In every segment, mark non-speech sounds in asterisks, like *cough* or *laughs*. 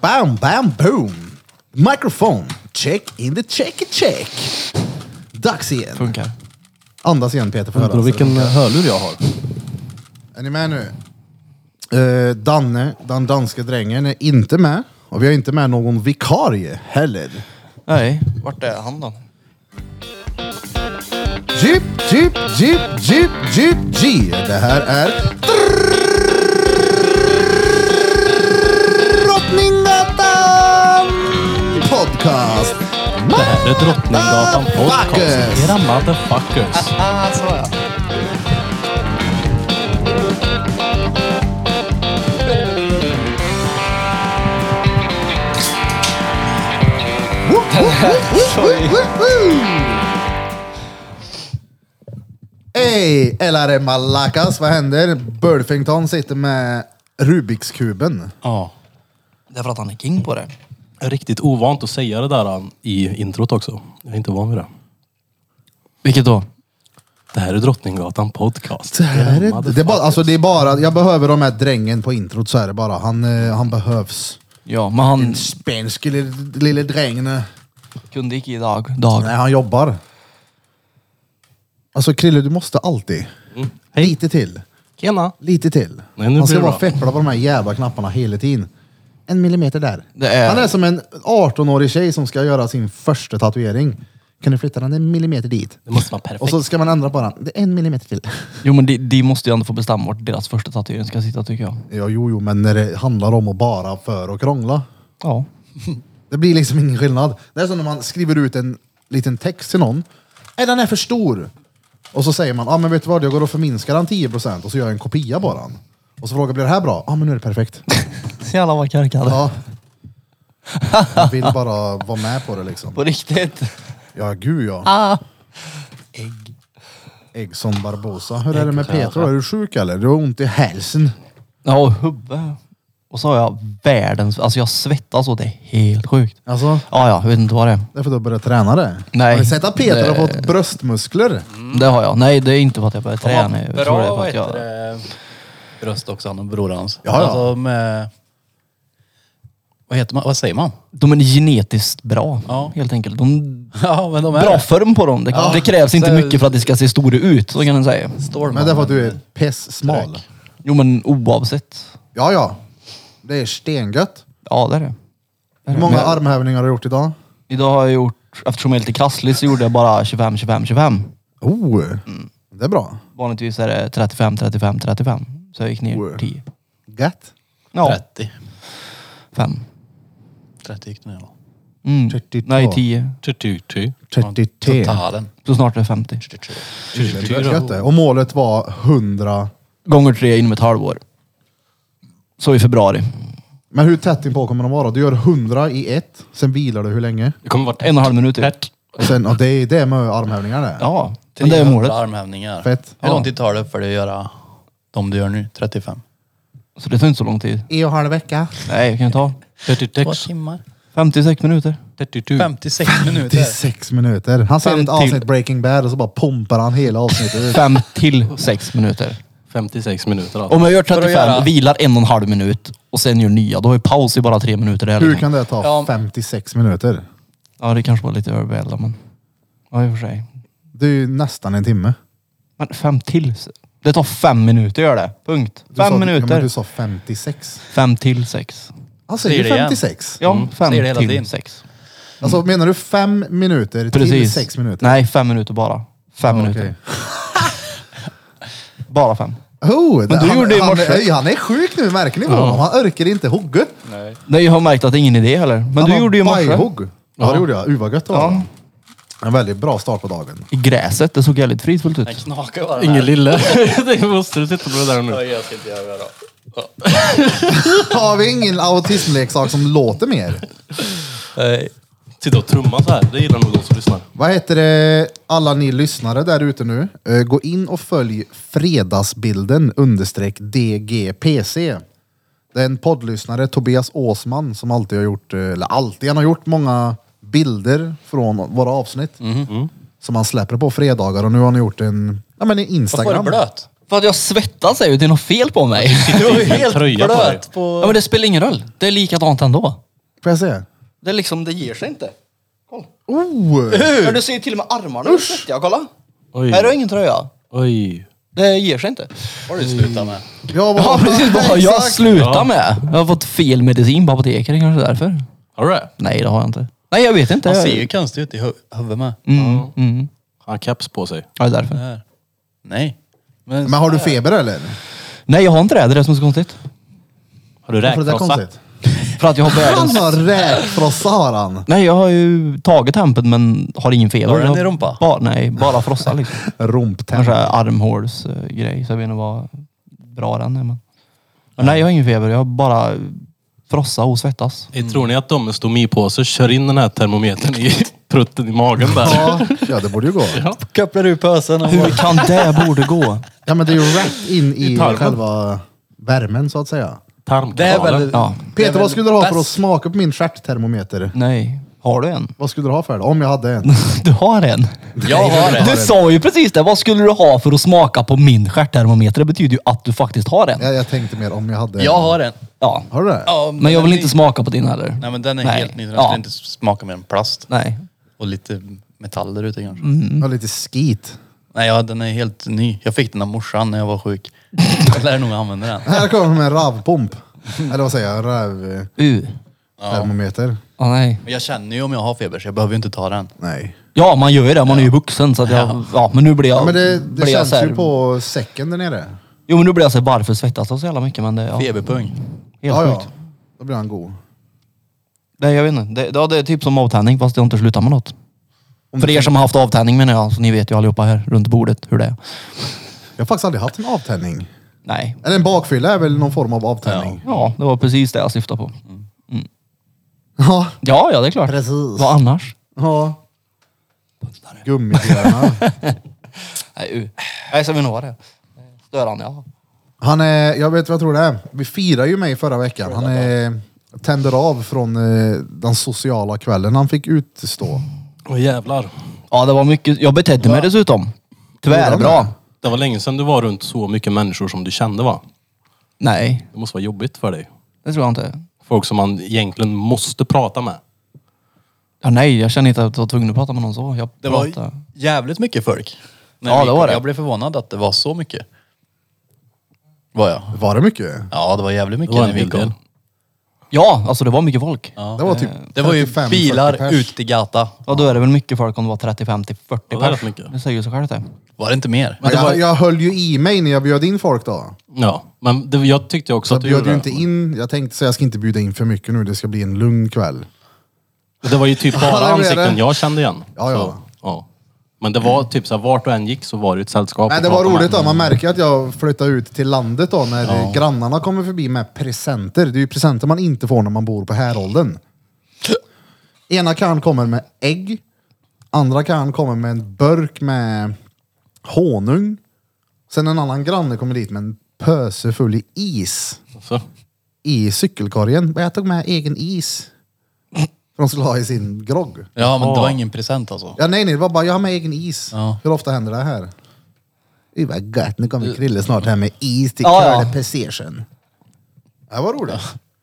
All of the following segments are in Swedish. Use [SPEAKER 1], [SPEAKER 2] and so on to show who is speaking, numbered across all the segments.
[SPEAKER 1] Bam, bam, boom! Microphone, check in the checky check! Dags igen.
[SPEAKER 2] Funkar.
[SPEAKER 1] Andas igen Peter, får höra.
[SPEAKER 3] Undrar vilken hörlur jag har.
[SPEAKER 1] Är ni med nu? Eh, Danne, den danske drängen, är inte med. Och vi har inte med någon vikarie heller.
[SPEAKER 2] Nej, vart är han då?
[SPEAKER 1] Jeep, jeep, jeep, jeep, jeep, G. Det här är Drottninggatan Podcast.
[SPEAKER 3] Det här är Drottninggatan
[SPEAKER 1] Motherfuckers!
[SPEAKER 3] Podcast. Era motherfuckers.
[SPEAKER 2] Ah, så ja.
[SPEAKER 1] Woo, woo, woo, woo, woo, woo. Hey, LRM Malakas, vad händer? Burfington sitter med Rubiks kuben.
[SPEAKER 3] Ja.
[SPEAKER 2] Det är för att han är king på det.
[SPEAKER 3] Riktigt ovant att säga det där han, i introt också. Jag är inte van vid det.
[SPEAKER 2] Vilket då?
[SPEAKER 3] Det här är Drottninggatan Podcast.
[SPEAKER 1] Det, här
[SPEAKER 3] Era
[SPEAKER 1] är, det, är bara, alltså det är bara, jag behöver de här drängen på introt så är det bara. Han, eh, han behövs.
[SPEAKER 2] Ja, men han
[SPEAKER 1] Spansk lille, lille drängen. Nej,
[SPEAKER 2] kunde inte idag. Dag.
[SPEAKER 1] han jobbar. Alltså Krille, du måste alltid. Lite till.
[SPEAKER 2] Tjena.
[SPEAKER 1] Lite till.
[SPEAKER 3] Nej, nu
[SPEAKER 1] han ska
[SPEAKER 3] blir det
[SPEAKER 1] bara
[SPEAKER 3] bra.
[SPEAKER 1] feppla på de här jävla knapparna hela tiden. En millimeter där.
[SPEAKER 2] Det är-
[SPEAKER 1] Han är som en 18-årig tjej som ska göra sin första tatuering. Kan du flytta den en millimeter dit?
[SPEAKER 3] Det måste vara
[SPEAKER 1] Och
[SPEAKER 3] perfekt.
[SPEAKER 1] så ska man ändra på den. Det är en millimeter till. *laughs*
[SPEAKER 2] Jo men de, de måste ju ändå få bestämma vart deras första tatuering ska sitta tycker jag.
[SPEAKER 1] Ja, jo, jo, men när det handlar om att bara för och krångla.
[SPEAKER 2] Ja.
[SPEAKER 1] Det blir liksom ingen skillnad. Det är som när man skriver ut en liten text till någon. Nej, den är för stor. Och så säger man, ja ah, men vet du vad, jag går och förminskar den 10% och så gör jag en kopia på den. Och så frågar jag, blir det här bra? Ja, ah, men nu är det perfekt.
[SPEAKER 2] Så jävla vad korkad.
[SPEAKER 1] Ja. *laughs* Jag vill bara vara med på det liksom.
[SPEAKER 2] På riktigt.
[SPEAKER 1] Ja, gud ja.
[SPEAKER 2] Ah. Ägg.
[SPEAKER 1] Ägg som Barbosa. Hur är det med Peter då? Är du sjuk eller? Du har ont i hälsen.
[SPEAKER 2] Ja, och hubbe. Och så har jag världens... Alltså jag svettas och det är helt sjukt.
[SPEAKER 1] Alltså,
[SPEAKER 2] Ja, ja, jag vet inte vad det är.
[SPEAKER 1] det är för att du har börjat träna det.
[SPEAKER 2] Nej.
[SPEAKER 1] Har du sett att Peter har
[SPEAKER 2] Det-
[SPEAKER 1] fått bröstmuskler?
[SPEAKER 2] Det har jag. Nej, det är inte för att jag börjar träna. Jag tror det är för att
[SPEAKER 4] vad heter
[SPEAKER 2] jag...
[SPEAKER 4] det, bröst också, han och bror hans.
[SPEAKER 1] Ja, ja.
[SPEAKER 4] Alltså med... Vad heter man? Vad säger man?
[SPEAKER 2] De är genetiskt bra,
[SPEAKER 4] Ja.
[SPEAKER 2] helt enkelt. De...
[SPEAKER 4] *laughs* Ja, men de är...
[SPEAKER 2] Bra form på dem. Det, det krävs inte
[SPEAKER 4] Så-
[SPEAKER 2] mycket för att de ska se stora ut, så kan man säga.
[SPEAKER 4] Storm.
[SPEAKER 1] Men det är för att du är pesssmal.
[SPEAKER 4] Tröck.
[SPEAKER 2] Jo, men oavsett.
[SPEAKER 1] Ja, ja. Det är stengött.
[SPEAKER 2] Ja, det är det.
[SPEAKER 1] Hur många armhävningar har du gjort idag?
[SPEAKER 2] Idag har jag gjort... Eftersom jag är lite krasslig så gjorde jag bara 25, 25, 25.
[SPEAKER 1] Oh, det är bra.
[SPEAKER 2] Vanligtvis är det 35, 35, 35. Så jag gick ner
[SPEAKER 1] Wow.
[SPEAKER 2] 10.
[SPEAKER 1] Gött.
[SPEAKER 2] Ja,
[SPEAKER 4] 30.
[SPEAKER 2] 5.
[SPEAKER 4] 30 gick det ner va?
[SPEAKER 2] Mm.
[SPEAKER 1] 32.
[SPEAKER 2] Nej, 10.
[SPEAKER 3] 33.
[SPEAKER 1] 33.
[SPEAKER 4] Totalen.
[SPEAKER 2] Så snart är det 50.
[SPEAKER 1] Det är gött det. Och målet var 100.
[SPEAKER 2] Gånger tre inom ett halvår. Så i februari.
[SPEAKER 1] Men hur tätt inpå kommer de vara? Du gör 100 i ett, sen vilar du hur länge?
[SPEAKER 3] Det kommer vara
[SPEAKER 2] En och en halv minut typ.
[SPEAKER 3] tätt.
[SPEAKER 1] Och sen, ja, det är det med armhävningar det.
[SPEAKER 2] Ja, men det är
[SPEAKER 4] 300
[SPEAKER 2] målet.
[SPEAKER 4] armhävningar.
[SPEAKER 1] Fett.
[SPEAKER 4] Hur lång tid tar det för dig att göra de du gör nu? 35?
[SPEAKER 2] Så det tar inte så lång tid.
[SPEAKER 1] En och en halv vecka.
[SPEAKER 2] Nej, det kan ju ta
[SPEAKER 4] Två
[SPEAKER 3] 36.
[SPEAKER 4] timmar?
[SPEAKER 2] 56 minuter.
[SPEAKER 3] 32.
[SPEAKER 4] 56
[SPEAKER 1] Det är
[SPEAKER 4] minuter.
[SPEAKER 1] sex minuter. Han ser
[SPEAKER 2] Fem
[SPEAKER 1] ett
[SPEAKER 2] till.
[SPEAKER 1] avsnitt Breaking Bad och så bara pumpar han hela avsnittet. ut.
[SPEAKER 2] 5 till 6 minuter.
[SPEAKER 3] 56 minuter alltså.
[SPEAKER 2] Om jag gör
[SPEAKER 4] att
[SPEAKER 2] 35,
[SPEAKER 4] göra-
[SPEAKER 2] vilar en och en halv minut och sen gör nya, då har jag paus i bara tre minuter. liksom- där.
[SPEAKER 1] Hur kan det
[SPEAKER 4] Ja.
[SPEAKER 1] ta 56 minuter?
[SPEAKER 2] Ja, det kanske var lite överväl då, men... Ja, i och för sig.
[SPEAKER 1] Det är ju nästan en timme.
[SPEAKER 2] Men fem till? Det tar fem minuter gör det. Punkt.
[SPEAKER 1] Du
[SPEAKER 2] Fem
[SPEAKER 1] sa, Ja,
[SPEAKER 2] minuter.
[SPEAKER 1] men du sa 56.
[SPEAKER 2] Fem till sex.
[SPEAKER 1] Han säger
[SPEAKER 4] Säger det igen.
[SPEAKER 1] 56.
[SPEAKER 2] Ja, fem
[SPEAKER 4] Säger det hela
[SPEAKER 2] till
[SPEAKER 4] tiden.
[SPEAKER 2] sex.
[SPEAKER 1] Alltså menar du fem minuter till
[SPEAKER 2] Precis.
[SPEAKER 1] sex minuter?
[SPEAKER 2] Nej, fem minuter bara. Fem
[SPEAKER 1] Ja,
[SPEAKER 2] minuter.
[SPEAKER 1] okej.
[SPEAKER 2] Bara fem.
[SPEAKER 1] Oh, det,
[SPEAKER 2] du
[SPEAKER 1] han,
[SPEAKER 2] gjorde det i
[SPEAKER 1] han,
[SPEAKER 2] morse.
[SPEAKER 1] är- han är sjuk nu, märker ni på honom? Han orkar inte hugga.
[SPEAKER 2] Nej, jag har märkt att det är ingen idé heller. Men du gjorde ju i morse.
[SPEAKER 1] Bajhugg. Ja, det gjorde jag. Uh, vad gött det var.
[SPEAKER 2] Ja.
[SPEAKER 1] En väldigt bra start på dagen.
[SPEAKER 2] I gräset. Det såg jävligt fridfullt ut.
[SPEAKER 4] Den knakar bara.
[SPEAKER 3] Ingen lille. *laughs* Det måste du titta på det där nu.
[SPEAKER 4] Ja, Jag ska inte göra det då.
[SPEAKER 1] Har vi ingen autismleksak som låter mer?
[SPEAKER 3] Nej. Sitta och trumma så här. Det gillar nog de som lyssnar.
[SPEAKER 1] Vad heter det, alla ni lyssnare där ute nu? Eh, Gå in och följ fredagsbilden understreck DGPC. Det är en poddlyssnare, Tobias Åsman, som alltid har gjort, eh, eller alltid, han har gjort många bilder från våra avsnitt. Som han släpper på fredagar och nu har han gjort en, ja men en
[SPEAKER 4] Varför är
[SPEAKER 1] Instagram.
[SPEAKER 4] du blöt?
[SPEAKER 2] För att jag svettas är ju, det är något fel på mig.
[SPEAKER 4] Du är
[SPEAKER 3] Vilken
[SPEAKER 4] helt
[SPEAKER 3] tröja på dig.
[SPEAKER 4] blöt
[SPEAKER 2] *laughs* ja,
[SPEAKER 4] på...
[SPEAKER 2] men det spelar ingen roll. Det är likadant ändå.
[SPEAKER 1] Får jag se?
[SPEAKER 2] Det är liksom, det ger sig inte. Kolla.
[SPEAKER 1] Oh!
[SPEAKER 2] Men du ser ju till och med armarna är svettiga, kolla.
[SPEAKER 3] Oj.
[SPEAKER 2] Här har jag ingen tröja.
[SPEAKER 3] Oj.
[SPEAKER 2] Det ger sig inte.
[SPEAKER 4] har du slutat med.
[SPEAKER 1] Ja, vad-
[SPEAKER 2] *laughs*
[SPEAKER 1] *laughs*
[SPEAKER 2] Ja precis, vad har jag
[SPEAKER 1] Exakt.
[SPEAKER 2] slutat med? Jag har fått fel medicin på apoteket, det är kanske därför.
[SPEAKER 3] Har du det?
[SPEAKER 2] Nej det har jag inte. Nej jag vet inte.
[SPEAKER 4] Han
[SPEAKER 2] Jag-
[SPEAKER 4] ser ju konstig ut i hu- huvudet med.
[SPEAKER 2] Mm, mm.
[SPEAKER 3] Han har keps på sig.
[SPEAKER 2] Ja, det är
[SPEAKER 4] Det
[SPEAKER 2] därför.
[SPEAKER 4] här. Nej. Men,
[SPEAKER 1] Men har du feber eller?
[SPEAKER 2] Nej jag har inte det, det är det som är så konstigt.
[SPEAKER 3] Har du
[SPEAKER 1] Varför är det där
[SPEAKER 3] räkfrossa?
[SPEAKER 1] konstigt?
[SPEAKER 2] För att jag har
[SPEAKER 1] Han *laughs*
[SPEAKER 2] världens...
[SPEAKER 1] har räkfrossa har han.
[SPEAKER 2] Nej jag har ju tagit tempen men har ingen feber.
[SPEAKER 4] Har du den
[SPEAKER 2] Jag
[SPEAKER 4] i rumpa?
[SPEAKER 2] Bara, nej, bara frossa
[SPEAKER 4] *laughs*
[SPEAKER 2] liksom.
[SPEAKER 1] Rumptänd.
[SPEAKER 2] Kanske armhålsgrej, så jag vet inte vad bra den är. Men... Men nej jag har ingen feber, jag har bara frossa och svettas.
[SPEAKER 3] Hey, tror ni att de med stomipåse kör in den här termometern i *laughs* prutten i magen där?
[SPEAKER 1] Ja, ja, det borde ju gå.
[SPEAKER 4] Kopplar du pösen och
[SPEAKER 2] Hur kan det borde gå?
[SPEAKER 1] Ja, men det är ju rätt in i,
[SPEAKER 3] I tarmen.
[SPEAKER 1] själva värmen så att säga.
[SPEAKER 4] Det är
[SPEAKER 3] Tarmkanalen.
[SPEAKER 4] väl...
[SPEAKER 2] Ja.
[SPEAKER 4] det är
[SPEAKER 1] Peter,
[SPEAKER 4] väl
[SPEAKER 1] vad skulle du ha för att
[SPEAKER 4] bäst.
[SPEAKER 1] smaka på min stjärttermometer?
[SPEAKER 2] Nej. Har du
[SPEAKER 4] *laughs*
[SPEAKER 2] en?
[SPEAKER 1] Vad skulle du ha för det? Om jag hade en.
[SPEAKER 2] Du har en?
[SPEAKER 4] Jag har det.
[SPEAKER 2] Du sa ju precis det. Vad skulle du ha för att smaka på min stjärttermometer? Det betyder ju att du faktiskt har en.
[SPEAKER 1] Jag, jag tänkte mer om jag hade en.
[SPEAKER 4] Jag har en.
[SPEAKER 2] Ja.
[SPEAKER 1] Har du det?
[SPEAKER 4] Ja,
[SPEAKER 2] Men jag
[SPEAKER 4] den
[SPEAKER 2] vill
[SPEAKER 4] är-
[SPEAKER 2] inte smaka på din heller.
[SPEAKER 4] Nej men den är
[SPEAKER 2] Nej.
[SPEAKER 4] helt ny. Den
[SPEAKER 2] Ja.
[SPEAKER 4] skulle inte smaka mer än plast.
[SPEAKER 2] Nej.
[SPEAKER 4] Och lite metaller ute kanske.
[SPEAKER 2] Mm.
[SPEAKER 1] Jag har lite skit.
[SPEAKER 4] Nej ja, den är helt ny. Jag fick den av morsan när jag
[SPEAKER 2] *laughs*
[SPEAKER 4] var sjuk. Jag lär nog använda den.
[SPEAKER 1] Här kommer de med en ravpump. Eller vad säger jag? Räv...
[SPEAKER 2] U.
[SPEAKER 1] Termometer?
[SPEAKER 2] Ja, nej.
[SPEAKER 4] Men jag känner ju om jag har feber så jag behöver ju inte ta den.
[SPEAKER 1] Nej.
[SPEAKER 2] Ja, man gör ju det. Man är ju vuxen. Så att jag, ja, men nu blir jag...
[SPEAKER 1] Ja, men det,
[SPEAKER 2] blir
[SPEAKER 1] det
[SPEAKER 2] jag så
[SPEAKER 1] känns
[SPEAKER 2] här,
[SPEAKER 1] ju på säcken där nere.
[SPEAKER 2] Jo, men nu blir jag så här, varför svettas jag så jävla mycket? Men det, ja, helt
[SPEAKER 4] Feberpung.
[SPEAKER 1] Ja,
[SPEAKER 2] sjukt.
[SPEAKER 1] ja. Då blir han god.
[SPEAKER 2] Nej, jag vet inte. Det, ja, det är typ som avtändning fast jag har inte slutat med något.
[SPEAKER 1] Om
[SPEAKER 2] För
[SPEAKER 1] du
[SPEAKER 2] er som har haft avtändning menar jag, så ni vet ju allihopa här runt bordet hur det är.
[SPEAKER 1] Jag har faktiskt aldrig haft en avtändning.
[SPEAKER 2] Nej.
[SPEAKER 1] Eller en bakfylla är väl någon form av avtändning?
[SPEAKER 2] Ja, det var precis det jag syftade på.
[SPEAKER 1] Mm. Ja,
[SPEAKER 2] Ja, ja det är klart.
[SPEAKER 1] precis.
[SPEAKER 2] Vad annars?
[SPEAKER 1] Ja.
[SPEAKER 4] *laughs*
[SPEAKER 1] Gummibjörnar.
[SPEAKER 2] Nej, u. Nej, så vi nog ha det. Störande, ja.
[SPEAKER 1] Han är, jag vet vad jag tror det är. Vi firade ju mig förra veckan. Han är, tänder av från eh, den sociala kvällen han fick utstå.
[SPEAKER 3] Åh jävlar.
[SPEAKER 2] Ja, det var mycket. Jag betedde mig dessutom. Tvärbra.
[SPEAKER 3] Det var länge sedan du var runt så mycket människor som du kände va?
[SPEAKER 2] Nej,
[SPEAKER 3] Det måste vara jobbigt för dig.
[SPEAKER 2] det tror jag inte.
[SPEAKER 3] Folk som man egentligen måste prata med.
[SPEAKER 2] Ja, nej, jag känner inte att jag var tvungen att prata med någon så. Jag
[SPEAKER 4] Det var
[SPEAKER 2] pratade.
[SPEAKER 4] jävligt mycket folk. När
[SPEAKER 2] Ja,
[SPEAKER 4] vi
[SPEAKER 2] det
[SPEAKER 4] kom.
[SPEAKER 2] var det.
[SPEAKER 4] Jag blev förvånad att det var så mycket. Var jag?
[SPEAKER 1] Var det mycket?
[SPEAKER 4] Ja, det var jävligt mycket
[SPEAKER 3] Det var
[SPEAKER 4] när
[SPEAKER 3] en
[SPEAKER 4] vi
[SPEAKER 3] hel
[SPEAKER 4] kom.
[SPEAKER 3] del.
[SPEAKER 2] Ja, alltså det var mycket folk. Ja.
[SPEAKER 4] Ja.
[SPEAKER 1] Det var typ
[SPEAKER 4] Det var ju
[SPEAKER 1] 35, 40
[SPEAKER 4] bilar
[SPEAKER 1] pers.
[SPEAKER 4] ut i gata.
[SPEAKER 2] då är det väl mycket folk om det var 30, 50, 40
[SPEAKER 3] Ja, det är
[SPEAKER 2] pers.
[SPEAKER 3] rätt mycket.
[SPEAKER 2] Det säger ju sig självt det.
[SPEAKER 4] Var det inte mer?
[SPEAKER 1] Men jag, jag höll ju i mig när jag bjöd in folk då.
[SPEAKER 3] Ja, men det, jag tyckte också
[SPEAKER 1] Så jag
[SPEAKER 3] att du
[SPEAKER 1] bjöd
[SPEAKER 3] gjorde
[SPEAKER 1] ju
[SPEAKER 3] det.
[SPEAKER 1] inte in. Jag tänkte så jag ska inte bjuda in för mycket nu. Det ska bli en lugn kväll.
[SPEAKER 3] Det var ju typ
[SPEAKER 1] *laughs* Ja, det
[SPEAKER 3] bara
[SPEAKER 1] blev
[SPEAKER 3] ansikten
[SPEAKER 1] det.
[SPEAKER 3] jag kände igen.
[SPEAKER 1] Ja, ja.
[SPEAKER 3] Så, ja. Men det var typ så här, vart du än gick så var det ett sällskap.
[SPEAKER 1] Nej,
[SPEAKER 3] att
[SPEAKER 1] det var
[SPEAKER 3] prata med.
[SPEAKER 1] roligt då. Man märker att jag flyttade ut till landet då när grannarna kommer förbi med presenter. Det är ju presenter man inte får när man bor på häråldern. Ena karln kommer med ägg. Andra karln kommer med en burk med honung. Sen en annan granne kommer dit med en pöse full i is
[SPEAKER 3] Så.
[SPEAKER 1] i cykelkorgen. Men jag tog med egen is. För de skulle ha i sin grogg.
[SPEAKER 4] Ja, men det var ingen present alltså.
[SPEAKER 1] Ja, nej, nej, det var bara jag har med egen is.
[SPEAKER 4] Ja.
[SPEAKER 1] Hur ofta händer det här? Det var gött, nu kommer Krille snart här med is till
[SPEAKER 2] Ja, ja.
[SPEAKER 1] Curly Precision. Det var roligt.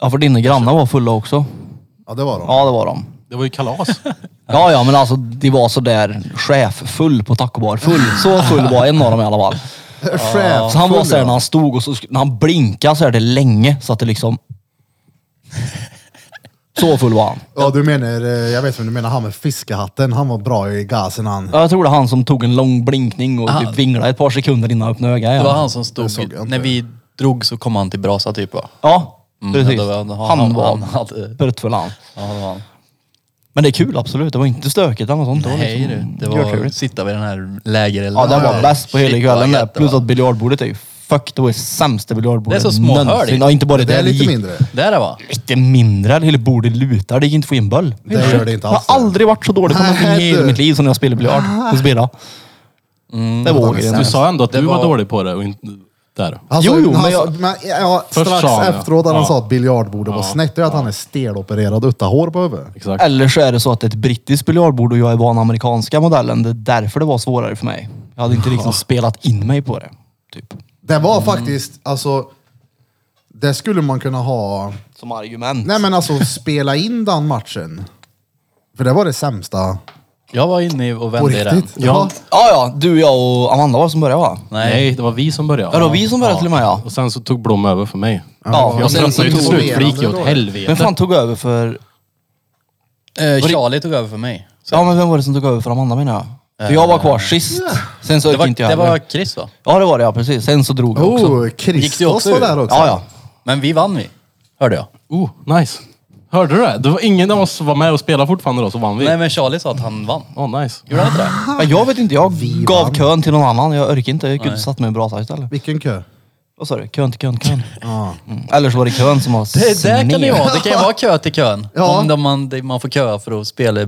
[SPEAKER 2] Ja, för dina grannar var fulla också.
[SPEAKER 1] Ja, det var de.
[SPEAKER 2] Ja, det var de.
[SPEAKER 3] Det var ju kalas.
[SPEAKER 2] Ja, ja, men alltså de var sådär cheffull på tacobar. Full. Så full var en av dem i alla fall.
[SPEAKER 1] *laughs* Chef,
[SPEAKER 2] Eh, Så han var
[SPEAKER 1] full,
[SPEAKER 2] såhär
[SPEAKER 1] ja.
[SPEAKER 2] när han stod och så, sk- när han blinkade så här det länge så att det
[SPEAKER 4] *laughs*
[SPEAKER 2] liksom... Så full var han.
[SPEAKER 1] Ja, du menar, eh, jag vet vem du menar, han med fiskehatten. Han var bra i gasen han.
[SPEAKER 2] Ja, Jag tror det var han som tog en lång blinkning och typ vinglade ett par sekunder innan han öppnade ögat.
[SPEAKER 4] Ah. Det
[SPEAKER 2] igen.
[SPEAKER 4] var han som
[SPEAKER 1] Det
[SPEAKER 4] stod...
[SPEAKER 1] såg jag inte.
[SPEAKER 4] När vi drog så kom han till brasa typ va?
[SPEAKER 2] Ja,
[SPEAKER 4] Mm,
[SPEAKER 2] precis.
[SPEAKER 4] ja, det var-
[SPEAKER 2] han,
[SPEAKER 4] han- han-
[SPEAKER 2] var
[SPEAKER 4] han hade-
[SPEAKER 2] pruttfull han.
[SPEAKER 4] Ja, det var han.
[SPEAKER 2] Men det är kul absolut. Det var inte stökigt eller något sånt. det var
[SPEAKER 4] Nej
[SPEAKER 2] liksom
[SPEAKER 4] du, det var
[SPEAKER 2] görtrevligt.
[SPEAKER 4] sitta vid den här lägerelden.
[SPEAKER 2] Ja, det var bäst på hela
[SPEAKER 4] Shit, vad
[SPEAKER 2] kvällen där.
[SPEAKER 4] gött det
[SPEAKER 2] Plus
[SPEAKER 4] var.
[SPEAKER 2] att biljardbordet är ju fuck, det var ju sämsta biljardbordet
[SPEAKER 4] Det är så små
[SPEAKER 2] någonsin.
[SPEAKER 4] hörn i.
[SPEAKER 2] Ja, inte bara det.
[SPEAKER 1] Det är
[SPEAKER 2] det
[SPEAKER 1] lite
[SPEAKER 2] gick- Mm.
[SPEAKER 1] mindre.
[SPEAKER 4] Där det var.
[SPEAKER 2] Lite mindre. Hela bordet lutar. Det gick inte att få in boll.
[SPEAKER 1] Det gör det inte alls.
[SPEAKER 2] Jag har aldrig varit så dålig på någonting i
[SPEAKER 1] Nej,
[SPEAKER 2] hela
[SPEAKER 1] du. Ah.
[SPEAKER 2] mitt liv som när jag spelade biljard. Och spela. det vågar jag
[SPEAKER 1] Du
[SPEAKER 3] Du
[SPEAKER 2] inte.
[SPEAKER 3] sa ändå att
[SPEAKER 4] Det
[SPEAKER 3] du var...
[SPEAKER 4] var-
[SPEAKER 3] dålig på det och inte... Där.
[SPEAKER 1] Han
[SPEAKER 2] Jo,
[SPEAKER 1] sa-
[SPEAKER 2] jo,
[SPEAKER 1] han
[SPEAKER 2] men
[SPEAKER 1] sa-
[SPEAKER 2] jag-
[SPEAKER 1] men, ja,
[SPEAKER 3] Först
[SPEAKER 1] strax
[SPEAKER 3] sa han det.
[SPEAKER 1] efteråt när han
[SPEAKER 3] Ja.
[SPEAKER 1] sa att biljardbordet var snett, det är att han är stelopererad utan hår på huvudet.
[SPEAKER 3] Exakt.
[SPEAKER 2] Eller så är det så att det är ett brittiskt biljardbord och jag är van amerikanska modellen. Det är därför det var svårare för mig.
[SPEAKER 1] Ah.
[SPEAKER 2] Jag hade inte liksom spelat in mig på det. Typ.
[SPEAKER 1] Det var faktiskt, alltså, Det skulle man kunna ha.
[SPEAKER 2] Som argument.
[SPEAKER 1] Nej men alltså spela in den matchen. För det var det sämsta.
[SPEAKER 4] Jag var inne och
[SPEAKER 1] På
[SPEAKER 4] vände i den.
[SPEAKER 1] riktigt.
[SPEAKER 3] Ja.
[SPEAKER 2] Ja, ja. Du, jag och Amanda var det som började va?
[SPEAKER 3] Nej. det var vi som började.
[SPEAKER 2] Ja, det var vi som började
[SPEAKER 3] Ja.
[SPEAKER 2] till och med, ja.
[SPEAKER 3] Och sen så tog Blom över för mig.
[SPEAKER 2] Ja,
[SPEAKER 3] Jag
[SPEAKER 2] och sen så
[SPEAKER 3] tröttnade ju till
[SPEAKER 2] tog...
[SPEAKER 1] vi-
[SPEAKER 3] slut, för det gick ju åt helvete.
[SPEAKER 2] Vem fan tog över för...
[SPEAKER 4] Eh, Charlie tog över för mig. Så
[SPEAKER 2] Ja men vem var det som tog över för Amanda menar jag? För jag var
[SPEAKER 1] Eh,
[SPEAKER 2] kvar sist. Sen så
[SPEAKER 4] det,
[SPEAKER 2] gick
[SPEAKER 4] var,
[SPEAKER 2] inte jag
[SPEAKER 4] det var
[SPEAKER 2] över.
[SPEAKER 4] Chris va?
[SPEAKER 2] Ja det var det ja, precis. Sen så drog jag också.
[SPEAKER 1] Oh,
[SPEAKER 4] Gick du
[SPEAKER 1] Kristos
[SPEAKER 4] också
[SPEAKER 1] var
[SPEAKER 4] ur?
[SPEAKER 1] där också.
[SPEAKER 2] Ja, ja.
[SPEAKER 4] Men vi vann vi. Hörde jag.
[SPEAKER 3] Oh, nice. Hörde du det? Det var ingen av oss som var med och spelade fortfarande då, så vann vi.
[SPEAKER 4] Nej men Charlie sa att han vann.
[SPEAKER 3] Åh, nice.
[SPEAKER 4] Gjorde han inte det?
[SPEAKER 2] Men jag vet inte, jag gav kön till någon annan. Jag orkar inte. Jag kunde
[SPEAKER 4] Nej.
[SPEAKER 2] satt mig i en brasa istället.
[SPEAKER 1] Vilken kö.
[SPEAKER 2] Vad sa du? Kön till kön,
[SPEAKER 4] *laughs*
[SPEAKER 2] kön.
[SPEAKER 1] Ja.
[SPEAKER 2] Mm. Eller så var det kön som var
[SPEAKER 4] Det, där kan det
[SPEAKER 2] sned.
[SPEAKER 4] ju vara. Det kan ju vara kö till kön.
[SPEAKER 1] Ja.
[SPEAKER 4] Om de- man, det, man får köa för att spela,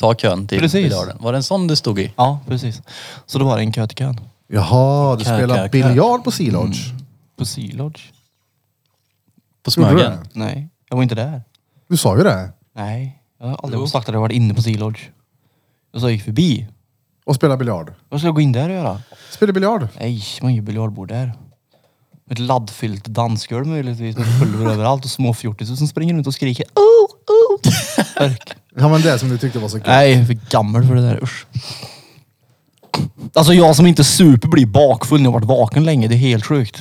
[SPEAKER 4] ta kön till
[SPEAKER 2] Precis.
[SPEAKER 4] biljarden. Var det en sån du stod i?
[SPEAKER 2] Ja, precis. Så då var det en kö till kön.
[SPEAKER 1] Jaha, du
[SPEAKER 3] Kö,
[SPEAKER 1] spelar
[SPEAKER 3] kö, kö.
[SPEAKER 1] biljard på Sea Lodge.
[SPEAKER 2] På Sea Lodge?
[SPEAKER 4] På
[SPEAKER 1] Gjorde du
[SPEAKER 4] Smögen?
[SPEAKER 1] det?
[SPEAKER 2] Nej, jag var inte där.
[SPEAKER 1] Du sa ju det.
[SPEAKER 2] Nej, jag har aldrig sagt att jag varit inne på Sea Lodge. Jag sa jag gick förbi.
[SPEAKER 1] Och spelar biljard.
[SPEAKER 2] Vad ska jag gå in där och göra?
[SPEAKER 1] Spelar biljard.
[SPEAKER 2] Nej, man har ju biljardbord där. Ett laddfyllt dansgolv möjligtvis med pulver *laughs* överallt och små fjortisar som springer runt och skriker oh, oh.
[SPEAKER 4] *laughs*
[SPEAKER 2] Örk.
[SPEAKER 1] Ja men det som du tyckte var så kul.
[SPEAKER 2] Nej, jag är för gammal för det där. Usch. Alltså jag som inte super blir bakfull när jag varit vaken länge. Det är helt sjukt.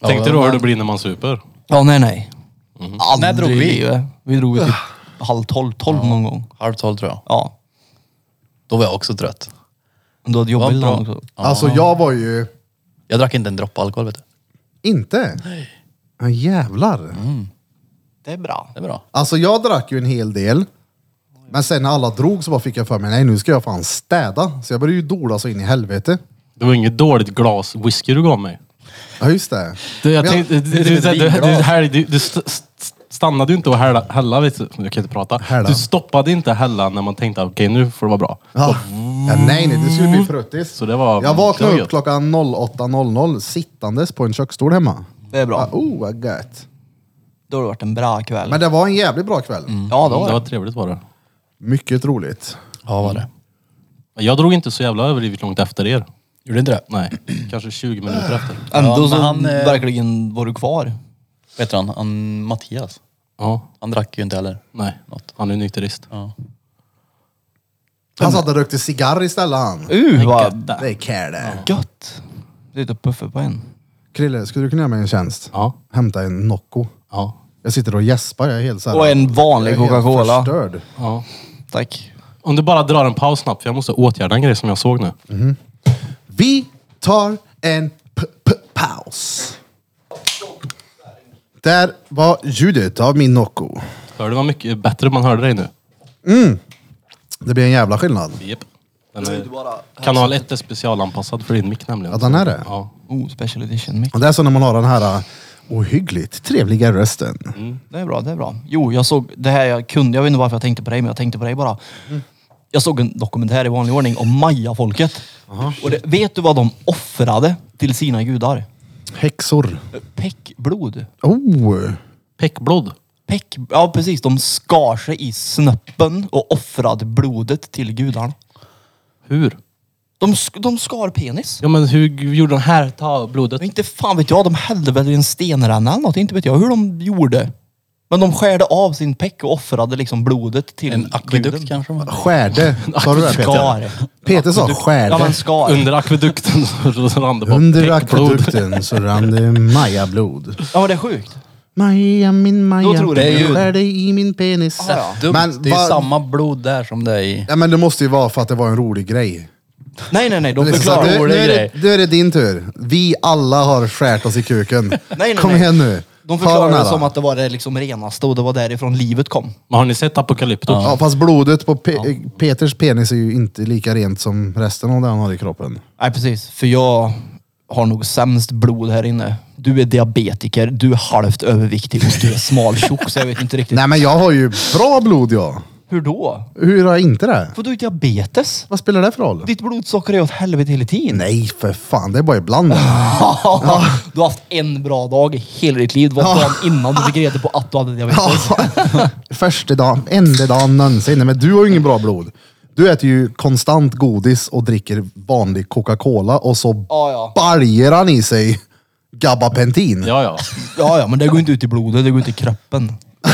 [SPEAKER 3] Tänkte
[SPEAKER 4] Ja,
[SPEAKER 3] du hur
[SPEAKER 4] men-
[SPEAKER 3] det blir när man super?
[SPEAKER 2] Ja, nej, nej. Aldrig
[SPEAKER 4] När drog
[SPEAKER 2] i
[SPEAKER 4] vi?
[SPEAKER 2] livet. Mm. Vi drog ju typ halv tolv, tolv någon gång.
[SPEAKER 4] Halv tolv tror jag.
[SPEAKER 2] Ja.
[SPEAKER 4] Då var jag också trött.
[SPEAKER 2] Du hade jobbat
[SPEAKER 4] Vad
[SPEAKER 2] innan
[SPEAKER 4] bra.
[SPEAKER 2] också.
[SPEAKER 1] Alltså jag var ju
[SPEAKER 4] Jag drack inte en droppe alkohol vet du.
[SPEAKER 1] inte. Men jävlar.
[SPEAKER 2] Det är bra.
[SPEAKER 4] Det är bra.
[SPEAKER 1] Alltså jag drack ju en hel del. Men sen när alla drog så bara fick jag för mig, nej nu ska jag fan städa. Så jag började ju dola så in i helvete.
[SPEAKER 3] Det var inget dåligt glas whisky du gav mig.
[SPEAKER 1] Ja just det.
[SPEAKER 3] Du, jag
[SPEAKER 1] Men jag-
[SPEAKER 3] tänkte, du, du,
[SPEAKER 4] det är
[SPEAKER 3] du,
[SPEAKER 4] ett
[SPEAKER 3] du, du,
[SPEAKER 4] vinglas.
[SPEAKER 3] häll- du, du st- st- stannade ju inte och hälla, hälla vet du. Jag kan inte prata.
[SPEAKER 1] Hälla.
[SPEAKER 3] Du stoppade inte hälla när man tänkte okej nu får det vara bra.
[SPEAKER 1] Ja. Ja, nej nej, du skulle bli fruttis.
[SPEAKER 3] Så det var-
[SPEAKER 1] jag vaknade
[SPEAKER 3] det var
[SPEAKER 1] upp
[SPEAKER 3] gött.
[SPEAKER 1] klockan 08.00 sittandes på en köksstol hemma.
[SPEAKER 2] Det är bra.
[SPEAKER 1] Ah, oh vad gött.
[SPEAKER 2] Då har det varit en bra kväll.
[SPEAKER 1] Men det var en jävligt bra kväll.
[SPEAKER 2] Ja, det
[SPEAKER 3] det
[SPEAKER 2] var
[SPEAKER 3] var
[SPEAKER 2] det.
[SPEAKER 3] trevligt var det.
[SPEAKER 1] Mycket roligt.
[SPEAKER 4] Ja var det.
[SPEAKER 3] Jag drog inte så jävla överdrivet långt efter er.
[SPEAKER 4] Gjorde inte det?
[SPEAKER 3] Nej, kanske 20 minuter efter.
[SPEAKER 2] Ändå
[SPEAKER 4] Ja, men
[SPEAKER 2] så
[SPEAKER 4] han, eh,
[SPEAKER 2] verkligen var du kvar.
[SPEAKER 4] Vet du han, han Mattias.
[SPEAKER 3] Ja,
[SPEAKER 4] Han drack ju inte heller.
[SPEAKER 3] nej.
[SPEAKER 4] Något.
[SPEAKER 3] Han är nykterist.
[SPEAKER 4] Ja.
[SPEAKER 1] Han satt och rökte cigarr istället han.
[SPEAKER 2] Uh, vad
[SPEAKER 1] Det är care det.
[SPEAKER 2] gött. Sitter och puffar på en.
[SPEAKER 1] Krille, skulle du kunna göra mig en tjänst?
[SPEAKER 3] Ja,
[SPEAKER 1] Hämta en Nocco.
[SPEAKER 3] ja,
[SPEAKER 1] Jag sitter och gäspar, jag är helt såhär...
[SPEAKER 2] Och en vanlig Coca-Cola.
[SPEAKER 1] förstörd.
[SPEAKER 3] ja.
[SPEAKER 2] Tack.
[SPEAKER 3] Om du bara drar en paus snabbt för jag måste åtgärda en grej som jag såg nu.
[SPEAKER 1] Vi tar en p- p- paus. Där var ljudet av min Nocco.
[SPEAKER 3] Hör du vad mycket bättre man hörde dig nu?
[SPEAKER 1] Det blir en jävla skillnad.
[SPEAKER 3] Japp. Den är, kanal 1 är specialanpassad för din mick nämligen.
[SPEAKER 1] Ja, den är det.
[SPEAKER 3] Ja.
[SPEAKER 2] Oh, special edition mic.
[SPEAKER 1] Och Det är så när man har den här uh, ohyggligt trevliga rösten.
[SPEAKER 2] Det är bra, det är bra. Jo, jag såg det här jag kunde. Jag vet inte varför jag tänkte på dig, men jag tänkte på dig bara. Jag såg en dokumentär i vanlig ordning om mayafolket. Och det, vet du vad de offrade till sina gudar?
[SPEAKER 1] Häxor.
[SPEAKER 2] Päckblod.
[SPEAKER 1] Oh!
[SPEAKER 3] Peckblod.
[SPEAKER 2] Päck, ja precis, de skar sig i snöppen och offrade blodet till gudarna.
[SPEAKER 3] Hur?
[SPEAKER 2] De, sk- de skar penis.
[SPEAKER 3] Ja men hur gjorde den här? Ta blodet.
[SPEAKER 2] Och Inte fan vet jag, de hällde väl i en stenränna eller något. Inte vet jag hur de gjorde. Men de skärde av sin päck och offrade liksom blodet till
[SPEAKER 4] En akvedukt
[SPEAKER 2] guden.
[SPEAKER 4] kanske?
[SPEAKER 2] *laughs*
[SPEAKER 4] man-
[SPEAKER 1] Skärde. Sa du det Peter?
[SPEAKER 2] Skar.
[SPEAKER 1] Peter sa
[SPEAKER 2] Ja men
[SPEAKER 1] skärde.
[SPEAKER 2] skar.
[SPEAKER 3] Under akvedukten så rann det bara
[SPEAKER 1] Under
[SPEAKER 3] peckblod.
[SPEAKER 1] akvedukten så rann det majablod.
[SPEAKER 2] Ja men det är sjukt.
[SPEAKER 1] Maja min
[SPEAKER 2] Då
[SPEAKER 1] Maja,
[SPEAKER 2] tror jag-
[SPEAKER 1] du
[SPEAKER 4] Det är ju-
[SPEAKER 1] skärde i min penis.
[SPEAKER 2] Ja,
[SPEAKER 4] Dumt.
[SPEAKER 1] Men
[SPEAKER 4] det är ju
[SPEAKER 1] vad-
[SPEAKER 4] samma blod där som det är i...
[SPEAKER 1] Ja, men det måste ju vara för att det var en rolig grej.
[SPEAKER 2] Nej nej nej, de
[SPEAKER 1] Det är liksom, så här,
[SPEAKER 2] förklarar.
[SPEAKER 4] en
[SPEAKER 1] nu, nu,
[SPEAKER 4] rolig
[SPEAKER 1] är
[SPEAKER 4] grej.
[SPEAKER 1] det, nu är det din tur. Vi alla har skärt oss i kuken.
[SPEAKER 2] nej,
[SPEAKER 1] Kom
[SPEAKER 2] nej.
[SPEAKER 1] igen nu.
[SPEAKER 2] De
[SPEAKER 1] Ta den
[SPEAKER 2] förklarar
[SPEAKER 1] här
[SPEAKER 2] det
[SPEAKER 1] då.
[SPEAKER 2] som att det var det liksom renaste och det var därifrån livet kom.
[SPEAKER 3] Men har ni sett Apokalypto?
[SPEAKER 1] Ja, fast blodet på Pe- Peters penis är ju inte lika rent som resten av det han har i kroppen.
[SPEAKER 2] Nej precis, för jag har nog sämst blod här inne. Du är diabetiker, du är halvt överviktig och du är smaltjock så jag vet inte riktigt.
[SPEAKER 1] Nej, men jag har ju bra blod jag.
[SPEAKER 2] Hur då?
[SPEAKER 1] Hur har jag inte det?
[SPEAKER 2] Får du diabetes?
[SPEAKER 1] Vad spelar det för roll?
[SPEAKER 2] Ditt blodsocker är åt helvete hela tiden.
[SPEAKER 1] Nej, för fan. Det är bara ibland.
[SPEAKER 2] Ah. Du har haft en bra dag i hela ditt liv. Det var dagen innan du fick reda på att du hade diabetes.
[SPEAKER 1] *laughs* Första dagen, enda dagen någonsin. Nej, men du har ju inget bra blod. Du äter ju konstant godis och dricker vanlig Coca-Cola och så
[SPEAKER 2] Ja, ja.
[SPEAKER 1] baljer han i sig Gabapentin.
[SPEAKER 3] Ja, ja.
[SPEAKER 2] Ja, ja, men det går inte ut i blodet, det går inte i kroppen.
[SPEAKER 1] Ja,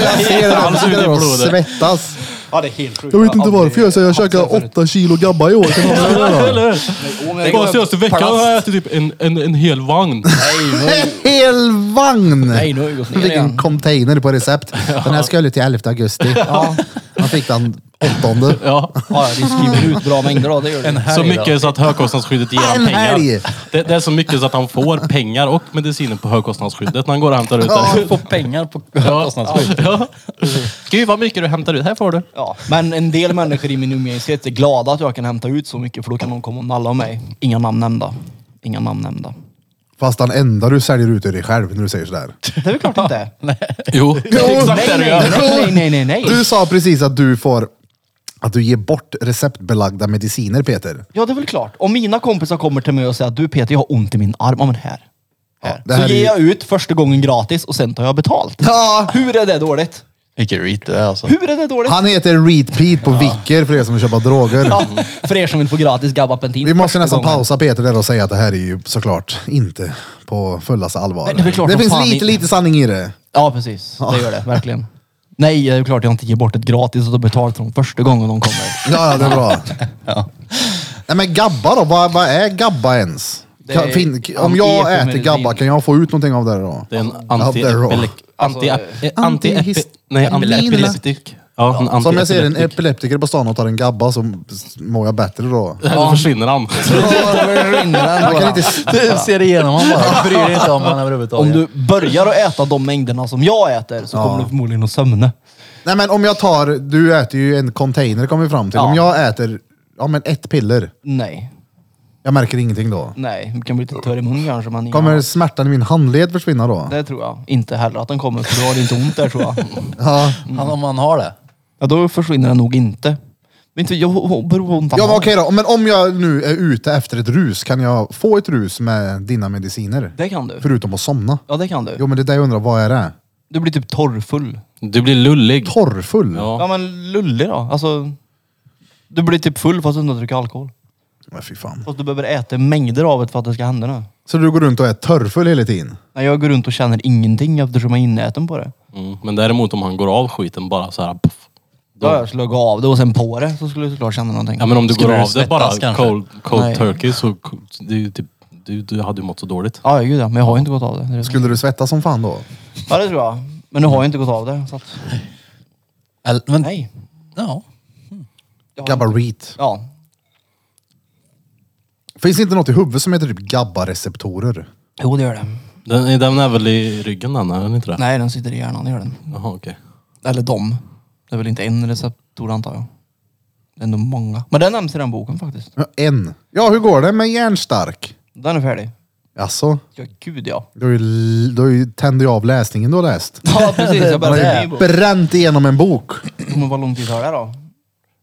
[SPEAKER 1] jag ser det. Han sitter där och svettas.
[SPEAKER 2] Ja, det är helt sjukt.
[SPEAKER 1] Jag vet inte varför jag säger jag käkar åtta kilo gabba i år. Kan man göra det?
[SPEAKER 3] Eller Bara senaste veckan har jag ätit typ en, en, en hel vagn.
[SPEAKER 1] En *laughs* hel vagn!
[SPEAKER 2] Nej, nu har vi gått ner
[SPEAKER 1] Vilken
[SPEAKER 2] igen.
[SPEAKER 1] container på
[SPEAKER 2] *laughs*
[SPEAKER 1] recept. Den här skulle till 11 augusti. Ja. Man fick den 8.
[SPEAKER 3] Ja.
[SPEAKER 2] Ja, vi skriver ut bra mängder då, det gör det.
[SPEAKER 3] Så mycket så att högkostnadsskyddet ger
[SPEAKER 1] En
[SPEAKER 3] han
[SPEAKER 1] helg.
[SPEAKER 3] pengar. Det, det är så mycket så att han får pengar och medicinen på högkostnadsskyddet när han går och hämtar ut det.
[SPEAKER 4] Få pengar på kostnadsskydd.
[SPEAKER 3] Ja. Gud vad mycket du hämtar ut. Här får du.
[SPEAKER 2] Ja, men en del människor i min umgängeskrets är glada att jag kan hämta ut så mycket för då kan de komma och nalla om mig. Inga namn nämnda. Inga namn nämnda.
[SPEAKER 1] Fast den enda du säljer ut är dig själv när du säger sådär.
[SPEAKER 2] Det är väl klart
[SPEAKER 3] *laughs*
[SPEAKER 2] inte. Nej,
[SPEAKER 3] Jo. Exakt det du
[SPEAKER 2] nej,
[SPEAKER 3] gör.
[SPEAKER 2] nej, nej, nej, nej.
[SPEAKER 1] Du sa precis att du får att du ger bort receptbelagda mediciner Peter.
[SPEAKER 2] Ja, det är väl klart. Om mina kompisar kommer till mig och säger att du Peter, jag har ont i min arm. Ja, men här. här.
[SPEAKER 1] det här
[SPEAKER 2] så
[SPEAKER 1] är ju-
[SPEAKER 2] ger jag ut första gången gratis och sen tar jag betalt.
[SPEAKER 1] Ja.
[SPEAKER 2] Hur är det dåligt?
[SPEAKER 4] Vilken reat det är alltså.
[SPEAKER 2] Hur är det dåligt?
[SPEAKER 1] Han heter Reed Pete på Vicker för er som vill köpa droger.
[SPEAKER 2] Ja, *laughs* för er som vill få gratis gabapentin.
[SPEAKER 1] Vi måste
[SPEAKER 2] första
[SPEAKER 1] nästan
[SPEAKER 2] gången.
[SPEAKER 1] pausa Peter där och säga att det här är ju såklart inte på fullaste allvar.
[SPEAKER 2] Nej, det är väl klart som
[SPEAKER 1] finns
[SPEAKER 2] fan
[SPEAKER 1] lite,
[SPEAKER 2] i-
[SPEAKER 1] lite sanning i det.
[SPEAKER 2] Ja, precis. Det gör det. Verkligen. Nej, det är klart jag inte ger bort ett gratis och då betalt från första gången
[SPEAKER 1] *laughs*
[SPEAKER 2] de kommer.
[SPEAKER 1] Ja, ja det är bra. Nej, men gabba då? Vad, vad är gabba ens?
[SPEAKER 2] Det
[SPEAKER 1] Kan,
[SPEAKER 2] är-
[SPEAKER 1] fin, om
[SPEAKER 2] om
[SPEAKER 1] jag
[SPEAKER 2] ekomedicin.
[SPEAKER 1] äter gabba, kan jag få ut någonting av det då?
[SPEAKER 3] Det är en
[SPEAKER 1] Av det då?
[SPEAKER 3] anti-epileptik.
[SPEAKER 2] Alltså,
[SPEAKER 3] Anti anti
[SPEAKER 1] antihist-
[SPEAKER 3] nej, anti-epileptik.
[SPEAKER 1] epileptik.
[SPEAKER 3] Ja, en
[SPEAKER 1] Så om jag ser en
[SPEAKER 3] anti-epileptik.
[SPEAKER 1] epileptiker på stan och tar en gabba så mår jag bättre då.
[SPEAKER 3] Då försvinner han.
[SPEAKER 1] Jag kan inte
[SPEAKER 4] Du ser igenom honom bara. Du bryr dig inte om honom överhuvudtaget.
[SPEAKER 2] Om du börjar att äta de mängderna som jag äter så kommer du förmodligen att sömna.
[SPEAKER 1] Nej men om jag tar, du äter ju en container kommer vi fram till.
[SPEAKER 2] Ja.
[SPEAKER 1] Om jag äter, ja men ett piller.
[SPEAKER 2] Nej,
[SPEAKER 1] Jag märker ingenting då.
[SPEAKER 2] nej. Du kan bli lite törr i munnen kanske. Men
[SPEAKER 1] Kommer smärtan i min handled försvinna då?
[SPEAKER 2] Det tror jag. Inte heller att den kommer, för då har det inte ont där
[SPEAKER 1] *laughs*
[SPEAKER 2] tror jag.
[SPEAKER 1] Ja.
[SPEAKER 4] Han, om han har det.
[SPEAKER 2] Ja, då försvinner den nog inte. Men inte, jag jag beror på ont han
[SPEAKER 1] Ja men
[SPEAKER 2] har.
[SPEAKER 1] okej då, men om jag nu är ute efter ett rus, kan jag få ett rus med dina mediciner?
[SPEAKER 2] Det kan du.
[SPEAKER 1] Förutom att somna.
[SPEAKER 2] Ja, det kan du.
[SPEAKER 1] Jo men det är det jag undrar, vad är det?
[SPEAKER 2] Du blir typ torrfull.
[SPEAKER 3] Du blir lullig.
[SPEAKER 1] Torrfull?
[SPEAKER 3] Ja.
[SPEAKER 2] Ja, men lullig då. Alltså, du blir typ full fast du inte dricker alkohol.
[SPEAKER 1] Men fy fan.
[SPEAKER 2] Fast Alltså, du behöver äta mängder av det för att det ska hända nu.
[SPEAKER 1] Så du går runt och är törrfull hela tiden?
[SPEAKER 2] Nej, jag går runt och känner ingenting eftersom jag är inäten på det.
[SPEAKER 3] Mm. Men däremot om han går av skiten bara så här. Puff.
[SPEAKER 2] Då har jag slagit av det och sen på det så skulle jag såklart känna någonting.
[SPEAKER 3] Ja men om du
[SPEAKER 4] Skulle
[SPEAKER 3] går
[SPEAKER 4] du
[SPEAKER 3] av det
[SPEAKER 4] svettas
[SPEAKER 3] bara
[SPEAKER 4] kanske?
[SPEAKER 3] cold,
[SPEAKER 2] Nej.
[SPEAKER 3] cold turkey så det är ju typ, du, du hade ju mått så dåligt.
[SPEAKER 2] Ja, ja, gud ja. Men jag har ju inte gått av det. det. är det.
[SPEAKER 1] Skulle du svettas som fan då?
[SPEAKER 2] Ja, det tror jag. Men nu har jag inte gått av det. Så att,
[SPEAKER 4] Eller, men,
[SPEAKER 2] nej.
[SPEAKER 4] Ja.
[SPEAKER 2] Jag har
[SPEAKER 1] Gabba
[SPEAKER 2] inte-
[SPEAKER 1] reet.
[SPEAKER 2] Ja.
[SPEAKER 1] Finns det inte något i huvudet som heter typ gabbareceptorer?
[SPEAKER 2] Jo, det gör det.
[SPEAKER 3] Den, den är väl i ryggen den, är den inte det?
[SPEAKER 2] Nej, den sitter i hjärnan. Det gör den.
[SPEAKER 3] Jaha okej.
[SPEAKER 2] Eller dem. Det är väl inte en receptor antar jag. Det är nog många. Men den nämns i den boken faktiskt.
[SPEAKER 1] Ja, En. Ja, hur går det med järnstark?
[SPEAKER 2] Den är färdig.
[SPEAKER 1] Alltså,
[SPEAKER 2] Ja, gud ja.
[SPEAKER 1] du har ju, du har ju tände ju av läsningen du har läst.
[SPEAKER 2] Ja, precis. Jag *laughs*
[SPEAKER 1] Man har
[SPEAKER 2] började
[SPEAKER 1] ju
[SPEAKER 2] skriva.
[SPEAKER 1] bränt igenom en bok.
[SPEAKER 2] Men vad lång tid tar det då?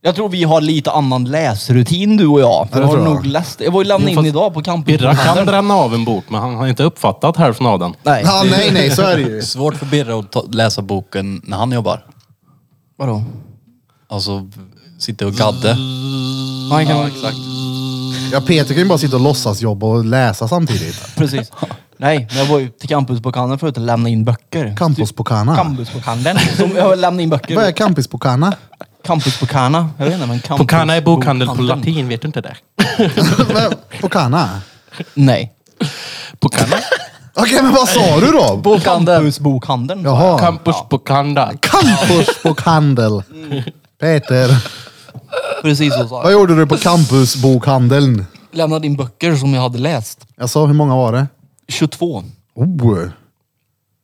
[SPEAKER 2] Jag tror vi har lite annan läsrutin du och jag. För
[SPEAKER 1] det
[SPEAKER 2] jag har
[SPEAKER 1] tror jag.
[SPEAKER 2] nog läst. Jag var ju lämnad
[SPEAKER 3] Jo, fast-
[SPEAKER 2] in idag på camp.
[SPEAKER 3] Birra kan bränna av en bok men han har inte uppfattat hälften av den.
[SPEAKER 2] Nej.
[SPEAKER 1] Ja, nej, nej, så är det
[SPEAKER 4] Det
[SPEAKER 1] ju.
[SPEAKER 4] är svårt för Birre att ta, läsa boken när han jobbar.
[SPEAKER 2] Vadå?
[SPEAKER 4] Alltså sitta och gadda.
[SPEAKER 2] Man kan... exakt.
[SPEAKER 1] Ja, Peter kan ju bara sitta och låtsas jobba och läsa samtidigt.
[SPEAKER 2] *laughs* Precis. Nej, men jag var ju till campus på kannen förut och lämnade in böcker.
[SPEAKER 1] Campus på Kana.
[SPEAKER 2] Campus på kannen. Som jag lämnade in
[SPEAKER 1] Vad är
[SPEAKER 2] böcker.
[SPEAKER 1] Campus på Kana? *laughs*
[SPEAKER 2] Campus på kana. Jag vet inte men campus
[SPEAKER 3] Pokana är bokhandel på
[SPEAKER 2] kannen.
[SPEAKER 3] latin, vet du inte *laughs* det?
[SPEAKER 1] på Kana?
[SPEAKER 2] Nej.
[SPEAKER 3] Pokana?
[SPEAKER 1] Okej, men vad sa du då?
[SPEAKER 4] Bokhandeln.
[SPEAKER 2] Campus bokhandeln. sa jag.
[SPEAKER 1] Jaha.
[SPEAKER 3] Campus Pokana.
[SPEAKER 1] Campus bokhandel. Peter,
[SPEAKER 2] Precis så sa
[SPEAKER 1] vad
[SPEAKER 2] jag.
[SPEAKER 1] gjorde du på campusbokhandeln?
[SPEAKER 2] Lämnade in böcker som jag hade läst.
[SPEAKER 1] Jag sa, hur många var det?
[SPEAKER 2] 22.
[SPEAKER 1] Oh,
[SPEAKER 2] Ja,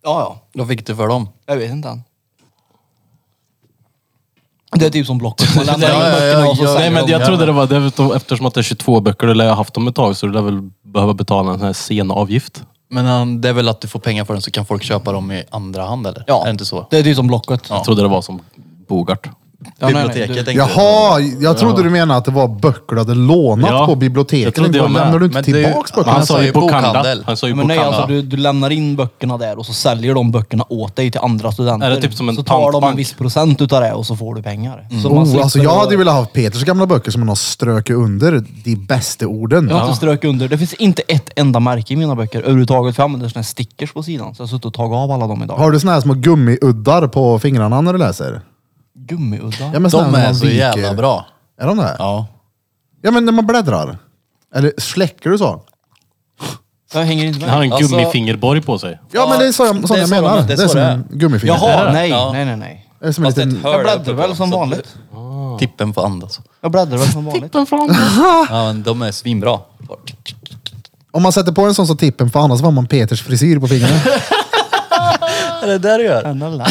[SPEAKER 2] ja.
[SPEAKER 4] Vad fick du för dem?
[SPEAKER 2] Jag vet inte än. Det är typ som Blocket.
[SPEAKER 3] *laughs*
[SPEAKER 2] Man lämnar in
[SPEAKER 4] Ja, ja,
[SPEAKER 2] böckerna
[SPEAKER 4] ja,
[SPEAKER 2] och så
[SPEAKER 4] ja.
[SPEAKER 2] säljer
[SPEAKER 3] Nej men
[SPEAKER 2] de.
[SPEAKER 3] jag trodde det var det, utom- eftersom att det är 22 böcker, du lär ha haft dem ett tag så du lär väl behöva betala en sån här senavgift.
[SPEAKER 4] Men han- det är väl att du får pengar för den så kan folk köpa dem i andra hand eller?
[SPEAKER 2] Ja.
[SPEAKER 4] Är det inte så?
[SPEAKER 2] Det är typ som Blocket.
[SPEAKER 3] Jag trodde det var som Bogart. Ja, nej, nej,
[SPEAKER 4] biblioteket.
[SPEAKER 3] du-
[SPEAKER 4] tänkte jag.
[SPEAKER 1] Jaha, jag trodde du menade att det var böcker du hade lånat
[SPEAKER 3] Ja,
[SPEAKER 1] på
[SPEAKER 3] jag
[SPEAKER 1] biblioteket.
[SPEAKER 3] trodde jag
[SPEAKER 1] Varför
[SPEAKER 3] med.
[SPEAKER 1] lämnar du inte
[SPEAKER 4] Men det är ju-
[SPEAKER 1] tillbaks
[SPEAKER 4] Men
[SPEAKER 1] böckerna?
[SPEAKER 3] han sa ju bokhandel. Han sa ju
[SPEAKER 2] Men nej,
[SPEAKER 3] bokhandel.
[SPEAKER 2] alltså du, du lämnar in böckerna där och så säljer de böckerna åt dig till andra studenter.
[SPEAKER 3] Är det typ som en
[SPEAKER 2] så tar de en
[SPEAKER 3] pantbank? Mm.
[SPEAKER 2] viss procent utav det och så får du pengar. Så man
[SPEAKER 1] Oh,
[SPEAKER 2] slipper
[SPEAKER 1] alltså jag
[SPEAKER 2] att-
[SPEAKER 1] hade ju velat ha Peters gamla böcker som han har strökit under de bästa orden.
[SPEAKER 2] Jag har inte strök under. Det finns inte ett enda märke i mina böcker överhuvudtaget. För jag använder såna här stickers på sidan. Så jag har suttit och tagit av alla dem idag.
[SPEAKER 1] Har du såna här små gummiuddar på fingrarna när du läser?
[SPEAKER 2] Gummiuddar?
[SPEAKER 1] Ja, men såna
[SPEAKER 4] De
[SPEAKER 1] här
[SPEAKER 4] är
[SPEAKER 1] man
[SPEAKER 4] så
[SPEAKER 1] viker.
[SPEAKER 4] jävla bra.
[SPEAKER 1] Är de det? Ja.
[SPEAKER 4] Ja.
[SPEAKER 1] men när man bläddrar. Eller släcker du så?
[SPEAKER 2] Jag hänger inte
[SPEAKER 3] Han har
[SPEAKER 2] med.
[SPEAKER 3] en
[SPEAKER 4] Alltså-
[SPEAKER 3] gummifingerborg på sig.
[SPEAKER 1] Ja, men det är så, jag-
[SPEAKER 4] det
[SPEAKER 1] sån
[SPEAKER 4] är
[SPEAKER 1] jag
[SPEAKER 4] så
[SPEAKER 1] menar.
[SPEAKER 4] de-
[SPEAKER 1] Det är,
[SPEAKER 4] det är så
[SPEAKER 1] som
[SPEAKER 4] det är.
[SPEAKER 1] en gummifinger.
[SPEAKER 2] Jaha, nej,
[SPEAKER 4] Ja.
[SPEAKER 2] nej, nej, nej.
[SPEAKER 1] Det är som en
[SPEAKER 4] Fast det är
[SPEAKER 1] liten...
[SPEAKER 4] ett hörn
[SPEAKER 2] Jag bläddrar
[SPEAKER 4] uppe på,
[SPEAKER 2] väl som
[SPEAKER 4] så att
[SPEAKER 2] vanligt.
[SPEAKER 4] Tippen får andas.
[SPEAKER 1] Ah.
[SPEAKER 2] Jag bläddrar väl som vanligt.
[SPEAKER 4] Ja, men de är svinbra.
[SPEAKER 1] Om man sätter på en sån så tippen för annars var man Peters frisyr på fingrarna.
[SPEAKER 4] Är det där du gör?
[SPEAKER 3] *laughs*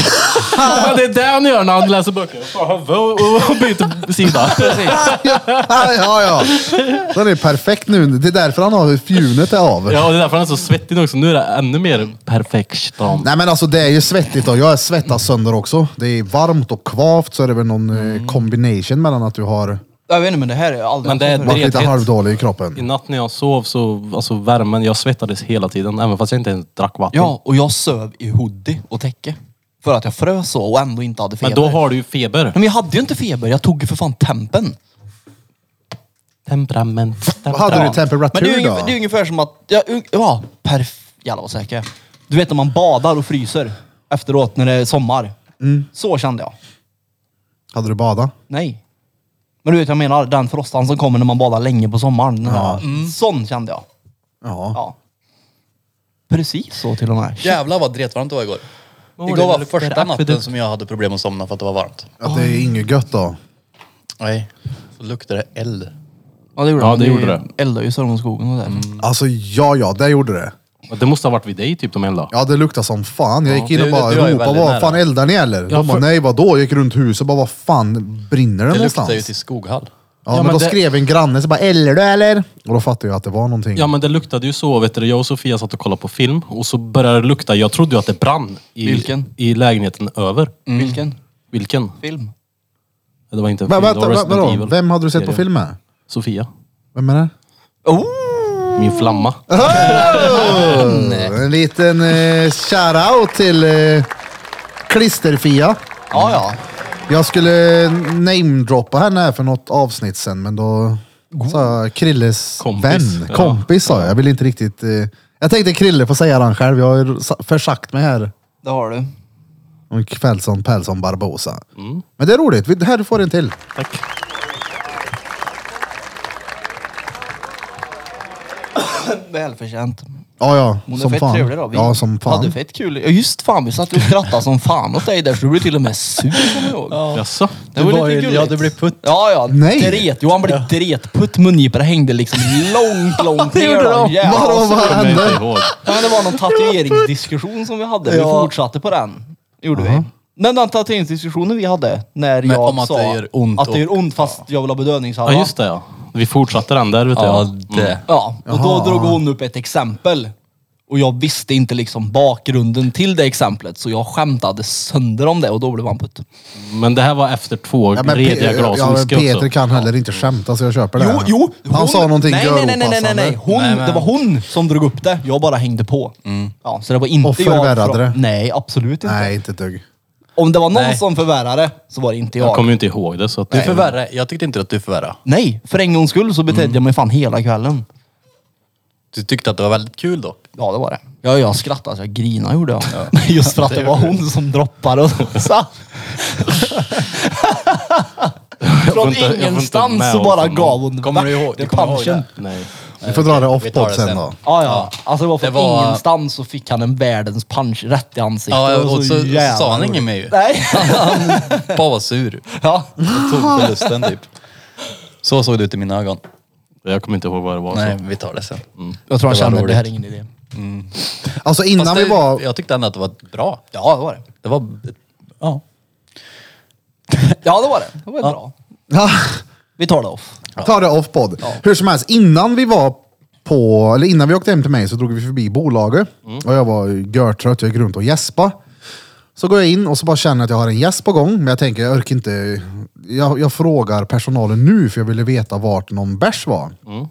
[SPEAKER 3] Ja, det är det han gör när han läser böcker. Fan, han vö- och byter *laughs* sida.
[SPEAKER 1] ja, ja. Den är perfekt nu. Det är därför han har fjunet är av.
[SPEAKER 3] Ja, och det är därför han är så svettig nu också. Nu är det ännu mer perfekt.
[SPEAKER 1] Nej men alltså det är ju svettigt och jag svettas sönder också. Det är varmt och kvavt så är det väl någon eh, combination mellan att du har
[SPEAKER 2] Jag vet inte, men det här är jag aldrig
[SPEAKER 3] Men det är-
[SPEAKER 2] haft
[SPEAKER 1] varit
[SPEAKER 2] förut.
[SPEAKER 1] lite
[SPEAKER 3] Bredhet.
[SPEAKER 1] halvdålig i
[SPEAKER 3] I
[SPEAKER 1] kroppen.
[SPEAKER 3] natt när jag sov så, alltså värmen, jag svettades hela tiden. Även fast jag inte ens drack vatten.
[SPEAKER 2] Ja, och jag söv i hoodie och täcke. För att jag frös så och ändå inte hade feber.
[SPEAKER 3] Men då har du ju feber.
[SPEAKER 2] Nej, men jag hade ju inte feber. Jag tog ju för fan tempen.
[SPEAKER 3] Temperament.
[SPEAKER 1] Vad hade du
[SPEAKER 2] Men det är
[SPEAKER 1] temperatur
[SPEAKER 2] ju
[SPEAKER 1] då?
[SPEAKER 2] ungefär, det är ungefär som att... Ja, un- ja perf... Jävlar vad säker jag är. Du vet när man badar och fryser efteråt när det är sommar. Så kände jag.
[SPEAKER 1] Hade du badat?
[SPEAKER 2] Nej. Men du vet jag menar, den frostan som kommer när man badar länge på sommaren. Den här, Sån kände jag.
[SPEAKER 1] Ja.
[SPEAKER 2] Ja. Precis så till och med.
[SPEAKER 4] Jävlar vad dretvarmt det var igår. Igår var första natten som jag hade problem att somna för att det var varmt.
[SPEAKER 1] ja. Det är inget gött då.
[SPEAKER 4] Nej. Så luktade det eld.
[SPEAKER 2] Ja det gjorde
[SPEAKER 3] Ja,
[SPEAKER 2] den.
[SPEAKER 3] det Mm. gjorde det.
[SPEAKER 2] Eldar ju sönder skogen och där.
[SPEAKER 1] Alltså ja, ja, det gjorde det.
[SPEAKER 3] Det måste ha varit vid dig typ de enda.
[SPEAKER 1] Ja, det luktar som fan. Jag gick in
[SPEAKER 4] du-
[SPEAKER 1] och bara
[SPEAKER 4] du var ju
[SPEAKER 1] ropade,
[SPEAKER 4] väldigt
[SPEAKER 1] vad
[SPEAKER 4] nära."
[SPEAKER 1] fan eldar ni eller? De bara,
[SPEAKER 3] för-
[SPEAKER 1] nej vadå? Jag gick runt huset och bara, vad fan brinner det,
[SPEAKER 4] Det
[SPEAKER 1] någonstans?
[SPEAKER 4] luktade ju till skoghall.
[SPEAKER 1] Ja,
[SPEAKER 3] Ja,
[SPEAKER 1] men,
[SPEAKER 3] men
[SPEAKER 1] då
[SPEAKER 3] det-
[SPEAKER 1] skrev en granne så bara, eller du eller? Och då fattade jag att det var någonting.
[SPEAKER 3] Ja men det luktade ju så, vet du, jag och Sofia satt och kollade på film och så började det lukta, jag trodde ju att det brann i,
[SPEAKER 2] Vilken?
[SPEAKER 3] i lägenheten över.
[SPEAKER 2] Vilken
[SPEAKER 3] Vilken?
[SPEAKER 2] film?
[SPEAKER 3] Det var inte en
[SPEAKER 1] Va,
[SPEAKER 3] film, det
[SPEAKER 1] vänta,
[SPEAKER 3] var
[SPEAKER 1] va,
[SPEAKER 3] Resident
[SPEAKER 1] vadå?
[SPEAKER 3] Evil.
[SPEAKER 1] Vem hade du sett på
[SPEAKER 3] Serie.
[SPEAKER 1] film med?
[SPEAKER 3] Sofia.
[SPEAKER 1] Vem är det?
[SPEAKER 2] Oh!
[SPEAKER 3] Min flamma.
[SPEAKER 1] En liten eh, shoutout till eh, Klisterfia.
[SPEAKER 2] Ja ja.
[SPEAKER 1] Jag skulle namedroppa henne här för något avsnitt sen, men då sa jag Krilles
[SPEAKER 3] Kompis.
[SPEAKER 1] vän,
[SPEAKER 3] Ja.
[SPEAKER 1] kompis sa jag. Jag vill inte riktigt... Eh, jag tänkte Krille får säga den själv. Jag har ju sa- försagt mig här
[SPEAKER 2] Det har du.
[SPEAKER 1] om Kvällsson, Pälsson, Barbosa.
[SPEAKER 3] Mm.
[SPEAKER 1] Men det är roligt. Vi- Här får du en till.
[SPEAKER 3] Tack.
[SPEAKER 2] Välförtjänt.
[SPEAKER 1] Ja, ja.
[SPEAKER 2] Hon är
[SPEAKER 1] som
[SPEAKER 2] fett
[SPEAKER 1] fan.
[SPEAKER 2] trevlig då. Vi
[SPEAKER 1] Ja, som fan.
[SPEAKER 2] hade fett kul. Ja just fan, vi satt och skrattade som fan åt dig där så du blev till och med sur kommer jag ihåg.
[SPEAKER 3] Jaså?
[SPEAKER 2] Det
[SPEAKER 4] Du
[SPEAKER 2] var
[SPEAKER 4] var
[SPEAKER 2] lite
[SPEAKER 4] ju-
[SPEAKER 2] gulligt.
[SPEAKER 4] ja, du blev putt.
[SPEAKER 2] Ja, ja.
[SPEAKER 1] Nej.
[SPEAKER 2] Dret. Jo, han blev dretputt. Mungiporna hängde liksom långt, långt ner. då. Jävlar,
[SPEAKER 1] Vadå,
[SPEAKER 2] vad sur-
[SPEAKER 1] vad
[SPEAKER 3] Kommer jag inte
[SPEAKER 1] hände?
[SPEAKER 3] ihåg.
[SPEAKER 2] Ja, men det var någon tatueringsdiskussion som vi hade. Vi fortsatte på den. Gjorde vi. Men den tatueringsdiskussionen vi hade när
[SPEAKER 4] Men
[SPEAKER 2] jag
[SPEAKER 4] om att
[SPEAKER 2] sa
[SPEAKER 4] det gör ont
[SPEAKER 2] att det
[SPEAKER 4] och-
[SPEAKER 2] gör ont fast jag vill ha bedövningshalva.
[SPEAKER 3] Ja just det ja. Vi fortsatte den där vet du.
[SPEAKER 4] Ja, Mm.
[SPEAKER 3] ja.
[SPEAKER 4] det.
[SPEAKER 2] Ja, och
[SPEAKER 1] Jaha.
[SPEAKER 2] då drog hon upp ett exempel. Och jag visste inte liksom bakgrunden till det exemplet så jag skämtade sönder om det och då blev han putt.
[SPEAKER 3] Mm. Men det här var efter två
[SPEAKER 1] men
[SPEAKER 3] rediga
[SPEAKER 1] Pe-
[SPEAKER 3] glas
[SPEAKER 1] ja, men
[SPEAKER 3] whisky
[SPEAKER 1] Peter
[SPEAKER 3] också.
[SPEAKER 1] kan heller inte skämta så jag köper det.
[SPEAKER 2] Jo,
[SPEAKER 1] här.
[SPEAKER 2] jo!
[SPEAKER 1] Han
[SPEAKER 2] hon-
[SPEAKER 1] sa någonting
[SPEAKER 2] nej, nej, nej, nej, nej, nej, nej.
[SPEAKER 1] görofastande.
[SPEAKER 2] Hon, Det var hon som drog upp det. Jag bara hängde på. Ja, så det var inte
[SPEAKER 1] Och
[SPEAKER 2] jag.
[SPEAKER 1] förvärrade
[SPEAKER 2] från-
[SPEAKER 1] det.
[SPEAKER 2] Nej, absolut inte.
[SPEAKER 1] Nej, inte ett dugg.
[SPEAKER 2] Om det var någon
[SPEAKER 4] Nej.
[SPEAKER 2] som förvärrade så var det inte jag.
[SPEAKER 3] Jag kommer ju inte ihåg det så att...
[SPEAKER 4] Du förvärrade. Jag tyckte inte att du förvärrade.
[SPEAKER 2] Nej, för en gångs skull så betedde jag mig fan hela kvällen.
[SPEAKER 4] Du tyckte att det var väldigt kul då.
[SPEAKER 2] Ja, det var det. Ja, jag skrattade så jag grinade gjorde jag. *laughs* Just för att det var hon som droppade och sa. *laughs*
[SPEAKER 3] får
[SPEAKER 2] Från
[SPEAKER 3] inte- jag får inte
[SPEAKER 2] ingenstans
[SPEAKER 3] med
[SPEAKER 2] så
[SPEAKER 3] oss
[SPEAKER 2] bara
[SPEAKER 3] honom.
[SPEAKER 2] gav hon
[SPEAKER 4] Kommer du ihåg-
[SPEAKER 2] det
[SPEAKER 4] du kommer ihåg
[SPEAKER 2] punchen.
[SPEAKER 4] det?
[SPEAKER 3] Nej.
[SPEAKER 1] Vi får dra det off
[SPEAKER 4] vi tar
[SPEAKER 1] pod
[SPEAKER 4] det
[SPEAKER 1] sen
[SPEAKER 4] sen.
[SPEAKER 1] då.
[SPEAKER 2] Ja, ja. Alltså det var från
[SPEAKER 4] Det var-
[SPEAKER 2] ingenstans så fick han en världens punch rätt i ansiktet. Det
[SPEAKER 4] Ja,
[SPEAKER 2] var
[SPEAKER 4] och så,
[SPEAKER 2] jävla
[SPEAKER 4] sa han
[SPEAKER 2] roligt.
[SPEAKER 4] inget mer ju.
[SPEAKER 2] Nej.
[SPEAKER 4] Bara var sur. *laughs*
[SPEAKER 2] Ja.
[SPEAKER 4] Jag tog förlusten typ. Så såg det ut i mina ögon.
[SPEAKER 3] Jag kommer inte ihåg vad det var.
[SPEAKER 4] Nej,
[SPEAKER 3] Så.
[SPEAKER 4] vi tar det sen.
[SPEAKER 2] Jag tror han
[SPEAKER 4] Det var
[SPEAKER 2] kände att det här är
[SPEAKER 4] roligt.
[SPEAKER 2] ingen idé.
[SPEAKER 1] Alltså
[SPEAKER 4] Fast
[SPEAKER 1] innan
[SPEAKER 4] det,
[SPEAKER 1] vi var...
[SPEAKER 4] Jag tyckte ändå att det var bra.
[SPEAKER 2] Ja, det var det.
[SPEAKER 4] Det var... Ja.
[SPEAKER 2] Ja, det var det. Det var bra. Vi tar det off.
[SPEAKER 1] Ta det off pod. Hur som helst, innan vi var på... Eller innan vi åkte hem till mig så drog vi förbi bolaget. Och jag var görtrött, jag gick runt och gäspade. Så går jag in och så bara känner att jag har en gäst på gång, men jag tänker jag orkar inte. Jag, jag frågar personalen nu för jag ville veta vart någon bärs var.
[SPEAKER 4] Mm.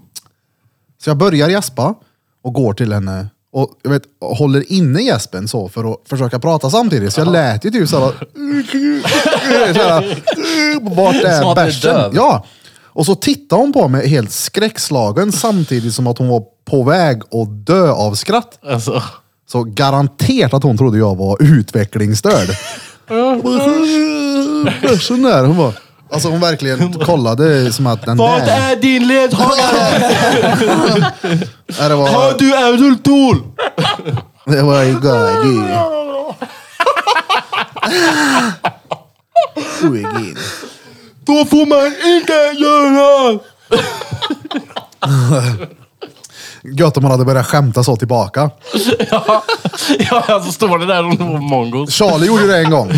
[SPEAKER 1] Så jag börjar gäspa och går till henne och jag vet, håller inne gäspen så för att försöka prata samtidigt. Så jag lät ju typ
[SPEAKER 4] *laughs*
[SPEAKER 1] såhär, såhär vart
[SPEAKER 4] Som
[SPEAKER 1] är
[SPEAKER 4] att du är
[SPEAKER 1] bärsen?
[SPEAKER 4] döv.
[SPEAKER 1] Ja. Och så tittade hon på mig helt skräckslagen samtidigt som att hon var på väg att dö av skratt.
[SPEAKER 3] Alltså.
[SPEAKER 1] Så garanterat att hon trodde jag var utvecklingsstörd. Bärsen där. Hon bara, alltså hon verkligen kollade som att den
[SPEAKER 3] Vart
[SPEAKER 1] där.
[SPEAKER 3] är din ledsagare?
[SPEAKER 1] Ja, det var,
[SPEAKER 3] Du är rullstol!
[SPEAKER 1] det var ju gaggy. Oegin.
[SPEAKER 3] Då får man inte göra!
[SPEAKER 1] Gött om man hade börjat skämta så tillbaka.
[SPEAKER 3] *laughs* Ja, alltså står det där om det var mongos.
[SPEAKER 1] Charlie gjorde det en gång.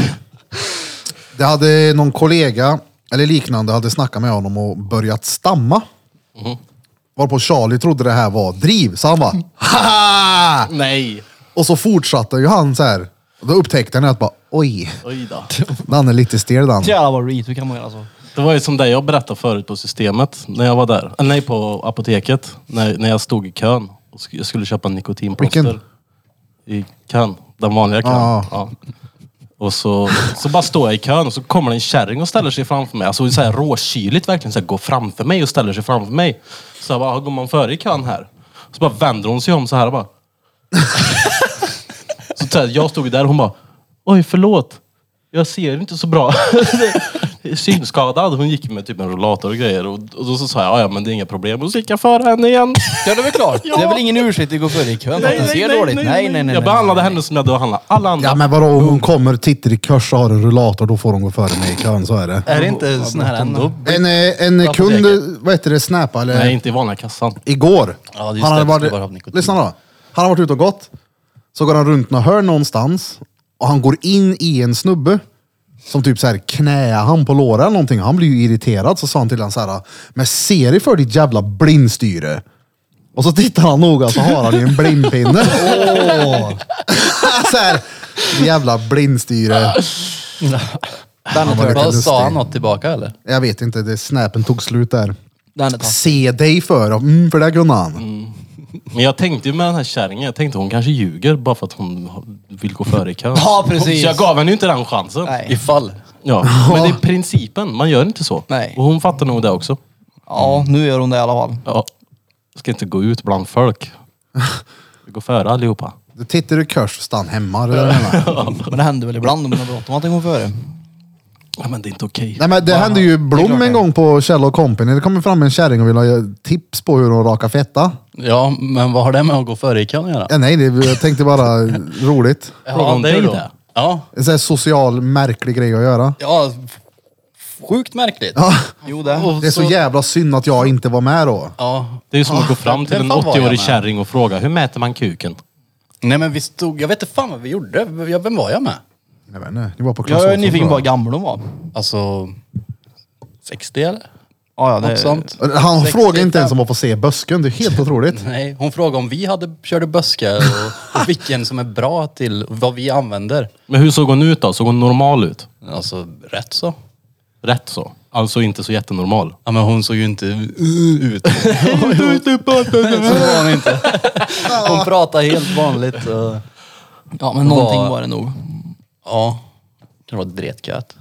[SPEAKER 1] Det hade någon kollega eller liknande hade snackat med honom och börjat stamma. Varpå Charlie trodde det här var driv, så han bara Haha!
[SPEAKER 3] Nej.
[SPEAKER 1] Och så fortsatte ju han så här. Och då upptäckte han att bara oj,
[SPEAKER 3] Oj då.
[SPEAKER 1] den är lite stel den.
[SPEAKER 2] Jävlar vad reet vi kan man göra alltså.
[SPEAKER 3] Det var ju som det jag berättade förut på systemet. När jag var där. Äh, Nej, på apoteket. När, när jag stod i kön. Och sk- jag skulle köpa nikotinplåster.
[SPEAKER 1] Vilken?
[SPEAKER 3] I kön. Den vanliga kön.
[SPEAKER 1] Ah.
[SPEAKER 3] Ja. Och så, så bara står jag i kön och så kommer det en kärring och ställer sig framför mig. Alltså så här råkyligt verkligen. Så här, går framför mig och ställer sig framför mig. Så jag bara, "Ah, går man före i kön här? Så bara vänder hon sig om så här och bara. *laughs* så så här, jag stod där och hon bara, oj förlåt. Jag ser inte så bra. *laughs* Synskadad. Hon gick med typ en rollator och grejer. Och, och då så sa jag, "Ah, ja men det är inga problem. Och så gick jag före
[SPEAKER 5] *laughs*
[SPEAKER 3] henne igen.
[SPEAKER 5] Ja, det är väl
[SPEAKER 2] *laughs*
[SPEAKER 5] klart. Det är väl ingen ursäkt att gå före i kön för att den ser dåligt? Nej, nej, nej. nej,
[SPEAKER 3] Jag behandlade henne som jag behandlade alla andra.
[SPEAKER 1] Ja men vadå om hon kommer, tittar i kors och har en rullator, då får hon gå före mig i kön, så är det.
[SPEAKER 4] Är det inte sån här ändå?
[SPEAKER 1] En, eh, en kund, vad heter det, snäpa eller?
[SPEAKER 3] Nej, inte i vanliga kassan.
[SPEAKER 1] igår.
[SPEAKER 4] Ja, det är just
[SPEAKER 1] han hade
[SPEAKER 4] det. Det
[SPEAKER 1] varit,
[SPEAKER 4] var av nikotin.
[SPEAKER 1] lyssna då. Han har varit ute och gått. Så går han runt något hörn någonstans och han går in i en snubbe som typ så här knäar han på låren eller någonting. Han blir ju irriterad så sa han till honom så här. Men ser dig för ditt jävla blindstyre. Och så tittar han noga så har han ju en blindpinne.
[SPEAKER 4] *laughs*
[SPEAKER 1] *laughs* så här, jävla blindstyre.
[SPEAKER 5] Den är
[SPEAKER 1] var
[SPEAKER 5] törd.
[SPEAKER 1] lite
[SPEAKER 4] Vad
[SPEAKER 1] lustig.
[SPEAKER 4] sa han något tillbaka eller?
[SPEAKER 1] Jag vet inte, det snäpen tog slut där.
[SPEAKER 2] Den är tass.
[SPEAKER 1] Se dig för, mm, för det kunde han.
[SPEAKER 3] Men jag tänkte ju med den här kärringen, jag tänkte hon kanske ljuger bara för att hon vill gå före i kön.
[SPEAKER 5] Ja, precis.
[SPEAKER 3] Så jag gav henne ju inte den chansen.
[SPEAKER 2] Nej.
[SPEAKER 4] Ifall.
[SPEAKER 3] Ja, men det är principen, man gör inte så.
[SPEAKER 2] Nej.
[SPEAKER 3] Och hon fattar nog det också.
[SPEAKER 2] Ja, nu gör hon det i alla fall.
[SPEAKER 3] Ja. Jag Ska inte gå ut bland folk. Vi går före allihopa.
[SPEAKER 1] Du tittar i kors och stann hemma. Det är det jag menar.
[SPEAKER 2] Men det händer väl ibland om man har bråttom att den går före.
[SPEAKER 3] Ja, men det är inte okej.
[SPEAKER 1] Nej, men det hände ju Blom en gång på Kjell och Company. Det kom ju fram en kärring och ville ha tips på hur hon rakar fetta.
[SPEAKER 4] Ja, men vad har det med att gå före i kön att göra?
[SPEAKER 1] Ja, nej, det, jag tänkte bara roligt.
[SPEAKER 3] Fråga om dig då.
[SPEAKER 4] Ja.
[SPEAKER 1] En sån här social märklig grej att göra.
[SPEAKER 4] ja, f- sjukt märkligt.
[SPEAKER 1] Ja,
[SPEAKER 2] Jo det.
[SPEAKER 4] Och
[SPEAKER 1] det är så jävla synd att jag inte var med då.
[SPEAKER 4] Ja.
[SPEAKER 3] Det är ju som att gå fram till
[SPEAKER 4] vem
[SPEAKER 3] en
[SPEAKER 4] fan var jag
[SPEAKER 3] 80-årig
[SPEAKER 4] med?
[SPEAKER 3] kärring och fråga, hur mäter man kuken?
[SPEAKER 4] Nej men vi stod, jag vet inte fan vad vi gjorde. Jag- Vem var jag med?
[SPEAKER 1] Jag vet inte, ni var på Clas
[SPEAKER 2] Jag är
[SPEAKER 1] Ohlson,
[SPEAKER 2] nyfiken på hur
[SPEAKER 1] tror
[SPEAKER 2] gammal hon var.
[SPEAKER 4] Alltså, 60 eller?
[SPEAKER 2] Ja, ja, det
[SPEAKER 4] Något sånt.
[SPEAKER 1] jag. Han
[SPEAKER 4] 65.
[SPEAKER 1] frågade inte ens om att få se busken. Det är helt otroligt.
[SPEAKER 4] Nej, hon frågade om vi hade, körde buskar och, och vilken som är bra till vad vi använder.
[SPEAKER 3] Men hur såg hon ut då? Såg hon normal ut?
[SPEAKER 4] Alltså, rätt så.
[SPEAKER 3] Rätt så. Alltså inte så jättenormal.
[SPEAKER 4] Ja men hon såg ju inte *laughs* uh, ut. så var hon inte. *laughs* Hon pratade helt vanligt. Och,
[SPEAKER 2] Ja, men någonting
[SPEAKER 4] Vad-
[SPEAKER 2] eh, var det nog.
[SPEAKER 4] ja, kan vara dretgött.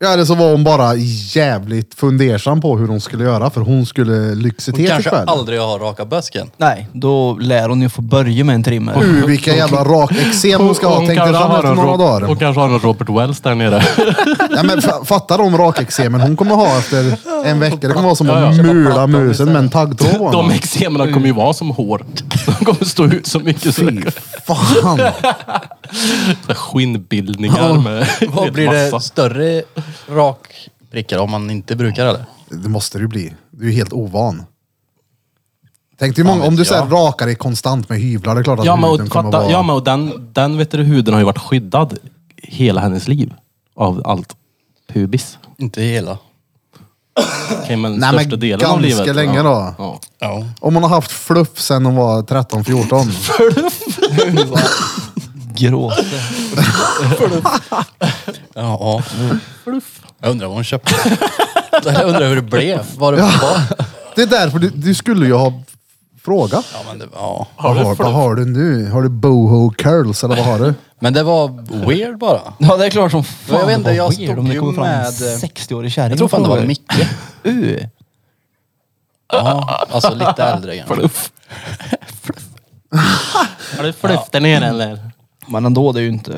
[SPEAKER 1] Ja, eller så var hon bara jävligt fundersam på hur hon skulle göra för hon skulle lyxa
[SPEAKER 4] Hon
[SPEAKER 1] till sig
[SPEAKER 4] kanske
[SPEAKER 1] själv.
[SPEAKER 4] aldrig har raka busken.
[SPEAKER 2] Nej, då lär hon ju få börja med en trimmer.
[SPEAKER 1] Uh, vilka jävla rakexem hon ska ha. Tänkte
[SPEAKER 3] kanske
[SPEAKER 1] han
[SPEAKER 3] har
[SPEAKER 1] efter
[SPEAKER 3] en
[SPEAKER 1] några
[SPEAKER 3] Ro-
[SPEAKER 1] dagar.
[SPEAKER 3] Hon kanske har en Robert Wells där nere.
[SPEAKER 1] Ja, men fa- fatta de rakexemen hon kommer ha efter en vecka. Det kommer vara som att
[SPEAKER 3] ja.
[SPEAKER 1] mula musen med en taggtråd på
[SPEAKER 3] De
[SPEAKER 1] honom.
[SPEAKER 3] eksemerna kommer
[SPEAKER 1] Mm.
[SPEAKER 3] ju vara som hår. De kommer stå ut så mycket. Så
[SPEAKER 1] Fy fan.
[SPEAKER 3] så här skinnbildningar
[SPEAKER 1] *laughs*
[SPEAKER 3] med
[SPEAKER 4] Vad blir det större rak prickar om man inte brukar eller?
[SPEAKER 1] Det måste det ju bli. Du är ju helt ovan. Tänk dig hur många,
[SPEAKER 4] vet
[SPEAKER 1] om du så här
[SPEAKER 4] jag.
[SPEAKER 1] rakar dig konstant med hyvlar, det är klart att
[SPEAKER 3] Ja men,
[SPEAKER 1] huden
[SPEAKER 3] och,
[SPEAKER 1] kommer
[SPEAKER 3] fatta,
[SPEAKER 1] vara...
[SPEAKER 3] ja men och den, den vet du, huden har ju varit skyddad hela hennes liv. Av allt pubis.
[SPEAKER 4] Inte hela.
[SPEAKER 3] Okej men
[SPEAKER 1] Nej, men
[SPEAKER 3] största delen
[SPEAKER 1] ganska
[SPEAKER 3] av livet.
[SPEAKER 1] länge
[SPEAKER 3] ja.
[SPEAKER 1] då.
[SPEAKER 3] Ja.
[SPEAKER 4] Ja.
[SPEAKER 3] *laughs*
[SPEAKER 1] Om hon har haft fluff sen hon var 13-14.
[SPEAKER 2] gråt.
[SPEAKER 4] Ja. Jag undrar vad hon köpte. Jag undrar hur det blev. Var det ja.
[SPEAKER 1] Det är därför du, du skulle ju ha frågat.
[SPEAKER 4] ja, men det, ja.
[SPEAKER 1] Vad har, vad har du nu? Har du boho curls eller vad har du?
[SPEAKER 4] Men det var weird bara.
[SPEAKER 2] Ja det är klart som fan
[SPEAKER 4] Jag vet inte,
[SPEAKER 2] vad
[SPEAKER 4] jag
[SPEAKER 2] sker om
[SPEAKER 4] stod
[SPEAKER 2] det
[SPEAKER 4] ju
[SPEAKER 2] kommer fram en
[SPEAKER 4] med-
[SPEAKER 2] 60-årig kärring.
[SPEAKER 4] Jag tror fan det var
[SPEAKER 2] och
[SPEAKER 4] Micke.
[SPEAKER 2] frågar, "U,
[SPEAKER 4] Ja, alltså lite äldre igen.
[SPEAKER 3] Har du fluff där nere eller?
[SPEAKER 2] Men ändå, det är ju inte...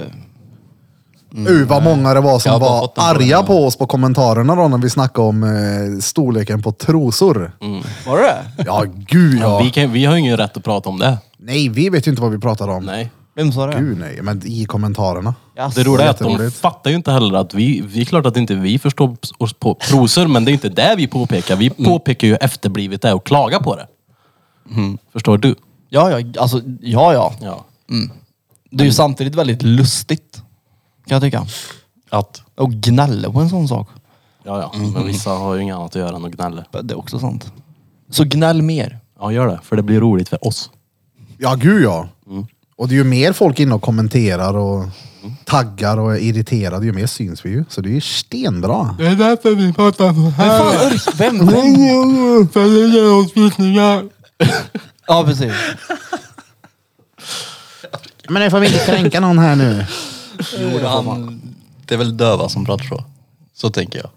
[SPEAKER 1] Uh, vad många det var
[SPEAKER 4] Jag
[SPEAKER 1] som
[SPEAKER 4] har bara
[SPEAKER 1] var
[SPEAKER 4] fått en
[SPEAKER 1] arga
[SPEAKER 4] fråga.
[SPEAKER 1] på oss på kommentarerna då när vi snackade om eh, storleken på trosor.
[SPEAKER 2] Var det det?
[SPEAKER 1] Ja, gud ja.
[SPEAKER 3] Vi, kan, vi har ju ingen rätt att prata om det.
[SPEAKER 1] Nej, vi vet ju inte vad vi pratar om.
[SPEAKER 3] Nej.
[SPEAKER 2] Vem sa det?
[SPEAKER 1] Gud nej, men i kommentarerna.
[SPEAKER 2] Jaså.
[SPEAKER 3] Det roliga är att de
[SPEAKER 1] Jätteroligt.
[SPEAKER 3] fattar ju inte heller att vi, vi är klart att inte vi förstår oss på prosor, men det är inte det vi påpekar. Vi påpekar ju efterblivet det och klagar på det. Förstår du?
[SPEAKER 2] Ja, ja, alltså, ja, ja.
[SPEAKER 3] Ja.
[SPEAKER 2] Det är ju samtidigt väldigt lustigt. Kan jag tycka.
[SPEAKER 4] Att?
[SPEAKER 2] Och gnälla på en sån sak.
[SPEAKER 3] Ja, ja. Men vissa har ju inget annat att göra än att gnälla.
[SPEAKER 2] Det är också sant. Så gnäll mer.
[SPEAKER 3] Ja, gör det. För det blir roligt för oss.
[SPEAKER 1] Ja, gud ja. Och det är ju mer folk inne och kommenterar och taggar och är irriterade, ju mer syns vi ju. Så det är ju stenbra.
[SPEAKER 3] Det är därför vi pratar så här.
[SPEAKER 2] Fan, Ulf, *laughs* vem, vem?
[SPEAKER 3] För det ger oss visningar.
[SPEAKER 2] Ja, precis.
[SPEAKER 1] Men nu får vi inte kränka någon här nu.
[SPEAKER 4] Han, det är väl döva som pratar så. Så tänker jag.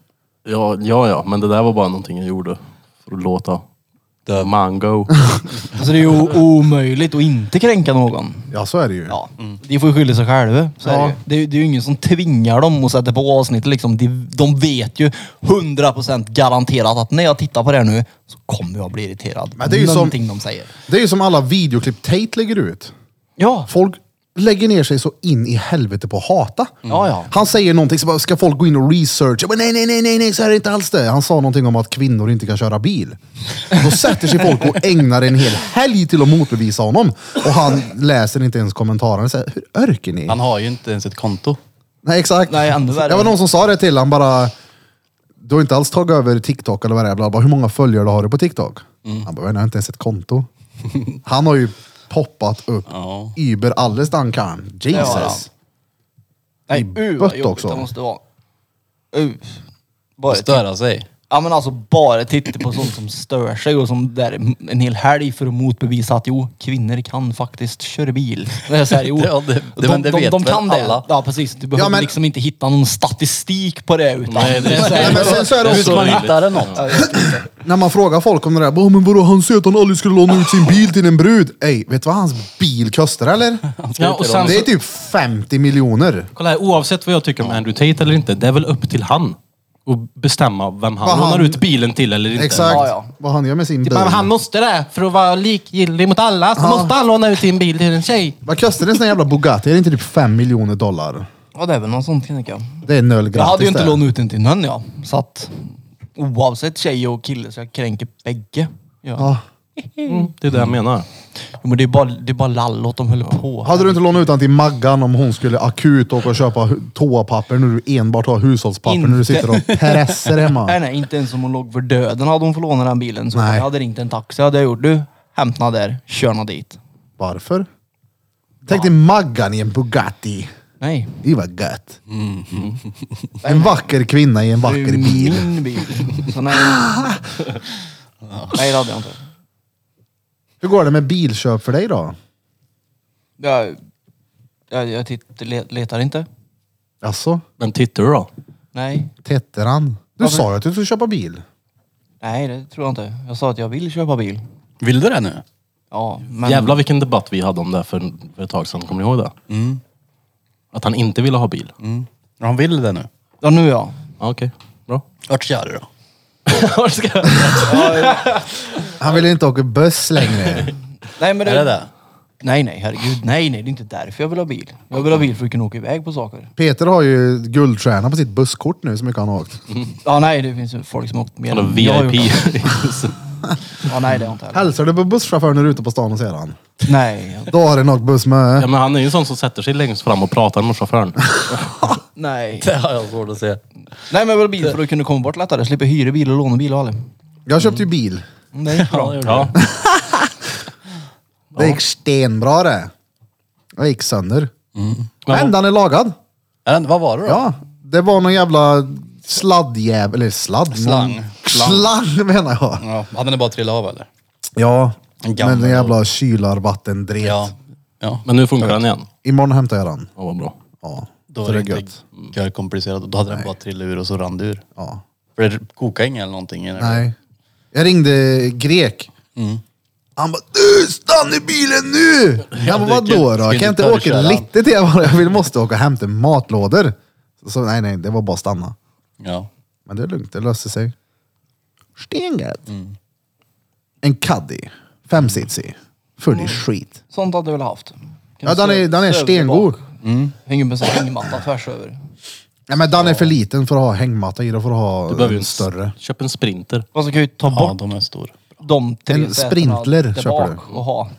[SPEAKER 3] Ja, ja, ja. Men det där var bara någonting jag gjorde för att låta
[SPEAKER 4] Döv.
[SPEAKER 3] mango.
[SPEAKER 2] Alltså, det är ju omöjligt att inte kränka någon.
[SPEAKER 1] Ja, så är det ju.
[SPEAKER 2] Ja, de får ju skylla sig själva. Så är det, ju. det, är ju- det är ju ingen som tvingar dem att sätta på avsnittet liksom. De, de vet ju 100% garanterat att när jag tittar på det här nu så kommer jag bli irriterad.
[SPEAKER 1] Men det är ju som-
[SPEAKER 2] Någonting de säger.
[SPEAKER 1] Det är ju som alla videoklipp Tate lägger ut.
[SPEAKER 2] Ja,
[SPEAKER 1] Folk lägger ner sig så in i helvete på att hata.
[SPEAKER 2] Ja, ja.
[SPEAKER 1] Han säger någonting så bara, ska folk gå in och researcha. Men nej, nej, nej, nej, nej, så här är inte alls det. Han sa någonting om att kvinnor inte kan köra bil. Då sätter sig folk och ägnar en hel helg till att motbevisa honom. Och han läser inte ens kommentarerna. Så här, Hur örker ni?
[SPEAKER 4] Han har ju inte ens ett konto.
[SPEAKER 1] Nej, exakt.
[SPEAKER 2] Nej, ännu värre.
[SPEAKER 1] Det var någon som sa det till han bara. Du har inte alls tagit över TikTok eller vad det är. bla, bla. Hur många följare har du på TikTok?
[SPEAKER 2] Mm.
[SPEAKER 1] Han bara, jag har inte ens ett konto. *laughs* han har ju poppat upp
[SPEAKER 4] Ja.
[SPEAKER 1] über alles han kan. Jesus.
[SPEAKER 2] Ja, ja. nej, uh,
[SPEAKER 1] bött
[SPEAKER 2] vad jobbigt
[SPEAKER 1] också.
[SPEAKER 2] det måste vara. Uh. Bara,
[SPEAKER 4] Störa sig.
[SPEAKER 2] ja men alltså bara titta på sånt som stör sig och som där en hel helg för att motbevisa att jo, kvinnor kan faktiskt köra bil. Det är så här, jo,
[SPEAKER 4] *laughs* Ja, det- det- men
[SPEAKER 2] de,
[SPEAKER 4] det
[SPEAKER 2] de,
[SPEAKER 4] vet
[SPEAKER 2] de
[SPEAKER 4] väl
[SPEAKER 2] kan
[SPEAKER 4] alla.
[SPEAKER 2] det. Ja precis, du behöver
[SPEAKER 1] men-
[SPEAKER 2] liksom inte hitta någon statistik på det utan
[SPEAKER 3] *laughs* Nej, det-
[SPEAKER 2] är så
[SPEAKER 1] Nej,
[SPEAKER 2] här-
[SPEAKER 1] men sen så är det
[SPEAKER 4] Hur
[SPEAKER 1] också,
[SPEAKER 4] ska man hitta det något?
[SPEAKER 1] när man frågar folk om det där, "Åh, men vadå han säger att han aldrig skulle låna ut sin bil till en brud. Ey, vet du vad hans bil kostar
[SPEAKER 2] *laughs*
[SPEAKER 1] eller?
[SPEAKER 3] Ja, och sen
[SPEAKER 1] Det är
[SPEAKER 3] så,
[SPEAKER 1] typ 50 miljoner.
[SPEAKER 3] kolla här, oavsett vad jag tycker om Andrew Tate eller inte, det är väl upp till han att bestämma vem han
[SPEAKER 1] Vad
[SPEAKER 3] lånar
[SPEAKER 1] han-
[SPEAKER 3] ut bilen till eller inte.
[SPEAKER 1] Exakt.
[SPEAKER 2] Ja, ja.
[SPEAKER 1] Vad han gör med sin bil.
[SPEAKER 3] Men han måste det, för att vara likgiltig mot alla så måste han låna ut sin bil till en tjej.
[SPEAKER 1] Vad kostar en sån här jävla Bugatti? Är det inte typ 5 miljoner dollar?
[SPEAKER 2] Ja det är väl något sånt kan jag tänka.
[SPEAKER 1] Det är noll gratis
[SPEAKER 2] Jag hade ju inte
[SPEAKER 1] där.
[SPEAKER 2] lånat ut den till någon jag. Så att oavsett tjej och kille så jag kränker bägge. Ja.
[SPEAKER 1] Ja.
[SPEAKER 3] Mm, det är det jag menar.
[SPEAKER 2] Jo, Men det är bara, det är bara lall åt de höll på.
[SPEAKER 1] Hade du inte lånat ut den till Maggan om hon skulle akut åka och köpa hu- toapapper när du enbart har hushållspapper när du
[SPEAKER 2] Inte.
[SPEAKER 1] sitter och pressar
[SPEAKER 2] Nej, *laughs*
[SPEAKER 1] hemma?
[SPEAKER 2] nej, inte ens om hon låg för döden hade hon fått låna den bilen. Så
[SPEAKER 1] Nej.
[SPEAKER 2] jag hade ringt en taxi, hade jag gjort. Du, hämta där, körna dit.
[SPEAKER 1] Varför? Tänk dig Maggan i en Bugatti.
[SPEAKER 2] Nej,
[SPEAKER 1] Det var gött. En vacker kvinna i en
[SPEAKER 2] det är
[SPEAKER 1] vacker
[SPEAKER 2] ju
[SPEAKER 1] bil.
[SPEAKER 2] min bil. Så nej. nej, det hade jag inte.
[SPEAKER 1] Hur går det med bilköp för dig då?
[SPEAKER 2] Jag, jag, jag titt, le- letar inte.
[SPEAKER 1] Alltså,
[SPEAKER 3] Men tittar du då?
[SPEAKER 2] Nej,
[SPEAKER 1] tätter han? Du sa ju att du skulle köpa bil.
[SPEAKER 2] nej det tror jag inte. Jag sa att jag vill köpa bil.
[SPEAKER 4] Vill du det nu?
[SPEAKER 2] Ja, men...
[SPEAKER 3] Jävlar vilken debatt vi hade om det för, för ett tag sedan, kommer ni ihåg det? Att han inte ville ha bil.
[SPEAKER 4] Mm. Han vill det nu.
[SPEAKER 2] Ja, nu ja.
[SPEAKER 3] Ja, Okej, bra.
[SPEAKER 4] Vart ska du då?
[SPEAKER 1] Han ville inte åka buss längre.
[SPEAKER 2] Nej, men det,
[SPEAKER 4] Är det det?
[SPEAKER 2] Nej, nej, herregud. Nej, nej, det är inte därför jag vill ha bil. Jag vill ha bil för att kunna åka iväg på saker.
[SPEAKER 1] Peter har ju guldstjärna på sitt busskort nu, så mycket han har åkt.
[SPEAKER 2] Ja, nej, det finns ju folk som har åkt mer
[SPEAKER 3] Han har
[SPEAKER 2] än jag har
[SPEAKER 3] VIP.
[SPEAKER 2] gjort. Ja, nej, det har jag inte heller.
[SPEAKER 1] Hälsar du på busschauffören när du är ute på stan och ser han?
[SPEAKER 2] Nej,
[SPEAKER 1] Då har den åkt buss med.
[SPEAKER 3] *laughs* ja, men han är ju en sån som sätter sig längst fram och pratar med chauffören.
[SPEAKER 2] nej.
[SPEAKER 4] *laughs* Det har jag svårt att se.
[SPEAKER 2] Nej, men jag vill ha bil för att kunna komma bort lättare. Slippa hyra bil och låna bil och allt.
[SPEAKER 1] Jag köpte ju bil.
[SPEAKER 2] Nej, bra.
[SPEAKER 3] Ja.
[SPEAKER 1] Det gick stenbra det. Jag gick sönder.
[SPEAKER 4] Mm.
[SPEAKER 1] Men den är lagad.
[SPEAKER 4] Är den- Vad var det då?
[SPEAKER 1] Ja, det var någon jävla sladdjävel, eller sladd.
[SPEAKER 4] Slang.
[SPEAKER 1] någon- Slang *laughs* menar jag.
[SPEAKER 4] Ja, Hade den bara trillat av eller?
[SPEAKER 1] Ja,
[SPEAKER 4] En gammal
[SPEAKER 1] men den jävla kylarvattendret.
[SPEAKER 4] Ja. ja.
[SPEAKER 3] Men nu funkar den igen.
[SPEAKER 1] Imorgon hämtar jag den.
[SPEAKER 3] Ja, vad bra.
[SPEAKER 1] Ja,
[SPEAKER 4] Då
[SPEAKER 1] så
[SPEAKER 4] var det
[SPEAKER 1] det är
[SPEAKER 4] inte
[SPEAKER 1] gött.
[SPEAKER 4] görkomplicerat. Då hade den bara trillat ur och så rann det ur.
[SPEAKER 1] Ja.
[SPEAKER 4] För det kokade inget eller någonting? Eller?
[SPEAKER 1] Nej. Jag ringde grek.
[SPEAKER 4] Mm.
[SPEAKER 1] Han bara, du stanna i bilen
[SPEAKER 4] *laughs*
[SPEAKER 1] nu! Jag bara,
[SPEAKER 4] du kan-
[SPEAKER 1] vadå då? Kan
[SPEAKER 4] ska
[SPEAKER 1] jag
[SPEAKER 4] inte
[SPEAKER 1] inte
[SPEAKER 4] ta
[SPEAKER 1] åka
[SPEAKER 4] köra
[SPEAKER 1] lite till? Jag bara, jag vill, måste åka och hämta matlådor. Så nej, nej, det var bara att stanna.
[SPEAKER 4] Ja.
[SPEAKER 1] Men det är lugnt, det löste sig. Stengött. En caddy,
[SPEAKER 3] Mm.
[SPEAKER 1] femsitsig, full i skit.
[SPEAKER 2] Sånt hade du väl haft? Kan
[SPEAKER 1] Ja,
[SPEAKER 2] du
[SPEAKER 1] den är,
[SPEAKER 2] sö-
[SPEAKER 1] den är
[SPEAKER 2] söva
[SPEAKER 1] stengod.
[SPEAKER 2] bak? Mm. Hänger med en sån här hängmatta tvärs över.
[SPEAKER 1] Nej, men den är för liten för att ha hängmatta i, då får du ha
[SPEAKER 3] Du behöver ju
[SPEAKER 1] en större.
[SPEAKER 3] Köp en sprinter.
[SPEAKER 2] Man kan ju ta bort
[SPEAKER 4] ja, de är stora.
[SPEAKER 2] de tre
[SPEAKER 1] En
[SPEAKER 2] sätena
[SPEAKER 1] sprintler
[SPEAKER 2] där
[SPEAKER 1] köper
[SPEAKER 2] bak och ha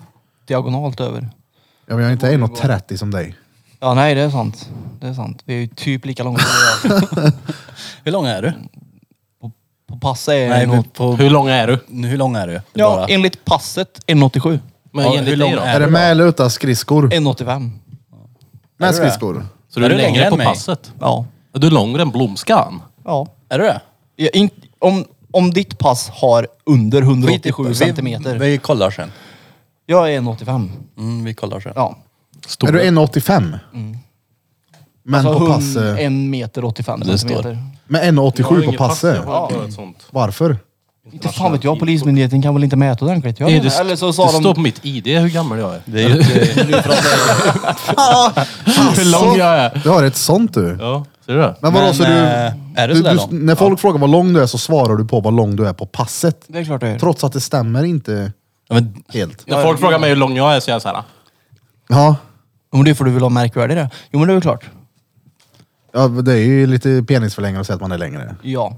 [SPEAKER 2] diagonalt över.
[SPEAKER 1] Ja, men jag är inte 1,30 som dig.
[SPEAKER 2] Ja, nej det är sant. Det är sant. Vi är ju typ lika långa som vi är.
[SPEAKER 4] Hur lång är du?
[SPEAKER 2] På passet är
[SPEAKER 4] Nej,
[SPEAKER 2] nog...
[SPEAKER 4] på, på,
[SPEAKER 3] Hur lång är du?
[SPEAKER 4] nu, hur lång är du?
[SPEAKER 2] Ja,
[SPEAKER 4] Bara-
[SPEAKER 2] enligt passet 1,87.
[SPEAKER 3] Men
[SPEAKER 4] Ja,
[SPEAKER 3] enligt
[SPEAKER 4] hur
[SPEAKER 3] dig
[SPEAKER 4] lång
[SPEAKER 3] då?
[SPEAKER 4] är-
[SPEAKER 1] Är det med eller utan skridskor?
[SPEAKER 2] 1,85.
[SPEAKER 1] Med
[SPEAKER 4] Är det det?
[SPEAKER 1] skridskor.
[SPEAKER 3] Så du är,
[SPEAKER 4] Är du längre
[SPEAKER 3] längre
[SPEAKER 4] än
[SPEAKER 3] på
[SPEAKER 4] mig?
[SPEAKER 3] passet?
[SPEAKER 2] Ja.
[SPEAKER 3] Är du längre än Blomskan?
[SPEAKER 2] Ja.
[SPEAKER 4] Är du det?
[SPEAKER 2] Ja, in, om, om ditt pass har under
[SPEAKER 4] Skit i-
[SPEAKER 2] 187
[SPEAKER 4] vi-
[SPEAKER 2] centimeter.
[SPEAKER 4] Vi kollar sen.
[SPEAKER 2] Jag är 1,85.
[SPEAKER 4] Mm, vi kollar sen.
[SPEAKER 2] Ja.
[SPEAKER 3] Stor.
[SPEAKER 1] Är du 1,85?
[SPEAKER 3] Mm.
[SPEAKER 1] Men
[SPEAKER 2] Så
[SPEAKER 1] på
[SPEAKER 2] hund-
[SPEAKER 1] pass... eh,
[SPEAKER 2] En meter 85
[SPEAKER 4] det står.
[SPEAKER 2] centimeter.
[SPEAKER 1] Men
[SPEAKER 3] Alltså, Jag har
[SPEAKER 1] 1,87 på
[SPEAKER 3] inget pass,
[SPEAKER 1] passet?
[SPEAKER 3] jag har bara ett sånt.
[SPEAKER 1] Varför?
[SPEAKER 2] Inte fan vet jag, polismyndigheten kan väl inte mäta ordentligt? Jag
[SPEAKER 3] Nej,
[SPEAKER 2] vet
[SPEAKER 3] det,
[SPEAKER 2] inte. Eller så sa
[SPEAKER 3] det står
[SPEAKER 2] de...
[SPEAKER 3] på mitt ID hur gammal jag är.
[SPEAKER 4] Det är ju inte,
[SPEAKER 3] *laughs* Hur lång jag är.
[SPEAKER 1] Du har ett sånt du.
[SPEAKER 3] Ja, ser du det?
[SPEAKER 1] Men vadå,
[SPEAKER 4] Men,
[SPEAKER 1] så du...
[SPEAKER 4] eh, är det
[SPEAKER 1] du,
[SPEAKER 4] sådär
[SPEAKER 1] du
[SPEAKER 4] lång?
[SPEAKER 1] när folk frågar vad lång du är så svarar du på vad lång du är på passet.
[SPEAKER 2] Det är klart det är.
[SPEAKER 1] Trots att det stämmer inte
[SPEAKER 4] ja, men,
[SPEAKER 1] helt.
[SPEAKER 3] När folk frågar mig hur lång jag är så "Ah, är jag såhär.
[SPEAKER 1] Ja,
[SPEAKER 2] Jo men det är för du vill ha märkvärdig det. Jo men det är väl klart.
[SPEAKER 1] ja det är ju lite penisförlängare att säga att man är längre.
[SPEAKER 2] Ja.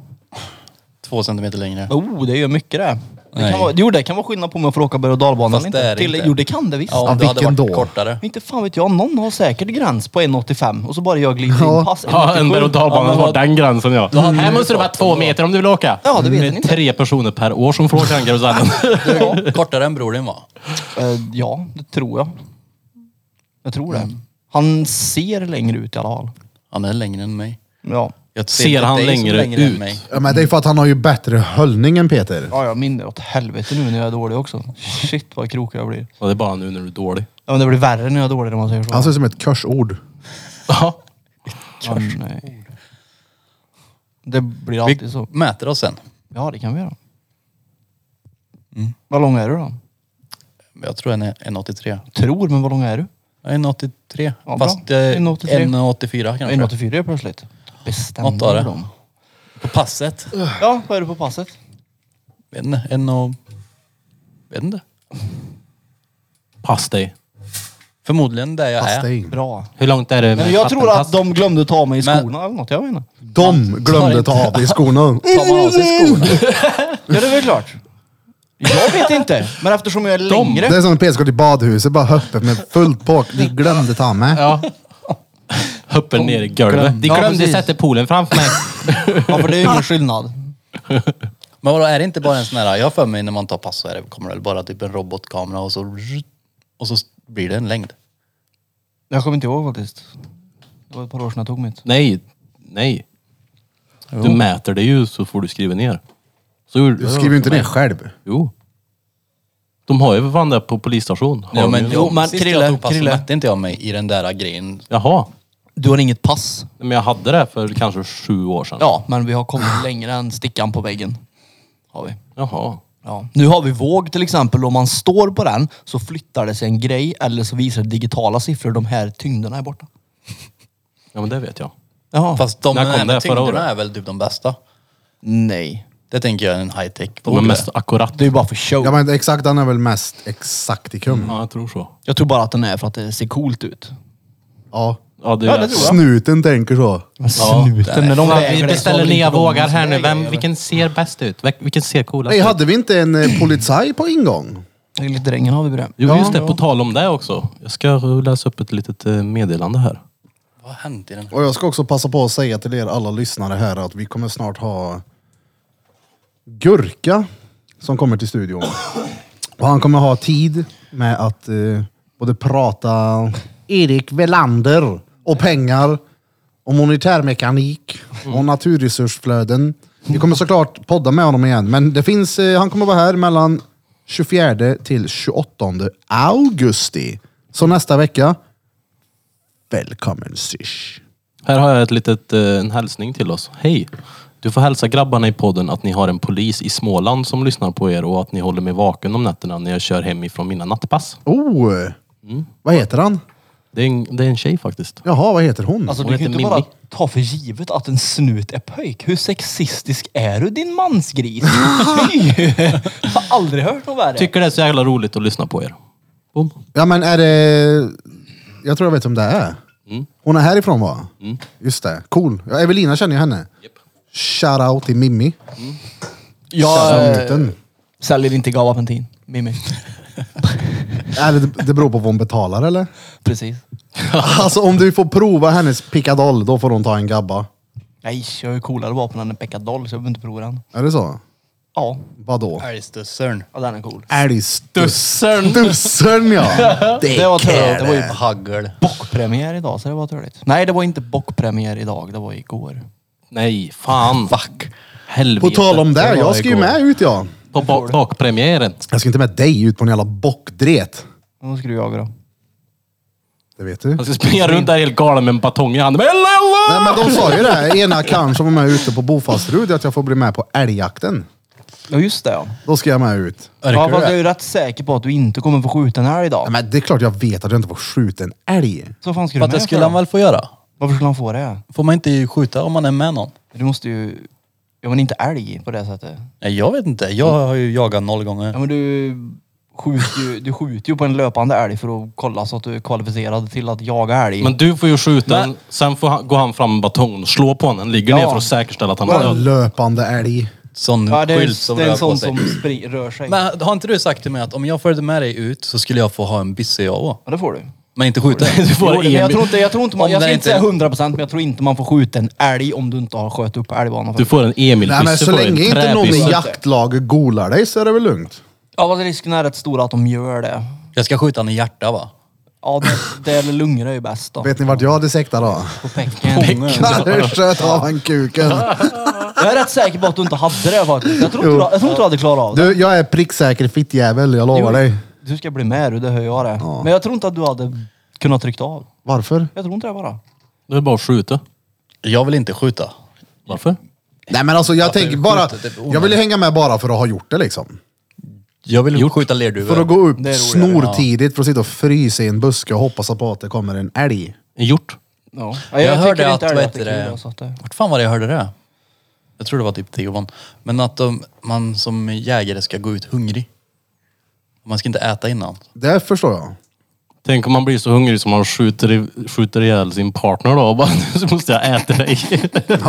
[SPEAKER 4] två centimeter längre.
[SPEAKER 2] Oh, det gör mycket det. det
[SPEAKER 4] Nej.
[SPEAKER 2] kan vara, jo det kan vara skillnad på om jag får åka berg och dalbana
[SPEAKER 4] Fast
[SPEAKER 2] eller
[SPEAKER 4] det
[SPEAKER 2] inte.
[SPEAKER 4] är det
[SPEAKER 2] Till,
[SPEAKER 4] inte.
[SPEAKER 2] Jo det kan det visst.
[SPEAKER 4] Ja, om
[SPEAKER 1] Ja,
[SPEAKER 4] det hade varit
[SPEAKER 1] vilken då?
[SPEAKER 4] kortare.
[SPEAKER 2] Inte fan vet jag, någon har säkert gräns på 1,85 och så bara jag glider
[SPEAKER 1] Ja.
[SPEAKER 2] in pass
[SPEAKER 3] Ja, en
[SPEAKER 2] 1,87.
[SPEAKER 3] berg och dalbana
[SPEAKER 4] Ja,
[SPEAKER 3] har den gränsen ja.
[SPEAKER 4] hade
[SPEAKER 3] Här
[SPEAKER 4] vi
[SPEAKER 3] måste det vara
[SPEAKER 4] pratat
[SPEAKER 3] två
[SPEAKER 4] om det.
[SPEAKER 3] meter om du vill åka.
[SPEAKER 2] Ja, det vet
[SPEAKER 3] Det
[SPEAKER 2] jag
[SPEAKER 3] är
[SPEAKER 2] inte.
[SPEAKER 3] tre personer per år som får åka den karusellen.
[SPEAKER 4] Du, kortare än bror din va?
[SPEAKER 2] Eh, ja, det tror jag. Jag tror det.
[SPEAKER 1] Mm.
[SPEAKER 2] Han ser längre ut i alla fall.
[SPEAKER 4] Han är längre än mig.
[SPEAKER 2] Ja.
[SPEAKER 4] Jag
[SPEAKER 3] Ser
[SPEAKER 4] inte
[SPEAKER 3] han
[SPEAKER 4] dig som
[SPEAKER 3] längre ut?
[SPEAKER 1] Ja, men det är för att han har ju bättre höllning än Peter.
[SPEAKER 2] Ja, jag minner åt helvete nu när jag är dålig också. Shit vad krokig jag blir.
[SPEAKER 3] Och det är bara nu när du är dålig.
[SPEAKER 2] Ja, men det blir värre när jag är dålig om man säger så.
[SPEAKER 1] Han ser ut som ett körsord.
[SPEAKER 3] Ja.
[SPEAKER 2] Ah, nej. Det blir alltid
[SPEAKER 4] Vi
[SPEAKER 2] så.
[SPEAKER 4] mäter oss sen.
[SPEAKER 2] Ja, det kan vi göra. Vad lång är du då?
[SPEAKER 4] Jag tror han är 1,83.
[SPEAKER 2] Tror, men vad lång är du?
[SPEAKER 4] Ja, 1,83.
[SPEAKER 2] Ja,
[SPEAKER 4] Fast
[SPEAKER 2] bra.
[SPEAKER 4] eh,
[SPEAKER 2] 1,83.
[SPEAKER 4] 1,84
[SPEAKER 2] Jag är
[SPEAKER 4] kanske.
[SPEAKER 2] 1,84 plötsligt.
[SPEAKER 4] Något av
[SPEAKER 2] Bestämmer
[SPEAKER 4] det.
[SPEAKER 2] de.
[SPEAKER 4] På passet.
[SPEAKER 2] Ja, vad är du på passet?
[SPEAKER 4] Vet inte. En och... Vet inte.
[SPEAKER 3] Pass dig.
[SPEAKER 4] Förmodligen där jag
[SPEAKER 1] Fast det är
[SPEAKER 4] är.
[SPEAKER 1] in.
[SPEAKER 2] Bra.
[SPEAKER 3] Hur långt är det med
[SPEAKER 2] Men jag tror
[SPEAKER 3] vattenpass?
[SPEAKER 2] att de glömde ta mig i
[SPEAKER 4] Men-
[SPEAKER 2] skorna eller något. Jag vet inte.
[SPEAKER 1] De glömde ta av dig skorna.
[SPEAKER 4] Tar man av sig skorna?
[SPEAKER 2] Ja, det är väl klart. Jag vet inte. Men eftersom jag är längre.
[SPEAKER 1] Det är som när Peter ska till badhuset, bara höppet med fullt påk. Ni glömde ta med.
[SPEAKER 3] Ja. Hoppar ner i golvet. De
[SPEAKER 2] Ja,
[SPEAKER 3] glömde
[SPEAKER 2] precis.
[SPEAKER 3] sätta poolen framför mig.
[SPEAKER 2] Ja, för det är ju ingen skillnad.
[SPEAKER 4] Men vadå, är det inte bara en sån här... Jag har för mig när man tar pass så är det, kommer det väl bara typ en robotkamera och så... Och så blir det en längd.
[SPEAKER 2] Jag kommer inte ihåg faktiskt. Det var ett par år sedan jag tog mitt.
[SPEAKER 3] *laughs* Nej, nej. Du mäter det ju så får du skriva ner. Så gjorde-
[SPEAKER 1] Du skriver ju inte ner själv.
[SPEAKER 3] Jo. De har ju för fan det på polisstation. Har
[SPEAKER 4] Ja,
[SPEAKER 3] de
[SPEAKER 4] men,
[SPEAKER 3] ju.
[SPEAKER 4] jo, men
[SPEAKER 2] sist
[SPEAKER 4] Krille, jag
[SPEAKER 2] jag
[SPEAKER 4] tog
[SPEAKER 2] tog pass så
[SPEAKER 4] mätte inte jag mig i den där grejen.
[SPEAKER 3] Jaha.
[SPEAKER 2] Du har inget pass?
[SPEAKER 3] Men jag hade det för kanske sju år sedan.
[SPEAKER 2] Ja, men vi har kommit längre än stickan på väggen. Har vi.
[SPEAKER 3] Jaha.
[SPEAKER 2] Ja. Nu har vi våg till exempel. Om man står på den så flyttar det sig en grej eller så visar det digitala siffror. De här tyngderna är borta.
[SPEAKER 3] Ja men det vet jag.
[SPEAKER 2] Ja.
[SPEAKER 4] Fast de
[SPEAKER 3] När kom
[SPEAKER 4] här
[SPEAKER 3] det?
[SPEAKER 4] med
[SPEAKER 3] Förra året?
[SPEAKER 4] tyngderna är väl typ de bästa.
[SPEAKER 2] Nej.
[SPEAKER 4] Det tänker jag är en high tech. Mm.
[SPEAKER 3] De är mest akkurat.
[SPEAKER 2] Det är ju bara för show.
[SPEAKER 1] Ja men exakt, den är väl mest exaktikum.
[SPEAKER 3] Ja jag tror så.
[SPEAKER 2] Jag tror bara att den är för att det ser coolt ut.
[SPEAKER 1] Ja.
[SPEAKER 3] Ja det,
[SPEAKER 2] det
[SPEAKER 3] är
[SPEAKER 2] tror jag.
[SPEAKER 1] Snuten tänker så.
[SPEAKER 2] Snuten, när de väger det så håller inte de någon som väger det.
[SPEAKER 3] ser bäst ut? Vilken ser coolast
[SPEAKER 1] Nej, hade vi inte en eh, polizaj på ingång?
[SPEAKER 2] Enligt drängen har vi det.
[SPEAKER 3] Jo just det, på tal om det också. Jag ska läsa upp ett litet eh, meddelande här.
[SPEAKER 4] Vad har hänt i den?
[SPEAKER 1] Och jag ska också passa på att säga till er alla lyssnare här att vi kommer snart ha Gurka som kommer till studion. Och han kommer ha tid med att eh, både prata Erik Velander och pengar och monetärmekanik och naturresursflöden. Vi kommer såklart podda med honom igen, men det finns, eh, han kommer vara här mellan 24 till 28 augusti. Så nästa vecka, välkommen Sish.
[SPEAKER 3] Här har jag ett litet, eh, en hälsning till oss. Hej! Du får hälsa grabbarna i podden att ni har en polis i Småland som lyssnar på er och att ni håller mig vaken om nätterna när jag kör hemifrån mina nattpass.
[SPEAKER 1] Oh! Vad heter han?
[SPEAKER 3] Det är en, det är en tjej faktiskt.
[SPEAKER 1] Jaha, vad heter hon?
[SPEAKER 2] Alltså
[SPEAKER 3] Hon
[SPEAKER 2] du kan ju
[SPEAKER 3] heter
[SPEAKER 2] inte bara
[SPEAKER 3] Mimmi.
[SPEAKER 2] ta för givet att en snut är pöjk. Hur sexistisk är du din *laughs* mansgris? Fy! Jag har aldrig hört något värre.
[SPEAKER 3] Tycker det är så jävla roligt att lyssna på er. Boom.
[SPEAKER 1] Ja men är det... Jag tror jag vet vem det är. Hon är härifrån va? Just det, cool. Ja, Evelina känner ju henne. Shout out till Mimmi.
[SPEAKER 2] jag eh,
[SPEAKER 1] Snuten.
[SPEAKER 2] säljer inte gavapentin. Mimmi.
[SPEAKER 1] Är det, det beror på vad hon betalar eller?
[SPEAKER 2] *laughs* Precis.
[SPEAKER 1] *laughs* Alltså om du får prova hennes pickadoll, då får hon ta en gabba.
[SPEAKER 2] Nej, jag har ju coolare vapen än en peckadoll så jag behöver inte prova den.
[SPEAKER 1] Är det så?
[SPEAKER 2] Ja,
[SPEAKER 1] Vadå?
[SPEAKER 4] Älgstussern.
[SPEAKER 2] ja den är cool.
[SPEAKER 1] Älgstussern! Stussern ja! Det,
[SPEAKER 4] Det var
[SPEAKER 1] är
[SPEAKER 4] törligt. Det var ju
[SPEAKER 1] det.
[SPEAKER 4] haggel.
[SPEAKER 2] Bockpremiär idag så det var törligt. Nej, det var inte bockpremiär idag. Det var igår.
[SPEAKER 3] Nej, fan.
[SPEAKER 4] Fuck.
[SPEAKER 3] Helvete.
[SPEAKER 1] På tal om det,
[SPEAKER 4] Det var
[SPEAKER 1] jag ska ju
[SPEAKER 4] igår.
[SPEAKER 1] med ut ja.
[SPEAKER 3] På ba- bakpremiären.
[SPEAKER 1] Jag ska inte med dig ut på en jävla bockdret.
[SPEAKER 2] Vad skulle du jaga då?
[SPEAKER 1] Det vet du.
[SPEAKER 3] Han ska springa runt där helt galen med en batong i handen. Ella,
[SPEAKER 1] Nej
[SPEAKER 3] ella!
[SPEAKER 1] men de sa ju det, här. ena karln som var med ute på Bofastrud att jag får bli med på älgjakten.
[SPEAKER 2] Ja, just det ja.
[SPEAKER 1] Då ska jag med ut.
[SPEAKER 2] Ja, fast jag är ju rätt säker på att du inte kommer få skjuta en älg
[SPEAKER 1] Ja,
[SPEAKER 2] idag.
[SPEAKER 1] men det är klart jag vet att jag inte får skjuta en älg.
[SPEAKER 2] Så vad fan ska du
[SPEAKER 4] Men
[SPEAKER 2] med
[SPEAKER 4] det
[SPEAKER 2] för
[SPEAKER 4] skulle
[SPEAKER 2] då?
[SPEAKER 4] han väl få göra?
[SPEAKER 2] Varför skulle han få det?
[SPEAKER 4] Får man inte skjuta om man är med någon?
[SPEAKER 2] Du måste ju... Ja men inte älg på det sättet.
[SPEAKER 4] Nej, jag vet inte. Jag har ju jagat noll gånger.
[SPEAKER 2] Ja men du skjuter ju, du skjuter ju på en löpande älg för att kolla så att du är kvalificerad till att jaga älg.
[SPEAKER 3] Men du får ju skjuta en, sen får han, går han fram med batongen och slår på honen. Ligger
[SPEAKER 2] Ja.
[SPEAKER 3] ner för att säkerställa att han
[SPEAKER 1] Bara
[SPEAKER 3] är
[SPEAKER 1] en
[SPEAKER 3] död.
[SPEAKER 1] löpande älg.
[SPEAKER 4] Sån
[SPEAKER 2] ja, det är,
[SPEAKER 4] skylt som
[SPEAKER 2] det är
[SPEAKER 4] rör
[SPEAKER 2] en
[SPEAKER 4] på
[SPEAKER 2] sån
[SPEAKER 4] sig.
[SPEAKER 2] som spring, rör sig.
[SPEAKER 4] Men har inte du sagt till mig att om jag följde med dig ut så skulle jag få ha en bisse jag också?
[SPEAKER 2] Ja det får du.
[SPEAKER 4] Men inte skjuta?
[SPEAKER 3] Du får
[SPEAKER 2] Jo, det- men
[SPEAKER 3] en-
[SPEAKER 2] jag tror inte, jag tror inte man,
[SPEAKER 4] Om
[SPEAKER 2] jag ska
[SPEAKER 4] det
[SPEAKER 2] inte
[SPEAKER 4] inte-
[SPEAKER 2] säga 100 procent men jag tror inte man får skjuta en älg om du inte har sköt upp älgbanan.
[SPEAKER 3] Du får en emil
[SPEAKER 1] Nej men så länge inte någon i jaktlaget golar dig så är det väl lugnt.
[SPEAKER 2] Ja fast risken är rätt stor att de gör det.
[SPEAKER 4] Jag ska skjuta en i hjärta va?
[SPEAKER 2] Ja det, det eller lungor är ju bäst då.
[SPEAKER 1] Vet ni vart jag hade sektat då?
[SPEAKER 2] På
[SPEAKER 4] *laughs*
[SPEAKER 2] pecken.
[SPEAKER 1] Jag sköt av han kuken.
[SPEAKER 2] Jag är rätt säker på att du inte hade det faktiskt. Jag tror inte, du- jag tror inte du hade klarat av det.
[SPEAKER 1] Du, jag är pricksäker fittjävel, jag lovar dig.
[SPEAKER 2] Du ska bli med du, det hör jag det. Men jag tror inte att du hade kunnat trycka av.
[SPEAKER 1] Varför?
[SPEAKER 2] Jag tror inte det bara.
[SPEAKER 3] Det är bara att skjuta.
[SPEAKER 4] Jag vill inte skjuta.
[SPEAKER 3] Varför?
[SPEAKER 1] Nej men alltså jag tänker
[SPEAKER 4] det är
[SPEAKER 1] bara,
[SPEAKER 4] skjutet, det är onödigt.
[SPEAKER 1] jag vill ju hänga med bara för att ha gjort det liksom.
[SPEAKER 4] Jag vill skjuta lerduvor.
[SPEAKER 1] För att gå upp
[SPEAKER 2] Det är roligare,
[SPEAKER 1] snortidigt för att sitta och frysa i en buske och hoppas på att det kommer en älg.
[SPEAKER 3] En hjort.
[SPEAKER 2] Ja.
[SPEAKER 4] Jag, hörde
[SPEAKER 2] tycker
[SPEAKER 4] att,
[SPEAKER 2] inte
[SPEAKER 4] vad
[SPEAKER 2] älg
[SPEAKER 4] heter
[SPEAKER 2] är kul,
[SPEAKER 4] det?
[SPEAKER 2] alltså, att det-
[SPEAKER 4] Vart fan var det jag hörde det? Jag tror det var typ Tiovon. Men att de, man som jägare ska gå ut hungrig. Man ska inte äta innan.
[SPEAKER 1] Det förstår jag.
[SPEAKER 3] Tänk om man blir så hungrig som man skjuter, i, skjuter ihjäl sin partner då. Och bara, *laughs* så måste jag äta dig.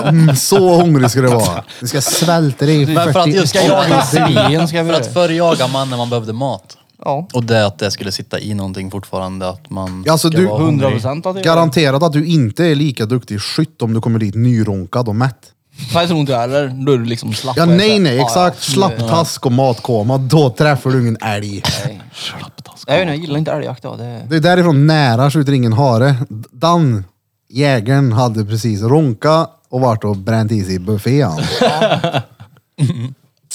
[SPEAKER 1] Mm, så hungrig ska du vara. Du ska svälta dig i
[SPEAKER 4] Men för att
[SPEAKER 1] 40
[SPEAKER 4] just
[SPEAKER 2] Ska jag *laughs* jaga svin? Ska vi
[SPEAKER 4] För
[SPEAKER 2] göra
[SPEAKER 4] att
[SPEAKER 2] det?
[SPEAKER 4] förr jagade man när man behövde mat.
[SPEAKER 2] Ja.
[SPEAKER 4] Och det att det skulle sitta i någonting fortfarande att man
[SPEAKER 1] Ja, alltså
[SPEAKER 4] ska
[SPEAKER 1] du-
[SPEAKER 4] vara hungrig.
[SPEAKER 2] 100 procent att det gör
[SPEAKER 1] Garanterat att du inte är lika duktig skytt om du kommer dit nyronkad och mätt.
[SPEAKER 2] det. Nej, jag tror inte jag heller. Då är du liksom slapp.
[SPEAKER 1] Ja,
[SPEAKER 2] och är
[SPEAKER 1] nej,
[SPEAKER 2] så här,
[SPEAKER 1] nej,
[SPEAKER 2] "Ah,
[SPEAKER 1] exakt.
[SPEAKER 2] ja,
[SPEAKER 1] Slapp task och matkoma, då träffar du ingen älg.
[SPEAKER 2] nej." Nej, nej, jag gillar inte älgjakt. då. Det...
[SPEAKER 1] Det är därifrån nära skjuter ingen hare. Dan, jägaren, hade precis ronka och vart och bränt i sig buffén.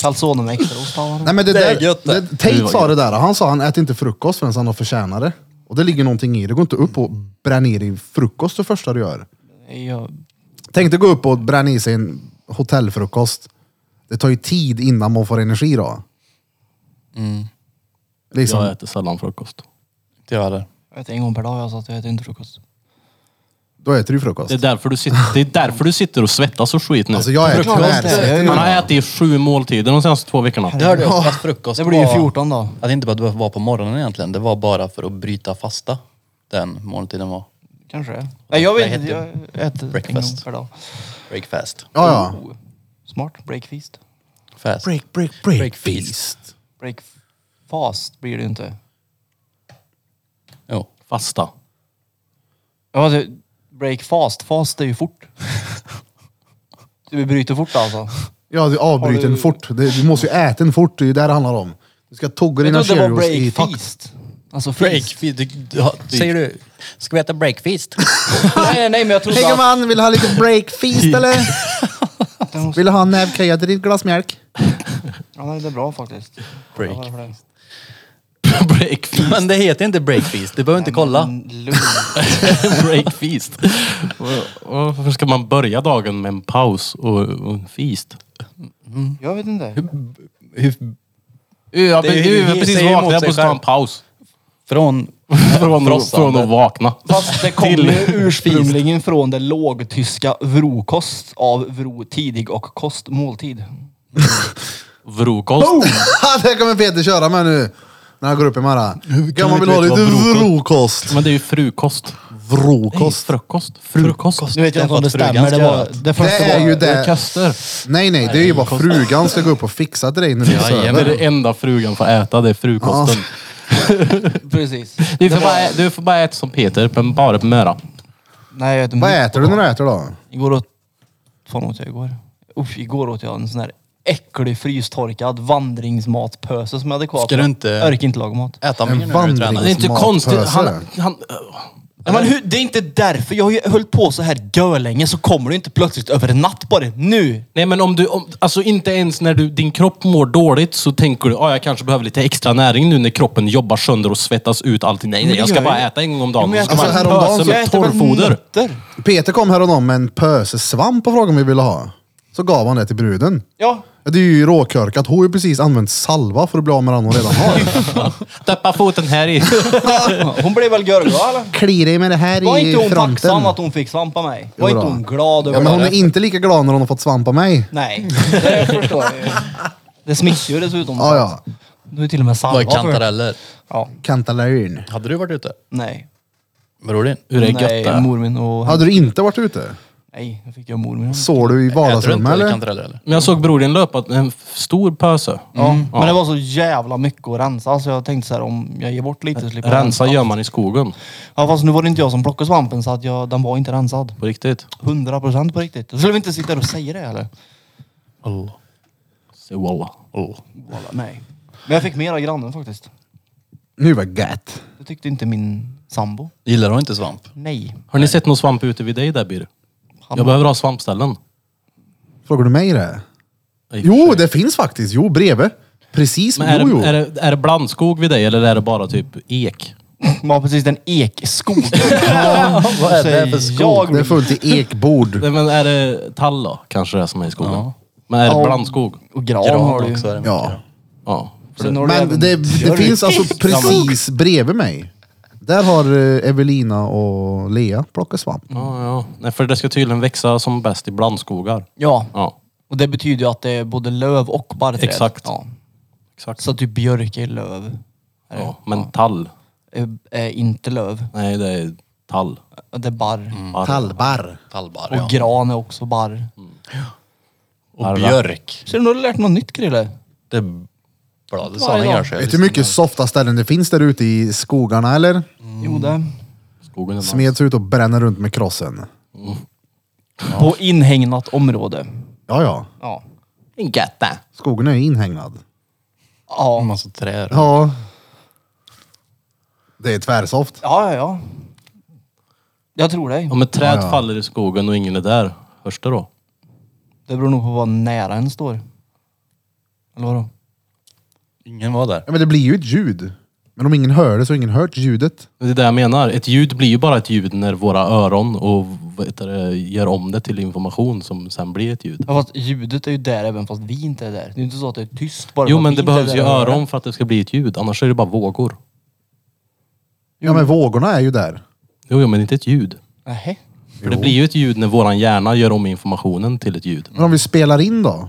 [SPEAKER 2] Calzone med extraost. har man.
[SPEAKER 1] Nej, men det,
[SPEAKER 4] Det är
[SPEAKER 1] där,
[SPEAKER 4] gött det.
[SPEAKER 1] det, Tate sa det där, han sa han äter inte frukost förrän han har förtjänat det. Och det ligger någonting i det. Det går inte upp och bränna i dig frukost det första du gör.
[SPEAKER 2] Jag...
[SPEAKER 1] Tänk dig gå upp och bränna i sig en hotellfrukost. Det tar ju tid innan man får energi då.
[SPEAKER 2] Mm.
[SPEAKER 1] Liksom.
[SPEAKER 3] Jag äter sällan frukost.
[SPEAKER 4] Inte jag heller.
[SPEAKER 2] jag äter en gång per dag jag sa att jag äter inte frukost.
[SPEAKER 1] Då äter du
[SPEAKER 3] Det
[SPEAKER 1] frukost.
[SPEAKER 3] är därför du sitter, det är därför du sitter och svettas och skit nu.
[SPEAKER 1] Alltså jag äter
[SPEAKER 2] Frukost, det är
[SPEAKER 1] tvärsäkert.
[SPEAKER 2] ju-
[SPEAKER 3] Man har ätit sju måltider de senaste två veckorna.
[SPEAKER 4] Det hörde jag också, att frukost
[SPEAKER 2] Det blir ju
[SPEAKER 4] var-
[SPEAKER 2] 14 då.
[SPEAKER 4] Att det inte bara var på morgonen egentligen. Det var bara för att bryta fasta. Den måltiden var.
[SPEAKER 2] Kanske det. Nej, jag vet
[SPEAKER 4] Det
[SPEAKER 2] inte. Jag
[SPEAKER 4] heter
[SPEAKER 2] äter en gång
[SPEAKER 4] breakfast.
[SPEAKER 2] per dag.
[SPEAKER 4] Breakfast.
[SPEAKER 1] Ja, ja.
[SPEAKER 2] Oh, Smart. Breakfast.
[SPEAKER 4] Fast.
[SPEAKER 1] Break, break,
[SPEAKER 4] Breakfast.
[SPEAKER 2] Breakfast blir det ju inte.
[SPEAKER 4] Jo.
[SPEAKER 3] Fasta. *laughs*
[SPEAKER 2] Ja, det, break fast. Fast är ju *laughs* fort. Du bryter fort alltså.
[SPEAKER 1] Ja, du avbryter
[SPEAKER 2] Har du-
[SPEAKER 1] den fort. Det- Du måste ju äta den fort, det är ju det det handlar om. Du ska tugga
[SPEAKER 2] Jag
[SPEAKER 1] dina
[SPEAKER 2] trodde det var
[SPEAKER 1] Cheerios i
[SPEAKER 2] break
[SPEAKER 1] takt.
[SPEAKER 2] feast. Alltså fisk.
[SPEAKER 4] Breakfeast. Du, du, har- säger du, ska vi äta breakfast?
[SPEAKER 2] *laughs* nej, nej, men
[SPEAKER 1] Hej
[SPEAKER 2] jag trodde att...
[SPEAKER 1] gumman, vill du ha lite
[SPEAKER 2] *laughs*
[SPEAKER 1] breakfeast eller? Vill du ha en näve kaja till ditt glas mjölk?
[SPEAKER 2] Ja, nej, det är bra faktiskt.
[SPEAKER 4] Break.
[SPEAKER 2] Ja, varför det?
[SPEAKER 3] Breakfeast. *laughs*
[SPEAKER 4] Men det heter inte breakfast. Du behöver inte
[SPEAKER 2] Nej,
[SPEAKER 4] kolla.
[SPEAKER 2] men Lugn.
[SPEAKER 3] Breakfeast. Och- och Varför ska man börja dagen med en paus och, och en feast?
[SPEAKER 2] Jag vet inte.
[SPEAKER 3] Jag,
[SPEAKER 4] Det- det-
[SPEAKER 3] jag har
[SPEAKER 4] det
[SPEAKER 3] precis
[SPEAKER 4] säger emot
[SPEAKER 3] vaknat, jag
[SPEAKER 4] sig
[SPEAKER 3] måste ta
[SPEAKER 4] själv.
[SPEAKER 3] en paus.
[SPEAKER 4] Från...
[SPEAKER 3] Från,
[SPEAKER 4] Frossan.
[SPEAKER 3] från att vakna.
[SPEAKER 2] Fast det kommer
[SPEAKER 3] Till-
[SPEAKER 2] ju ursprungligen från det lågtyska vrokost av vro tidig och kost måltid.
[SPEAKER 3] Vrokost.
[SPEAKER 1] det kommer Peter köra med nu. När han går upp imorgon. Gumman vill ha
[SPEAKER 3] vet
[SPEAKER 1] lite
[SPEAKER 3] vad
[SPEAKER 1] vrokost.
[SPEAKER 3] Men det är ju frukost.
[SPEAKER 1] Vrokost.
[SPEAKER 3] Nej, frukost. Frukost.
[SPEAKER 5] Nu vet jag inte om det
[SPEAKER 4] Därför att frugan
[SPEAKER 5] stämmer. Det,
[SPEAKER 4] ska
[SPEAKER 5] var, det
[SPEAKER 4] göra
[SPEAKER 5] första
[SPEAKER 1] Det är
[SPEAKER 5] var...
[SPEAKER 1] ju
[SPEAKER 3] Det är
[SPEAKER 1] det.
[SPEAKER 3] kaster.
[SPEAKER 1] Nej nej, det är ju bara frugan ska gå upp och fixa till dig när du är
[SPEAKER 3] Det är
[SPEAKER 1] söver.
[SPEAKER 3] det enda frugan får äta, det är frukosten.
[SPEAKER 2] Precis.
[SPEAKER 3] Du, får bara, ä- du får bara äta som Peter, men bara på Möra.
[SPEAKER 2] Nej, jag vet inte.
[SPEAKER 1] Vad äter du när du äter då?
[SPEAKER 2] Igår åt... Fan åt jag igår? Usch, igår åt jag en sån här äcklig frystorkad vandringsmatpöse som är adekvat.
[SPEAKER 4] Ska du inte-
[SPEAKER 2] Örkintillagmat.
[SPEAKER 4] Äta mer
[SPEAKER 1] En
[SPEAKER 4] nu när du tränar.
[SPEAKER 3] Det är inte
[SPEAKER 1] Matpöse.
[SPEAKER 3] konstigt. Han, han,
[SPEAKER 2] Nej, men hur, det är inte därför. Jag har ju hållit på så här görlänge så kommer du inte plötsligt över en natt bara. Nu!
[SPEAKER 3] nej men om du, om, alltså inte ens när du, din kropp mår dåligt så tänker du, ah, jag kanske behöver lite extra näring nu när kroppen jobbar sönder och svettas ut allting. Nej, nej
[SPEAKER 2] det
[SPEAKER 3] jag ska
[SPEAKER 2] gör
[SPEAKER 3] bara
[SPEAKER 2] jag.
[SPEAKER 3] äta en gång om
[SPEAKER 2] Jo,
[SPEAKER 3] dagen.
[SPEAKER 2] men jag
[SPEAKER 3] Jag ska
[SPEAKER 1] äter-
[SPEAKER 3] bara
[SPEAKER 1] Alltså,
[SPEAKER 3] pösa
[SPEAKER 1] häromdagen
[SPEAKER 2] jag
[SPEAKER 3] med
[SPEAKER 2] äter väl
[SPEAKER 3] *laughs* torrfoder.
[SPEAKER 2] nötter?
[SPEAKER 1] Peter kom häromdagen med en pöse svamp och frågade om vi ville ha. Så gav han det till bruden.
[SPEAKER 2] Ja.
[SPEAKER 1] Ja, Det är ju råkörkat. Hon har ju precis använt salva för att bli av med den hon redan
[SPEAKER 2] *laughs*
[SPEAKER 1] har.
[SPEAKER 3] Deppa foten här i.
[SPEAKER 2] Hon blev väl görglad eller?
[SPEAKER 1] Kli dig med det här
[SPEAKER 2] Var
[SPEAKER 1] i
[SPEAKER 2] inte hon
[SPEAKER 1] fronten.
[SPEAKER 2] tacksam att hon fick svampa mig? Var
[SPEAKER 1] Jo då.
[SPEAKER 2] inte hon glad över
[SPEAKER 1] Ja, men hon
[SPEAKER 2] det?
[SPEAKER 1] är inte lika glad när hon har fått svampa mig.
[SPEAKER 2] Nej, det förstår jag ju. Det smittar ju dessutom.
[SPEAKER 1] Ja, ja.
[SPEAKER 2] Du är till och med salva
[SPEAKER 4] Vad är
[SPEAKER 2] för-
[SPEAKER 4] kantareller?
[SPEAKER 2] Ja,
[SPEAKER 1] Kantalaryn.
[SPEAKER 4] Hade du varit ute?
[SPEAKER 2] nej.
[SPEAKER 4] Bror din?
[SPEAKER 3] Hur är
[SPEAKER 2] nej,
[SPEAKER 3] gött det?
[SPEAKER 2] mormin och...
[SPEAKER 1] Hade du inte varit ute?
[SPEAKER 2] Nej, jag fick jag mormin.
[SPEAKER 1] Såg du i
[SPEAKER 4] Äter du
[SPEAKER 1] vardagsrummet
[SPEAKER 4] inte
[SPEAKER 1] eller?
[SPEAKER 4] kantareller eller?
[SPEAKER 3] *laughs* Men jag såg bror din löpa en f- stor pöse.
[SPEAKER 2] Ja, men det var så jävla mycket att rensa så jag tänkte så här om jag ger bort lite så slipper jag
[SPEAKER 3] Rensa gör man i skogen.
[SPEAKER 2] Ja fast nu var det inte jag som plockade svampen så att jag, den var inte rensad.
[SPEAKER 3] På riktigt.
[SPEAKER 2] 100% på riktigt. Då skulle vi inte sitta här och säga det eller?
[SPEAKER 4] Oh.
[SPEAKER 3] Så Walla.
[SPEAKER 4] Oh.
[SPEAKER 2] Walla, nej. Men jag fick mer av grannen faktiskt.
[SPEAKER 1] Nu var gött.
[SPEAKER 2] Det tyckte inte min sambo.
[SPEAKER 4] Gillar hon inte svamp?
[SPEAKER 2] Nej.
[SPEAKER 3] Har ni sett någon svamp ute vid dig där Bir?
[SPEAKER 2] Han-
[SPEAKER 3] Jag behöver ha svampställen.
[SPEAKER 1] Frågar du mig det?
[SPEAKER 3] Nej,
[SPEAKER 1] Jo, det finns faktiskt. Jo, bredvid. Precis.
[SPEAKER 3] Men är,
[SPEAKER 1] Jo, jo.
[SPEAKER 3] det, är, det, är det blandskog vid dig eller är det bara typ ek?
[SPEAKER 2] Ja precis, den ekskog. Vad
[SPEAKER 4] är det för skog?
[SPEAKER 1] Det är fullt i ekbord.
[SPEAKER 3] *laughs* Nej, men är det tall då? Kanske det som är i skogen.
[SPEAKER 4] Ja.
[SPEAKER 3] Men är det
[SPEAKER 2] Ja.
[SPEAKER 3] blandskog?
[SPEAKER 2] Och gran,
[SPEAKER 4] Gran
[SPEAKER 2] har du ju.
[SPEAKER 4] också är det mycket.
[SPEAKER 1] Ja.
[SPEAKER 3] Ja.
[SPEAKER 2] Sen har du
[SPEAKER 1] Men
[SPEAKER 2] även
[SPEAKER 1] det, det
[SPEAKER 2] björk.
[SPEAKER 1] finns
[SPEAKER 2] *laughs*
[SPEAKER 1] alltså precis bredvid mig. Där har eh, Evelina och Lea plockat svamp.
[SPEAKER 3] Ja, ja. Nej, för det ska tydligen växa som bäst i blandskogar.
[SPEAKER 2] Ja.
[SPEAKER 3] Ja,
[SPEAKER 2] Och det betyder ju att det är både löv och barrträd.
[SPEAKER 3] Exakt.
[SPEAKER 2] Ja.
[SPEAKER 3] exakt.
[SPEAKER 2] Så att typ björk är löv.
[SPEAKER 3] Ja. Men tall.
[SPEAKER 2] Är, är inte löv.
[SPEAKER 3] Nej, det är tall.
[SPEAKER 2] Det är barr.
[SPEAKER 3] Barr.
[SPEAKER 1] Tallbarr.
[SPEAKER 4] Tallbarr
[SPEAKER 2] Och
[SPEAKER 4] ja.
[SPEAKER 2] gran är också barr.
[SPEAKER 4] Och björk.
[SPEAKER 2] Ser du, nu har du lärt dig något nytt Krille.
[SPEAKER 4] Det är bladet sa han kanske.
[SPEAKER 1] Vet du hur mycket softa ställen det finns där ute i skogarna eller?
[SPEAKER 2] Jo det.
[SPEAKER 3] Skogen är nice.
[SPEAKER 1] Smeds ut och bränner runt med krossen.
[SPEAKER 2] På inhägnat område.
[SPEAKER 1] Ja, ja.
[SPEAKER 2] Ja.
[SPEAKER 3] Götta.
[SPEAKER 1] Skogen är ju inhägnad.
[SPEAKER 4] En
[SPEAKER 2] Ja.
[SPEAKER 4] massa träd.
[SPEAKER 1] Ja. Det är tvärsoft.
[SPEAKER 2] Ja, ja, ja. Jag tror dig.
[SPEAKER 3] Om ett träd
[SPEAKER 1] Ja, ja.
[SPEAKER 3] faller i skogen och ingen är där, hörs det då?
[SPEAKER 2] Det beror nog på vad nära en står. Eller vadå?
[SPEAKER 4] Ingen var där.
[SPEAKER 1] Ja, men det blir ju ett ljud. Men om ingen hör det så har ingen hört ljudet.
[SPEAKER 3] Det är det jag menar. Ett ljud blir ju bara ett ljud när våra öron och vad heter det, gör om det till information som sen blir ett ljud.
[SPEAKER 2] Ja, fast ljudet är ju där även fast vi inte är där. Det är ju inte så att det är tyst bara
[SPEAKER 3] Jo
[SPEAKER 2] för att
[SPEAKER 3] men
[SPEAKER 2] vi
[SPEAKER 3] det
[SPEAKER 2] inte är
[SPEAKER 3] behövs
[SPEAKER 2] där
[SPEAKER 3] ju
[SPEAKER 2] och hör
[SPEAKER 3] öron för att det ska bli ett ljud, annars är det bara vågor.
[SPEAKER 1] Ja, men vågorna är ju där.
[SPEAKER 3] Jo, jo men inte ett ljud.
[SPEAKER 2] det. Nähä.
[SPEAKER 3] För det blir ju ett ljud när våran hjärna gör om informationen till ett ljud.
[SPEAKER 1] Men om vi spelar in då?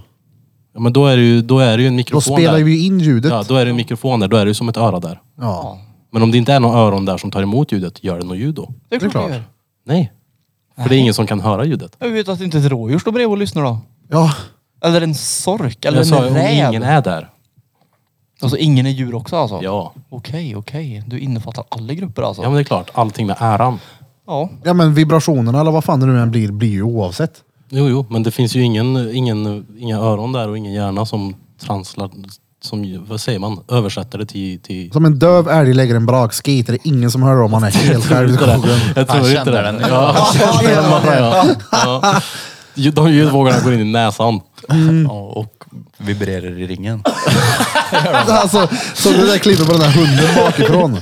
[SPEAKER 3] Ja, men då är det ju, då är det ju en
[SPEAKER 1] Då
[SPEAKER 3] mikrofon
[SPEAKER 1] spelar
[SPEAKER 3] där.
[SPEAKER 1] vi ju in ljudet.
[SPEAKER 3] Ja, då är det en mikrofon där, då är det ju som ett öra där.
[SPEAKER 1] Ja.
[SPEAKER 3] Men om det inte är några öron där som tar emot ljudet, gör det något ljud då?
[SPEAKER 2] Det är klart,
[SPEAKER 1] klart.
[SPEAKER 2] det gör.
[SPEAKER 3] Nej. För det är ingen som kan höra ljudet.
[SPEAKER 2] Jag vet att inte ett rådjur står bredvid och lyssnar då.
[SPEAKER 1] Ja.
[SPEAKER 2] Eller en sork eller
[SPEAKER 3] Jag sa ju
[SPEAKER 2] en
[SPEAKER 3] om
[SPEAKER 2] räv.
[SPEAKER 3] ingen är där.
[SPEAKER 2] Alltså ingen är djur också alltså?
[SPEAKER 3] Ja.
[SPEAKER 2] Okej, okej. Du innefattar alla grupper alltså?
[SPEAKER 3] Ja men det är klart, allting med äran.
[SPEAKER 2] Ja.
[SPEAKER 1] Ja men vibrationerna eller vad fan det nu än blir, blir ju oavsett.
[SPEAKER 3] Jo, jo, men det finns ju ingen, ingen, inga öron där och ingen hjärna som translar, som, vad säger man, översätter det till... till
[SPEAKER 1] Som en döv älg lägger en brakskit, det är ingen som hör om man är *laughs* helt själv i skogen.
[SPEAKER 3] Jag
[SPEAKER 4] Han
[SPEAKER 3] tror inte
[SPEAKER 4] känner
[SPEAKER 3] det.
[SPEAKER 4] den.
[SPEAKER 3] Ja, han känner den bara, ja. Ja. Ju- De ljudvågorna går in i näsan.
[SPEAKER 4] Ja, och vibrerar i ringen.
[SPEAKER 1] Alltså, så det där klippet på den där hunden bakifrån.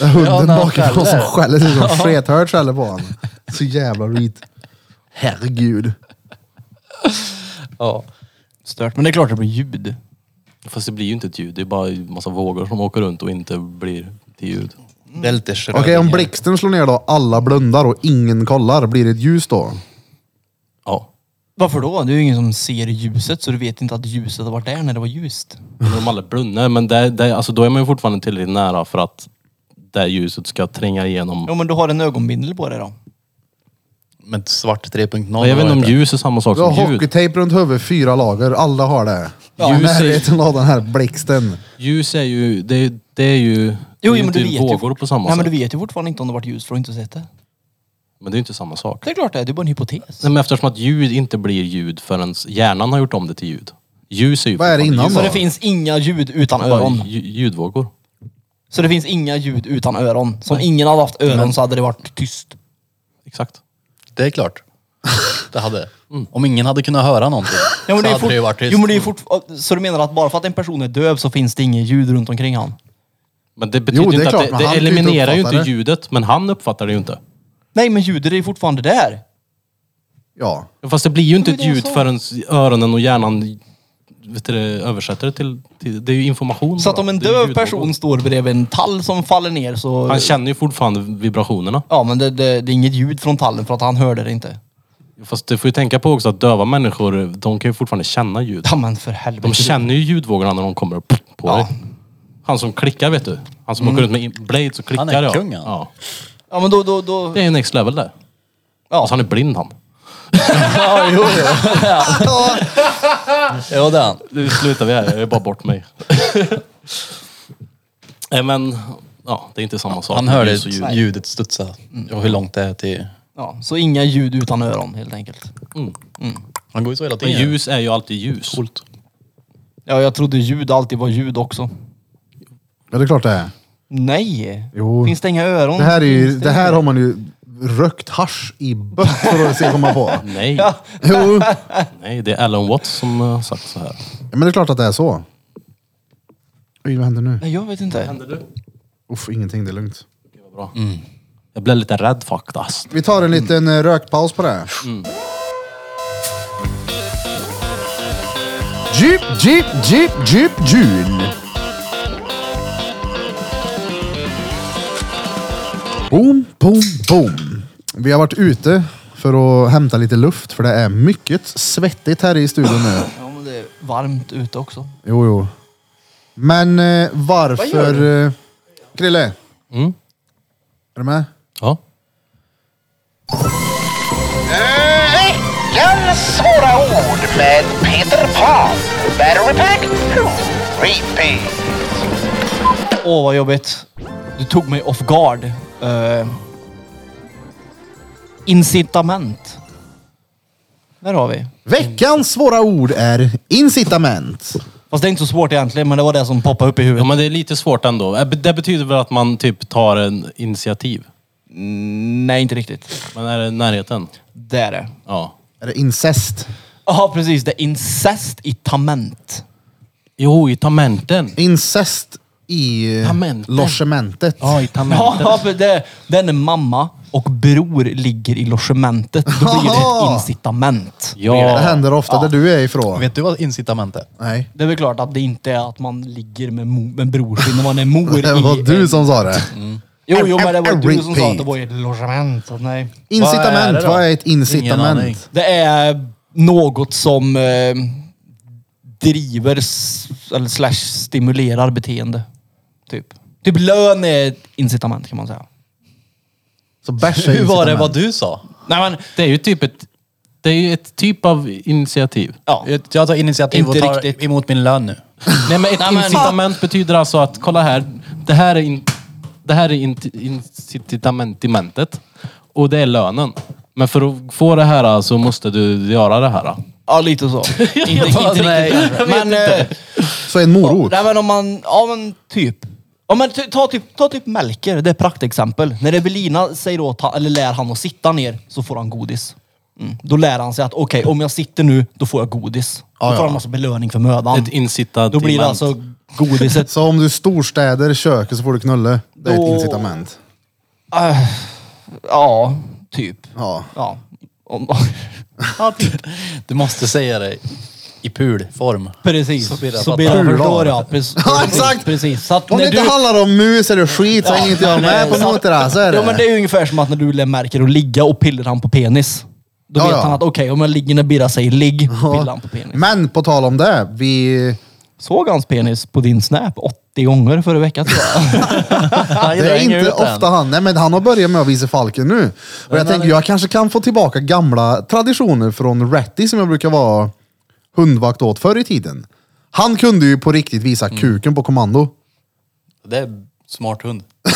[SPEAKER 1] Den hunden
[SPEAKER 4] när han
[SPEAKER 1] bakifrån som skäller,
[SPEAKER 4] skäller.
[SPEAKER 1] det ser ut som en skethörd skäller på honom. Så jävla reet. Herregud.
[SPEAKER 2] Ja. Stört. Men det är klart det blir ljud.
[SPEAKER 3] Fast det blir ju inte ett ljud. Det är bara en massa vågor som åker runt och inte blir till ljud.
[SPEAKER 4] Det är lite
[SPEAKER 1] Okej, om blixten slår ner då, alla blundar och ingen kollar, blir det ett ljus då?
[SPEAKER 3] Ja.
[SPEAKER 2] Varför då? Det är ju ingen som ser ljuset så du vet inte att ljuset har varit där när det var ljust.
[SPEAKER 3] Men De alla brunnar. Men det, det, alltså då är man ju fortfarande tillräckligt nära för att det här ljuset ska tränga igenom.
[SPEAKER 2] Ja men du har en ögonbindel på dig då.
[SPEAKER 4] Men svart 3.0.
[SPEAKER 3] Men jag vet inte om
[SPEAKER 4] vad heter
[SPEAKER 3] ljus är samma sak
[SPEAKER 1] Du har
[SPEAKER 3] som ljud.
[SPEAKER 1] hockeytejp runt huvudet, fyra lager, alla har det.
[SPEAKER 3] Ja.
[SPEAKER 1] I närheten av den här blixten.
[SPEAKER 3] Ljus är ju... Det, är- det är ju... det är
[SPEAKER 2] Jo,
[SPEAKER 3] ju
[SPEAKER 2] jo men
[SPEAKER 3] inte
[SPEAKER 2] du vet
[SPEAKER 3] vågor
[SPEAKER 2] ju.
[SPEAKER 3] på samma
[SPEAKER 2] Nej
[SPEAKER 3] sätt.
[SPEAKER 2] men du vet ju fortfarande inte om det har varit ljust för du har inte sett det.
[SPEAKER 3] Men det är ju inte samma sak.
[SPEAKER 2] Det är klart det är, det är bara en hypotes.
[SPEAKER 3] Nej, men eftersom att ljud inte blir ljud förrän hjärnan har gjort om det till ljud. Ljus är ju...
[SPEAKER 1] Vad är det innan
[SPEAKER 3] fortfarande ljud.
[SPEAKER 1] då?
[SPEAKER 2] Så det finns inga ljud utan
[SPEAKER 3] Bara
[SPEAKER 2] öron.
[SPEAKER 3] lj- ljudvågor.
[SPEAKER 2] Så det finns inga ljud utan öron. Så om ingen hade haft öron så hade det varit tyst.
[SPEAKER 3] Exakt.
[SPEAKER 4] Det är klart. Det hade. Om ingen hade kunnat höra någonting
[SPEAKER 2] Ja, men
[SPEAKER 4] så
[SPEAKER 2] det är
[SPEAKER 4] hade
[SPEAKER 2] fort...
[SPEAKER 4] det ju varit tyst.
[SPEAKER 2] jo, men det är fort... Så du menar att bara för att en person är döv så finns det inget ljud runt omkring han?
[SPEAKER 3] Men det betyder
[SPEAKER 1] Jo, det är
[SPEAKER 3] inte
[SPEAKER 1] klart, men
[SPEAKER 3] att det,
[SPEAKER 1] han
[SPEAKER 3] det
[SPEAKER 1] kan ju inte
[SPEAKER 3] eliminerar ju
[SPEAKER 1] uppfatta det.
[SPEAKER 3] inte ljudet, men han uppfattar det ju inte.
[SPEAKER 2] Nej men ljudet är ju fortfarande där.
[SPEAKER 1] Ja.
[SPEAKER 3] Fast det blir ju inte
[SPEAKER 2] Men
[SPEAKER 3] ett
[SPEAKER 2] det är
[SPEAKER 3] ljud
[SPEAKER 2] så.
[SPEAKER 3] förrän öronen och hjärnan vet du, det, översätter det till, till... Det är ju information.
[SPEAKER 2] Så att
[SPEAKER 3] bara.
[SPEAKER 2] om en
[SPEAKER 3] Det är ju
[SPEAKER 2] döv
[SPEAKER 3] ljudvågor.
[SPEAKER 2] person står bredvid en tall som faller ner så...
[SPEAKER 3] Han känner ju fortfarande vibrationerna.
[SPEAKER 2] Ja men det, det, det är inget ljud från tallen för att han hörde det inte.
[SPEAKER 3] Fast du får ju tänka på också att döva människor, de kan ju fortfarande känna ljud.
[SPEAKER 2] Ja men för helvete.
[SPEAKER 3] De känner ju ljudvågorna när de kommer upp på
[SPEAKER 2] Ja.
[SPEAKER 3] dig. Han som klickar vet du. Han som åker runt med in- blade så klickar
[SPEAKER 4] Han är
[SPEAKER 3] jag.
[SPEAKER 4] kung, han.
[SPEAKER 3] Ja.
[SPEAKER 2] Ja men då... då, då...
[SPEAKER 3] Det är ju next level där.
[SPEAKER 2] Ja.
[SPEAKER 3] Alltså han är blind han.
[SPEAKER 4] Ja, jo, jo. jo, det är han.
[SPEAKER 3] Nu slutar vi här, jag är bara bort mig. Nej, men, ja det är inte samma sak.
[SPEAKER 4] Han
[SPEAKER 3] Det är
[SPEAKER 4] hörde
[SPEAKER 3] så ljud.
[SPEAKER 4] ljudet studsa. Och hur långt det är till...
[SPEAKER 2] Ja, så inga ljud utan öron helt enkelt.
[SPEAKER 4] Han går ju så hela
[SPEAKER 3] Men
[SPEAKER 4] tiden.
[SPEAKER 3] ljus är ju alltid ljus.
[SPEAKER 4] Coolt.
[SPEAKER 2] Ja, jag trodde ljud alltid var ljud också.
[SPEAKER 1] ja, det är klart det är.
[SPEAKER 2] Nej!
[SPEAKER 1] Jo.
[SPEAKER 2] Finns det inga öron?
[SPEAKER 1] Det här, är ju,
[SPEAKER 2] Finns
[SPEAKER 1] det här har man ju rökt hasch i böcker och se komma på.
[SPEAKER 3] Nej,
[SPEAKER 1] Jo,
[SPEAKER 3] nej, det är Alan Watts som eh, har sagt så här.
[SPEAKER 1] men det är klart att det är så. Oj, vad händer nu?
[SPEAKER 2] Nej, jag vet inte.
[SPEAKER 3] du?
[SPEAKER 1] Uff, ingenting, det är lugnt.
[SPEAKER 3] Bra. Jag blev lite rädd faktiskt.
[SPEAKER 1] Vi tar en liten eh, rökpaus på det. här. Jeep, jeep, jeep, jeep, June. Boom, boom, boom. Vi har varit ute för att hämta lite luft för det är mycket svettigt här i studion nu.
[SPEAKER 2] Ja, men det är varmt ute också.
[SPEAKER 1] Jo, jo. Men eh, varför... Eh, Krille?
[SPEAKER 3] Mm.
[SPEAKER 1] Är du med?
[SPEAKER 3] Ja.
[SPEAKER 6] Veckans svåra ord med Peter Pan. Battery pack, repeat.
[SPEAKER 2] Åh, vad jobbigt. Du tog mig off guard. Eh, incitament. Där har vi.
[SPEAKER 1] Veckans svåra ord är incitament.
[SPEAKER 2] Fast det är inte så svårt egentligen, men det var det som poppade upp i
[SPEAKER 3] ja,
[SPEAKER 2] huvudet.
[SPEAKER 3] men det är lite svårt ändå. Eh, Det betyder väl att man typ tar en initiativ.
[SPEAKER 2] Mm, Nej, inte riktigt.
[SPEAKER 3] Men är det närheten?
[SPEAKER 2] Det är det.
[SPEAKER 3] Ja.
[SPEAKER 1] Är det incest?
[SPEAKER 2] Ja, precis. Det är incestitament.
[SPEAKER 3] Jo, i tamenten.
[SPEAKER 1] Incest i eh,
[SPEAKER 3] Tamentet.
[SPEAKER 1] logementet.
[SPEAKER 3] Ja, i
[SPEAKER 2] Ja,
[SPEAKER 3] tamenten.
[SPEAKER 2] ja, för det, den är mamma och bror ligger i logementet. Då blir det ett
[SPEAKER 1] Jaha.
[SPEAKER 2] incitament.
[SPEAKER 1] Det
[SPEAKER 3] Ja.
[SPEAKER 1] händer ofta där du är ifrån.
[SPEAKER 4] Vet du vad incitament är?
[SPEAKER 1] Nej.
[SPEAKER 2] Det är väl klart att det inte är att man ligger med, mo- med brorsin när man är
[SPEAKER 1] *laughs*
[SPEAKER 2] mor.
[SPEAKER 1] Det var
[SPEAKER 2] i
[SPEAKER 1] du
[SPEAKER 2] en-
[SPEAKER 1] som sa det.
[SPEAKER 2] Jo, jo, men det var du som sa att det
[SPEAKER 1] Repeat.
[SPEAKER 2] var i ett logement. Så nej.
[SPEAKER 1] Incitament. Vad
[SPEAKER 4] Vad
[SPEAKER 1] är,
[SPEAKER 4] är det då?
[SPEAKER 1] ett
[SPEAKER 4] Ingen aning.
[SPEAKER 1] incitament?
[SPEAKER 2] Det är något som eh, driver s- eller slash stimulerar beteende. Typ. Typ lön är ett incitament kan man säga.
[SPEAKER 1] Så bärs är
[SPEAKER 4] *laughs* Hur var det
[SPEAKER 1] incitament.
[SPEAKER 4] vad du sa?
[SPEAKER 2] Nej, men
[SPEAKER 3] Det är ju typ ett, det är ju ett typ av initiativ.
[SPEAKER 2] ja.
[SPEAKER 4] Jag- Jag tar initiativ
[SPEAKER 2] Inte
[SPEAKER 4] och tar
[SPEAKER 2] riktigt.
[SPEAKER 4] emot min lön nu.
[SPEAKER 3] Nej men ett incitament betyder alltså att, kolla här, det här är, in, det här är in, incitamentet och det är lönen. Men för att få det här så måste du göra det här.
[SPEAKER 2] *laughs*
[SPEAKER 1] *laughs*
[SPEAKER 2] Ja, lite så. inte, inte riktigt kanske. Men eh,
[SPEAKER 1] också en morot.
[SPEAKER 2] Nej men om man, ja men typ. Ja men ty, ta typ, ta typ Melker, det är ett praktexempel. När Evelina säger åt han, eller lär han att sitta ner så får han godis. Mm. Då lär han sig att okej, om jag sitter nu då får jag godis. Då får han massa belöning för mödan.
[SPEAKER 3] Ett incitament.
[SPEAKER 2] Då blir det alltså
[SPEAKER 1] *laughs*
[SPEAKER 2] godiset.
[SPEAKER 1] Så om du storstäder köket så får du knulle. Det är ett
[SPEAKER 2] Då-
[SPEAKER 1] incitament.
[SPEAKER 2] Äh, ja, typ.
[SPEAKER 1] Ja.
[SPEAKER 2] Ja. Om, *laughs* typ.
[SPEAKER 4] Du måste säga det i pulform.
[SPEAKER 2] precis. Så
[SPEAKER 4] blir det
[SPEAKER 2] blir
[SPEAKER 4] att-
[SPEAKER 2] det förstår jag. Precis,
[SPEAKER 1] *laughs* Ja, exakt.
[SPEAKER 2] Precis. Så att
[SPEAKER 1] Om det
[SPEAKER 2] när
[SPEAKER 1] inte
[SPEAKER 2] du-
[SPEAKER 1] handlar om mus eller skit så hänger inte jag
[SPEAKER 2] nej,
[SPEAKER 1] med på
[SPEAKER 2] så-
[SPEAKER 1] något där. Så är
[SPEAKER 2] Ja men det
[SPEAKER 1] det.
[SPEAKER 2] är ju ungefär som att när du lär märker att ligga och pillar han på penis. Då
[SPEAKER 1] Ja,
[SPEAKER 2] vet
[SPEAKER 1] ja.
[SPEAKER 2] han att okej, om jag ligger när Birra säger ligg, pillar han på penis.
[SPEAKER 1] Men på tal om det, vi...
[SPEAKER 2] Såg hans penis på din snap 80 gånger förra veckan tror jag.
[SPEAKER 1] Det är inte ofta han. Nej, men han har börjat med att visa falken nu. Och jag tänker, jag kanske kan få tillbaka gamla traditioner från Ratty som jag brukar vara hundvakt åt förr i tiden. Han kunde ju på riktigt visa kuken på kommando.
[SPEAKER 4] Det är smart hund.
[SPEAKER 1] Ja,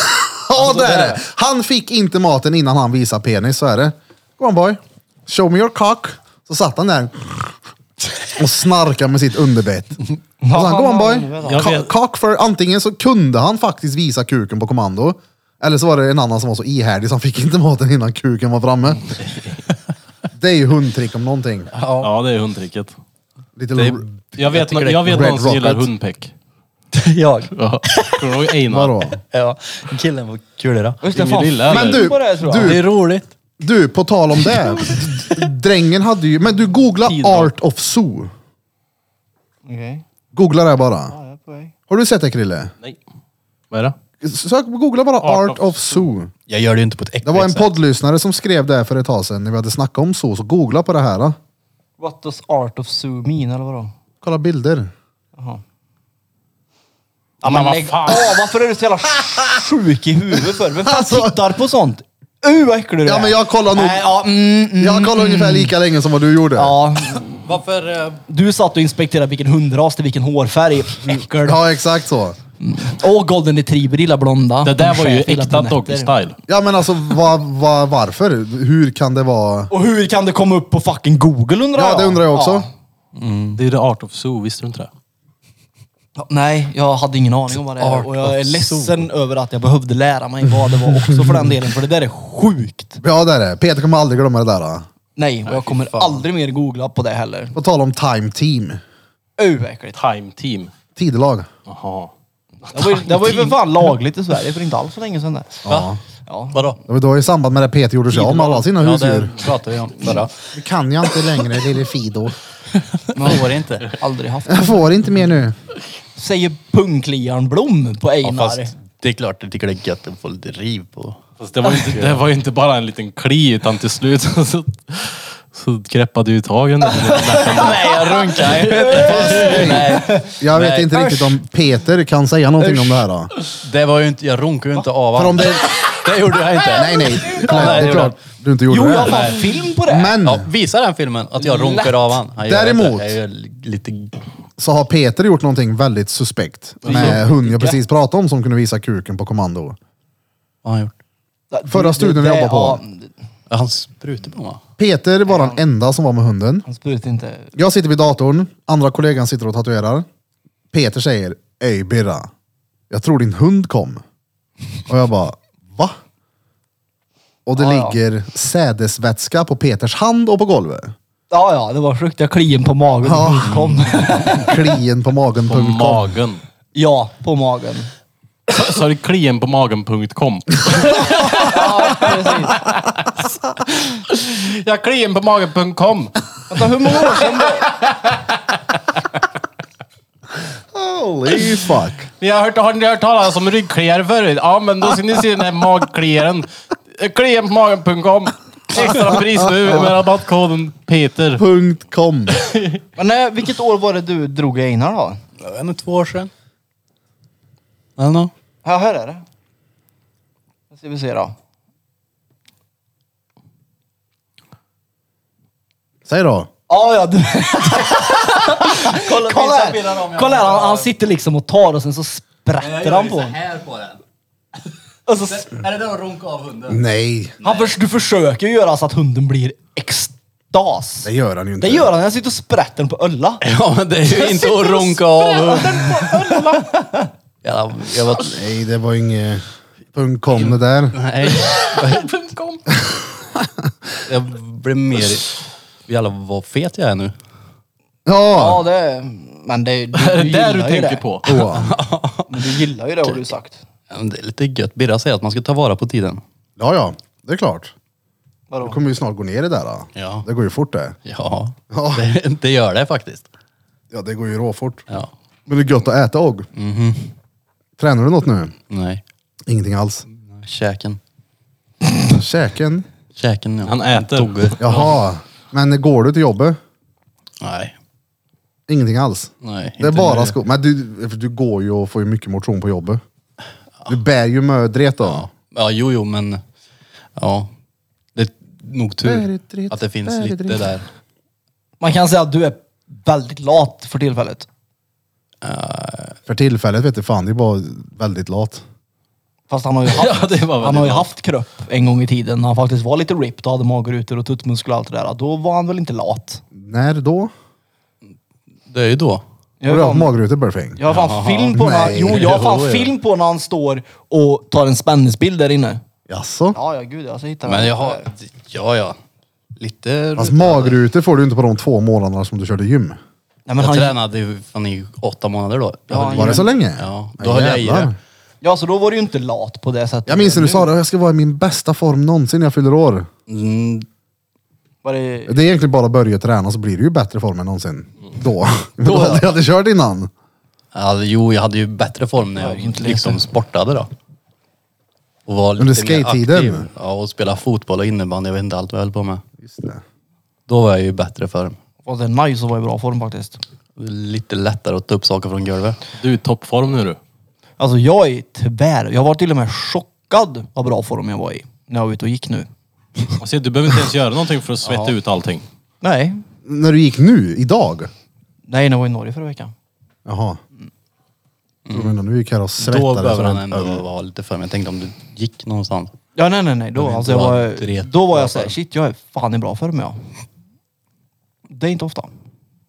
[SPEAKER 3] Alltså,
[SPEAKER 1] det är det. Han fick inte maten innan han visade penis, så är det. Go on boy, show me your cock. Så satt han där och snarkade med sitt underbett. Och så han, go on boy,
[SPEAKER 3] Jag
[SPEAKER 1] Ka-
[SPEAKER 3] vet-
[SPEAKER 1] cock för antingen så kunde han faktiskt visa kuken på kommando, eller så var det en annan som var så ihärdig så han fick inte maten innan kuken var framme. Det är ju hundtrick om någonting.
[SPEAKER 3] Ja, det är hundtricket.
[SPEAKER 1] Lite
[SPEAKER 3] Det är,
[SPEAKER 1] lo-
[SPEAKER 3] jag vet,
[SPEAKER 4] tycker
[SPEAKER 3] jag
[SPEAKER 4] det är
[SPEAKER 3] jag vet
[SPEAKER 1] Red
[SPEAKER 3] någon som gillar
[SPEAKER 1] Rocket.
[SPEAKER 3] hundpeck.
[SPEAKER 2] jag.
[SPEAKER 3] Ja. Kommer du ihåg
[SPEAKER 1] Vadå?
[SPEAKER 3] Einar?
[SPEAKER 4] Ja, killen var kul då.
[SPEAKER 2] *laughs* Just
[SPEAKER 3] Ingen illa,
[SPEAKER 1] Men
[SPEAKER 3] eller?
[SPEAKER 1] du,
[SPEAKER 2] På det här, tror jag.
[SPEAKER 4] Det
[SPEAKER 1] du,
[SPEAKER 4] är roligt.
[SPEAKER 1] du, på tal om
[SPEAKER 3] *laughs*
[SPEAKER 1] det. d- Drängen hade ju, men du googla
[SPEAKER 3] Tidval.
[SPEAKER 1] art of zoo. Googla det bara. Har du sett det Krille?
[SPEAKER 3] Nej. Vad är det?
[SPEAKER 1] Sök, googla bara Art,
[SPEAKER 3] Art
[SPEAKER 1] of,
[SPEAKER 3] of
[SPEAKER 1] Zoo.
[SPEAKER 4] Jag gör det ju inte på ett
[SPEAKER 1] Det
[SPEAKER 4] äckligt
[SPEAKER 1] var en
[SPEAKER 4] sätt.
[SPEAKER 1] poddlyssnare som skrev det här för ett tag sedan när vi hade snackat om zoo, så googla på det här. Då.
[SPEAKER 2] What does art of zoo mean eller vadå?
[SPEAKER 1] Kolla bilder.
[SPEAKER 2] Ja, men lägg av! Varför är du så
[SPEAKER 1] *laughs*
[SPEAKER 2] jävla sjuk i huvudet för? Vem fan tittar på sånt? Uh vad äcklig du
[SPEAKER 1] Alltså- Ja,
[SPEAKER 2] är.
[SPEAKER 1] men jag kollar nog-
[SPEAKER 2] Nej, ja, mm, mm,
[SPEAKER 1] Jag kollade ungefär lika länge som vad du gjorde.
[SPEAKER 2] ja.
[SPEAKER 4] Varför? eh,
[SPEAKER 2] Du satt och inspekterade vilken hundras till vilken *laughs* hårfärg. Äckel.
[SPEAKER 1] Ja, exakt så.
[SPEAKER 2] Åh, golden retriever gillar blonda.
[SPEAKER 3] Det
[SPEAKER 2] De
[SPEAKER 3] där var ju
[SPEAKER 2] chef gillar
[SPEAKER 3] äkta
[SPEAKER 2] brunetter.
[SPEAKER 3] doggy style.
[SPEAKER 1] Ja men alltså va, va, varför? Hur kan det vara?
[SPEAKER 2] Och hur kan det komma upp på fucking Google undrar jag?
[SPEAKER 1] Ja det undrar jag också.
[SPEAKER 2] Ja.
[SPEAKER 3] Mm. Det är the art of zoo, visste du inte det?
[SPEAKER 2] Ja, Nej, jag hade ingen aning om vad det
[SPEAKER 4] Art
[SPEAKER 2] är. Och jag är
[SPEAKER 4] of
[SPEAKER 2] ledsen över att jag behövde lära mig vad det var också för den delen. För det där är sjukt.
[SPEAKER 1] Ja det är det. Peter kommer aldrig glömma det där. Då.
[SPEAKER 2] Nej, och jag kommer aldrig mer googla på det heller.
[SPEAKER 1] På tal om time team.
[SPEAKER 2] Uh, vad äckligt.
[SPEAKER 3] Time team.
[SPEAKER 1] Tidelag.
[SPEAKER 3] Jaha.
[SPEAKER 2] Det var, ju, det var ju för fan lagligt i Sverige för inte alls så länge sedan. Där.
[SPEAKER 4] Va?
[SPEAKER 2] Ja.
[SPEAKER 4] Vadå?
[SPEAKER 1] Det var då i samband med det Peter gjorde sig av med alla sina
[SPEAKER 4] Ja,
[SPEAKER 1] husdjur.
[SPEAKER 4] det pratade vi om förra.
[SPEAKER 1] Det kan jag inte längre lille
[SPEAKER 2] *laughs*
[SPEAKER 1] Fido.
[SPEAKER 4] Men var det inte?
[SPEAKER 2] Aldrig haft.
[SPEAKER 1] Jag får inte mer nu.
[SPEAKER 2] Säger pungkliaren Blom på
[SPEAKER 4] Ja,
[SPEAKER 2] Einar.
[SPEAKER 4] fast det är klart jag tycker det är gött att få lite riv på.
[SPEAKER 3] Fast det var, ju inte, *laughs* det var ju inte bara en liten kli utan till slut *laughs* så, så greppade du tag under den. *laughs*
[SPEAKER 4] Nej, jag runkar Nej,
[SPEAKER 1] Jag vet
[SPEAKER 4] Nej.
[SPEAKER 1] inte riktigt om Peter kan säga någonting om det här. Då.
[SPEAKER 4] det var ju inte, jag runkar ju inte av
[SPEAKER 1] För om
[SPEAKER 4] honom.
[SPEAKER 1] det,
[SPEAKER 4] Det gjorde jag inte.
[SPEAKER 1] nej, nej.
[SPEAKER 4] nej,
[SPEAKER 1] det är
[SPEAKER 4] det
[SPEAKER 1] klart du inte gjorde
[SPEAKER 2] Jo, jag har
[SPEAKER 1] det.
[SPEAKER 2] fan film på det.
[SPEAKER 1] Men
[SPEAKER 4] Ja, visa den filmen, att jag runkar av han. han gör
[SPEAKER 1] Däremot-
[SPEAKER 4] inte. Jag är lite...
[SPEAKER 1] så har Peter gjort någonting väldigt suspekt med hund jag precis pratade om som kunde visa kuken på kommando.
[SPEAKER 4] Vad har han gjort?
[SPEAKER 1] Förra studion jag jobbade på.
[SPEAKER 4] Ja, Han sprutar på mig.
[SPEAKER 1] Peter var den enda som var med hunden.
[SPEAKER 2] Han sprutar inte.
[SPEAKER 1] Jag sitter vid datorn, andra kollegan sitter och tatuerar. Peter säger, Ey Birra, jag tror din hund kom. Och jag bara, va? Och det
[SPEAKER 2] Ja, ja.
[SPEAKER 1] ligger sädesvätska på Peters hand och på golvet.
[SPEAKER 2] Ja, ja, det var sjukt. Jag kliade på magen. Mm.
[SPEAKER 1] Ja.
[SPEAKER 2] Kom. *laughs*
[SPEAKER 1] Klien på
[SPEAKER 3] På
[SPEAKER 1] magen.com.
[SPEAKER 3] magen.
[SPEAKER 2] ja, på magen.
[SPEAKER 3] Sa du klien på *laughs* magen.com?
[SPEAKER 2] Ja, precis.
[SPEAKER 3] *laughs* Jag klien på magen.com.
[SPEAKER 2] Vänta, hur många år sedan?
[SPEAKER 1] Holy fuck.
[SPEAKER 3] Ni har, hört, har ni hört talas om ryggkliare förut? Ja, men då ska ni se den här magkliaren. Klien på magen.com. Extra pris nu med rabattkoden Peter.
[SPEAKER 1] Punkt .com.
[SPEAKER 2] Men nej, vilket år var det du drog i Einar då?
[SPEAKER 4] Jag vet inte, två år sedan. Eller nå?
[SPEAKER 2] Ja, här är det. Nu ska vi se då.
[SPEAKER 1] Säg då.
[SPEAKER 2] Ja, ja. Du... *laughs* kolla, kolla här. Kolla här. Han, han sitter liksom och tar och sen så sprätter han på honom.
[SPEAKER 4] här på den.
[SPEAKER 2] Och så s-
[SPEAKER 4] Är det då att runka av hunden?
[SPEAKER 1] Nej.
[SPEAKER 2] Han förs- du försöker ju göra så att hunden blir ex- das.
[SPEAKER 1] Det gör han ju inte.
[SPEAKER 2] Det gör han. Han sitter och sprätter den på ölla.
[SPEAKER 4] Ja, men det är ju inte att ronka av. Ja, jag var...
[SPEAKER 1] Nej, det var inget... Punkt kom det där.
[SPEAKER 4] Nej. *laughs* Jag blev mer... Jävlar vad fet jag är nu.
[SPEAKER 1] Ja!
[SPEAKER 2] Ja, det... Men *laughs* det, du,
[SPEAKER 3] Är
[SPEAKER 2] du
[SPEAKER 3] det där du
[SPEAKER 2] gillar ju
[SPEAKER 3] tänker
[SPEAKER 2] det.
[SPEAKER 3] på?
[SPEAKER 1] Åh.
[SPEAKER 2] Men Du gillar ju det har du sagt.
[SPEAKER 4] Ja, men Det är lite gött. Birra säger att man ska ta vara på tiden.
[SPEAKER 1] Ja, ja. Det är klart. Du
[SPEAKER 2] Vadå?
[SPEAKER 1] kommer ju snart gå ner i det där. Då.
[SPEAKER 4] Ja.
[SPEAKER 1] Det går ju fort det.
[SPEAKER 4] Ja,
[SPEAKER 1] Ja.
[SPEAKER 4] det, det gör det faktiskt.
[SPEAKER 1] Ja, det går ju råfort.
[SPEAKER 4] Ja.
[SPEAKER 1] Men det är gött att äta och.
[SPEAKER 2] Mhm.
[SPEAKER 1] Tränar du något nu?
[SPEAKER 4] Nej.
[SPEAKER 1] Ingenting alls.
[SPEAKER 2] Mm.
[SPEAKER 4] Käken.
[SPEAKER 1] Käken?
[SPEAKER 4] Käken, ja.
[SPEAKER 3] Han äter.
[SPEAKER 4] Tog det.
[SPEAKER 1] Jaha. Men går du till jobbet?
[SPEAKER 4] Nej.
[SPEAKER 1] Ingenting alls?
[SPEAKER 4] Nej.
[SPEAKER 1] Det är
[SPEAKER 4] inte
[SPEAKER 1] bara
[SPEAKER 4] nu.
[SPEAKER 1] skog. Men du, du går ju och får ju mycket motion på jobbet. Du bär ju mödret då.
[SPEAKER 4] Ja, jo, jo, men... Ja. Det är nog tur
[SPEAKER 1] Värdedrift,
[SPEAKER 4] att det finns lite
[SPEAKER 1] värdedrift.
[SPEAKER 4] där.
[SPEAKER 2] Man kan säga att du är väldigt lat för tillfället.
[SPEAKER 1] För tillfället vet du fan, det är bara väldigt lat.
[SPEAKER 2] Fast han har ju *laughs* haft,
[SPEAKER 3] Ja, det var
[SPEAKER 2] han har ju
[SPEAKER 3] väldigt
[SPEAKER 2] haft kropp en gång i tiden när han faktiskt var lite ripped och hade magrutor och tuttmuskler och allt det där. Då var han väl inte lat?
[SPEAKER 1] När då?
[SPEAKER 4] Det är ju då.
[SPEAKER 2] Jag
[SPEAKER 1] Har du
[SPEAKER 2] vet
[SPEAKER 1] haft
[SPEAKER 2] inte.
[SPEAKER 1] magrutor Burfing?
[SPEAKER 2] Jag har fan film på när han,
[SPEAKER 1] Nej.
[SPEAKER 2] jo, jag har
[SPEAKER 1] Jo,
[SPEAKER 2] fan
[SPEAKER 1] ja.
[SPEAKER 2] film på när han står och tar en spänningsbild där inne.
[SPEAKER 1] Jaså?
[SPEAKER 2] Ja, ja gud, jag ska hitta
[SPEAKER 4] Men
[SPEAKER 2] den.
[SPEAKER 4] jag har... Ja, ja. Lite...
[SPEAKER 1] Alltså magrutor får du inte på de två månaderna som du körde gym.
[SPEAKER 2] Nej, men
[SPEAKER 4] Jag
[SPEAKER 2] han,
[SPEAKER 4] tränade ju fan i åtta månader då. Jag
[SPEAKER 2] Ja,
[SPEAKER 4] höll i
[SPEAKER 1] Var det så länge?
[SPEAKER 4] Ja,
[SPEAKER 1] Men
[SPEAKER 4] då höll jag i
[SPEAKER 1] jävlar.
[SPEAKER 4] det.
[SPEAKER 2] ja, så då var du ju inte lat på det sättet.
[SPEAKER 1] Jag minns när du sa det, jag ska vara i min bästa form någonsin när jag fyller år.
[SPEAKER 4] Mm,
[SPEAKER 2] Var det,
[SPEAKER 1] Det är egentligen bara att börja träna så blir du ju bättre form än någonsin. Då. *laughs* Men då hade jag hade kört innan.
[SPEAKER 4] alltså, jo, jag hade ju bättre form när jag
[SPEAKER 2] Ja, inte
[SPEAKER 4] liksom
[SPEAKER 2] lite.
[SPEAKER 4] sportade då. Och var lite
[SPEAKER 1] Under
[SPEAKER 4] mer
[SPEAKER 1] skate-tiden?
[SPEAKER 4] aktiv. Ja, och spela fotboll och innebandy. Jag vet inte allt vad jag höll på med.
[SPEAKER 1] Just det.
[SPEAKER 4] Då var jag ju i bättre form.
[SPEAKER 2] var det nice och var i bra form faktiskt.
[SPEAKER 4] Lite lättare att ta upp saker från golvet.
[SPEAKER 3] Du är i toppform nu du.
[SPEAKER 2] Alltså jag är tvär. Jag var till och med chockad vad bra form jag var i när jag var ute och gick nu.
[SPEAKER 3] Alltså, du behöver inte ens göra någonting för att svetta ut allting.
[SPEAKER 2] Nej,
[SPEAKER 1] När du gick nu, idag?
[SPEAKER 2] nej, när jag var i Norge förra veckan.
[SPEAKER 1] Jaha. Mm. Du menar, nu gick jag och svettades.
[SPEAKER 4] Då behöver
[SPEAKER 1] över
[SPEAKER 4] han
[SPEAKER 1] en
[SPEAKER 4] ändå
[SPEAKER 1] öl.
[SPEAKER 4] vara lite för mig. Jag tänkte om du gick någonstans.
[SPEAKER 2] Ja, nej, nej, nej. Då,
[SPEAKER 4] Men
[SPEAKER 2] alltså,
[SPEAKER 4] du
[SPEAKER 2] jag
[SPEAKER 4] var
[SPEAKER 2] var,
[SPEAKER 4] rätt
[SPEAKER 2] då var
[SPEAKER 4] bra
[SPEAKER 2] jag såhär,
[SPEAKER 4] form.
[SPEAKER 2] shit jag är fan i bra form jag. Det är inte ofta.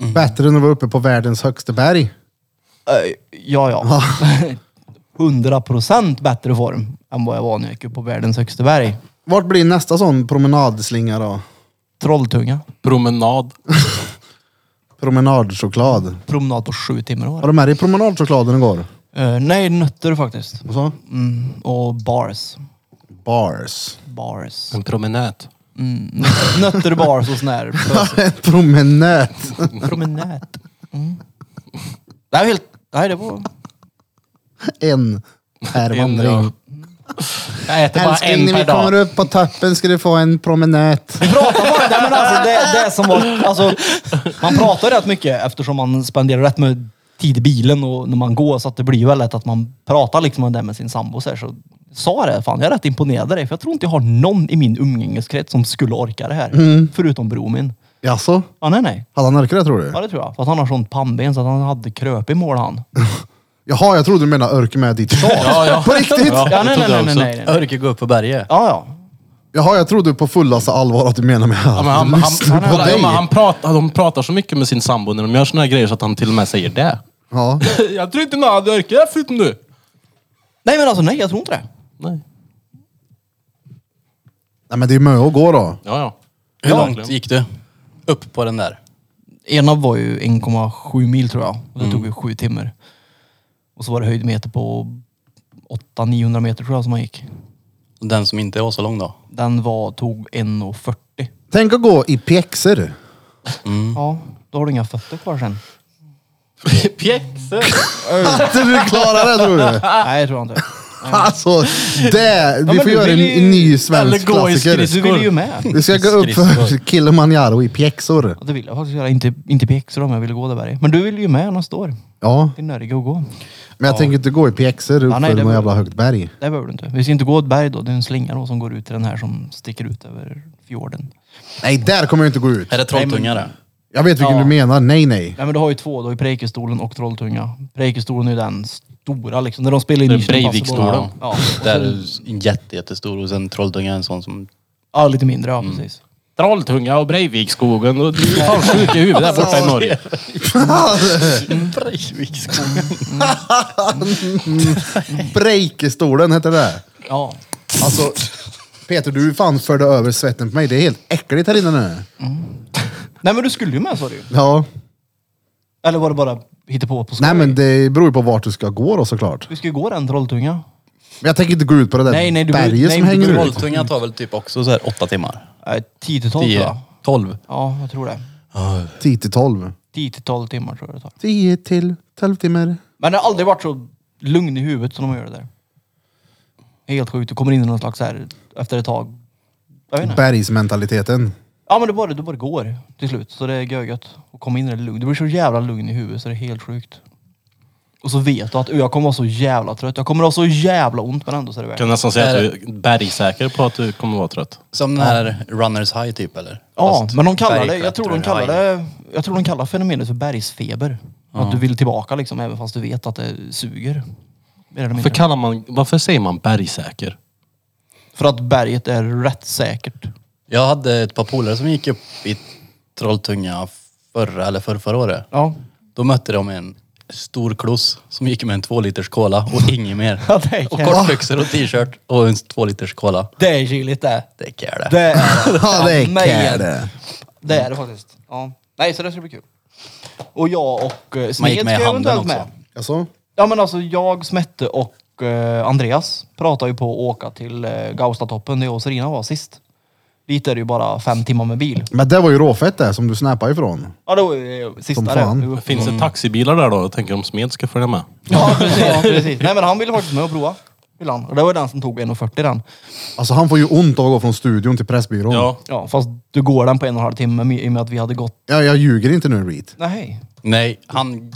[SPEAKER 3] Mm.
[SPEAKER 1] Bättre än att vara uppe på världens högsta berg.
[SPEAKER 2] Eh, ja, *laughs* ja. 100 procent bättre form än vad jag var när jag gick upp på världens högsta berg.
[SPEAKER 1] Vart blir nästa sån promenadslinga då?
[SPEAKER 2] Trolltunga.
[SPEAKER 3] Promenad.
[SPEAKER 1] Promenadchoklad.
[SPEAKER 2] Promenad på sju timmar var
[SPEAKER 1] Var du med i promenadchokladen igår?
[SPEAKER 2] det. Eh, Nej, nötter faktiskt.
[SPEAKER 1] Vad sa?
[SPEAKER 2] Mm. Och bars.
[SPEAKER 1] Bars. *laughs*
[SPEAKER 2] Bars.
[SPEAKER 3] En promenad.
[SPEAKER 2] Mm. Nötter, bars och sån här.
[SPEAKER 4] *laughs*
[SPEAKER 1] Promenad.
[SPEAKER 2] Promenad. Mm. Det här var helt... Nej, det var...
[SPEAKER 1] En per vandring.
[SPEAKER 3] ja. Jag äter bara
[SPEAKER 1] Älskling,
[SPEAKER 3] en
[SPEAKER 1] när vi
[SPEAKER 3] per
[SPEAKER 1] kommer
[SPEAKER 3] dag.
[SPEAKER 1] upp på toppen ska du få en promenad.
[SPEAKER 2] Prata bara, nej, men alltså, det, det som var, alltså, man pratar rätt mycket eftersom man spenderar rätt med tid i bilen och när man går så att det blir ju väldigt lätt att man pratar liksom om det med sin sambo så, här, så sa det, fan jag är rätt imponerad av dig för jag tror inte jag har någon i min umgängeskrets som skulle orka det här. Förutom bror min.
[SPEAKER 1] Jaså?
[SPEAKER 2] Ja, nej, nej.
[SPEAKER 1] Hade han örkat det tror
[SPEAKER 2] Ja,
[SPEAKER 1] du?
[SPEAKER 2] det tror jag. För att han har sånt pannben så att han hade kröp i mål han.
[SPEAKER 1] Jaha, jag trodde du menade örk med ditt tjat. På riktigt?
[SPEAKER 3] *laughs* Ja,
[SPEAKER 2] Ja,
[SPEAKER 3] det
[SPEAKER 2] nej,
[SPEAKER 3] trodde
[SPEAKER 2] nej, nej,
[SPEAKER 3] jag
[SPEAKER 2] nej,
[SPEAKER 3] också.
[SPEAKER 2] nej, nej.
[SPEAKER 4] Örke gå upp på berget.
[SPEAKER 2] Ja, ja.
[SPEAKER 1] Jaha, jag trodde på fullaste allvar att du menade med
[SPEAKER 3] Ja,
[SPEAKER 1] att
[SPEAKER 3] men han, han,
[SPEAKER 1] lyssna
[SPEAKER 3] han,
[SPEAKER 1] på
[SPEAKER 3] ja,
[SPEAKER 1] dig.
[SPEAKER 3] men han pratar, de pratar så mycket med sin sambo när de gör såna här grejer så att han till och med säger det.
[SPEAKER 1] Ja.
[SPEAKER 3] *laughs* Jag tror inte någon hade orkat det förutom du.
[SPEAKER 2] Nej men alltså nej, jag tror inte det.
[SPEAKER 3] Nej.
[SPEAKER 1] Nej, men det är mö att gå då.
[SPEAKER 3] Ja, ja.
[SPEAKER 4] Hur
[SPEAKER 3] Ja.
[SPEAKER 4] långt gick du? Upp på den där?
[SPEAKER 2] Ena var ju 1,7 mil tror jag. Och det tog ju sju timmar. Och så var det höjdmeter på 800-900 meter tror jag som man gick.
[SPEAKER 4] Den som inte var så lång då?
[SPEAKER 2] Den var, tog 1,40.
[SPEAKER 1] Tänk att gå i pjäxor.
[SPEAKER 2] Ja, då har du inga fötter kvar sen.
[SPEAKER 3] Pjäxor!
[SPEAKER 1] *laughs* Att du klarar det tror du?
[SPEAKER 2] Nej, jag tror inte.
[SPEAKER 1] Alltså, det, vi
[SPEAKER 2] men
[SPEAKER 1] får
[SPEAKER 2] du
[SPEAKER 1] göra en,
[SPEAKER 2] vill ju-
[SPEAKER 1] en ny
[SPEAKER 3] eller
[SPEAKER 1] svensk
[SPEAKER 3] gå i
[SPEAKER 1] klassiker.
[SPEAKER 2] Du ville ju med.
[SPEAKER 1] Vi ska gå upp för Kilimanjaro i pjäxor.
[SPEAKER 2] Ja, det ville jag faktiskt göra. Inte, inte pjäxor om jag ville gå där berget. Men du ville ju med nästa år.
[SPEAKER 1] Ja,
[SPEAKER 2] Till Nörge och gå.
[SPEAKER 1] men jag tänker inte gå i pjäxor upp
[SPEAKER 2] Ja, nej,
[SPEAKER 1] för
[SPEAKER 2] det
[SPEAKER 1] något
[SPEAKER 2] var-
[SPEAKER 1] jävla högt berg.
[SPEAKER 2] Det behöver du inte. Vi ska inte gå ett berg då. Det är en slinga då som går ut till den här som sticker ut över fjorden.
[SPEAKER 1] Nej, där kommer jag inte gå ut.
[SPEAKER 4] Är det Trolltunga det?
[SPEAKER 1] Jag vet vilken
[SPEAKER 2] Ja.
[SPEAKER 1] du menar. Nej, nej.
[SPEAKER 2] *laughs* Nej men du har ju två, du har ju Preikestolen och Trolltunga. Preikestolen är ju den stora liksom, när de spelar in
[SPEAKER 3] Det är
[SPEAKER 2] Nischen
[SPEAKER 3] Breivikstolen.
[SPEAKER 2] Passabola. Ja, och
[SPEAKER 4] Där
[SPEAKER 2] så, *laughs*
[SPEAKER 4] är en jätte, jättestor och sen Trolltunga är en sån som...
[SPEAKER 2] ja lite mindre ja precis.
[SPEAKER 3] Trolltunga och Breivikskogen och du är fan sjuk i huvudet där borta i Norge.
[SPEAKER 4] Breivikskogen.
[SPEAKER 1] Breikestolen heter det.
[SPEAKER 2] Ja.
[SPEAKER 1] Alltså, Peter du fan förde över svetten på mig. Det är helt äckligt här inne nu.
[SPEAKER 2] Nej men du skulle ju med sa du ju.
[SPEAKER 1] Ja.
[SPEAKER 2] Eller var det bara hittepå på skoj?
[SPEAKER 1] Nej men det beror ju på vart du ska gå då såklart.
[SPEAKER 2] Vi ska ju gå den Trolltunga.
[SPEAKER 1] Men jag tänker inte gå ut på det där
[SPEAKER 2] Nej, nej, du-
[SPEAKER 1] berget
[SPEAKER 2] nej,
[SPEAKER 1] som
[SPEAKER 2] du-
[SPEAKER 1] hänger ut.
[SPEAKER 4] Trolltungan tar väl typ också så här åtta timmar?
[SPEAKER 2] Nej, 10 till 12 tror
[SPEAKER 4] Tio?
[SPEAKER 2] jag.
[SPEAKER 4] Tolv?
[SPEAKER 2] Ja, jag tror det.
[SPEAKER 1] 10 till 12.
[SPEAKER 2] 10 till 12 timmar tror jag det tar.
[SPEAKER 1] 10 till 12 timmar.
[SPEAKER 2] Men det har aldrig varit så lugn i huvudet som de gör det där. Helt sjukt. Du kommer in i någon slags så här efter ett tag. Jag vet inte.
[SPEAKER 1] Bergsmentaliteten.
[SPEAKER 2] Ja men det bara, det bara går till slut. Så det är görgött. Och komma in i det lugn. Du blir så jävla lugn i huvudet så det är helt sjukt. Och så vet du att "Ö, jag kommer vara så jävla trött. Jag kommer ha så jävla ont men ändå så är det värt
[SPEAKER 3] Jag kan
[SPEAKER 2] det.
[SPEAKER 3] nästan säga att du är bergsäker på att du kommer vara trött.
[SPEAKER 4] Som den här runners high typ eller?
[SPEAKER 2] Ja,
[SPEAKER 4] Fast
[SPEAKER 2] men de kallar det, jag
[SPEAKER 4] bergklättrare
[SPEAKER 2] tror de kallar
[SPEAKER 4] high.
[SPEAKER 2] det, jag tror de kallar fenomenet för bergsfeber. Att du vill tillbaka liksom även fast du vet att det suger. Mer eller
[SPEAKER 3] Varför,
[SPEAKER 2] mindre.
[SPEAKER 3] kallar man, varför säger man bergsäker?
[SPEAKER 2] För att berget är rätt säkert.
[SPEAKER 4] Jag hade ett par polare som gick upp i Trolltunga förra eller förra, förra året.
[SPEAKER 2] Ja.
[SPEAKER 4] Då mötte de en stor kloss som gick med en två liters cola
[SPEAKER 2] *laughs*
[SPEAKER 4] och inget mer.
[SPEAKER 2] Ja, det är
[SPEAKER 4] och
[SPEAKER 2] jävla-
[SPEAKER 4] kortbyxor och t-shirt och en två liters cola.
[SPEAKER 2] Det är kyligt det.
[SPEAKER 4] Det är kul
[SPEAKER 2] Det är det.
[SPEAKER 1] Ja, det är
[SPEAKER 2] men-
[SPEAKER 1] kärle.
[SPEAKER 4] Mm.
[SPEAKER 2] Det är det faktiskt. Ja. Nej, så det ska bli kul. Och jag och eh,
[SPEAKER 4] Man
[SPEAKER 2] Smed
[SPEAKER 4] gick
[SPEAKER 2] ska
[SPEAKER 4] med i
[SPEAKER 2] jag
[SPEAKER 4] handen
[SPEAKER 2] eventuellt
[SPEAKER 4] också.
[SPEAKER 2] med.
[SPEAKER 1] Alltså,
[SPEAKER 2] Ja men alltså jag, Smette och eh, Andreas pratade ju på att åka till eh, Gaustatoppen där jag och Serina var sist. Dit är det ju bara fem timmar med bil.
[SPEAKER 1] men det var ju råfett det som du snappade ifrån.
[SPEAKER 2] Ja det var ju eh, sista
[SPEAKER 1] Som
[SPEAKER 2] det.
[SPEAKER 1] fan.
[SPEAKER 2] Vi var uppe
[SPEAKER 3] Finns
[SPEAKER 2] på-
[SPEAKER 3] det taxibilar där då? Jag tänker om Smed ska följa med.
[SPEAKER 2] Ja precis, ja, precis. Nej men han ville faktiskt med och prova. Vill han. Och det var den som tog 1.40 den.
[SPEAKER 1] Alltså han får ju ont av att gå från studion till Pressbyrån.
[SPEAKER 3] Ja.
[SPEAKER 2] Ja fast du går den på en och en halv timme med- i och med att vi hade gått...
[SPEAKER 1] Ja, jag ljuger inte nu Reed.
[SPEAKER 2] Nej.
[SPEAKER 4] Nej, han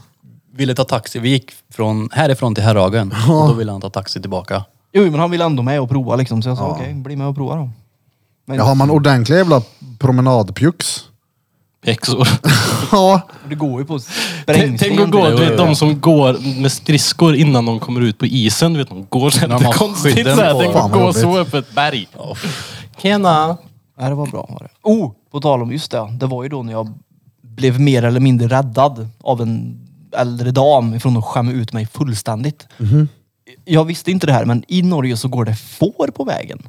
[SPEAKER 4] ville ta taxi. Vi gick från härifrån
[SPEAKER 2] *laughs*
[SPEAKER 4] till Herrhagen och då ville han ta taxi tillbaka.
[SPEAKER 2] Jo men han ville ändå med och prova liksom. Så jag sa okej, bli med och prova då. Men
[SPEAKER 1] Ja, har man ordentliga jävla promenadpjucks?
[SPEAKER 3] *laughs* Pjäxor.
[SPEAKER 1] *laughs* Ja.
[SPEAKER 2] det går ju på
[SPEAKER 3] Tänk-
[SPEAKER 2] sprängsten.
[SPEAKER 3] Tänk att gå,
[SPEAKER 4] Jo,
[SPEAKER 3] du
[SPEAKER 4] jo,
[SPEAKER 3] vet
[SPEAKER 4] jo.
[SPEAKER 3] de som går med skridskor innan de kommer ut på isen. Du vet, de går så
[SPEAKER 4] När
[SPEAKER 3] lite
[SPEAKER 4] man
[SPEAKER 3] konstigt
[SPEAKER 4] skydden
[SPEAKER 3] såhär.
[SPEAKER 4] på.
[SPEAKER 3] Tänk
[SPEAKER 1] Fan,
[SPEAKER 3] att
[SPEAKER 1] vad
[SPEAKER 3] gå
[SPEAKER 1] jobbigt.
[SPEAKER 3] så upp ett berg. Tjena!
[SPEAKER 2] Nej, det var bra. Var det. Oh, på tal om just det. Det var ju då när jag blev mer eller mindre räddad av en äldre dam ifrån att skämma ut mig fullständigt.
[SPEAKER 3] Mhm.
[SPEAKER 2] Jag visste inte det här, men i Norge så går det får på vägen.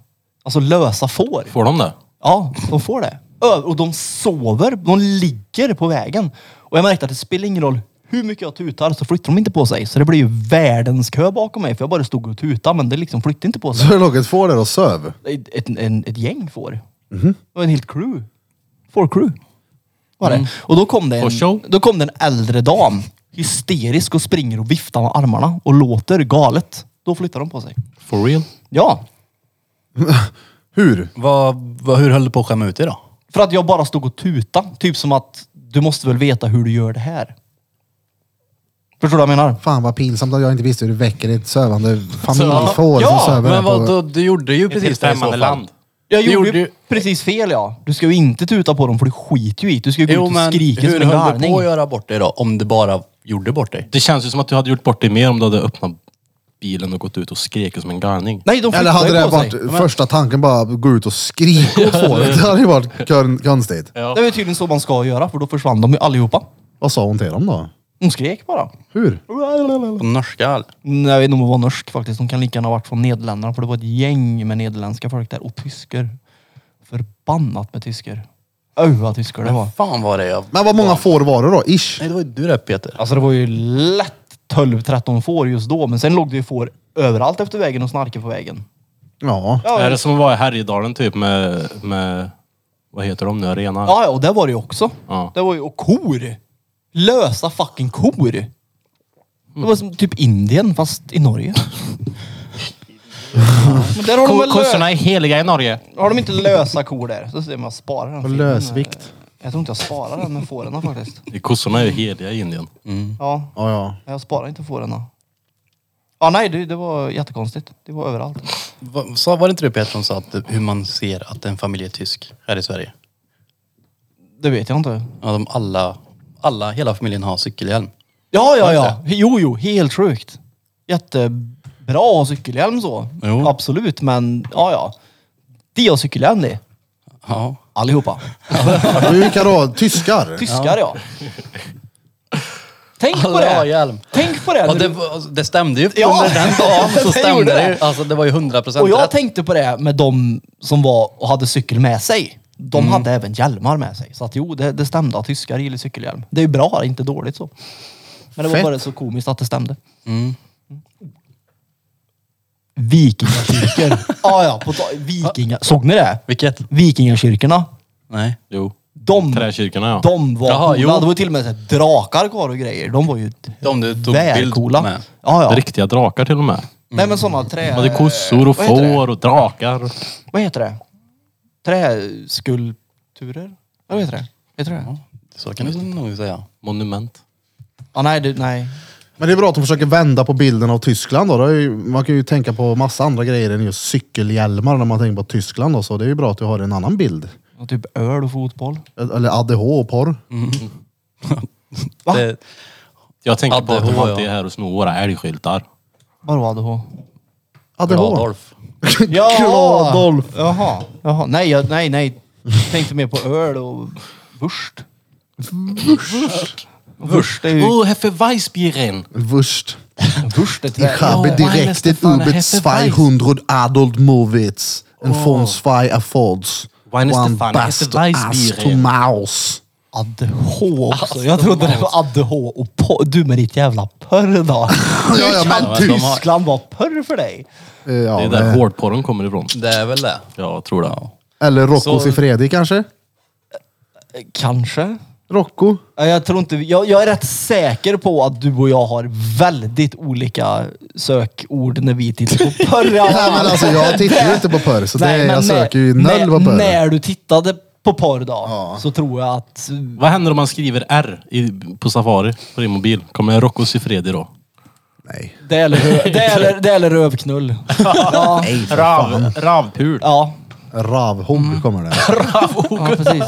[SPEAKER 2] Alltså lösa får.
[SPEAKER 3] Får de det?
[SPEAKER 2] Ja, de får det. Ö- Och de sover. De ligger på vägen. Och jag märkte att det spelar ingen roll hur mycket jag tutar så flyttar de inte på sig. Så det blev ju världens kö bakom mig för jag bara stod och tutade men det liksom flyttade inte på sig
[SPEAKER 1] Så det låg ett får där och söv.
[SPEAKER 2] ett, ett, en, ett gäng får.
[SPEAKER 1] Mhm.
[SPEAKER 2] Och en helt crew. Får crew. Var
[SPEAKER 4] Mm.
[SPEAKER 2] det. Och då kom det,
[SPEAKER 3] Får show.
[SPEAKER 2] en, då kom det en äldre dam. Hysterisk och springer och viftar med armarna och låter galet. Då flyttar de på sig.
[SPEAKER 3] For real?
[SPEAKER 2] Ja.
[SPEAKER 1] Hur?
[SPEAKER 4] Vad, vad, hur höll du på att skämma ut dig då?
[SPEAKER 2] För att jag bara stod och tuta. Typ som att du måste väl veta hur du gör det här. Förstår du vad jag menar?
[SPEAKER 1] Fan vad pinsamt att jag inte visste hur du väcker ett sövande familjefår
[SPEAKER 2] Ja,
[SPEAKER 1] som söver
[SPEAKER 4] Men
[SPEAKER 1] där
[SPEAKER 4] vad,
[SPEAKER 1] på...
[SPEAKER 4] då, du gjorde ju
[SPEAKER 3] Ett helt
[SPEAKER 4] precis det i så
[SPEAKER 3] främmande
[SPEAKER 4] fall.
[SPEAKER 3] land.
[SPEAKER 2] Jag
[SPEAKER 4] Det
[SPEAKER 2] gjorde
[SPEAKER 4] gjorde
[SPEAKER 2] ju
[SPEAKER 4] ju-
[SPEAKER 2] precis fel ja. Du ska ju inte tuta på dem för du skiter ju i det. Du ska ju gå
[SPEAKER 4] Jo
[SPEAKER 2] ut och
[SPEAKER 4] men
[SPEAKER 2] skrika
[SPEAKER 4] hur
[SPEAKER 2] som en
[SPEAKER 4] höll du
[SPEAKER 2] galning.
[SPEAKER 4] på att göra bort dig då? Om du bara gjorde bort dig?
[SPEAKER 3] Det känns ju som att du hade gjort bort dig mer om du hade öppnat bilen och gått ut och skrek som en galning.
[SPEAKER 2] Nej, de flyttar
[SPEAKER 1] Eller hade
[SPEAKER 2] ju
[SPEAKER 1] det
[SPEAKER 2] på sig.
[SPEAKER 1] varit första tanken bara gå ut och skrika åt
[SPEAKER 2] *laughs*
[SPEAKER 1] fåret? Det hade ju varit kon- konstigt.
[SPEAKER 2] Det var ju tydligen så man ska göra för då försvann de ju allihopa.
[SPEAKER 1] Vad sa hon till dem då?
[SPEAKER 2] Hon skrek bara.
[SPEAKER 1] Hur?
[SPEAKER 4] På norska eller?
[SPEAKER 2] Nej, jag vet inte om hon var norsk faktiskt. Hon kan lika gärna ha varit från Nederländerna för det var ett gäng med nederländska folk där och tysker. Förbannat med tysker. Öh vad tysker det var.
[SPEAKER 4] Fan vad det jag...
[SPEAKER 1] Men vad många får var det då? Ish?
[SPEAKER 4] Nej det var ju du det Peter.
[SPEAKER 2] Alltså det var ju lätt 12-13 får just då men sen låg det ju får överallt efter vägen och snarkade på vägen.
[SPEAKER 1] Ja.
[SPEAKER 2] Ja,
[SPEAKER 3] Är
[SPEAKER 2] ja,
[SPEAKER 3] det som att vara i Härjedalen typ med, med vad heter de nu, arena?
[SPEAKER 2] ja och det var det ju också.
[SPEAKER 3] Ja.
[SPEAKER 2] Det var ju, och kor! Lösa fucking kor! Det var som typ Indien fast i *laughs* Norge. Men där har de väl lö-
[SPEAKER 3] är heliga i Norge.
[SPEAKER 2] Har de inte lösa kor där, så ser man spara den. filmen.
[SPEAKER 1] lösvikt.
[SPEAKER 2] Jag tror inte jag sparar den med
[SPEAKER 4] *laughs*
[SPEAKER 2] fåren faktiskt.
[SPEAKER 3] Kossorna är ju heliga i Indien.
[SPEAKER 2] Ja,
[SPEAKER 1] Ja, ja.
[SPEAKER 2] jag sparar inte fåren. Ja, nej, det, det var jättekonstigt. Det var överallt.
[SPEAKER 4] Va, sa, var det inte du Peter som sa att hur man ser att en familj är tysk här i Sverige?
[SPEAKER 2] Det vet jag inte.
[SPEAKER 4] Ja, de alla, alla, hela familjen har cykelhjälm.
[SPEAKER 2] Ja, ja, ja. Jo, jo, helt sjukt. Jättebra att ha cykelhjälm så.
[SPEAKER 4] Jo.
[SPEAKER 2] Absolut, men ja, ja. Det är cykelhjälm det.
[SPEAKER 4] *laughs* Ja.
[SPEAKER 2] Allihopa.
[SPEAKER 1] Vilka då? Tyskar?
[SPEAKER 2] Tyskar ja. Tänk på
[SPEAKER 4] Alla har
[SPEAKER 2] det.
[SPEAKER 4] hjälm.
[SPEAKER 2] Tänk på det.
[SPEAKER 4] Och
[SPEAKER 2] när
[SPEAKER 4] det,
[SPEAKER 2] du-
[SPEAKER 4] var- alltså, det stämde ju.
[SPEAKER 2] *laughs* Ja,
[SPEAKER 4] Under den dagen så
[SPEAKER 2] det
[SPEAKER 4] stämde
[SPEAKER 2] gjorde
[SPEAKER 4] det ju.
[SPEAKER 2] det.
[SPEAKER 4] Alltså det var ju 100 procent
[SPEAKER 2] Och jag tänkte på det med de som var och hade cykel med sig. De
[SPEAKER 4] Mm.
[SPEAKER 2] hade även hjälmar med sig. Så att jo, det, det stämde att tyskar gillar cykelhjälm. Det är ju bra, inte dåligt så. Men det var
[SPEAKER 1] Fett.
[SPEAKER 2] bara så komiskt att det stämde.
[SPEAKER 4] Mm. *laughs*
[SPEAKER 2] Vikingakyrkor. ah, ja, på ta- vikinga. Såg ni det?
[SPEAKER 4] Vilket?
[SPEAKER 2] Vikingakyrkorna.
[SPEAKER 4] Nej.
[SPEAKER 3] Jo.
[SPEAKER 2] De,
[SPEAKER 3] Träkyrkorna ja.
[SPEAKER 2] de var
[SPEAKER 4] Jaha,
[SPEAKER 2] coola.
[SPEAKER 4] jo.
[SPEAKER 2] Det var till och med så här, drakar kvar och grejer. De var ju
[SPEAKER 4] De du tog bild
[SPEAKER 2] välcoola.
[SPEAKER 4] med. Mm.
[SPEAKER 2] Ja, ja.
[SPEAKER 3] Riktiga drakar till och med.
[SPEAKER 2] Nej men sådana trä...
[SPEAKER 3] De hade kossor och
[SPEAKER 2] Eh, vad heter det?
[SPEAKER 3] får och drakar.
[SPEAKER 2] Vad heter det? Träskulpturer? Vad heter det? Heter det det?
[SPEAKER 4] Så kan du nog säga.
[SPEAKER 3] Monument.
[SPEAKER 2] ah, nej, det, nej.
[SPEAKER 1] Men det är bra att de försöker vända på bilden av Tyskland då. Det är ju, man kan ju tänka på massa andra grejer än just cykelhjälmar när man tänker på Tyskland då. Så det är ju bra att du har en annan bild.
[SPEAKER 2] Och typ öl och fotboll.
[SPEAKER 1] Eller ADH och porr.
[SPEAKER 2] Va?
[SPEAKER 4] Det,
[SPEAKER 3] Jag tänker på att de
[SPEAKER 4] ADH, ja.
[SPEAKER 3] alltid är här och snor våra älgskyltar.
[SPEAKER 2] Vadå ADH?
[SPEAKER 1] ADH.
[SPEAKER 4] Adolf.
[SPEAKER 1] Adolf.
[SPEAKER 2] Jaha. Jaha. Nej, jag, nej, nej. Tänkte mer på öl och wurst. Wurst? Wurst är ju...
[SPEAKER 3] Oh, Heffe Weissbieren!
[SPEAKER 1] Wurst.
[SPEAKER 2] Wurst är
[SPEAKER 1] Ich habe
[SPEAKER 2] trä.
[SPEAKER 1] direkt ett Uber 200 Adult Movits. En von zwei affords.
[SPEAKER 3] Wein ist
[SPEAKER 1] One
[SPEAKER 3] Stefan, ist
[SPEAKER 1] best
[SPEAKER 3] der Weißbier,
[SPEAKER 1] ass to
[SPEAKER 3] ey.
[SPEAKER 1] mouse.
[SPEAKER 2] ADH också. Jag trodde det var ADH och porr. Du med ditt jävla porr då.
[SPEAKER 1] ja, men
[SPEAKER 2] Kan
[SPEAKER 1] de
[SPEAKER 4] har-
[SPEAKER 2] Tyskland var porr för dig?
[SPEAKER 1] Eh, Ja,
[SPEAKER 3] Det är där
[SPEAKER 1] men-
[SPEAKER 3] hårdporren kommer ifrån.
[SPEAKER 4] Det är väl det.
[SPEAKER 3] Jag tror det.
[SPEAKER 1] eller Roccos
[SPEAKER 4] Så-
[SPEAKER 1] i Fredrik kanske?
[SPEAKER 2] Kanske.
[SPEAKER 1] Rocco?
[SPEAKER 2] Ja, Jag tror inte, jag, jag är rätt säker på att du och jag har väldigt olika sökord när vi
[SPEAKER 1] *laughs*
[SPEAKER 2] tittar på porr. i alla
[SPEAKER 1] Nej men
[SPEAKER 2] fall.
[SPEAKER 1] alltså jag tittar ju inte på porr så det,
[SPEAKER 2] Nej, men eh,
[SPEAKER 1] jag söker ju
[SPEAKER 2] när-
[SPEAKER 1] noll på porr.
[SPEAKER 2] När du tittade på porr då, så tror jag att...
[SPEAKER 3] Vad händer om man skriver R i, på Safari på din mobil? Kommer jag Rocco Siffredi då?
[SPEAKER 1] Nej.
[SPEAKER 2] Det eller,
[SPEAKER 1] *laughs*
[SPEAKER 2] rö- det eller, det eller rövknull. Ja,
[SPEAKER 3] Rav, ravpul.
[SPEAKER 2] ja,
[SPEAKER 1] Ravhog
[SPEAKER 2] Mm.
[SPEAKER 1] kommer det. Oh,
[SPEAKER 2] ja precis.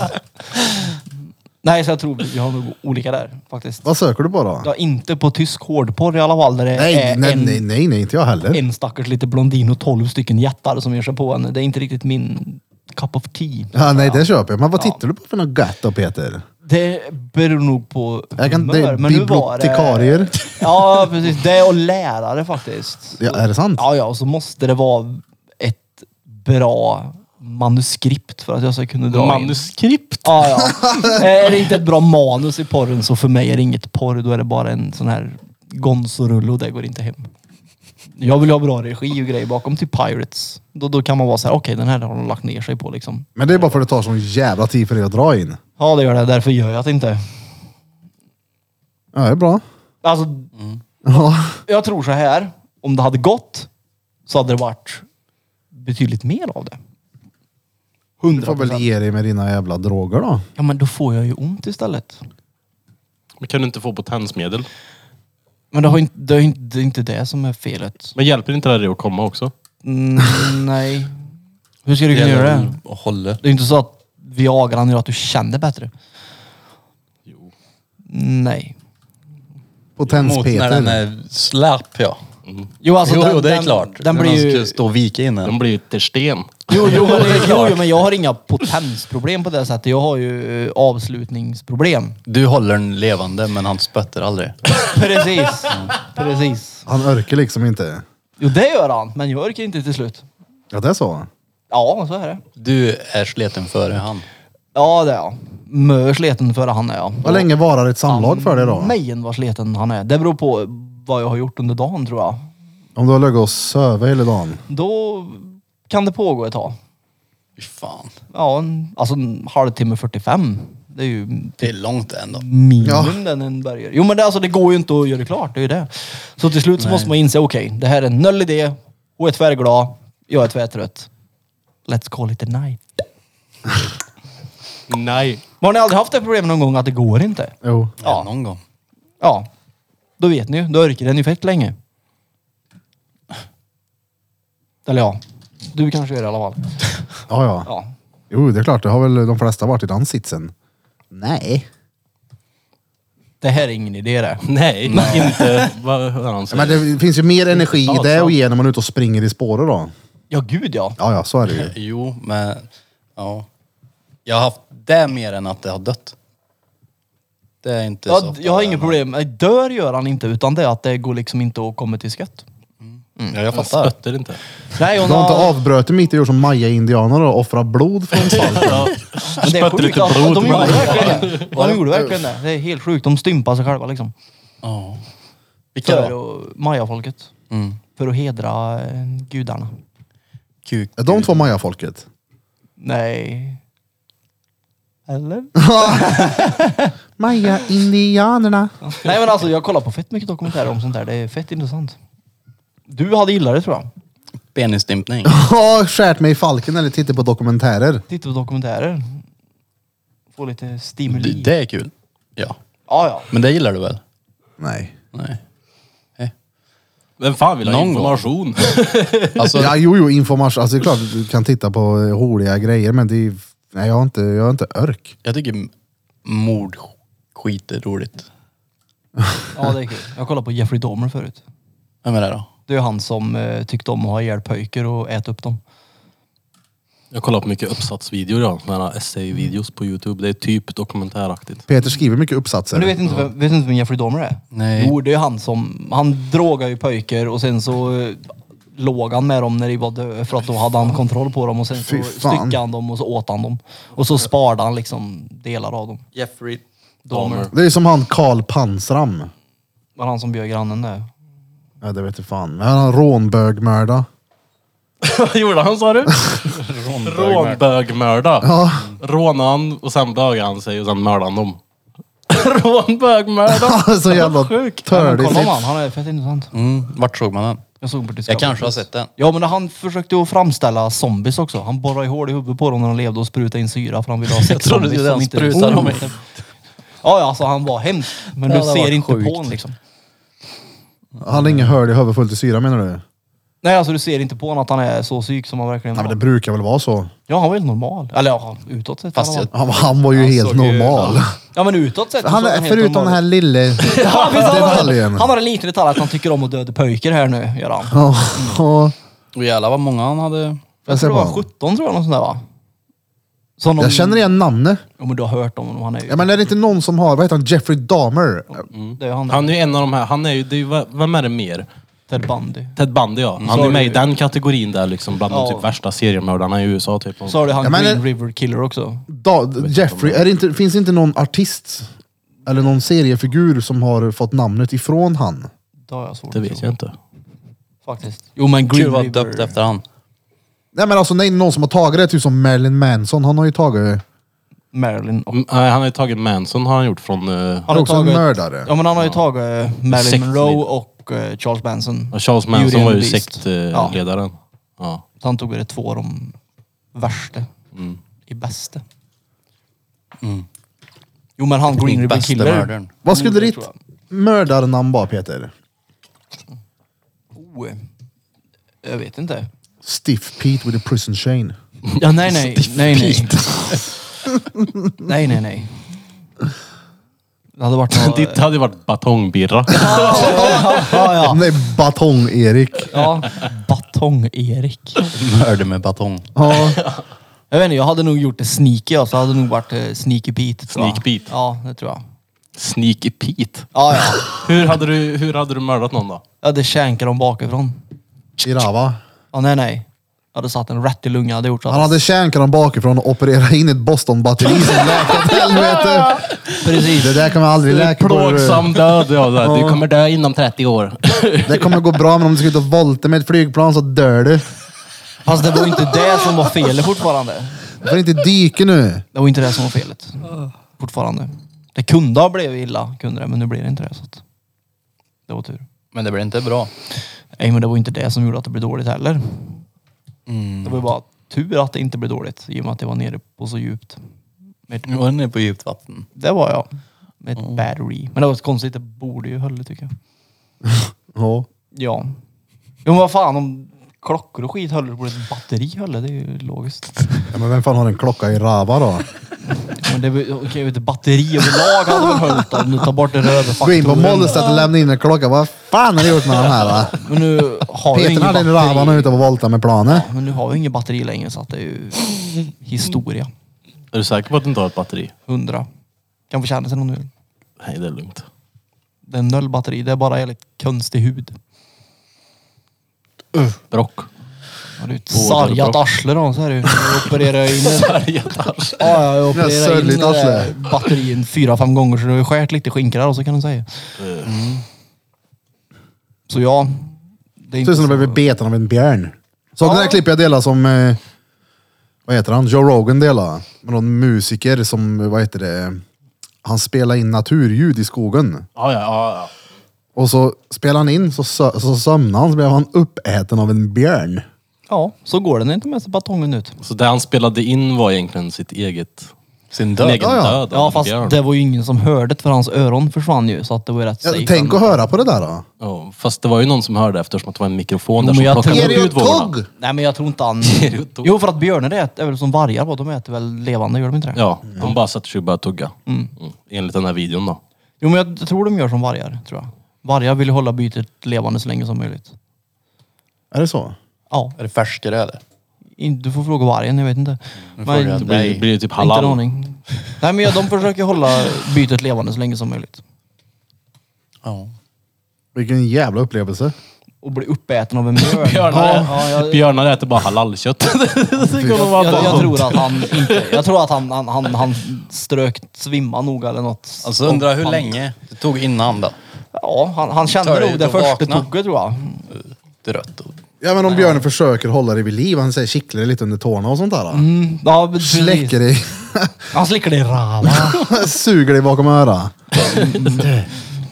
[SPEAKER 2] Nej, så jag tror vi har nog olika där faktiskt.
[SPEAKER 1] Vad söker du på då?
[SPEAKER 2] Ja, inte på tysk hårdporr i alla fall. Där det
[SPEAKER 1] nej,
[SPEAKER 2] är
[SPEAKER 1] nej,
[SPEAKER 2] en,
[SPEAKER 1] nej, nej, nej, inte jag heller.
[SPEAKER 2] en stackars lite blondin och tolv stycken jättar som ger sig på henne. Det är inte riktigt min cup of tea.
[SPEAKER 1] Ja, nej, det köper jag. Men vad tittar du på för något gött då Peter?
[SPEAKER 2] Det beror nog på
[SPEAKER 1] Jag kan- det är
[SPEAKER 2] humör, men nu var det-
[SPEAKER 1] bibliotekarier.
[SPEAKER 2] Ja, precis. Det och lärare faktiskt.
[SPEAKER 1] Ja, är det sant?
[SPEAKER 2] Ja, ja, och så måste det vara ett bra manuskript för att jag ska kunna dra in.
[SPEAKER 3] Manuskript.
[SPEAKER 2] Ja, *laughs* ja. Eh, Är det inte ett bra manus i porren så för mig är det inget porr. Då är det bara en sån här gonzorulle och det går inte hem. Jag vill ha bra regi och grejer bakom till Pirates. Då, då kan man vara så här, okej den här har de lagt ner sig på liksom.
[SPEAKER 1] Men det är bara för att det tar sån jävla tid för dig att dra in.
[SPEAKER 2] Ja det gör det, därför gör jag det inte.
[SPEAKER 1] Ja, det är bra.
[SPEAKER 2] Alltså,
[SPEAKER 1] Ja.
[SPEAKER 2] jag tror så här. Om det hade gått så hade det varit betydligt mer av det.
[SPEAKER 1] Du får väl
[SPEAKER 2] 100%.
[SPEAKER 1] ge dig med dina jävla droger då.
[SPEAKER 2] Ja men då får jag ju ont istället.
[SPEAKER 3] Men kan du inte få potensmedel?
[SPEAKER 2] Men det, har inte, det, är inte, det är inte det som är felet.
[SPEAKER 3] Men hjälper inte det dig att komma också?
[SPEAKER 2] Mm, *laughs* nej. Hur ska du kunna
[SPEAKER 4] gäller
[SPEAKER 2] göra det?
[SPEAKER 4] att hålla.
[SPEAKER 2] Det är inte så att Viagran gör att du känner bättre.
[SPEAKER 3] Jo.
[SPEAKER 2] Nej.
[SPEAKER 4] Mot när den
[SPEAKER 1] Potens-Peter.
[SPEAKER 4] är slap ja.
[SPEAKER 2] Jo, alltså,
[SPEAKER 4] jo,
[SPEAKER 2] den,
[SPEAKER 4] jo, det är
[SPEAKER 2] den,
[SPEAKER 4] klart.
[SPEAKER 2] Den blir
[SPEAKER 4] han
[SPEAKER 2] ju...
[SPEAKER 4] ska stå och vika in
[SPEAKER 3] Den
[SPEAKER 4] den.
[SPEAKER 3] blir ju till sten.
[SPEAKER 2] Jo,
[SPEAKER 4] *laughs*
[SPEAKER 2] jo, men, det- jo, jo, men jag har inga potensproblem på det sättet. Jag har ju eh,
[SPEAKER 4] *laughs*
[SPEAKER 2] avslutningsproblem.
[SPEAKER 4] Du håller den levande men han spötter aldrig.
[SPEAKER 2] Precis. Precis.
[SPEAKER 1] Han örker liksom inte.
[SPEAKER 2] Jo, det gör han, men jag orkar inte till slut.
[SPEAKER 1] Ja, det är så.
[SPEAKER 2] Ja, så är det.
[SPEAKER 4] Du är sleten före han.
[SPEAKER 2] Ja, det är jag. Mö sleten före han är jag.
[SPEAKER 1] Vad länge varar ett samlag för dig då?
[SPEAKER 2] Mejen vad sleten han är. Det beror på vad jag har gjort under dagen tror jag.
[SPEAKER 1] Om du har legat och sövit hela dagen?
[SPEAKER 2] Då kan det pågå ett tag.
[SPEAKER 4] Fy fan.
[SPEAKER 2] Ja, en, alltså en halvtimme 45. Det är ju
[SPEAKER 4] Det är långt ändå.
[SPEAKER 2] minimum den en börjar. Jo men det, alltså, det går ju inte att göra det klart, det är ju det. Så till slut så måste man inse, okej, det här är en noll idé. Hon är tvärglad, jag är tvärtrött. Let's call it a night.
[SPEAKER 3] Nej.
[SPEAKER 2] Men har ni aldrig haft det problemet någon gång att det går inte?
[SPEAKER 1] Jo.
[SPEAKER 4] Ja. Någon gång.
[SPEAKER 2] Ja. Då vet ni ju, då orkar den ju fett länge. Eller ja, du kanske gör det i alla fall.
[SPEAKER 1] Ja, ja.
[SPEAKER 2] Ja.
[SPEAKER 1] Jo, det är klart. Det har väl de flesta varit i den sitsen. Nej.
[SPEAKER 2] Det här är ingen idé det.
[SPEAKER 3] Nej, inte vad vad han säger.
[SPEAKER 1] Men det finns ju mer energi i
[SPEAKER 3] Ja,
[SPEAKER 1] det
[SPEAKER 3] sant.
[SPEAKER 1] att ge när man är ute och springer i spåret då.
[SPEAKER 2] Ja, gud ja.
[SPEAKER 1] Ja, ja, så är det ju.
[SPEAKER 4] Jo, men ja. Jag har haft det mer än att det har dött. Det är inte så
[SPEAKER 2] Jag,
[SPEAKER 4] ofta
[SPEAKER 2] jag har inget
[SPEAKER 4] man-
[SPEAKER 2] problem. Nej, Dör gör han inte, utan det är att det går liksom inte att komma till skott.
[SPEAKER 4] Ja, jag
[SPEAKER 3] Jag
[SPEAKER 4] fattar.
[SPEAKER 3] spötter inte.
[SPEAKER 2] Nej, hon
[SPEAKER 1] Du har inte avbrutit mitt i gjort som maya-indianerna och offrat blod från spalten.
[SPEAKER 2] Men det är
[SPEAKER 3] Spötter
[SPEAKER 2] sjukt.
[SPEAKER 3] lite
[SPEAKER 2] alltså.
[SPEAKER 3] blod
[SPEAKER 2] De gjorde
[SPEAKER 3] mellan
[SPEAKER 2] verkligen det. De gjorde verkligen det. Det är helt sjukt. De stympar sig själva liksom.
[SPEAKER 4] Ja. Vilka
[SPEAKER 2] För
[SPEAKER 4] då?
[SPEAKER 2] att- mayafolket.
[SPEAKER 4] Mm.
[SPEAKER 2] För att hedra eh, gudarna.
[SPEAKER 4] Kuk.
[SPEAKER 1] Är de två maya-folket?
[SPEAKER 2] Nej. Eller?
[SPEAKER 1] Maya-indianerna.
[SPEAKER 2] Nej men alltså jag kollar på fett mycket dokumentärer om sånt där. Det är fett intressant. Du hade gillat det tror jag.
[SPEAKER 4] Penisstympning.
[SPEAKER 1] Har skärt mig i falken eller tittat på dokumentärer.
[SPEAKER 2] Titta på dokumentärer. Få lite
[SPEAKER 4] Det,
[SPEAKER 2] stimuli.
[SPEAKER 4] det är kul. Ja.
[SPEAKER 2] Ja, ja.
[SPEAKER 4] Men det gillar du väl?
[SPEAKER 1] Nej.
[SPEAKER 4] Nej.
[SPEAKER 3] Vem fan vill ha
[SPEAKER 4] Någon gång.
[SPEAKER 3] information?
[SPEAKER 4] Alltså,
[SPEAKER 1] Ja, jo, jo, information. Alltså det är klart du kan titta på eh, roliga grejer, men det är... Nej, jag har inte, jag har inte örk.
[SPEAKER 4] jag tycker m- mord skit är roligt.
[SPEAKER 2] Ja, det är kul. Jag kollade på Jeffrey Dahmer förut.
[SPEAKER 4] Vem är det då?
[SPEAKER 2] Det är han som eh, tyckte om att ha ihjäl pojkar och äta upp dem.
[SPEAKER 3] *laughs* Jag kollar på mycket uppsatsvideor ja. Sådana här essay-videos på youtube. Det är typ dokumentäraktigt.
[SPEAKER 1] Peter skriver mycket
[SPEAKER 2] Men du
[SPEAKER 1] uppsatser.
[SPEAKER 2] vet inte, vem, vet inte vem Jeffrey Dahmer är?
[SPEAKER 4] Nej.
[SPEAKER 2] Jo, det är han som... Han drogade ju pojkar och sen så eh, låg han med dem när de var döda för att då hade han kontroll på dem och sen
[SPEAKER 1] Fy
[SPEAKER 2] så
[SPEAKER 1] fan.
[SPEAKER 2] styckade han dem och så åt han dem. Och så sparade han liksom delar av dem.
[SPEAKER 5] Jeffrey.
[SPEAKER 2] Dahmer.
[SPEAKER 1] Det är som han Karl Pansram.
[SPEAKER 2] Var han som bjöd grannen där?
[SPEAKER 1] Ja, det vet jag fan. Men han har rånbögmörda.
[SPEAKER 3] *laughs*
[SPEAKER 1] *laughs*
[SPEAKER 3] Vad gjorde han sa du? Rånbögmörda.
[SPEAKER 1] Ja.
[SPEAKER 3] Rånade han och sen bögade han sig och sen mördade han dem. *laughs* Rånbögmörda.
[SPEAKER 1] Så jävla
[SPEAKER 2] Men
[SPEAKER 1] tördig.
[SPEAKER 2] kolla om han, han är fett intressant.
[SPEAKER 4] Mm, vart såg man den?
[SPEAKER 2] Jag såg på Discovery.
[SPEAKER 4] Jag kanske har sett den.
[SPEAKER 2] Ja men han försökte ju framställa zombies också. Han borrade i hål i huvudet på dem när de levde och sprutade in syra för han
[SPEAKER 4] *laughs*
[SPEAKER 2] ville ha
[SPEAKER 4] Jag
[SPEAKER 2] sex
[SPEAKER 4] trodde
[SPEAKER 2] zombies.
[SPEAKER 4] det var
[SPEAKER 2] som
[SPEAKER 4] den
[SPEAKER 2] inte- Oh.
[SPEAKER 4] sprutade dem i.
[SPEAKER 2] Ja, ja, alltså han var hemsk. Men
[SPEAKER 4] Ja,
[SPEAKER 2] du
[SPEAKER 4] det var
[SPEAKER 2] ser inte
[SPEAKER 4] sjukt.
[SPEAKER 2] på honom liksom.
[SPEAKER 1] Han har ingen hörd i huvudet fullt i syra menar du?
[SPEAKER 2] Nej alltså du ser inte på honom att han är så psyk som han verkligen
[SPEAKER 1] Ja, men det
[SPEAKER 2] var.
[SPEAKER 1] brukar väl vara så.
[SPEAKER 2] Ja han var helt normal. Eller ja, utåt sett.
[SPEAKER 4] Fast
[SPEAKER 2] han var-
[SPEAKER 1] Han, han var ju helt normal.
[SPEAKER 2] Ja men utåt sett. så
[SPEAKER 1] Han
[SPEAKER 2] såg
[SPEAKER 1] är,
[SPEAKER 2] helt
[SPEAKER 1] förutom
[SPEAKER 2] normal
[SPEAKER 1] den här lille
[SPEAKER 2] ut. *laughs* ja, visst, han,
[SPEAKER 1] detaljen.
[SPEAKER 2] har, han har en liten detalj att han tycker om att döda pojkar här nu, gör han.
[SPEAKER 1] Ja, ja.
[SPEAKER 4] Och jävlar vad många han hade.
[SPEAKER 1] Jag,
[SPEAKER 2] Jag
[SPEAKER 1] ser på
[SPEAKER 2] tror det var
[SPEAKER 1] honom.
[SPEAKER 2] 17 tror jag, något sånt där va? Som
[SPEAKER 1] jag känner igen namnet.
[SPEAKER 2] Ja men du har hört om honom, han är ju...
[SPEAKER 1] Ja, men är det inte någon som har, vad heter han, Jeffrey Dahmer?
[SPEAKER 2] Det är ju han,
[SPEAKER 3] Han är ju en av de här. Han är ju, det är ju vem är det mer?
[SPEAKER 2] Ted Bundy.
[SPEAKER 3] Ted Bundy ja. Han är
[SPEAKER 2] Så
[SPEAKER 3] med
[SPEAKER 2] är
[SPEAKER 3] i
[SPEAKER 2] det
[SPEAKER 3] den kategorin där liksom. Bland de
[SPEAKER 2] Ja.
[SPEAKER 3] typ värsta seriemördarna i USA typ.
[SPEAKER 2] Så har du han
[SPEAKER 1] Ja, men-
[SPEAKER 2] Green River Killer också.
[SPEAKER 1] Da, Jeffrey, är det inte, finns det inte någon artist eller någon seriefigur som har fått namnet ifrån han?
[SPEAKER 2] Det har jag svårt
[SPEAKER 3] Det
[SPEAKER 2] att
[SPEAKER 3] vet
[SPEAKER 2] tro.
[SPEAKER 3] jag inte.
[SPEAKER 2] Faktiskt. Jo men
[SPEAKER 4] Kul
[SPEAKER 2] Green
[SPEAKER 4] vad
[SPEAKER 2] River...
[SPEAKER 4] döpt efter han.
[SPEAKER 1] Nej men alltså nej, någon som har tagit det, typ som Marilyn Manson. Han har ju tagit,
[SPEAKER 2] Marilyn och...
[SPEAKER 3] Mm, nej, han har ju tagit Manson har han gjort från... eh,
[SPEAKER 1] han är också en mördare.
[SPEAKER 2] Ja men han har ju tagit eh, Marilyn
[SPEAKER 3] Sekt-
[SPEAKER 2] Monroe och eh, Charles Manson.
[SPEAKER 3] Ja, Charles
[SPEAKER 2] Beauty
[SPEAKER 3] Manson
[SPEAKER 2] and
[SPEAKER 3] var ju eh,
[SPEAKER 2] the Beast. Ja.
[SPEAKER 3] sektledaren. Ja.
[SPEAKER 2] Så han tog väl det två av de värsta.
[SPEAKER 3] Mm.
[SPEAKER 2] I bästa. Jo men han Green River
[SPEAKER 4] Bästa
[SPEAKER 2] Killer.
[SPEAKER 4] mördaren.
[SPEAKER 1] Vad skulle
[SPEAKER 2] Mm, det
[SPEAKER 1] ditt
[SPEAKER 2] tror
[SPEAKER 1] mördarnamn vara Peter?
[SPEAKER 2] Oh, eh, jag vet
[SPEAKER 3] *laughs*
[SPEAKER 2] inte.
[SPEAKER 1] Stiff Pete with a prison chain.
[SPEAKER 2] Ja nej nej. Nej nej. *laughs* nej nej
[SPEAKER 3] *laughs*
[SPEAKER 2] nej. Det hade varit något...
[SPEAKER 3] Ditt hade ju varit batongbirra.
[SPEAKER 2] *laughs* ja, ja.
[SPEAKER 1] Nej, Batong-Erik.
[SPEAKER 2] ja. Batong-Erik.
[SPEAKER 4] Mörder med batong.
[SPEAKER 1] Ja.
[SPEAKER 2] Jag vet inte, jag hade nog gjort det sneaky alltså. Jag hade nog varit eh, sneaky Pete. tror jag.
[SPEAKER 3] Sneak Pete.
[SPEAKER 2] Ja, det tror jag.
[SPEAKER 3] Sneaky Pete.
[SPEAKER 2] Ja, ja.
[SPEAKER 3] Hur hade, du, hur hade du mördat någon då?
[SPEAKER 2] Jag hade känkat dem bakifrån.
[SPEAKER 1] Irava.
[SPEAKER 2] Ja, nej, nej. Jag hade satt en rätt i lungan. Jag hade gjort så
[SPEAKER 1] Han
[SPEAKER 2] att...
[SPEAKER 1] hade kärnkan dem bakifrån och opererat in ett Boston-batteri som läkat helvete.
[SPEAKER 2] Precis.
[SPEAKER 1] Det där kan man aldrig läka på.
[SPEAKER 3] Plågsam död. Ja, så här, du kommer dö inom 30 år.
[SPEAKER 1] Det kommer gå bra, men om du ska ut och volta med ett flygplan så dör du.
[SPEAKER 2] Fast det var inte det som var felet fortfarande.
[SPEAKER 1] Du får inte dyka nu.
[SPEAKER 2] Det var inte det som var felet. Fortfarande. Det kunde ha blivit illa, kunde det, men nu blir det inte det. Så att... Det var tur.
[SPEAKER 4] Men det blir inte bra.
[SPEAKER 2] Nej, men det var inte det som gjorde att det blev dåligt heller. Det
[SPEAKER 4] Mm.
[SPEAKER 2] var ju bara tur att det inte blev dåligt i och med att det var nere på så djupt. Med ett
[SPEAKER 4] Nu var den nere på djupt vatten.
[SPEAKER 2] Det var jag. Med ett battery. Mm. Men det var så konstigt, det borde ju höll tycker jag.
[SPEAKER 1] Ja.
[SPEAKER 2] Ja. Jo men vad fan om klockor och skit höll det borde ett batteri höll det, det är ju logiskt.
[SPEAKER 1] Ja, men vem fan har en klocka i Rava då?
[SPEAKER 2] Men det var- okej, ett batteri överlag hade väl höllt om du tar bort den röda
[SPEAKER 1] Gå in på
[SPEAKER 2] faktorn.
[SPEAKER 1] Mollestedt och lämna in en klocka. Vad fan har du gjort med den här? Va?
[SPEAKER 2] Men nu har vi
[SPEAKER 1] Peter
[SPEAKER 2] inget
[SPEAKER 1] hade en Rava nu
[SPEAKER 2] batteri.
[SPEAKER 1] ute och volta med planet.
[SPEAKER 2] Men nu har vi inget batteri längre så att det är ju historia.
[SPEAKER 3] Är du säker på att du inte har ett batteri?
[SPEAKER 2] 100. Kan få känna sig om du vill.
[SPEAKER 3] Nej, det är lugnt.
[SPEAKER 2] Det är noll batteri. Det är bara jävligt konstig hud.
[SPEAKER 3] Brock.
[SPEAKER 2] Har du ett
[SPEAKER 3] Båda är
[SPEAKER 2] sargat
[SPEAKER 3] bra.
[SPEAKER 2] arsle då så är det ju. Jag opererar in det. Ja, jag
[SPEAKER 1] Det är
[SPEAKER 2] opererar in
[SPEAKER 1] sörligt
[SPEAKER 2] det där
[SPEAKER 1] arsle.
[SPEAKER 2] batterin fyra, fem gånger så du har ju skärt lite skinka där också kan du säga.
[SPEAKER 1] Mm.
[SPEAKER 2] Så ja. Det är
[SPEAKER 1] Ser
[SPEAKER 2] inte
[SPEAKER 1] ut som
[SPEAKER 2] så...
[SPEAKER 1] de blev beten av en björn. Såg ja. det där klippet jag delade som, eh, vad heter han, Joe Rogan delade? Med någon musiker som, eh, vad heter det, han spelade in naturljud i skogen.
[SPEAKER 3] *laughs* Ja, ja, ja. ja.
[SPEAKER 1] Och så spelade han in, så, sö- så sömnade han, så blev han uppäten av en björn.
[SPEAKER 2] Ja, så går den inte med sig batongen ut.
[SPEAKER 3] Så det han spelade in var egentligen sitt eget...
[SPEAKER 4] Sin
[SPEAKER 3] Sin
[SPEAKER 4] död.
[SPEAKER 3] egen
[SPEAKER 1] Ja, ja.
[SPEAKER 3] död av
[SPEAKER 2] Ja
[SPEAKER 3] en
[SPEAKER 2] fast
[SPEAKER 3] björn.
[SPEAKER 2] det var ju ingen som hörde det för hans öron försvann ju så att det var ju rätt
[SPEAKER 1] Ja,
[SPEAKER 2] safe.
[SPEAKER 1] tänk att höra på det där då.
[SPEAKER 3] Ja, fast det var ju någon som hörde eftersom att det var en mikrofon
[SPEAKER 2] Jo,
[SPEAKER 3] där
[SPEAKER 2] men
[SPEAKER 3] som
[SPEAKER 2] jag
[SPEAKER 3] plockade
[SPEAKER 2] tror-
[SPEAKER 1] Är
[SPEAKER 3] upp
[SPEAKER 1] det ju
[SPEAKER 3] ljudvågorna.
[SPEAKER 1] tugg?
[SPEAKER 2] Nej men jag tror inte han...
[SPEAKER 3] ut då.
[SPEAKER 2] jo för att björnar äter är väl som vargar va? De äter väl levande, gör de inte det?
[SPEAKER 3] Ja, de bara satte sig och började tugga. Mm. Enligt den här videon då.
[SPEAKER 2] Jo men jag tror de gör som vargar, tror jag. Vargar vill ju hålla bytet levande så länge som möjligt.
[SPEAKER 1] Är det så?
[SPEAKER 2] Ja,
[SPEAKER 4] Är det färskare eller?
[SPEAKER 2] in- du får fråga vargen, jag vet inte.
[SPEAKER 4] frågar jag
[SPEAKER 2] det
[SPEAKER 3] Det blir,
[SPEAKER 4] Nej.
[SPEAKER 3] blir ju typ
[SPEAKER 2] Inte en
[SPEAKER 3] halal.
[SPEAKER 2] aning. Nej men ja, de försöker hålla bytet levande så länge som möjligt.
[SPEAKER 4] Ja.
[SPEAKER 1] Vilken jävla upplevelse.
[SPEAKER 2] Och bli uppäten av en björn.
[SPEAKER 3] Björnar,
[SPEAKER 2] *laughs* Ja, jag,
[SPEAKER 3] björnar äter bara halalkött. *laughs* det kommer vara
[SPEAKER 2] jag, jag
[SPEAKER 3] bara-
[SPEAKER 2] tror att han inte... Jag tror att han, han, han, han strök svimma nog eller något.
[SPEAKER 4] Alltså undrar hur
[SPEAKER 2] Han-
[SPEAKER 4] länge det tog innan då?
[SPEAKER 2] Ja, han, han kände
[SPEAKER 4] Töligt
[SPEAKER 2] nog det
[SPEAKER 4] att
[SPEAKER 2] första
[SPEAKER 4] vakna.
[SPEAKER 2] tugget tror jag.
[SPEAKER 4] Det är rött. och-
[SPEAKER 1] Ja men om björnen försöker hålla det vid liv, han säger kittlar det lite under tårna och sånt där. då.
[SPEAKER 2] Mm, ja, men precis.
[SPEAKER 1] Släcker dig, *laughs*
[SPEAKER 2] Han släcker det i rava.
[SPEAKER 1] suger dig bakom örat.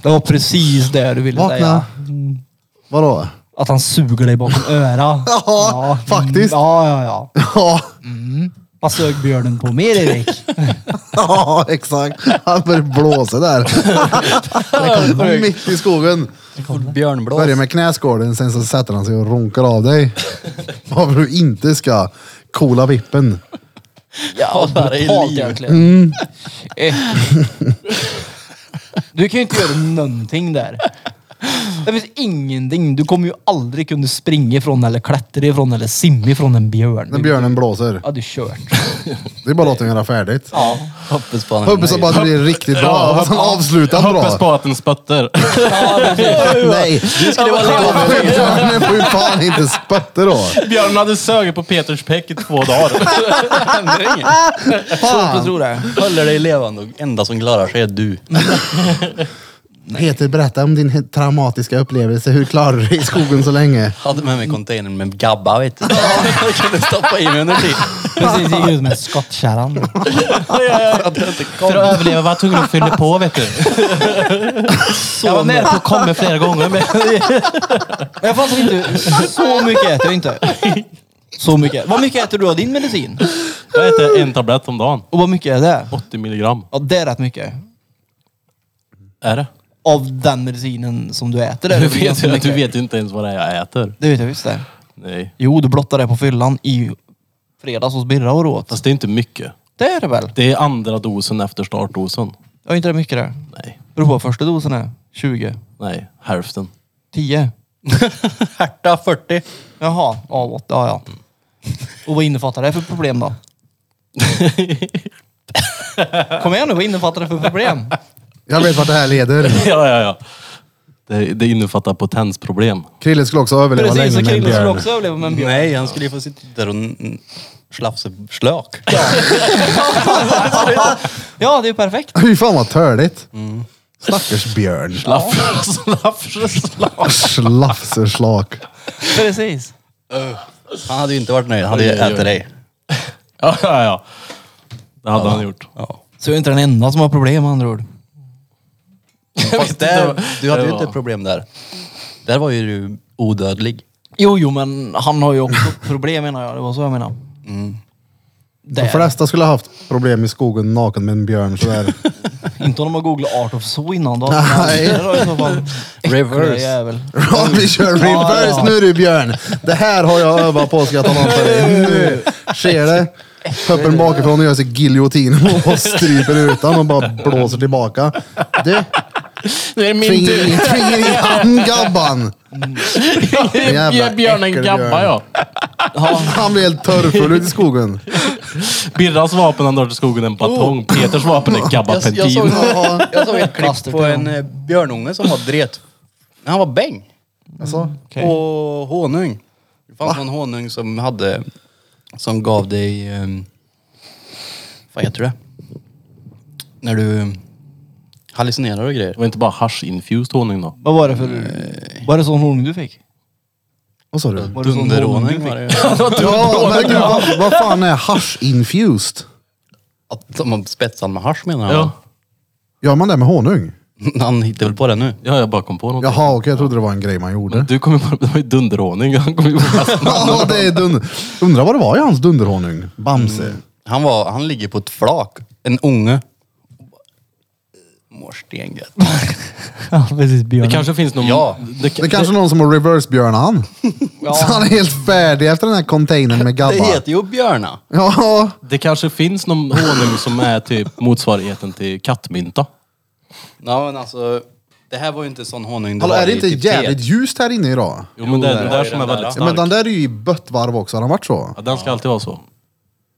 [SPEAKER 2] Det var precis det du ville
[SPEAKER 1] Vakna.
[SPEAKER 2] säga.
[SPEAKER 1] Vadå? *laughs*
[SPEAKER 2] Att han suger dig *laughs* bakom örat.
[SPEAKER 1] Ja, faktiskt.
[SPEAKER 2] Ja, ja, ja.
[SPEAKER 1] Ja,
[SPEAKER 2] Vad sög björnen på mer Erik?
[SPEAKER 1] ja exakt. Han börjar blåsa
[SPEAKER 2] *laughs*
[SPEAKER 1] där. Mitt i skogen.
[SPEAKER 4] Björnblås.
[SPEAKER 1] Börjar med knäskålen, sen så sätter han sig och runkar av
[SPEAKER 2] *laughs*
[SPEAKER 1] dig. Varför du inte ska coola vippen.
[SPEAKER 4] Ja, där är
[SPEAKER 2] Totalt
[SPEAKER 4] liv.
[SPEAKER 2] egentligen.
[SPEAKER 3] Mm.
[SPEAKER 2] Eh. Du kan ju inte göra någonting där. Det finns ingenting. Du kommer ju aldrig kunna springa ifrån eller klättra ifrån eller simma ifrån en björn.
[SPEAKER 1] När björnen blåser.
[SPEAKER 2] Ja, du är kört.
[SPEAKER 1] Det är bara att låta den göra färdigt.
[SPEAKER 2] Ja.
[SPEAKER 4] Hoppas på honom.
[SPEAKER 1] Hoppas bara att det blir riktigt bra. Hoppas han avslutar bra.
[SPEAKER 3] Hoppas på att den *laughs* spötter.
[SPEAKER 1] Nej, du skulle vara Björnen får ju fan inte spötta då.
[SPEAKER 3] Björnen hade sögit på Peters peck i två dagar.
[SPEAKER 4] händer inget.
[SPEAKER 2] Jag
[SPEAKER 1] Fan.
[SPEAKER 2] tror det.
[SPEAKER 4] Håller dig levande och enda som klarar sig är du.
[SPEAKER 1] Peter, berätta om din he- traumatiska upplevelse. Hur klarade du dig i skogen så länge?
[SPEAKER 4] Hade med mig containern med Gabba vet du. Jag kunde stoppa i mig under tiden.
[SPEAKER 2] Precis, det gick ut med skottkärran.
[SPEAKER 4] Att jag inte
[SPEAKER 3] För
[SPEAKER 4] kom.
[SPEAKER 3] att överleva var jag tvungen att fylla på vet *laughs* du. jag var nära på att komma flera gånger. Men...
[SPEAKER 2] Jag fattar inte. Så mycket äter jag inte. Så mycket. Vad mycket äter du av din medicin?
[SPEAKER 3] Jag äter en tablett om dagen.
[SPEAKER 2] Och vad mycket är det?
[SPEAKER 3] 80 milligram.
[SPEAKER 2] Ja, det är rätt mycket.
[SPEAKER 3] Är det?
[SPEAKER 2] Av den medicinen som du äter. det är
[SPEAKER 3] Du
[SPEAKER 2] väl
[SPEAKER 3] vet,
[SPEAKER 2] ganska
[SPEAKER 3] ju,
[SPEAKER 2] mycket.
[SPEAKER 3] du vet ju inte ens vad det är jag äter.
[SPEAKER 2] Det vet jag visst det.
[SPEAKER 3] Nej.
[SPEAKER 2] Jo, du blottade det på fyllan i fredags hos Birra och åt.
[SPEAKER 3] Fast det är inte mycket.
[SPEAKER 2] Det är det väl?
[SPEAKER 3] Det är andra dosen efter startdosen.
[SPEAKER 2] Ja, inte det mycket det.
[SPEAKER 3] Nej.
[SPEAKER 2] Beror på vad första dosen är. 20.
[SPEAKER 3] Nej, hälften.
[SPEAKER 2] 10.
[SPEAKER 4] Härta 40.
[SPEAKER 2] Jaha, av 8. Ja, ja. Och vad innefattar det för problem *laughs* då? Kom igen nu, vad innefattar det för problem?
[SPEAKER 1] Jag vet vart det här leder.
[SPEAKER 3] *laughs* ja, ja, ja. Det, det innefattar potensproblem.
[SPEAKER 1] Krille skulle också överleva
[SPEAKER 2] Precis, så
[SPEAKER 1] länge med en
[SPEAKER 2] Krille skulle
[SPEAKER 1] björn.
[SPEAKER 2] också överleva med en björn.
[SPEAKER 4] Nej, han skulle ju få sitta där och n- n- slafsa slök.
[SPEAKER 2] Ja, det är ju perfekt.
[SPEAKER 1] Fy fan vad törligt.
[SPEAKER 2] Mm.
[SPEAKER 1] Stackars björn.
[SPEAKER 3] Slaff, slaff, slaff.
[SPEAKER 1] Slafserslak.
[SPEAKER 2] Precis.
[SPEAKER 4] Han hade ju inte varit nöjd. Han hade ju
[SPEAKER 3] Oj, oj, oj.
[SPEAKER 4] ätit dig.
[SPEAKER 3] *laughs* Ja, ja, ja. Det hade han gjort.
[SPEAKER 4] Ja.
[SPEAKER 2] Så jag är inte den enda som har problem med andra ord.
[SPEAKER 4] Fast där, du hade
[SPEAKER 3] det
[SPEAKER 4] ju inte
[SPEAKER 3] var-
[SPEAKER 4] ett problem där. Där var ju du odödlig.
[SPEAKER 2] Jo, jo, men han har ju också problem menar jag. Det var så jag menade.
[SPEAKER 1] De
[SPEAKER 2] Där.
[SPEAKER 1] flesta skulle ha haft problem i skogen naken med en björn sådär.
[SPEAKER 2] Inte om de har googlat Art of Zoo innan då.
[SPEAKER 1] Nej.
[SPEAKER 2] Det var i så
[SPEAKER 4] *laughs*
[SPEAKER 2] fall äckliga
[SPEAKER 4] Reverse.
[SPEAKER 2] jävel.
[SPEAKER 1] Ja, vi kör reverse nu du björn. Det här har jag övat på ska jag tala om för dig. Nu sker det. Puppen bakifrån och gör sig giljotin och stryper utan och bara blåser tillbaka. Du,
[SPEAKER 3] Det är *laughs* min
[SPEAKER 1] tvingar i- tvingar i hand gabban. Jävla
[SPEAKER 3] Björnen
[SPEAKER 1] äckelbjörn.
[SPEAKER 3] gabba ja.
[SPEAKER 1] Han blir helt törrfull ute i skogen.
[SPEAKER 3] Birras vapen han drar till skogen är en batong. Peters vapen är
[SPEAKER 4] Jag, jag, såg,
[SPEAKER 3] gabapentin.
[SPEAKER 4] jag såg ett klipp
[SPEAKER 2] Plastigt,
[SPEAKER 4] på
[SPEAKER 2] ja.
[SPEAKER 4] en eh, björnunge som var dret. Han var bäng.
[SPEAKER 1] Alltså,
[SPEAKER 2] Okej.
[SPEAKER 4] Och honung. Det fanns någon honung som hade, som gav dig, um, vad heter det? När du um, hallucinerar och grejer.
[SPEAKER 3] Det var inte bara hasch-infused honung då?
[SPEAKER 2] Vad var det för... Var det sån honung du fick?
[SPEAKER 1] vad sa du?
[SPEAKER 2] Var det sån honung du
[SPEAKER 4] Dunderhonung
[SPEAKER 2] fick?
[SPEAKER 4] var det ju.
[SPEAKER 1] Ja, men gud, vad, vad fan är hash infused?
[SPEAKER 4] Att de har spetsat med hasch menar han.
[SPEAKER 3] Ja.
[SPEAKER 1] Gör man det med honung?
[SPEAKER 4] *laughs* Han hittar väl på det nu.
[SPEAKER 3] ja, jag bara kom på något.
[SPEAKER 1] Jaha, okej, jag trodde det var en grej man gjorde.
[SPEAKER 3] Du kom ju på *laughs* det var ju dunderhonung. Han kom ju på det.
[SPEAKER 1] Ja, det är dund... Undrar vad det var i hans dunderhonung? Bamse.
[SPEAKER 4] Han, var, han ligger på ett flak, en unge. Mår stengött.
[SPEAKER 2] *laughs* Ja, precis. Björn.
[SPEAKER 3] det kanske finns någon...
[SPEAKER 4] Ja.
[SPEAKER 3] Det,
[SPEAKER 1] Det är kanske någon som har reverse-björnat han. Så han är helt färdig efter den här containern med
[SPEAKER 4] Det
[SPEAKER 1] gabbar.
[SPEAKER 4] heter ju björna.
[SPEAKER 1] Ja,
[SPEAKER 3] det kanske finns någon honung som är typ motsvarigheten till kattmynta.
[SPEAKER 4] Ja men alltså, det här var ju typ inte sån honung
[SPEAKER 1] Hallå,
[SPEAKER 4] var
[SPEAKER 1] är det
[SPEAKER 4] i
[SPEAKER 1] inte
[SPEAKER 4] Tibet.
[SPEAKER 1] jävligt ljust här inne idag?
[SPEAKER 3] Jo men det är
[SPEAKER 4] det
[SPEAKER 3] den
[SPEAKER 4] var
[SPEAKER 3] där
[SPEAKER 4] ju
[SPEAKER 3] som är
[SPEAKER 4] den där,
[SPEAKER 3] väldigt
[SPEAKER 4] ja.
[SPEAKER 1] Ja, men
[SPEAKER 3] stark.
[SPEAKER 1] den där är ju i böttvarv också, har den varit så?
[SPEAKER 3] Ja, Den ska alltid vara så.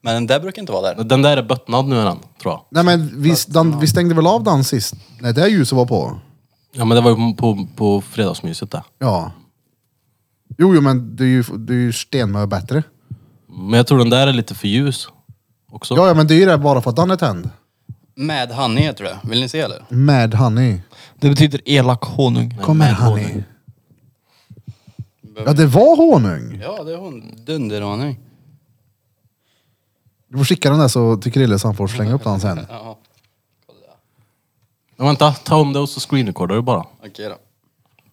[SPEAKER 4] Men den där brukar inte vara där.
[SPEAKER 3] Den där är böttnad nu är den, tror jag.
[SPEAKER 1] Nej men vi, den, vi stängde väl av den sist? Nej, det här ljuset var på.
[SPEAKER 3] Ja men det var ju på, på, på fredagsmyset där.
[SPEAKER 1] Ja. Jo, jo men det är ju, det är ju stenmö bättre.
[SPEAKER 3] Men jag tror den där är lite för ljus. Också.
[SPEAKER 1] Ja, ja, men det är ju det bara för att den är tänd.
[SPEAKER 4] Mad honey heter det. Vill ni se eller?
[SPEAKER 1] Mad honey.
[SPEAKER 2] Det betyder elak honung.
[SPEAKER 1] Kommer
[SPEAKER 3] mad
[SPEAKER 1] honey.
[SPEAKER 3] honung.
[SPEAKER 1] Ja, det var honung.
[SPEAKER 4] Ja, det är hon. Dunderhonung.
[SPEAKER 1] Du får skicka den där så tycker Krille så han får slänga upp den sen.
[SPEAKER 4] Ja,
[SPEAKER 3] Men vänta, ta om det och så screenrecordar du bara.
[SPEAKER 4] okej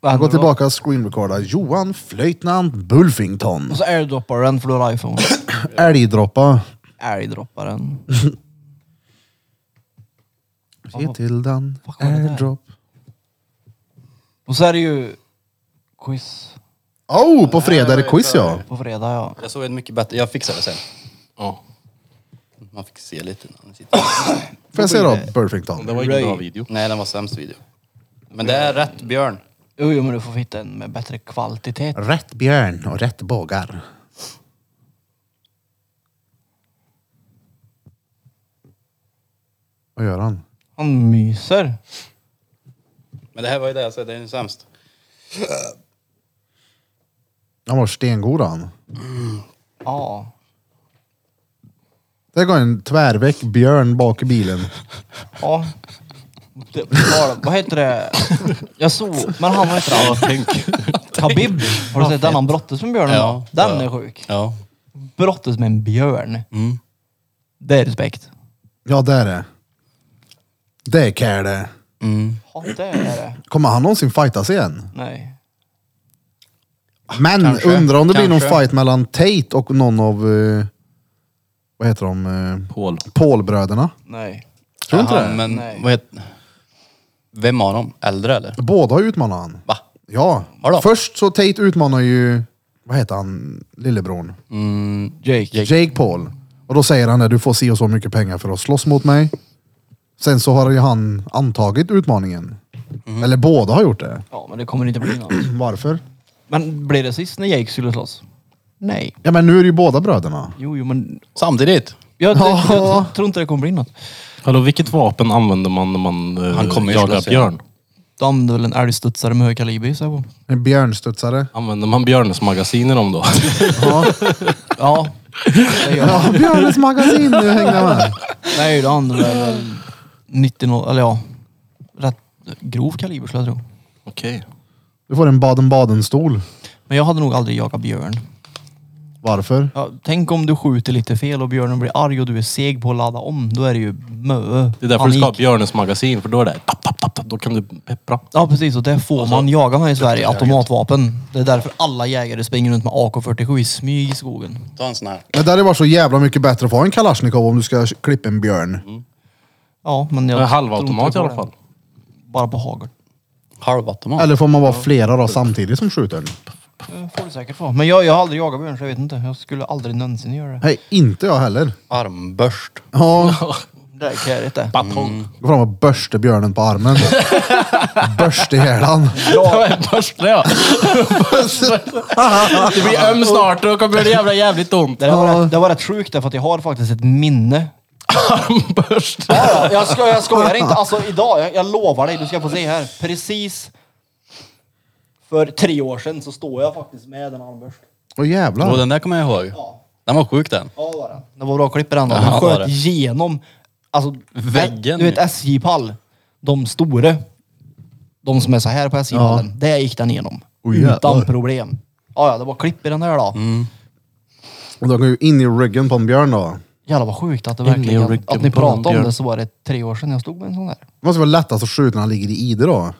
[SPEAKER 4] då.
[SPEAKER 1] Gå tillbaka och screenrecorda. Johan Flöjtnant Bulfington.
[SPEAKER 2] Och så airdroppar du den för du har iPhone.
[SPEAKER 1] Älgdroppa.
[SPEAKER 2] Airdroppar den.
[SPEAKER 1] Se till den.
[SPEAKER 2] var det där?
[SPEAKER 1] Airdrop.
[SPEAKER 2] Och så är det ju quiz
[SPEAKER 1] Oh, på fredag är det quiz ja.
[SPEAKER 2] på fredag ja.
[SPEAKER 4] Jag såg ett mycket bättre. Jag fixar det sen.
[SPEAKER 3] Ja.
[SPEAKER 4] Man fick se lite när ni sitter.
[SPEAKER 1] Får jag se då, Bulfington?
[SPEAKER 3] Det var ingen bra video.
[SPEAKER 4] Nej, den var sämst video. Men det
[SPEAKER 1] Mm.
[SPEAKER 4] är rätt björn.
[SPEAKER 2] Jo, jo men du får hitta en med bättre kvalitet.
[SPEAKER 1] Rätt björn och rätt bågar. Vad gör han?
[SPEAKER 2] Han myser.
[SPEAKER 4] Men det här var ju det jag sa, det är den sämst.
[SPEAKER 1] Han var stengod han.
[SPEAKER 2] Ja.
[SPEAKER 1] Där går en tvärväck björn bak i bilen.
[SPEAKER 2] Ja. Det, vad- vad heter det? Jag såg, men han vad heter han?
[SPEAKER 3] Ja, tänk.
[SPEAKER 2] Khabib. Har du sett den han brottas med björnen?
[SPEAKER 4] Ja.
[SPEAKER 2] den
[SPEAKER 4] Ja.
[SPEAKER 2] är sjuk.
[SPEAKER 4] Ja.
[SPEAKER 2] Brottas med en björn.
[SPEAKER 4] Mm.
[SPEAKER 2] Det är respekt.
[SPEAKER 1] Ja, där är det. Det är Care det.
[SPEAKER 4] Mm.
[SPEAKER 2] Ja, det är det.
[SPEAKER 1] Kommer han någonsin fightas igen?
[SPEAKER 2] Nej.
[SPEAKER 1] Men
[SPEAKER 4] Kanske.
[SPEAKER 1] undrar om det blir någon
[SPEAKER 4] Kanske.
[SPEAKER 1] fight mellan Tate och någon av... eh, vad heter de? Uh,
[SPEAKER 3] Paul.
[SPEAKER 1] Paulbröderna.
[SPEAKER 2] Nej.
[SPEAKER 1] Tror du inte
[SPEAKER 4] Jaha,
[SPEAKER 1] det?
[SPEAKER 4] Men
[SPEAKER 2] Nej.
[SPEAKER 4] vad heter... Vem av dem? Äldre eller?
[SPEAKER 1] Båda har utmanat han.
[SPEAKER 4] Va?
[SPEAKER 1] Ja.
[SPEAKER 4] Har de?
[SPEAKER 1] Först så Tate utmanar ju... Vad heter han? Lillebrorn?
[SPEAKER 2] Jake.
[SPEAKER 1] Jake. Paul. Och då säger han det, du får si och så mycket pengar för att slåss mot mig. Sen så har ju han antagit utmaningen. Eller båda har gjort det.
[SPEAKER 2] Ja, men det kommer inte bli något.
[SPEAKER 1] Varför?
[SPEAKER 2] Men blev det sist när Jake skulle slåss? Nej.
[SPEAKER 1] Ja men nu är det ju båda bröderna.
[SPEAKER 2] Jo, jo men
[SPEAKER 4] Samtidigt.
[SPEAKER 2] jag,
[SPEAKER 1] Ja.
[SPEAKER 2] jag, jag tror inte det kommer bli något.
[SPEAKER 3] Hallå, vilket vapen använder man när man eh,
[SPEAKER 4] Han kommer ju
[SPEAKER 3] jagar
[SPEAKER 4] slåss, ja.
[SPEAKER 3] björn?
[SPEAKER 2] Då använder väl en älgstudsare med hög kaliber gissar jag på.
[SPEAKER 1] En björnstudsare.
[SPEAKER 3] Använder man björnens magasin i dem då? *laughs*
[SPEAKER 2] Ja. Det gör jag.
[SPEAKER 1] Ja, björnens magasin, nu hänger jag med.
[SPEAKER 2] Nej, då använder väl 90 eh, no- eller ja. Rätt grov kaliber skulle jag tro.
[SPEAKER 3] Okej.
[SPEAKER 1] Du får en Baden-Baden-stol.
[SPEAKER 2] Men jag hade nog aldrig jagat björn.
[SPEAKER 1] Varför?
[SPEAKER 2] Ja, tänk om du skjuter lite fel och björnen blir arg och du är seg på att ladda om. Då är det ju mö.
[SPEAKER 3] Det är därför du ska ha
[SPEAKER 2] panik.
[SPEAKER 3] björnens magasin, för då är det tapp, tapp, tapp, tapp, då kan du peppra.
[SPEAKER 2] Ja precis, och det får
[SPEAKER 3] Alltså,
[SPEAKER 2] man jaga med i Sverige. Automatvapen. Det är därför alla jägare springer runt med AK47 i smyg i skogen.
[SPEAKER 4] Ta en sån här.
[SPEAKER 1] Men där är det bara så jävla mycket bättre att få en Kalashnikov om du ska klippa en björn.
[SPEAKER 4] Mm.
[SPEAKER 2] Ja, men jag
[SPEAKER 3] Men
[SPEAKER 2] tror
[SPEAKER 3] halvautomat
[SPEAKER 2] inte det
[SPEAKER 3] i alla
[SPEAKER 2] går
[SPEAKER 3] fall.
[SPEAKER 2] än. Bara på hagel.
[SPEAKER 4] Halvautomat.
[SPEAKER 1] Eller får man vara flera då samtidigt som skjuter den?
[SPEAKER 2] Det får du säkert vara. Men jag, jag har aldrig jagat björn så jag vet inte. Jag skulle aldrig någonsin göra det.
[SPEAKER 1] Nej, inte jag heller.
[SPEAKER 4] Armbörst.
[SPEAKER 1] Ja,
[SPEAKER 2] Det där köret det.
[SPEAKER 3] Batong. *laughs*
[SPEAKER 1] Gå fram och börste björnen på
[SPEAKER 4] *laughs*
[SPEAKER 1] armen. börste ihjäl han.
[SPEAKER 3] Ja, en börste ja. Det blir öm snart och kommer det jävla jävligt ont.
[SPEAKER 2] Det, där var rätt, det var rätt sjukt därför att jag har faktiskt ett minne.
[SPEAKER 3] Armbörste.
[SPEAKER 2] Ja, ja, jag, sko jag skojar inte. *laughs* Alltså idag, jag, jag lovar dig, du ska få se här. Precis för tre år sedan så står jag faktiskt med en armbörst.
[SPEAKER 1] Åh
[SPEAKER 4] Och
[SPEAKER 1] jävlar.
[SPEAKER 4] den där kommer jag ihåg.
[SPEAKER 2] Ja,
[SPEAKER 4] Den var sjuk den.
[SPEAKER 2] ja det var den. Det var bra klipp i den. då.
[SPEAKER 4] Ja,
[SPEAKER 2] Den
[SPEAKER 4] det var
[SPEAKER 2] sköt
[SPEAKER 4] det.
[SPEAKER 2] genom alltså,
[SPEAKER 4] Väggen.
[SPEAKER 2] Du vet SJ-pall? De store. De som är så här på SJ-pallen. Där gick den igenom.
[SPEAKER 1] Oj,
[SPEAKER 2] utan
[SPEAKER 1] jävlar.
[SPEAKER 2] problem. Ja, ja, det var klipp i den där då.
[SPEAKER 1] Och då går ju in i ryggen på en björn då.
[SPEAKER 2] Jävlar vad sjukt att det
[SPEAKER 3] i
[SPEAKER 2] verkligen,
[SPEAKER 3] ryggen
[SPEAKER 2] att ni
[SPEAKER 3] på en
[SPEAKER 2] pratade om
[SPEAKER 3] björn.
[SPEAKER 2] det så var det tre år sedan jag stod med en sån där.
[SPEAKER 1] Det måste vara lättast att skjuta när han ligger i ide då.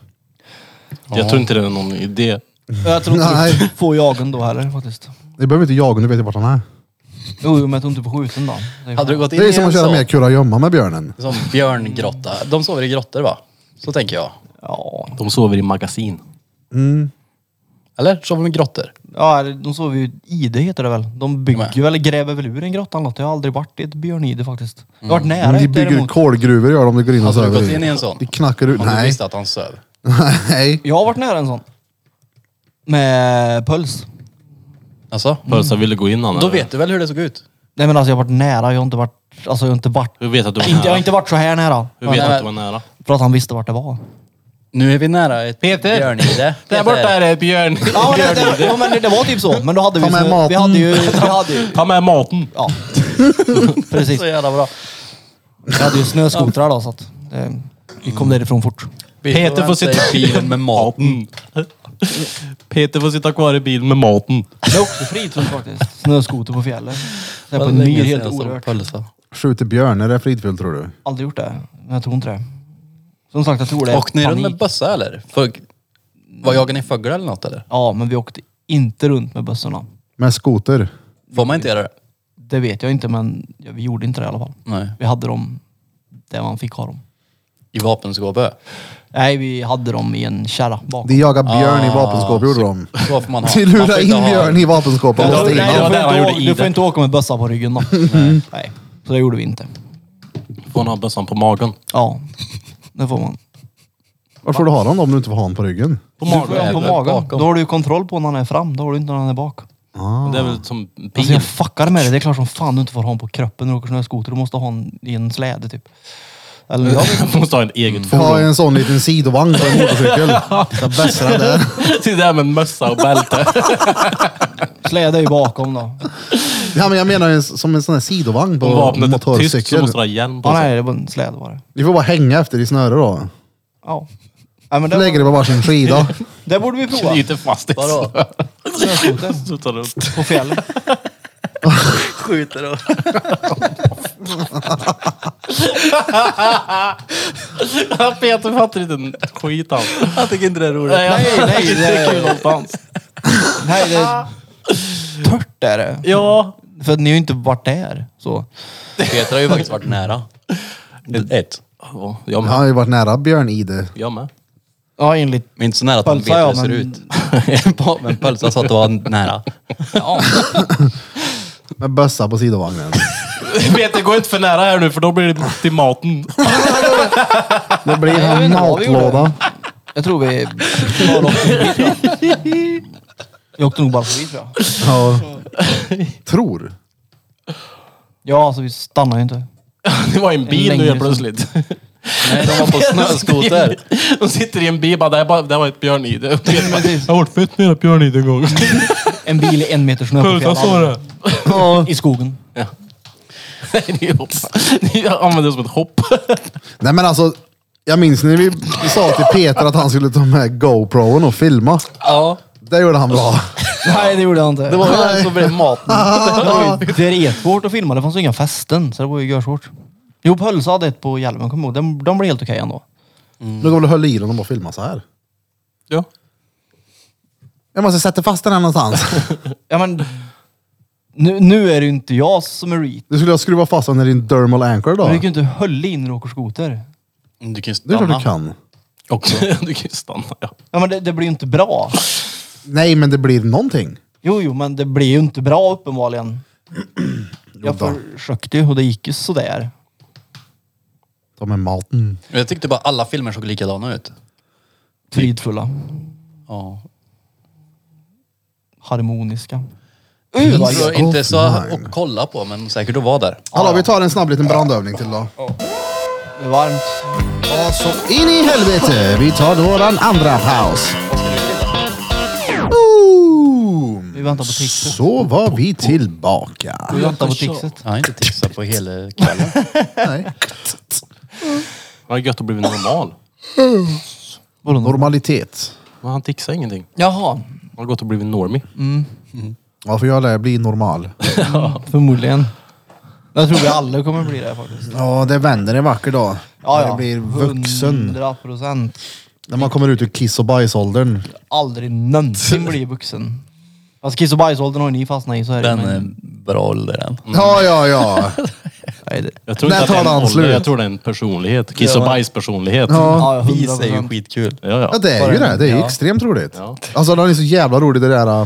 [SPEAKER 3] Jag tror inte det är någon idé.
[SPEAKER 2] Jag tror inte
[SPEAKER 1] Nej.
[SPEAKER 2] du får jagen då heller faktiskt.
[SPEAKER 1] Det behöver inte jaga, nu vet jag vart han är.
[SPEAKER 2] Jo, jo, men jag tror inte på skjuten då. Det är
[SPEAKER 4] Hade du
[SPEAKER 2] fan-
[SPEAKER 4] gått in
[SPEAKER 1] Det är
[SPEAKER 4] i
[SPEAKER 1] som
[SPEAKER 4] en
[SPEAKER 1] att köra
[SPEAKER 4] sån,
[SPEAKER 1] mer kurragömma med björnen.
[SPEAKER 4] sån björngrotta. De sover i grottor va? Så tänker jag.
[SPEAKER 2] Ja.
[SPEAKER 3] De sover i magasin.
[SPEAKER 4] Eller? Sover de i grottor?
[SPEAKER 2] ja, eller de sover ju i det heter det väl. De bygger
[SPEAKER 4] Nej.
[SPEAKER 2] ju eller gräver väl ur en grotta eller något. Jag har aldrig varit i ett björnide faktiskt. Jag har varit
[SPEAKER 4] Mm.
[SPEAKER 2] nära
[SPEAKER 1] Men de
[SPEAKER 2] ett
[SPEAKER 1] bygger
[SPEAKER 2] däremot.
[SPEAKER 1] kolgruvor gör de, de går in och
[SPEAKER 4] Hade du
[SPEAKER 1] söver
[SPEAKER 4] gått in i en sån?
[SPEAKER 1] De knackar ut.
[SPEAKER 4] Om du
[SPEAKER 1] Nej.
[SPEAKER 4] visste att han söv.
[SPEAKER 1] *laughs* Nej.
[SPEAKER 2] Jag har varit nära en sån. Med puls.
[SPEAKER 4] Alltså?
[SPEAKER 3] Pölsa ville gå in Anna.
[SPEAKER 4] Då vet du väl hur det såg ut?
[SPEAKER 2] Nej men alltså jag har varit nära. Jag har inte varit... Alltså jag har inte varit...
[SPEAKER 3] Hur vet att du var
[SPEAKER 2] Inte, jag har
[SPEAKER 3] nära?
[SPEAKER 2] inte varit så här nära.
[SPEAKER 3] Hur vet
[SPEAKER 2] Men-
[SPEAKER 3] att du var nära?
[SPEAKER 2] För att han visste vart det var.
[SPEAKER 4] Nu är vi nära ett
[SPEAKER 3] Peter!
[SPEAKER 4] björnide.
[SPEAKER 3] Där
[SPEAKER 4] Peter.
[SPEAKER 3] borta är det ett björn.
[SPEAKER 2] Ja, men det, det, ja, men det, det var typ så. Men då hade vi,
[SPEAKER 1] Ta med
[SPEAKER 2] så,
[SPEAKER 1] maten.
[SPEAKER 2] vi hade ju...
[SPEAKER 1] *laughs*
[SPEAKER 2] Vi hade ju
[SPEAKER 3] *laughs* Ta med maten.
[SPEAKER 2] ja. Precis.
[SPEAKER 4] Så jävla bra.
[SPEAKER 2] Vi hade ju snöskotrar då så att... eh, Vi kom därifrån fort.
[SPEAKER 3] Peter får sitta
[SPEAKER 4] i bilen med maten.
[SPEAKER 3] Maten. *laughs* Peter får sitta kvar i bilen med maten.
[SPEAKER 2] Det är också fritrunt faktiskt. Snöskoter på fjällen. Så här på en
[SPEAKER 4] Länge
[SPEAKER 2] myr
[SPEAKER 4] sedan
[SPEAKER 2] helt
[SPEAKER 4] jag såg
[SPEAKER 2] orört.
[SPEAKER 4] pölsa.
[SPEAKER 1] Skjuter björn, är det fridfullt tror du?
[SPEAKER 2] Aldrig gjort det. Men jag tror inte det. Som sagt, jag tror det är
[SPEAKER 4] Åkte ni runt med
[SPEAKER 2] panik.
[SPEAKER 4] bössa eller? Fög... Vad jagar ni fåglar eller något eller?
[SPEAKER 2] Ja, men vi åkte inte runt med bössorna.
[SPEAKER 1] Med skoter?
[SPEAKER 4] Får man inte göra det?
[SPEAKER 2] Det vet jag inte, men ja, vi gjorde inte det i alla fall.
[SPEAKER 4] Nej.
[SPEAKER 2] Vi hade dem där man fick ha dem.
[SPEAKER 4] I vapenskåpet?
[SPEAKER 2] Nej, vi hade dem i en kärra bakom.
[SPEAKER 1] De jagar björn i vapenskåp gjorde de.
[SPEAKER 4] Så får man ha.
[SPEAKER 1] *laughs* De
[SPEAKER 4] Man får
[SPEAKER 1] lurar
[SPEAKER 4] inte
[SPEAKER 1] in
[SPEAKER 4] ha-
[SPEAKER 1] björn i vapenskåpet
[SPEAKER 2] Du,
[SPEAKER 1] och
[SPEAKER 2] nej,
[SPEAKER 1] låste in
[SPEAKER 2] du,
[SPEAKER 1] honom.
[SPEAKER 3] det var
[SPEAKER 2] får
[SPEAKER 3] där han
[SPEAKER 2] inte,
[SPEAKER 3] gjorde
[SPEAKER 2] å-
[SPEAKER 3] i
[SPEAKER 2] du får
[SPEAKER 3] det.
[SPEAKER 2] inte åka med bössa på ryggen då. Nej. Så det gjorde vi inte.
[SPEAKER 3] Får han ha bössan på magen?
[SPEAKER 2] Ja, det får man.
[SPEAKER 1] Varför får du ha honom då om du inte får ha honom på ryggen?
[SPEAKER 3] På
[SPEAKER 2] Du får
[SPEAKER 3] magen?
[SPEAKER 2] den på
[SPEAKER 4] eller
[SPEAKER 2] magen.
[SPEAKER 4] bakom.
[SPEAKER 2] Då har du ju kontroll på när han är fram. Då har du inte när han är bak.
[SPEAKER 3] Det är väl som pil?
[SPEAKER 2] Alltså jag fuckar med det. Det är klart som fan du inte får ha honom på kroppen när du åker snöskoter. Du måste ha honom i en släde typ. Eller jag vet inte.
[SPEAKER 3] Jag *laughs* måste ha en eget
[SPEAKER 1] Jag har
[SPEAKER 3] fordon.
[SPEAKER 1] en sån liten sidovagn på en motorcykel. Så bästa där.
[SPEAKER 3] Sitter där med en mössa och bälte.
[SPEAKER 2] Släde är ju bakom då.
[SPEAKER 1] Ja, men jag menar en, som en sån här sidovagn på
[SPEAKER 3] Om vapnet är tyskt så
[SPEAKER 1] motorcykel.
[SPEAKER 3] måste du ha hjälm på
[SPEAKER 2] Ja,
[SPEAKER 3] sig.
[SPEAKER 2] nej, det var en släde var det.
[SPEAKER 1] Ni får bara hänga efter i snöre då.
[SPEAKER 2] Ja. Nej, men det,
[SPEAKER 1] Lägger det
[SPEAKER 2] var,
[SPEAKER 1] på varsin skida.
[SPEAKER 2] det borde vi prova.
[SPEAKER 3] Knyter fast i
[SPEAKER 4] Vadå?
[SPEAKER 2] Snöskoter
[SPEAKER 3] *laughs* så tar du upp.
[SPEAKER 2] på fjällen.
[SPEAKER 4] Skjuter och...
[SPEAKER 3] *laughs* Peter fattar inte en skit han.
[SPEAKER 4] Jag tycker inte det är roligt.
[SPEAKER 2] Nej, nej, det är
[SPEAKER 3] kul någonstans.
[SPEAKER 2] Nej, det är tört är det.
[SPEAKER 3] Ja.
[SPEAKER 2] För att ni har ju inte varit där. Så.
[SPEAKER 4] Peter har ju faktiskt varit nära. Ett.
[SPEAKER 3] Ja, Jag
[SPEAKER 1] Jag
[SPEAKER 3] med.
[SPEAKER 1] har ju varit nära björn-ide.
[SPEAKER 3] Jag med.
[SPEAKER 2] Ja, enligt
[SPEAKER 4] Men inte så nära att man vet
[SPEAKER 2] Pölsa
[SPEAKER 4] hur
[SPEAKER 2] ja,
[SPEAKER 4] det ser
[SPEAKER 2] men...
[SPEAKER 4] ut. *laughs* Men Pölsa sa att det var nära.
[SPEAKER 2] Ja.
[SPEAKER 1] Med bössa på sidovagnen.
[SPEAKER 3] Peter, gå inte för nära här nu för då blir det till maten.
[SPEAKER 1] Det blir
[SPEAKER 2] jag vet
[SPEAKER 1] en
[SPEAKER 2] inte vad vi
[SPEAKER 1] matlåda.
[SPEAKER 2] Jag tror vi bara åkte förbi tror jag. Vi åkte nog bara förbi tror jag.
[SPEAKER 1] Ja. Tror.
[SPEAKER 2] Ja, alltså vi stannar ju inte.
[SPEAKER 3] *laughs* Det var en bil nu
[SPEAKER 2] längre
[SPEAKER 3] helt plötsligt. *laughs*
[SPEAKER 4] Nej, de var på snöskoter.
[SPEAKER 3] De sitter i en bil bara, det här bara- det här var ett björnide. Och Peter bara, Jag har varit fett nära björnide en
[SPEAKER 4] *laughs*
[SPEAKER 3] gång.
[SPEAKER 2] En bil i en meter snö på
[SPEAKER 3] Pulsa sa det.
[SPEAKER 2] Ja. I skogen.
[SPEAKER 3] Nej, det är *laughs* hopp. Ni använder det som ett hopp.
[SPEAKER 1] Nej men alltså. Jag minns när vi sa till Peter att han skulle ta med GoProen och filma.
[SPEAKER 4] Ja.
[SPEAKER 1] Det gjorde han bra.
[SPEAKER 2] Nej, det gjorde jag inte.
[SPEAKER 4] Det var ju den som blev maten.
[SPEAKER 2] *laughs* Det är jättesvårt att filma. Det fanns ju inga fästen, så det var ju görsvårt. Jo, Pölsa hade ett på Hjälmen, kommer jag ihåg. De, de blev helt okej ändå.
[SPEAKER 1] Nu går väl och höll i den och bara filma så här.
[SPEAKER 3] Ja.
[SPEAKER 1] Jag måste sätta fast den här någonstans.
[SPEAKER 2] Ja, men... Nu, nu är det ju inte jag som är reet.
[SPEAKER 1] Du skulle ha skruvat fast den i din dermal anchor då.
[SPEAKER 2] Men Du kan ju
[SPEAKER 1] Det
[SPEAKER 2] inte hålla in när du åker skoter.
[SPEAKER 4] *laughs* Du kan ju
[SPEAKER 1] är klart
[SPEAKER 4] stanna.
[SPEAKER 1] du kan.
[SPEAKER 3] Också. Du kan ju stanna. *laughs* Ja.
[SPEAKER 2] Ja, men det, det blir ju inte bra.
[SPEAKER 1] Nej men det blir någonting.
[SPEAKER 2] Jo, jo, men det blir ju inte bra uppenbarligen. Jag
[SPEAKER 1] då.
[SPEAKER 2] försökte ju och det gick ju sådär.
[SPEAKER 1] De är malten.
[SPEAKER 4] Jag tyckte bara alla filmer såg likadana ut.
[SPEAKER 2] Fridfulla.
[SPEAKER 4] Ja.
[SPEAKER 2] Harmoniska.
[SPEAKER 4] Så inte så
[SPEAKER 1] offline.
[SPEAKER 4] att kolla på men säkert att vara där.
[SPEAKER 1] Hallå, vi tar en snabb liten brandövning till då.
[SPEAKER 2] Det är varmt.
[SPEAKER 1] Ja, så in i helvete. Vi tar våran andra paus. Boom.
[SPEAKER 2] Vi väntar på tipset.
[SPEAKER 1] Så var vi tillbaka.
[SPEAKER 2] Vi väntar på tipset.
[SPEAKER 4] Jag har inte tipsat på hela kvällen.
[SPEAKER 1] Nej.
[SPEAKER 3] Det var gött att bli normal.
[SPEAKER 2] Vadå då?
[SPEAKER 1] Normalitet.
[SPEAKER 3] Men han tixar ingenting.
[SPEAKER 2] Jaha.
[SPEAKER 3] Han har gått och blivit normie.
[SPEAKER 1] Ja, för jag lär bli normal.
[SPEAKER 2] Förmodligen. Jag tror vi alla kommer bli det faktiskt.
[SPEAKER 1] Ja, det vänder en vacker dag.
[SPEAKER 2] Ja, ja.
[SPEAKER 1] När det blir vuxen.
[SPEAKER 2] 100 procent.
[SPEAKER 1] När man kommer ut ur kiss och bajsåldern.
[SPEAKER 2] Aldrig någonsin bli vuxen. Fast kiss och bajsåldern har ju ni fastnat i så är det
[SPEAKER 4] Den
[SPEAKER 2] men-
[SPEAKER 4] är eh, bra ålder den.
[SPEAKER 1] Ja, ja, ja.
[SPEAKER 2] Nej, det-
[SPEAKER 3] Jag tror
[SPEAKER 1] När
[SPEAKER 3] inte att det är
[SPEAKER 1] tar
[SPEAKER 3] en
[SPEAKER 1] han
[SPEAKER 3] ålder,
[SPEAKER 1] slut?
[SPEAKER 3] jag tror det är en personlighet. Kiss och bajspersonlighet.
[SPEAKER 1] Ja,
[SPEAKER 2] Ja,
[SPEAKER 4] Vis är ju
[SPEAKER 2] 100%.
[SPEAKER 4] skitkul.
[SPEAKER 3] Ja,
[SPEAKER 1] ja
[SPEAKER 3] ja.
[SPEAKER 1] det är ju det. Det är ju extremt roligt.
[SPEAKER 3] Ja.
[SPEAKER 1] Alltså, det är så jävla roligt det där äh,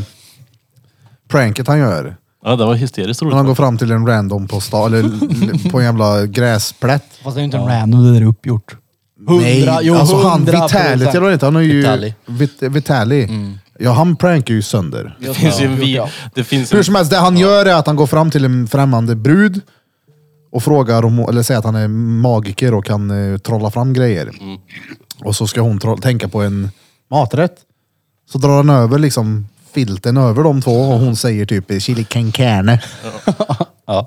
[SPEAKER 1] pranket han gör.
[SPEAKER 3] ja det var hysteriskt
[SPEAKER 1] När han går
[SPEAKER 3] roligt.
[SPEAKER 1] fram till en random på stan, eller l- på en jävla gräsplätt.
[SPEAKER 2] Fast det är ju inte en random, det där är uppgjort. 100, jo,
[SPEAKER 1] alltså han
[SPEAKER 2] 100%.
[SPEAKER 1] Vitality, eller vad heter han? Har ju,
[SPEAKER 4] Vitali.
[SPEAKER 1] Vit, Vitali. Ja, han prankar ju sönder.
[SPEAKER 3] Det finns ju en vi... Det finns
[SPEAKER 1] Hur
[SPEAKER 3] en...
[SPEAKER 1] som helst, det han gör är att han går fram till en främmande brud och frågar om, eller säger att han är magiker och kan eh, trolla fram grejer.
[SPEAKER 3] Mm.
[SPEAKER 1] Och så ska hon troll, tänka på en maträtt. Så drar han över liksom filten över de två och hon säger typ chili con carne. *laughs*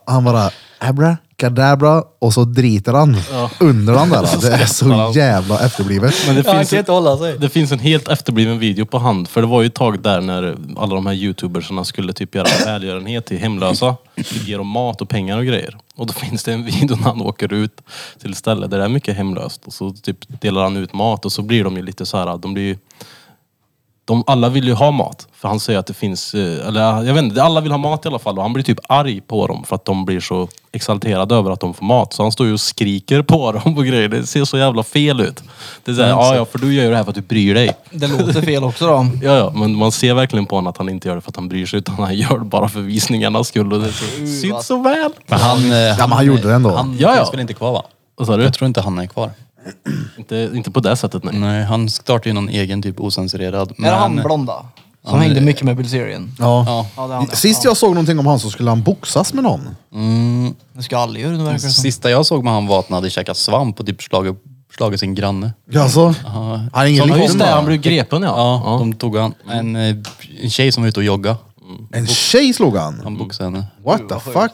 [SPEAKER 1] Han bara abracadabra och så driter han under den där. Det
[SPEAKER 3] *laughs*
[SPEAKER 1] är så jävla efterblivet.
[SPEAKER 3] Men det
[SPEAKER 4] Han
[SPEAKER 3] finns,
[SPEAKER 4] kan
[SPEAKER 3] en,
[SPEAKER 4] inte hålla sig.
[SPEAKER 3] det finns en helt efterbliven video på hand. För det var ju ett tag där när alla de här youtubersarna skulle typ göra välgörenhet till hemlösa. Ge dem mat och pengar och grejer. Och då finns det en video när han åker ut till ett ställe där det är mycket hemlöst. Och så typ delar han ut mat och så blir de ju lite så här, de blir ju de, alla vill ju ha mat. För han säger att det finns, eh, eller jag vet inte, alla vill ha mat i alla fall. Och han blir typ arg på dem för att de blir så exalterade över att de får mat. Så han står ju och skriker på dem på grejer. Det ser så jävla fel ut. Det är såhär, ja ja för du gör ju det här för att du bryr dig.
[SPEAKER 2] Det låter fel också då.
[SPEAKER 3] Ja ja, men man ser verkligen på honom att han inte gör det för att han bryr sig. Utan han gör det bara för visningarnas skull. Och det syns så väl.
[SPEAKER 4] Men han, eh,
[SPEAKER 1] men han gjorde det ändå.
[SPEAKER 4] Han
[SPEAKER 3] Ja, ja.
[SPEAKER 4] finns väl inte kvar va?
[SPEAKER 3] Vad sa du?
[SPEAKER 4] Jag tror inte han är kvar.
[SPEAKER 3] Inte, inte på det sättet nej.
[SPEAKER 4] Nej, han startade ju någon egen typ eh, ocensurerad.
[SPEAKER 2] Är det han blonda? Som hängde mycket med Bill Serien.
[SPEAKER 1] Ja.
[SPEAKER 2] Ja, det är han. det.
[SPEAKER 1] Sist jag såg någonting om han så skulle han boxas med någon.
[SPEAKER 2] Det ska aldrig göra det verkar det som.
[SPEAKER 4] Sista jag såg med han var att han hade käkat svamp och typ slagit, slagit sin granne.
[SPEAKER 1] Alltså, han är ingen
[SPEAKER 4] Som
[SPEAKER 3] Ja just
[SPEAKER 1] liten
[SPEAKER 3] det,
[SPEAKER 1] va?
[SPEAKER 3] han blev grepen ja.
[SPEAKER 4] Ja, de tog han. En, eh, en tjej som var ute och jogga.
[SPEAKER 1] En tjej slog han.
[SPEAKER 4] Han boxade henne.
[SPEAKER 1] What the fuck?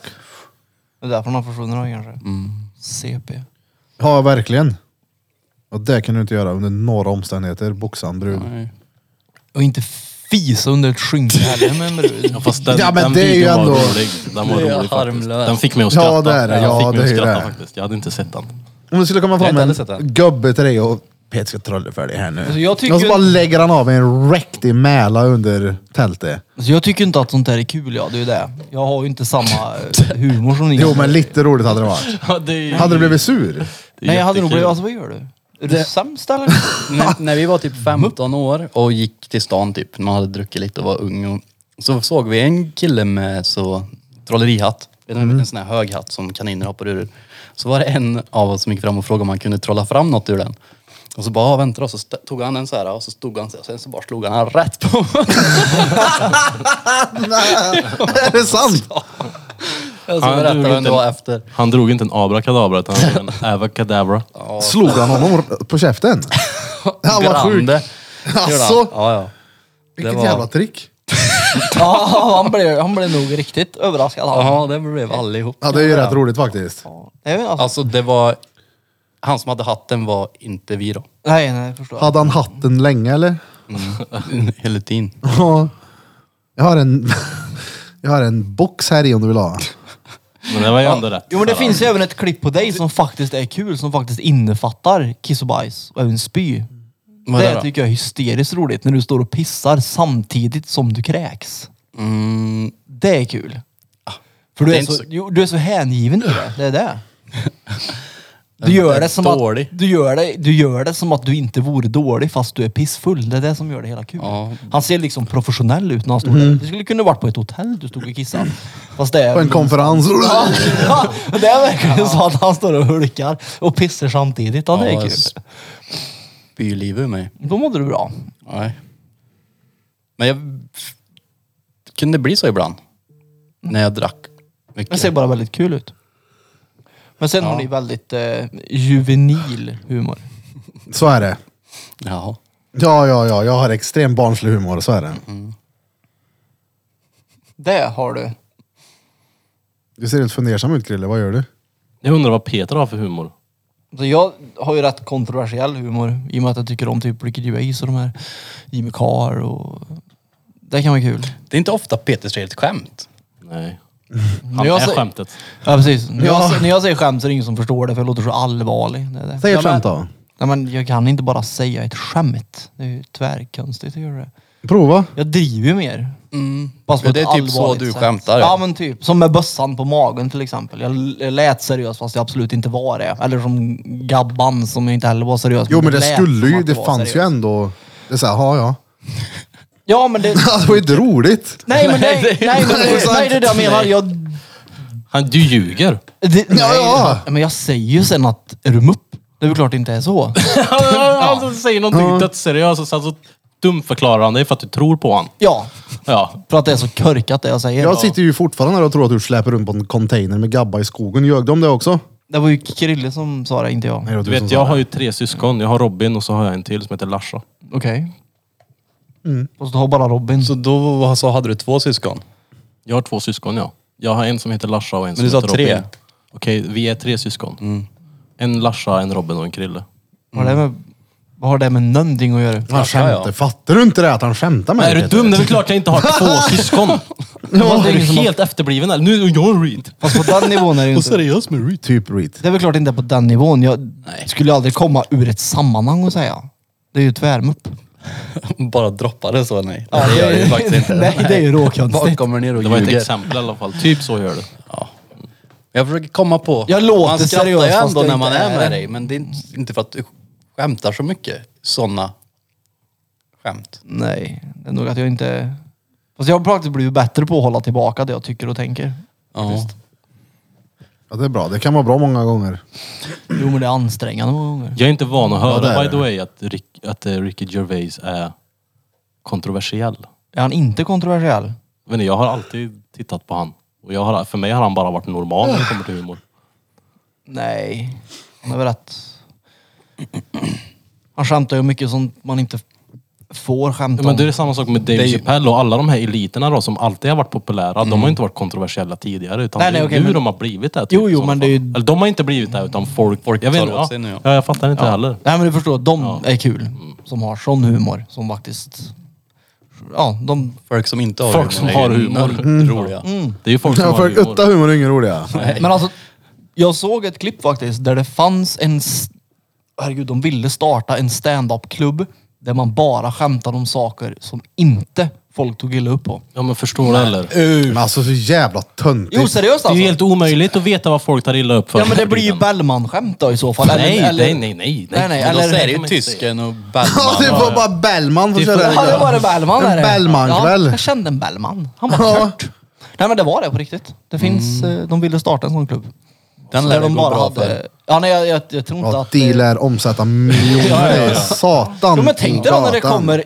[SPEAKER 2] Det är därför han har försvunnit då kanske. CP.
[SPEAKER 1] Ja, verkligen. Och det kan du inte göra under några omständigheter. Boxa en brud.
[SPEAKER 2] Och inte fisa under ett skynke heller med en brud.
[SPEAKER 3] Ja, fast den,
[SPEAKER 1] Ja, men
[SPEAKER 3] den
[SPEAKER 1] det är ju
[SPEAKER 3] videon
[SPEAKER 1] ändå-
[SPEAKER 3] var rolig. Den var
[SPEAKER 4] Det är
[SPEAKER 3] rolig faktiskt.
[SPEAKER 4] harmlöst.
[SPEAKER 3] Den fick mig att
[SPEAKER 1] Ja,
[SPEAKER 3] skratta.
[SPEAKER 1] det är det.
[SPEAKER 3] Den
[SPEAKER 1] Ja,
[SPEAKER 3] fick mig
[SPEAKER 1] det är
[SPEAKER 3] att skratta
[SPEAKER 1] det.
[SPEAKER 3] faktiskt. Jag hade inte sett den.
[SPEAKER 1] Om det skulle komma fram
[SPEAKER 4] inte heller sett
[SPEAKER 1] en
[SPEAKER 4] den.
[SPEAKER 1] gubbe till dig och Peter ska trolla för dig här nu.
[SPEAKER 2] Alltså, jag tycker-
[SPEAKER 1] Och så bara lägger han av en riktig mäla under tältet.
[SPEAKER 2] Alltså jag tycker inte att sånt där är kul ja, det är ju det. Jag har ju inte samma eh, humor som ni.
[SPEAKER 1] Jo, men lite roligt hade det varit.
[SPEAKER 3] Ja, det är,
[SPEAKER 1] Hade du blivit sur?
[SPEAKER 3] det är
[SPEAKER 2] Nej jag hade nog
[SPEAKER 3] jättekul.
[SPEAKER 2] blivit, alltså vad gör du? Är du sämst eller? *laughs*
[SPEAKER 4] när, när vi var typ 15 år och gick till stan typ, när man hade druckit lite och var ung. Och, så såg vi en kille med så trollerihatt. En,
[SPEAKER 1] Mm.
[SPEAKER 4] en sån här hög hatt som kaniner hoppar ur. Så var det en av oss som gick fram och frågade om han kunde trolla fram något ur den. Och så bara, "Ja, vänta då. Så st- tog han den så här och så stod han så här, och sen så bara slog han han rätt på *laughs* mig.
[SPEAKER 1] Är det sant?
[SPEAKER 4] Och så
[SPEAKER 3] Han
[SPEAKER 4] Alltså, berättade
[SPEAKER 3] drog
[SPEAKER 4] han
[SPEAKER 3] inte
[SPEAKER 4] det var
[SPEAKER 3] en-
[SPEAKER 4] efter.
[SPEAKER 3] Han drog inte en abrakadabra utan han drog *laughs* en avakadabra.
[SPEAKER 1] Slog han honom på käften? Han var sjuk.
[SPEAKER 4] Grande.
[SPEAKER 1] Alltså.
[SPEAKER 4] Ja, ja.
[SPEAKER 1] Vilket
[SPEAKER 4] var-
[SPEAKER 1] jävla trick.
[SPEAKER 2] ja, han blev, han blev nog riktigt överraskad han.
[SPEAKER 4] Ja, det blev allihop.
[SPEAKER 1] Ja, det är ju rätt roligt faktiskt.
[SPEAKER 2] Jag vet, alltså,
[SPEAKER 4] Alltså det var... Han som hade hatten var inte vi då. *laughs*
[SPEAKER 2] nej, nej, jag förstår.
[SPEAKER 1] Hade han hatten länge eller?
[SPEAKER 4] Hela tiden.
[SPEAKER 1] Ja. Jag har en... *laughs* Jag har en box här i om du vill ha.
[SPEAKER 3] Men det var ju ändå rätt.
[SPEAKER 2] Jo men det
[SPEAKER 3] Så
[SPEAKER 2] finns ju även ett klipp på dig som faktiskt är kul, som faktiskt innefattar kiss och bajs och även spy.
[SPEAKER 4] Vad är
[SPEAKER 2] det
[SPEAKER 4] det då?
[SPEAKER 2] tycker jag är hysteriskt roligt, när du står och pissar samtidigt som du kräks.
[SPEAKER 4] Mm,
[SPEAKER 2] Det är kul. För du
[SPEAKER 4] Ah,
[SPEAKER 2] är,
[SPEAKER 4] det är inte
[SPEAKER 2] så,
[SPEAKER 4] så- *laughs*
[SPEAKER 2] jo, du är så hängiven i det, det är det. Du gör, det som att,
[SPEAKER 4] Dålig.
[SPEAKER 2] du, gör det, du gör det som att du inte vore dålig fast du är pissfull. Det är det som gör det hela kul.
[SPEAKER 4] Ja.
[SPEAKER 2] Han ser liksom professionell ut när han står där. Det skulle kunna varit på ett hotell du stod och kissade. Fast det är...
[SPEAKER 1] Mm. På en konferens.
[SPEAKER 2] Ja, *laughs* det är verkligen så att han står och hulkar och pissar samtidigt. Ja, det är
[SPEAKER 4] Ja,
[SPEAKER 2] kul.
[SPEAKER 4] Spyr livet ur mig.
[SPEAKER 2] Då mådde du bra.
[SPEAKER 4] Nej. Men jag kunde bli så ibland. När Mm. jag drack
[SPEAKER 2] Det
[SPEAKER 4] mycket.
[SPEAKER 2] ser bara väldigt kul ut. Men sen har ni väldigt eh, juvenil humor.
[SPEAKER 1] Så är det.
[SPEAKER 4] Jaha.
[SPEAKER 1] Ja, ja, ja. Jag har extrem barnslig humor, så är det.
[SPEAKER 2] Det har du.
[SPEAKER 1] Du ser helt fundersam ut Krille, vad gör du?
[SPEAKER 3] Jag undrar vad Peter har för humor.
[SPEAKER 2] Så jag har ju rätt kontroversiell humor i och med att jag tycker om typ Ricky Gervais och de här Jimmy Carr och... Det kan vara kul.
[SPEAKER 4] Det är inte ofta Peter säger ett skämt.
[SPEAKER 3] Nej.
[SPEAKER 2] Men
[SPEAKER 3] Han
[SPEAKER 2] jag
[SPEAKER 3] är
[SPEAKER 2] ser-
[SPEAKER 3] skämtet.
[SPEAKER 2] Ja precis. När, jag, när jag säger skämt så är det ingen som förstår det för jag låter så allvarlig. Det är det.
[SPEAKER 1] Säg ett
[SPEAKER 2] Ja, men-
[SPEAKER 1] skämt då.
[SPEAKER 2] Nej men jag kan inte bara säga ett skämt. Det är ju tvärkonstigt att göra det.
[SPEAKER 1] Prova.
[SPEAKER 2] Jag driver ju mer. Mm.
[SPEAKER 4] Ja, det är typ så du skämtar,
[SPEAKER 2] Ja.
[SPEAKER 4] ja.
[SPEAKER 2] ja men typ. Som med bössan på magen till exempel. Jag l- jag lät seriös fast jag absolut inte var det. Eller som Gabban som jag inte heller var seriös.
[SPEAKER 1] Jo men det
[SPEAKER 2] lät
[SPEAKER 1] skulle
[SPEAKER 2] som
[SPEAKER 1] ju,
[SPEAKER 2] att
[SPEAKER 1] det
[SPEAKER 2] jag var
[SPEAKER 1] fanns ju
[SPEAKER 2] seriös.
[SPEAKER 1] ändå. Det är såhär, ja ja. *laughs*
[SPEAKER 2] Ja men det...
[SPEAKER 1] Det var ju inte roligt.
[SPEAKER 2] Nej men det, nej, men det, nej det är det jag menar. Jag,
[SPEAKER 3] Han, du *laughs* ljuger.
[SPEAKER 2] det, nej,
[SPEAKER 1] ja.
[SPEAKER 2] Men jag säger ju sen att, är du mupp? Det är väl klart det inte är så.
[SPEAKER 4] *laughs*
[SPEAKER 3] Han, han, han säger någonting dödsseriöst och sen så dumförklarar han dig för att du tror på han.
[SPEAKER 2] Ja,
[SPEAKER 3] Ja.
[SPEAKER 2] för att det är så körkat det jag säger.
[SPEAKER 1] Jag sitter ju fortfarande här och tror att du släpper runt på en container med gabba i skogen. Ljög de om det också?
[SPEAKER 2] Det var ju Krille som sa det, inte jag.
[SPEAKER 1] Nej,
[SPEAKER 2] Okej.
[SPEAKER 1] det var
[SPEAKER 3] Du
[SPEAKER 1] som
[SPEAKER 3] vet,
[SPEAKER 1] sa
[SPEAKER 3] jag
[SPEAKER 1] det.
[SPEAKER 3] har ju tre syskon. Jag har Robin och så har jag en till som heter Larsa.
[SPEAKER 2] Och så har bara Robin.
[SPEAKER 4] Så då så hade du två syskon? *laughs*
[SPEAKER 3] Jag har två syskon, ja. Jag har en som heter Larsa och en som
[SPEAKER 4] du sa
[SPEAKER 3] heter Robin.
[SPEAKER 4] tre. Mm.
[SPEAKER 3] Okej, vi är tre syskon. En Larsa, en Robin och en Krille.
[SPEAKER 2] Vad har det med, vad har det med någonting att göra?
[SPEAKER 1] Han skämtar. Fattar du inte det? Att han skämtar med
[SPEAKER 3] är
[SPEAKER 1] dig,
[SPEAKER 3] du
[SPEAKER 1] Peter?
[SPEAKER 3] dum? Det är väl klart jag inte har
[SPEAKER 2] *laughs*
[SPEAKER 3] två syskon.
[SPEAKER 2] det
[SPEAKER 3] är
[SPEAKER 2] är
[SPEAKER 3] du
[SPEAKER 2] ingen som har-
[SPEAKER 3] helt efterbliven eller? Nu är jag Reed.
[SPEAKER 2] Fast på den
[SPEAKER 1] *laughs*
[SPEAKER 2] nivån är det ju inte.
[SPEAKER 3] seriös med Reed.
[SPEAKER 1] Typ read.
[SPEAKER 2] Det är väl klart inte på den nivån. Jag skulle aldrig komma ur ett sammanhang och säga. Det är ju tvärmupp.
[SPEAKER 4] Bara droppade så? Nej. Ja, det gör jag
[SPEAKER 2] *laughs*
[SPEAKER 4] ju faktiskt *laughs* inte.
[SPEAKER 2] Nej, det är ju
[SPEAKER 4] Bara
[SPEAKER 2] råkonstigt.
[SPEAKER 4] kommer ner och
[SPEAKER 3] Det var ett
[SPEAKER 4] ljuger.
[SPEAKER 3] exempel i alla fall. Typ så gör du.
[SPEAKER 4] Jag försöker komma på...
[SPEAKER 2] Jag låter
[SPEAKER 4] man skrattar
[SPEAKER 2] seriös,
[SPEAKER 4] ju
[SPEAKER 2] fast
[SPEAKER 4] ändå
[SPEAKER 2] jag
[SPEAKER 4] när
[SPEAKER 2] inte
[SPEAKER 4] man är
[SPEAKER 2] är
[SPEAKER 4] med
[SPEAKER 2] det.
[SPEAKER 4] dig. Men det är inte- inte för att du skämtar så mycket. Sådana skämt.
[SPEAKER 2] Nej, det är nog att jag inte... Fast jag har faktiskt blivit bättre på att hålla tillbaka det jag tycker och tänker.
[SPEAKER 4] Ja.
[SPEAKER 1] Ja, det är bra. Det kan vara bra många gånger.
[SPEAKER 2] Jo men det är ansträngande många gånger.
[SPEAKER 3] Jag är inte van att
[SPEAKER 1] det
[SPEAKER 3] höra,
[SPEAKER 1] är
[SPEAKER 3] by the
[SPEAKER 1] det.
[SPEAKER 3] way, att, Rick, att eh, Ricky Gervais är kontroversiell.
[SPEAKER 2] Är han inte kontroversiell?
[SPEAKER 3] Men jag har alltid tittat på han. Och jag har, för mig har han bara varit normal när det kommer till humor.
[SPEAKER 2] Nej, han är väl rätt... Han skämtar ju om mycket som man inte får skämta
[SPEAKER 3] Ja,
[SPEAKER 2] om.
[SPEAKER 3] men det är samma sak med Dave Chappelle och alla de här eliterna då, som alltid har varit populära. De har ju inte varit kontroversiella tidigare. Utan
[SPEAKER 2] Mm. Nej,
[SPEAKER 3] det
[SPEAKER 2] nej,
[SPEAKER 3] är
[SPEAKER 2] okej,
[SPEAKER 3] nu
[SPEAKER 2] men-
[SPEAKER 3] de har blivit det. Typ,
[SPEAKER 2] Jo, jo,
[SPEAKER 3] i sådana
[SPEAKER 2] men det är ju-
[SPEAKER 3] fall. Eller de har inte blivit det, utan folk...
[SPEAKER 4] Folk
[SPEAKER 3] jag vet
[SPEAKER 4] tar
[SPEAKER 3] inte,
[SPEAKER 4] åt
[SPEAKER 3] ja.
[SPEAKER 4] sig nu, ja.
[SPEAKER 3] ja. jag fattar inte heller.
[SPEAKER 2] Nej men du förstår, de är kul. Som har sån humor som faktiskt... Ja, de...
[SPEAKER 4] Folk som inte har
[SPEAKER 3] Folk som har humor.
[SPEAKER 4] Mm. Roliga.
[SPEAKER 3] Det är ju folk som
[SPEAKER 1] Ja,
[SPEAKER 3] har
[SPEAKER 1] för utta
[SPEAKER 3] humor.
[SPEAKER 1] humor är ingen roliga.
[SPEAKER 2] Men alltså, jag såg ett klipp faktiskt där det fanns en... s- Herregud, de ville starta en stand-up-klubb där man bara skämtade om saker som inte folk tog illa upp på.
[SPEAKER 3] Ja, men förstår du eller?
[SPEAKER 1] Men alltså så jävla töntigt.
[SPEAKER 2] Jo, seriöst
[SPEAKER 3] Det är ju
[SPEAKER 2] alltså?
[SPEAKER 3] helt omöjligt att veta vad folk tar illa upp för.
[SPEAKER 2] Ja men det
[SPEAKER 3] nu för
[SPEAKER 2] blir ju
[SPEAKER 3] tiden.
[SPEAKER 2] Bellman-skämt då i så fall.
[SPEAKER 3] Nej,
[SPEAKER 2] eller, eller...
[SPEAKER 3] nej, nej, nej.
[SPEAKER 2] Nej, nej,
[SPEAKER 4] Men
[SPEAKER 2] eller-
[SPEAKER 4] då säger
[SPEAKER 3] kan
[SPEAKER 4] ju
[SPEAKER 3] man inte
[SPEAKER 4] tysken och
[SPEAKER 1] Ja, det
[SPEAKER 4] Bellman.
[SPEAKER 1] var bara Bellman som
[SPEAKER 3] Det
[SPEAKER 1] körde
[SPEAKER 3] får-
[SPEAKER 1] den
[SPEAKER 2] Ja, det
[SPEAKER 1] grejen.
[SPEAKER 2] var det Bellman.
[SPEAKER 1] En
[SPEAKER 2] är det.
[SPEAKER 1] Bellman-kväll.
[SPEAKER 2] Ja, jag kände en Bellman. Han var
[SPEAKER 1] Ja.
[SPEAKER 2] kört. Nej men det var det på riktigt. Det finns,
[SPEAKER 3] Mm.
[SPEAKER 2] eh, de ville starta en sån klubb.
[SPEAKER 4] Den
[SPEAKER 2] Där
[SPEAKER 4] lär
[SPEAKER 2] de
[SPEAKER 4] de
[SPEAKER 2] bara
[SPEAKER 4] bra
[SPEAKER 2] hade...
[SPEAKER 4] för.
[SPEAKER 2] Ja nej jag, jag, jag tror inte
[SPEAKER 1] Ja,
[SPEAKER 2] att...
[SPEAKER 1] de
[SPEAKER 2] eh,
[SPEAKER 1] lär omsätta miljoner. Satan.
[SPEAKER 2] Jo men tänk dig då när det
[SPEAKER 1] Satan.
[SPEAKER 2] kommer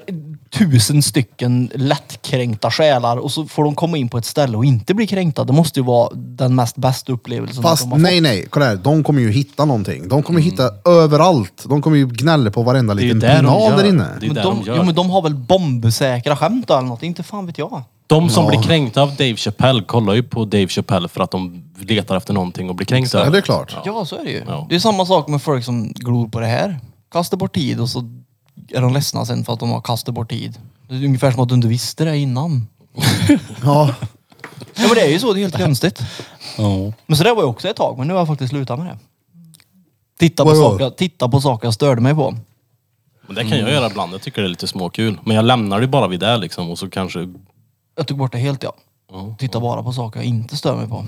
[SPEAKER 2] tusen stycken lättkränkta själar och så får de komma in på ett ställe och inte bli kränkta. Det måste ju vara den mest bästa upplevelsen
[SPEAKER 1] Fast
[SPEAKER 2] de har fått. Mm.
[SPEAKER 1] nej, nej. Kolla här. De kommer ju hitta någonting. De kommer hitta överallt. De kommer ju gnälla på varenda
[SPEAKER 3] ju
[SPEAKER 1] liten
[SPEAKER 3] där de
[SPEAKER 1] pinal
[SPEAKER 3] gör.
[SPEAKER 1] där inne.
[SPEAKER 3] Det är
[SPEAKER 2] Men
[SPEAKER 3] där
[SPEAKER 2] de,
[SPEAKER 3] de gör.
[SPEAKER 2] jo men de har väl bombsäkra skämt eller något, inte fan vet jag.
[SPEAKER 3] De som blir kränkta av Dave Chappelle kollar ju på Dave Chappelle för att de letar efter någonting och blir kränkta.
[SPEAKER 1] Ja, det är klart.
[SPEAKER 2] Ja, så är det ju.
[SPEAKER 3] Ja.
[SPEAKER 2] Det är samma sak med folk som glor på det här. Kastar bort tid och så är de ledsna sen för att de har kastat bort tid. Det är ungefär som att du inte visste det innan.
[SPEAKER 1] Ja.
[SPEAKER 2] Ja men det är ju så, det är helt konstigt.
[SPEAKER 4] Ja.
[SPEAKER 2] Men så det var ju också ett tag, men nu har jag faktiskt slutat med det. Titta på,
[SPEAKER 1] Vadå?
[SPEAKER 2] saker, titta på saker jag störde mig på.
[SPEAKER 3] Men det kan jag göra ibland. Jag tycker det är lite småkul. Men jag lämnar det bara vid det liksom och så kanske...
[SPEAKER 2] Jag tog bort det helt ja. Titta bara på saker jag inte stör mig på.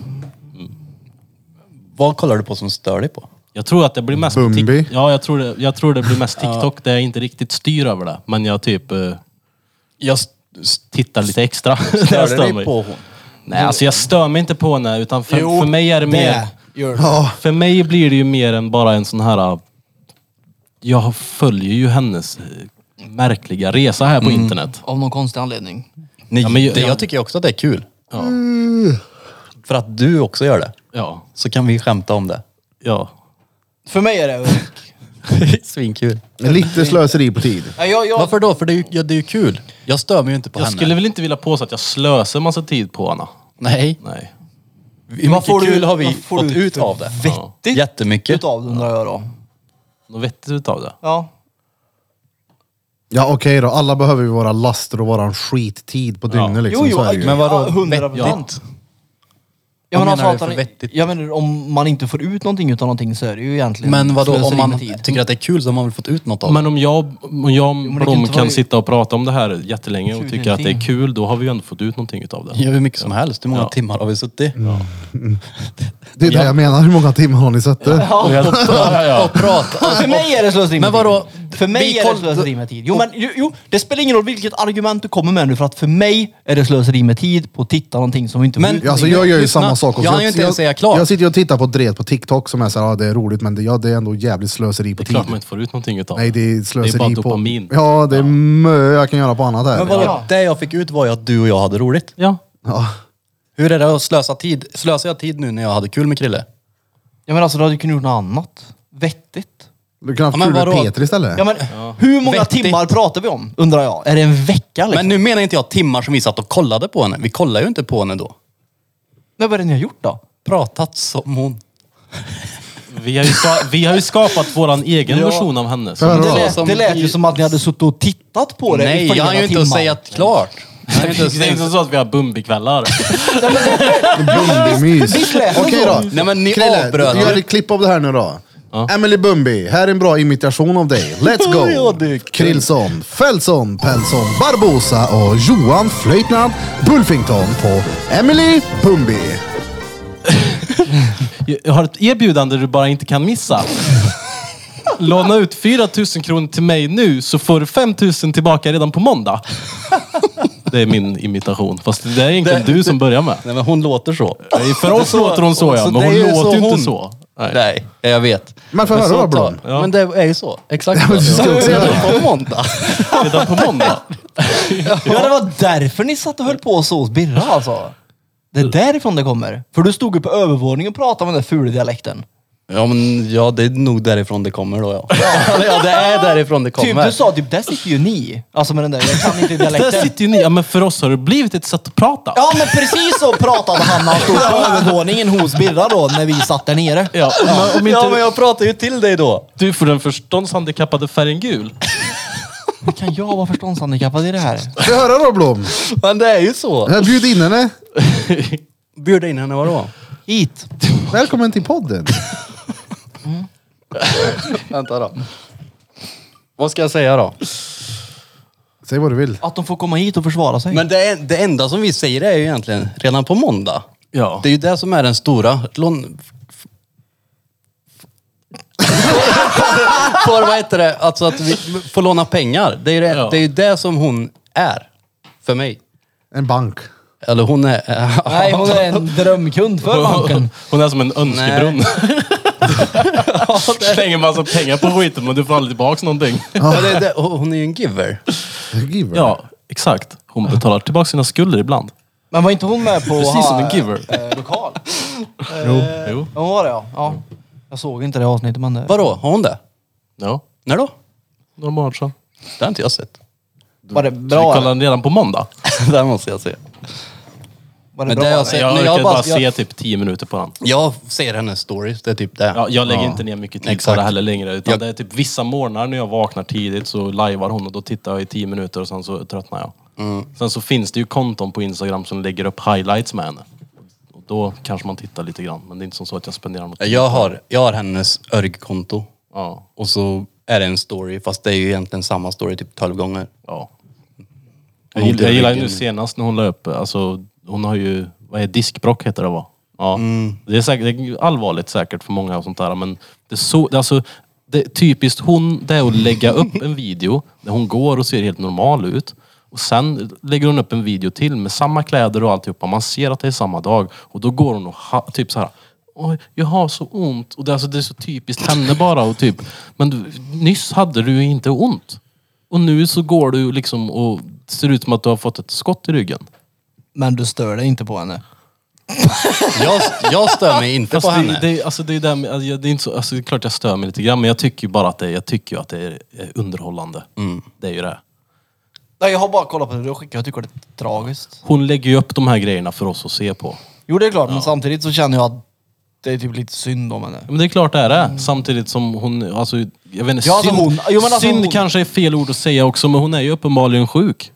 [SPEAKER 4] Vad kollar du på som stör dig på?
[SPEAKER 3] Jag tror att det blir mest...
[SPEAKER 1] Bumbi.
[SPEAKER 3] Tik- ja, jag tror, det, jag tror det blir mest TikTok där jag inte riktigt styr över det. Men jag typ eh,
[SPEAKER 4] Jag s- s-
[SPEAKER 3] tittar lite extra. *laughs* Jag
[SPEAKER 4] störde
[SPEAKER 3] stör
[SPEAKER 4] dig
[SPEAKER 3] mig.
[SPEAKER 4] på hon.
[SPEAKER 3] Nej, alltså jag stör mig inte på henne. Utan för, för mig är det mer...
[SPEAKER 5] gör det.
[SPEAKER 1] Ja,
[SPEAKER 3] För mig blir det ju mer än bara en sån här... äh, Jag följer ju hennes äh, märkliga resa här på internet.
[SPEAKER 2] Av någon konstig anledning.
[SPEAKER 4] Nej,
[SPEAKER 3] Ja, men ju-
[SPEAKER 4] det,
[SPEAKER 3] ja.
[SPEAKER 4] jag tycker också att det är kul.
[SPEAKER 3] Ja.
[SPEAKER 4] För att du också gör det.
[SPEAKER 3] Ja.
[SPEAKER 4] Så kan vi skämta om det.
[SPEAKER 3] Ja.
[SPEAKER 5] För mig är det...
[SPEAKER 4] Svinkul.
[SPEAKER 1] lite slöseri på tid.
[SPEAKER 5] Ja, jag, jag,
[SPEAKER 4] Varför då? För det är, ju, ja, det är ju kul. Jag stör mig ju inte på
[SPEAKER 3] Jag
[SPEAKER 4] henne.
[SPEAKER 3] skulle väl inte vilja påstå att jag slösar massa tid på henne.
[SPEAKER 4] Nej.
[SPEAKER 3] Nej.
[SPEAKER 4] Hur mycket
[SPEAKER 5] får du-
[SPEAKER 4] kul har vi
[SPEAKER 5] vad får
[SPEAKER 4] fått
[SPEAKER 5] du
[SPEAKER 4] ut
[SPEAKER 5] för
[SPEAKER 4] av det?
[SPEAKER 5] vettigt
[SPEAKER 4] Jättemycket.
[SPEAKER 5] utav det undrar jag då.
[SPEAKER 3] Något vettigt utav det.
[SPEAKER 5] Ja.
[SPEAKER 1] Ja okej då, alla behöver ju våra laster och våran skittid på dygnet liksom.
[SPEAKER 5] Jo, jo,
[SPEAKER 1] så är det ju.
[SPEAKER 5] men vadå?
[SPEAKER 4] Ja,
[SPEAKER 5] Hundra
[SPEAKER 4] vettigt?
[SPEAKER 2] Jag
[SPEAKER 4] Vad
[SPEAKER 2] menar,
[SPEAKER 4] menar du
[SPEAKER 2] menar,
[SPEAKER 4] för vettigt?
[SPEAKER 2] jag menar om man inte får ut någonting utan någonting så är det ju egentligen
[SPEAKER 4] Men vadå, om
[SPEAKER 2] slöseri
[SPEAKER 4] man
[SPEAKER 2] med tid.
[SPEAKER 4] tycker att det är kul så har man väl fått ut något av det?
[SPEAKER 3] Men om jag, om jag och
[SPEAKER 2] men det kan
[SPEAKER 3] Blom
[SPEAKER 2] inte
[SPEAKER 3] kan,
[SPEAKER 2] vara-
[SPEAKER 3] sitta och prata om det här jättelänge och tycka att det är
[SPEAKER 2] Tjugohundrating.
[SPEAKER 3] kul, då har vi ju ändå fått ut någonting utav det.
[SPEAKER 4] Ja, hur mycket som helst. Hur många
[SPEAKER 3] Ja.
[SPEAKER 4] timmar har vi suttit?
[SPEAKER 1] Det är det jag menar, hur många timmar har ni sett det?
[SPEAKER 4] Och pratat.
[SPEAKER 2] För mig är det slöseri med
[SPEAKER 4] Alltså, Men vadå?
[SPEAKER 2] tid. För mig
[SPEAKER 4] Vi
[SPEAKER 2] är det
[SPEAKER 4] koll-
[SPEAKER 2] slöseri med tid. Jo, men jo, jo, det spelar ingen roll vilket argument du kommer med nu för att för mig är det slöseri med tid på att titta någonting som inte
[SPEAKER 4] Men-
[SPEAKER 1] Ja, Alltså jag gör ju
[SPEAKER 4] Lyssna,
[SPEAKER 1] samma sak också.
[SPEAKER 4] jag hann ju inte ens säga klart.
[SPEAKER 1] Jag sitter ju och tittar på dret på TikTok som är såhär, ja det är roligt men det, ja, det är ändå jävligt slöseri på
[SPEAKER 3] Det är klart man
[SPEAKER 1] tid.
[SPEAKER 3] inte får ut någonting utav
[SPEAKER 1] Nej det är
[SPEAKER 3] Det är
[SPEAKER 1] slöseri
[SPEAKER 3] bara
[SPEAKER 1] på...
[SPEAKER 3] dopamin.
[SPEAKER 1] Ja det är mö jag kan göra på annat här.
[SPEAKER 4] Men vadå?
[SPEAKER 2] Ja.
[SPEAKER 4] Det jag fick ut var ju att du och jag hade roligt.
[SPEAKER 3] Ja.
[SPEAKER 1] Ja.
[SPEAKER 4] Hur är det att slösa tid? Slösar jag tid nu när jag hade kul med Krille?
[SPEAKER 2] Ja men alltså du hade kunnat gjort något annat. Vettigt.
[SPEAKER 1] Du kan ha haft
[SPEAKER 4] men
[SPEAKER 1] kul med
[SPEAKER 4] vadå?
[SPEAKER 1] Peter istället.
[SPEAKER 2] Ja, men, Hur många
[SPEAKER 4] Vettigt.
[SPEAKER 2] timmar pratar vi om? Undrar jag. Är det en vecka liksom?
[SPEAKER 4] Men nu menar inte jag timmar som vi satt och kollade på henne. Vi kollade ju inte på henne då.
[SPEAKER 2] Nej, vad är det ni har gjort då?
[SPEAKER 4] Pratat som hon.
[SPEAKER 3] Vi, har ju ska, vi har ju skapat våran egen version av henne.
[SPEAKER 1] Hör
[SPEAKER 3] Så,
[SPEAKER 1] då.
[SPEAKER 2] Det lät,
[SPEAKER 4] som
[SPEAKER 2] det lät
[SPEAKER 4] i-
[SPEAKER 2] ju som att ni hade suttit och tittat på det i
[SPEAKER 4] Nej,
[SPEAKER 2] flera
[SPEAKER 4] jag har ju inte att
[SPEAKER 2] timmar.
[SPEAKER 4] säga klart. Jag hann ju inte att
[SPEAKER 3] det är
[SPEAKER 4] säga-
[SPEAKER 3] inte så att vi har Bumbikvällar.
[SPEAKER 1] Bumbimys. Okej då.
[SPEAKER 4] Nej, men ni avbröt
[SPEAKER 1] du gör
[SPEAKER 4] ju.
[SPEAKER 1] ett klipp av det här nu då. Emily Bumbi, här är en bra imitation av dig. Let's
[SPEAKER 4] *laughs* Ja,
[SPEAKER 1] go!
[SPEAKER 4] det är kul.
[SPEAKER 1] Krillson, Fällson, Pellson, Barbosa och Johan Flöjtnant Bulfington på Emily Bumbi.
[SPEAKER 3] Jag har ett erbjudande du bara inte kan *laughs* missa. Låna ut 4 000 kronor till mig nu så får du 5 000 tillbaka redan på *laughs* måndag. Det är min imitation. Fast det är egentligen du som börjar med.
[SPEAKER 4] Nej men hon låter så.
[SPEAKER 3] Nej, För oss låter hon så ja, men
[SPEAKER 4] det
[SPEAKER 3] hon
[SPEAKER 4] är ju
[SPEAKER 3] låter ju
[SPEAKER 4] hon.
[SPEAKER 3] inte så. Nej.
[SPEAKER 4] Nej, jag vet.
[SPEAKER 1] Men får jag
[SPEAKER 4] så
[SPEAKER 1] höra då, Blom?
[SPEAKER 4] tar- Men det är ju så. Exakt så.
[SPEAKER 1] du ska också göra
[SPEAKER 4] På måndag.
[SPEAKER 3] Redan på måndag.
[SPEAKER 2] Ja, det var därför ni satt och höll på så hos Birra alltså. Det är därifrån det kommer. För du stod ju på övervåningen och pratade med den där fula dialekten.
[SPEAKER 4] Ja men ja, det är nog därifrån det kommer då ja. Ja, det är därifrån det
[SPEAKER 2] Typ, du
[SPEAKER 4] kommer.
[SPEAKER 2] sa typ, där sitter ju ni. Alltså med den där, jag kan
[SPEAKER 3] *laughs*
[SPEAKER 2] inte
[SPEAKER 3] Där
[SPEAKER 2] dialekten.
[SPEAKER 3] sitter ju ni. Ja, men för oss har det blivit ett sätt att prata.
[SPEAKER 2] Ja men precis så pratade han när han stod på övervåningen hos Birra då, när vi satt där nere.
[SPEAKER 3] Ja, om, om
[SPEAKER 4] Ja men
[SPEAKER 3] inte
[SPEAKER 4] jag pratar ju till dig då.
[SPEAKER 3] du får den förståndshandikappade färgen gul.
[SPEAKER 2] Hur kan jag vara förståndshandikappad i det här?
[SPEAKER 1] Får jag höra då Blom?
[SPEAKER 4] Men det är ju så.
[SPEAKER 1] Jag bjud in henne.
[SPEAKER 4] Bjuda in henne vadå?
[SPEAKER 2] Hit.
[SPEAKER 1] Välkommen till podden.
[SPEAKER 4] Vänta då. Vad ska jag säga då?
[SPEAKER 1] Säg vad du vill.
[SPEAKER 2] Att de får komma hit och försvara sig.
[SPEAKER 4] Men det, är, det enda som vi säger är ju egentligen redan på måndag.
[SPEAKER 3] Ja.
[SPEAKER 4] Det är ju det som är den stora. Lån... *laughs* f- f- Får, vad heter det? Alltså att vi får låna pengar. Det är ju det,
[SPEAKER 3] Ja.
[SPEAKER 4] det, är ju det som hon är. För mig.
[SPEAKER 1] En bank.
[SPEAKER 4] Eller hon är...
[SPEAKER 2] Nej, hon är en drömkund för banken.
[SPEAKER 3] *laughs* Hon är som en önskebrunn. *laughs* Slänger massa pengar på skiten men du får aldrig tillbaka någonting.
[SPEAKER 4] Ja, det, är det, hon är ju en giver.
[SPEAKER 1] Giver.
[SPEAKER 3] Ja, exakt. Hon betalar tillbaka sina skulder ibland.
[SPEAKER 2] Men var inte hon med på
[SPEAKER 3] Precis som en
[SPEAKER 2] ha-
[SPEAKER 3] giver.
[SPEAKER 2] eh, lokal?
[SPEAKER 3] Jo.
[SPEAKER 2] Ja, hon var det ja. ja. Jag såg inte det avsnittet men det...
[SPEAKER 4] Vadå, har hon det?
[SPEAKER 3] Ja,
[SPEAKER 4] När då?
[SPEAKER 3] några månader sedan.
[SPEAKER 4] Det har inte jag sett.
[SPEAKER 2] Var det
[SPEAKER 3] Så vi
[SPEAKER 2] bra?
[SPEAKER 3] kollade
[SPEAKER 2] eller?
[SPEAKER 3] den redan på måndag.
[SPEAKER 4] *laughs* det här måste jag se.
[SPEAKER 2] Var det
[SPEAKER 4] Men
[SPEAKER 2] bra?
[SPEAKER 4] det har jag
[SPEAKER 2] eller?
[SPEAKER 4] sett.
[SPEAKER 3] Jag
[SPEAKER 4] men
[SPEAKER 3] orkade bara
[SPEAKER 4] jag,
[SPEAKER 3] se typ 10 minuter på den.
[SPEAKER 4] jag ser hennes stories, det är typ det.
[SPEAKER 3] Ja, jag lägger inte ner mycket tid
[SPEAKER 4] Exakt.
[SPEAKER 3] på det heller längre. Utan
[SPEAKER 4] Jag-
[SPEAKER 3] det är typ vissa morgnar när jag vaknar tidigt så lajvar hon och då tittar jag i 10 minuter och sen så tröttnar jag. Sen så finns det ju konton på Instagram som lägger upp highlights med henne. Och då kanske man tittar lite grann. Men det är inte som så att jag spenderar något tid.
[SPEAKER 4] Eh, Jag har, jag har hennes örgkonto.
[SPEAKER 3] Ja.
[SPEAKER 4] Och så är det en story, fast det är ju egentligen samma story typ 12 gånger.
[SPEAKER 3] Ja.
[SPEAKER 4] Hon
[SPEAKER 3] Jag gillar,
[SPEAKER 4] dör
[SPEAKER 3] jag gillar
[SPEAKER 4] i
[SPEAKER 3] ju nu
[SPEAKER 4] ryggen.
[SPEAKER 3] senast när hon la upp, alltså hon har ju, vad är det, diskbrock heter det va? Ja. Det, är säkert, det är allvarligt säkert för många och sånt där. Men det är så, det är alltså, det, är typiskt hon, det är att lägga upp en video där hon går och ser helt normal ut. Och sen lägger hon upp en video till med samma kläder och alltihopa. Man ser att det är samma dag. Och då går hon och ha, typ så här. Oj, jag har så ont. Och det, är alltså, det är så typiskt henne bara. Och typ, men du, nyss hade du ju inte ont. Och nu så går du liksom och ser ut som att du har fått ett skott i ryggen.
[SPEAKER 2] Men du stör dig inte på henne.
[SPEAKER 4] Jag, jag stör mig inte på
[SPEAKER 3] Fast
[SPEAKER 4] henne.
[SPEAKER 3] det, det, alltså det, är där, med- alltså jag- det är inte så, alltså det är klart jag stör mig lite grann men jag tycker ju bara att det, jag tycker ju att det är är underhållande.
[SPEAKER 2] Mm.
[SPEAKER 3] Det är ju det.
[SPEAKER 2] Nej, jag har bara kollat på det och skickat. Jag tycker det är tragiskt.
[SPEAKER 3] Hon lägger ju upp de här grejerna för oss att se på.
[SPEAKER 2] Jo, det är klart. Men samtidigt så känner jag att det är typ lite synd om henne.
[SPEAKER 3] Men det är klart det är det. Samtidigt som hon, alltså jag vet
[SPEAKER 2] Mm.
[SPEAKER 3] inte,
[SPEAKER 2] Ja, alltså
[SPEAKER 3] synd,
[SPEAKER 2] hon- jo, men alltså
[SPEAKER 3] synd
[SPEAKER 2] hon-
[SPEAKER 3] kanske är fel ord att säga också men hon är ju uppenbarligen sjuk.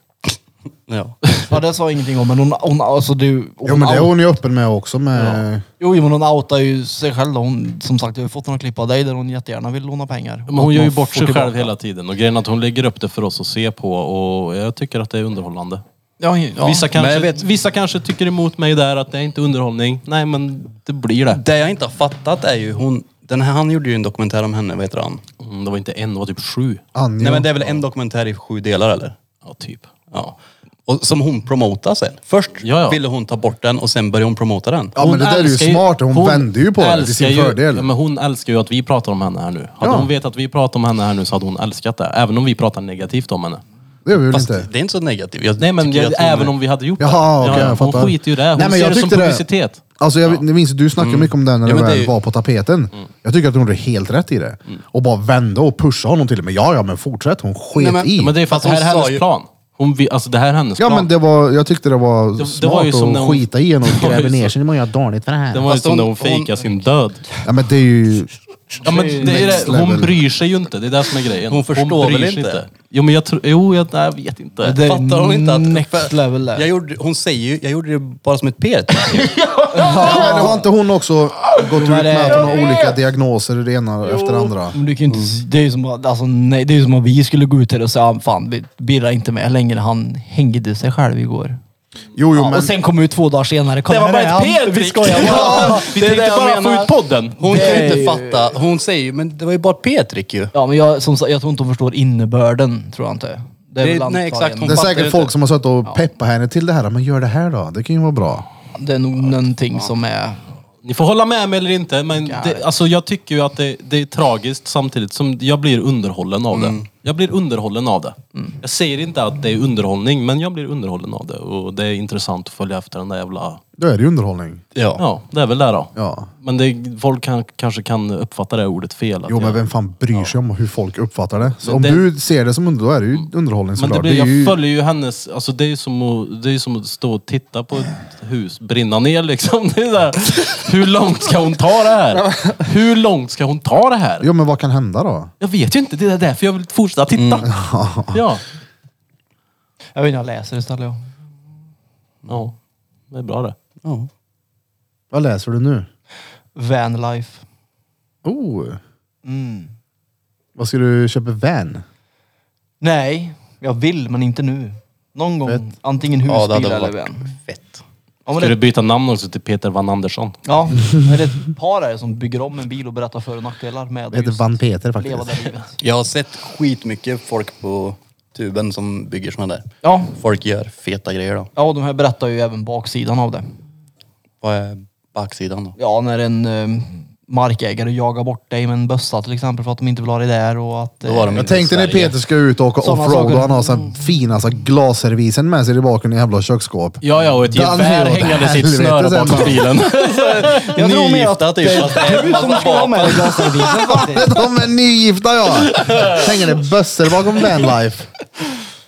[SPEAKER 4] Ja.
[SPEAKER 2] Ja, det sa jag ingenting om. Men hon, hon alltså du... Hon
[SPEAKER 1] Jo men det är
[SPEAKER 2] out-
[SPEAKER 1] hon ju öppen med också med...
[SPEAKER 2] Jo, men hon outar ju sig själv då. Hon, som sagt, jag har fått några klipp av dig där hon jättegärna vill låna pengar.
[SPEAKER 3] Men hon gör ju
[SPEAKER 2] Att man
[SPEAKER 3] bort
[SPEAKER 2] får
[SPEAKER 3] sig
[SPEAKER 2] tillbaka.
[SPEAKER 3] själv hela tiden och grejen är att hon lägger upp det för oss att se på och jag tycker att det är underhållande.
[SPEAKER 2] Ja, ja.
[SPEAKER 3] vissa,
[SPEAKER 4] men
[SPEAKER 3] kanske,
[SPEAKER 4] jag vet-
[SPEAKER 3] vissa kanske tycker emot mig där att det är inte underhållning. Nej men det blir det.
[SPEAKER 4] Det jag inte har fattat är ju hon... Den här, han gjorde ju en dokumentär om henne, vad heter han?
[SPEAKER 3] Mm, det var inte en, det var typ sju.
[SPEAKER 1] Anja.
[SPEAKER 4] Nej men det är väl en dokumentär i sju delar eller?
[SPEAKER 3] Ja, typ.
[SPEAKER 4] Ja. Och som hon promotar sen. Först
[SPEAKER 3] Ja, ja.
[SPEAKER 4] ville hon ta bort den och sen började hon promota den.
[SPEAKER 1] Ja men det där är ju
[SPEAKER 3] älskar
[SPEAKER 1] smart, hon, vände ju på det till
[SPEAKER 3] älskar
[SPEAKER 1] sin
[SPEAKER 3] ju-
[SPEAKER 1] fördel.
[SPEAKER 3] Ja, men hon älskar ju att vi pratar om henne här nu. Hade
[SPEAKER 1] Ja.
[SPEAKER 3] hon vetat att vi pratar om henne här nu så hade hon älskat det. Även om vi pratar negativt om henne.
[SPEAKER 1] det gör vi väl
[SPEAKER 4] Fast
[SPEAKER 1] inte?
[SPEAKER 4] det är inte så negativt. Jag
[SPEAKER 3] Nej men
[SPEAKER 4] tycker
[SPEAKER 3] jag,
[SPEAKER 4] att hon
[SPEAKER 3] även
[SPEAKER 4] är-
[SPEAKER 3] om vi hade gjort
[SPEAKER 1] Jaha,
[SPEAKER 3] det.
[SPEAKER 1] okej, jag fattar.
[SPEAKER 3] hon skiter ju i det. Hon
[SPEAKER 1] Nej, men
[SPEAKER 3] ser
[SPEAKER 1] jag
[SPEAKER 3] det som
[SPEAKER 1] tyckte det-
[SPEAKER 3] publicitet. Mm.
[SPEAKER 1] Alltså jag jag minns att du snackade mycket om den när det
[SPEAKER 4] Ja, men det
[SPEAKER 1] väl
[SPEAKER 4] är ju-
[SPEAKER 1] var på tapeten. Jag tycker att hon gjorde helt rätt i det.
[SPEAKER 3] Mm.
[SPEAKER 1] Och bara vände och pusha honom till och med. Ja, ja men fortsätt. Hon sket
[SPEAKER 4] Nej, men-
[SPEAKER 1] i.
[SPEAKER 3] Ja, men det är för att
[SPEAKER 4] Fast
[SPEAKER 3] det här är
[SPEAKER 4] hon sa
[SPEAKER 3] hennes
[SPEAKER 4] ju-
[SPEAKER 3] plan. Hon, vi- alltså det här är hennes
[SPEAKER 1] Ja
[SPEAKER 3] plan.
[SPEAKER 1] men det var, jag tyckte det var
[SPEAKER 3] det
[SPEAKER 1] smart
[SPEAKER 3] var ju som när
[SPEAKER 1] att
[SPEAKER 3] hon-
[SPEAKER 1] skita i
[SPEAKER 3] *laughs*
[SPEAKER 1] henne
[SPEAKER 3] Det var
[SPEAKER 1] och
[SPEAKER 3] ju
[SPEAKER 1] gräva ner
[SPEAKER 3] så-
[SPEAKER 1] sig. Nu mår jag dåligt för det här.
[SPEAKER 3] Den var ju
[SPEAKER 4] Fast
[SPEAKER 3] som
[SPEAKER 4] hon-
[SPEAKER 3] när hon fejkade
[SPEAKER 4] hon-
[SPEAKER 3] sin död.
[SPEAKER 1] Ja men det är ju...
[SPEAKER 3] Ja, men det är
[SPEAKER 1] Next
[SPEAKER 3] det. Hon
[SPEAKER 1] level.
[SPEAKER 3] bryr sig ju inte. Det är det som är grejen.
[SPEAKER 4] Hon förstår
[SPEAKER 3] bryr
[SPEAKER 4] väl
[SPEAKER 3] sig
[SPEAKER 4] inte?
[SPEAKER 3] Jo men jag tror... Jo, jag, nej, jag vet inte.
[SPEAKER 2] Det är
[SPEAKER 4] Fattar hon inte att...
[SPEAKER 2] next level där.
[SPEAKER 4] jag gjorde, hon säger ju, jag gjorde det bara som ett pet.
[SPEAKER 1] Ja, men har inte hon också gått ut
[SPEAKER 2] men det-
[SPEAKER 1] med att hon har olika diagnoser det ena efter det andra?
[SPEAKER 2] Men du kan ju inte, det är ju som, att- alltså, nej, det är ju som om vi skulle gå ut här och säga "Ah, fan, vi birrar inte med längre. Han hängde sig själv igår.
[SPEAKER 1] Jo, jo
[SPEAKER 2] Ja,
[SPEAKER 1] men...
[SPEAKER 2] och sen kom ut två dagar senare. Kolla,
[SPEAKER 3] Det
[SPEAKER 2] här
[SPEAKER 3] var bara
[SPEAKER 2] är
[SPEAKER 3] ett
[SPEAKER 2] han.
[SPEAKER 3] PR-trick.
[SPEAKER 2] Vi
[SPEAKER 3] *laughs*
[SPEAKER 2] skojar bara. *laughs*
[SPEAKER 3] Ja, Vi
[SPEAKER 4] det är
[SPEAKER 3] tänkte
[SPEAKER 4] det jag
[SPEAKER 3] bara få
[SPEAKER 4] menar.
[SPEAKER 3] ut podden.
[SPEAKER 4] Hon kan ju
[SPEAKER 2] Nej.
[SPEAKER 4] inte fatta. Hon säger ju, men det var ju bara ett petrick ju.
[SPEAKER 2] Ja, men jag, som, sagt, jag tror inte hon förstår innebörden, tror jag inte. Det
[SPEAKER 4] Det-
[SPEAKER 2] väl
[SPEAKER 4] nej, exakt.
[SPEAKER 2] antagligen-
[SPEAKER 1] Det är
[SPEAKER 4] fattar
[SPEAKER 1] säkert
[SPEAKER 4] ju
[SPEAKER 1] folk
[SPEAKER 4] inte.
[SPEAKER 1] som har suttit och peppat henne till det här. Men gör det här då. Det kan ju vara bra.
[SPEAKER 2] Det är nog någonting som är...
[SPEAKER 3] Ni får hålla med mig eller inte, men det, alltså jag tycker ju att det, det är tragiskt samtidigt som jag blir underhållen av det. Jag blir underhållen av det. Jag säger inte att det är underhållning, men jag blir underhållen av det. Och det är intressant att följa efter den där jävla...
[SPEAKER 1] Då är det ju underhållning.
[SPEAKER 4] Ja.
[SPEAKER 3] Ja, det är väl det då.
[SPEAKER 1] Ja.
[SPEAKER 3] Men det, folk kan, kanske kan uppfatta det ordet fel. att
[SPEAKER 1] Jo men
[SPEAKER 3] jag-
[SPEAKER 1] vem fan bryr sig om hur folk uppfattar det? Så om
[SPEAKER 3] det-
[SPEAKER 1] du ser det som under, då är det ju underhållning
[SPEAKER 3] Men
[SPEAKER 1] såklart.
[SPEAKER 3] det blir,
[SPEAKER 1] Det är ju-
[SPEAKER 3] jag följer ju hennes, alltså det är ju som att, det är ju som att stå och titta på ett hus brinna ner liksom. *laughs* Det är där, hur långt ska hon ta det här? Hur långt ska hon ta det här?
[SPEAKER 1] Jo men vad kan hända då?
[SPEAKER 3] Jag vet ju inte, det är därför jag vill fortsätta titta. Ja.
[SPEAKER 2] Jag vet inte, jag läser istället. ja.
[SPEAKER 3] ja, det är bra det.
[SPEAKER 4] Ja.
[SPEAKER 1] Vad läser du nu?
[SPEAKER 2] Vanlife.
[SPEAKER 1] Oh.
[SPEAKER 3] Mm.
[SPEAKER 1] Vad ska du köpa van?
[SPEAKER 2] Nej, jag vill men inte nu. Någon gång.
[SPEAKER 1] Fett.
[SPEAKER 2] Antingen
[SPEAKER 4] Ja,
[SPEAKER 2] husbil
[SPEAKER 4] det hade
[SPEAKER 2] eller
[SPEAKER 4] varit
[SPEAKER 2] vän.
[SPEAKER 4] fett.
[SPEAKER 2] Ja, men
[SPEAKER 3] Ska
[SPEAKER 2] det,
[SPEAKER 3] du byta namn också till Peter Van Andersson?
[SPEAKER 2] ja, men det är ett par här som bygger om en bil och berättar för och nackdelar med
[SPEAKER 1] Det heter
[SPEAKER 2] just
[SPEAKER 1] Van Peter
[SPEAKER 2] leva
[SPEAKER 1] faktiskt.
[SPEAKER 2] det livet.
[SPEAKER 4] Jag har sett skitmycket folk på tuben som bygger såna där.
[SPEAKER 2] Ja,
[SPEAKER 4] Folk gör feta grejer då.
[SPEAKER 2] ja, och de här berättar ju även baksidan av det.
[SPEAKER 4] Vad är baksidan då?
[SPEAKER 2] Ja, när en eh, markägare jagar bort dig med en bössa till exempel för att de inte vill ha dig där och att... eh,
[SPEAKER 4] Då var de
[SPEAKER 1] Jag
[SPEAKER 4] inte i
[SPEAKER 1] tänkte när
[SPEAKER 4] Sverige.
[SPEAKER 1] Peter ska ut och åka
[SPEAKER 2] Såna
[SPEAKER 1] offroad
[SPEAKER 2] saker.
[SPEAKER 1] och han har sån fina så här glasservisen med sig i baken i jävla köksskåp.
[SPEAKER 3] Ja, ja, och ett
[SPEAKER 1] Dan-
[SPEAKER 3] gevär hängandes i ett snöre
[SPEAKER 1] Helvete,
[SPEAKER 3] bakom
[SPEAKER 1] sen.
[SPEAKER 3] bilen. *laughs*
[SPEAKER 2] Jag tror mer att
[SPEAKER 4] Nygifta typ. fast det är en massa
[SPEAKER 2] *laughs*
[SPEAKER 4] barn.
[SPEAKER 2] med dig glasögonen
[SPEAKER 1] *laughs*
[SPEAKER 2] faktiskt.
[SPEAKER 1] De är nygifta ja! Hänger det bössor bakom vanlife?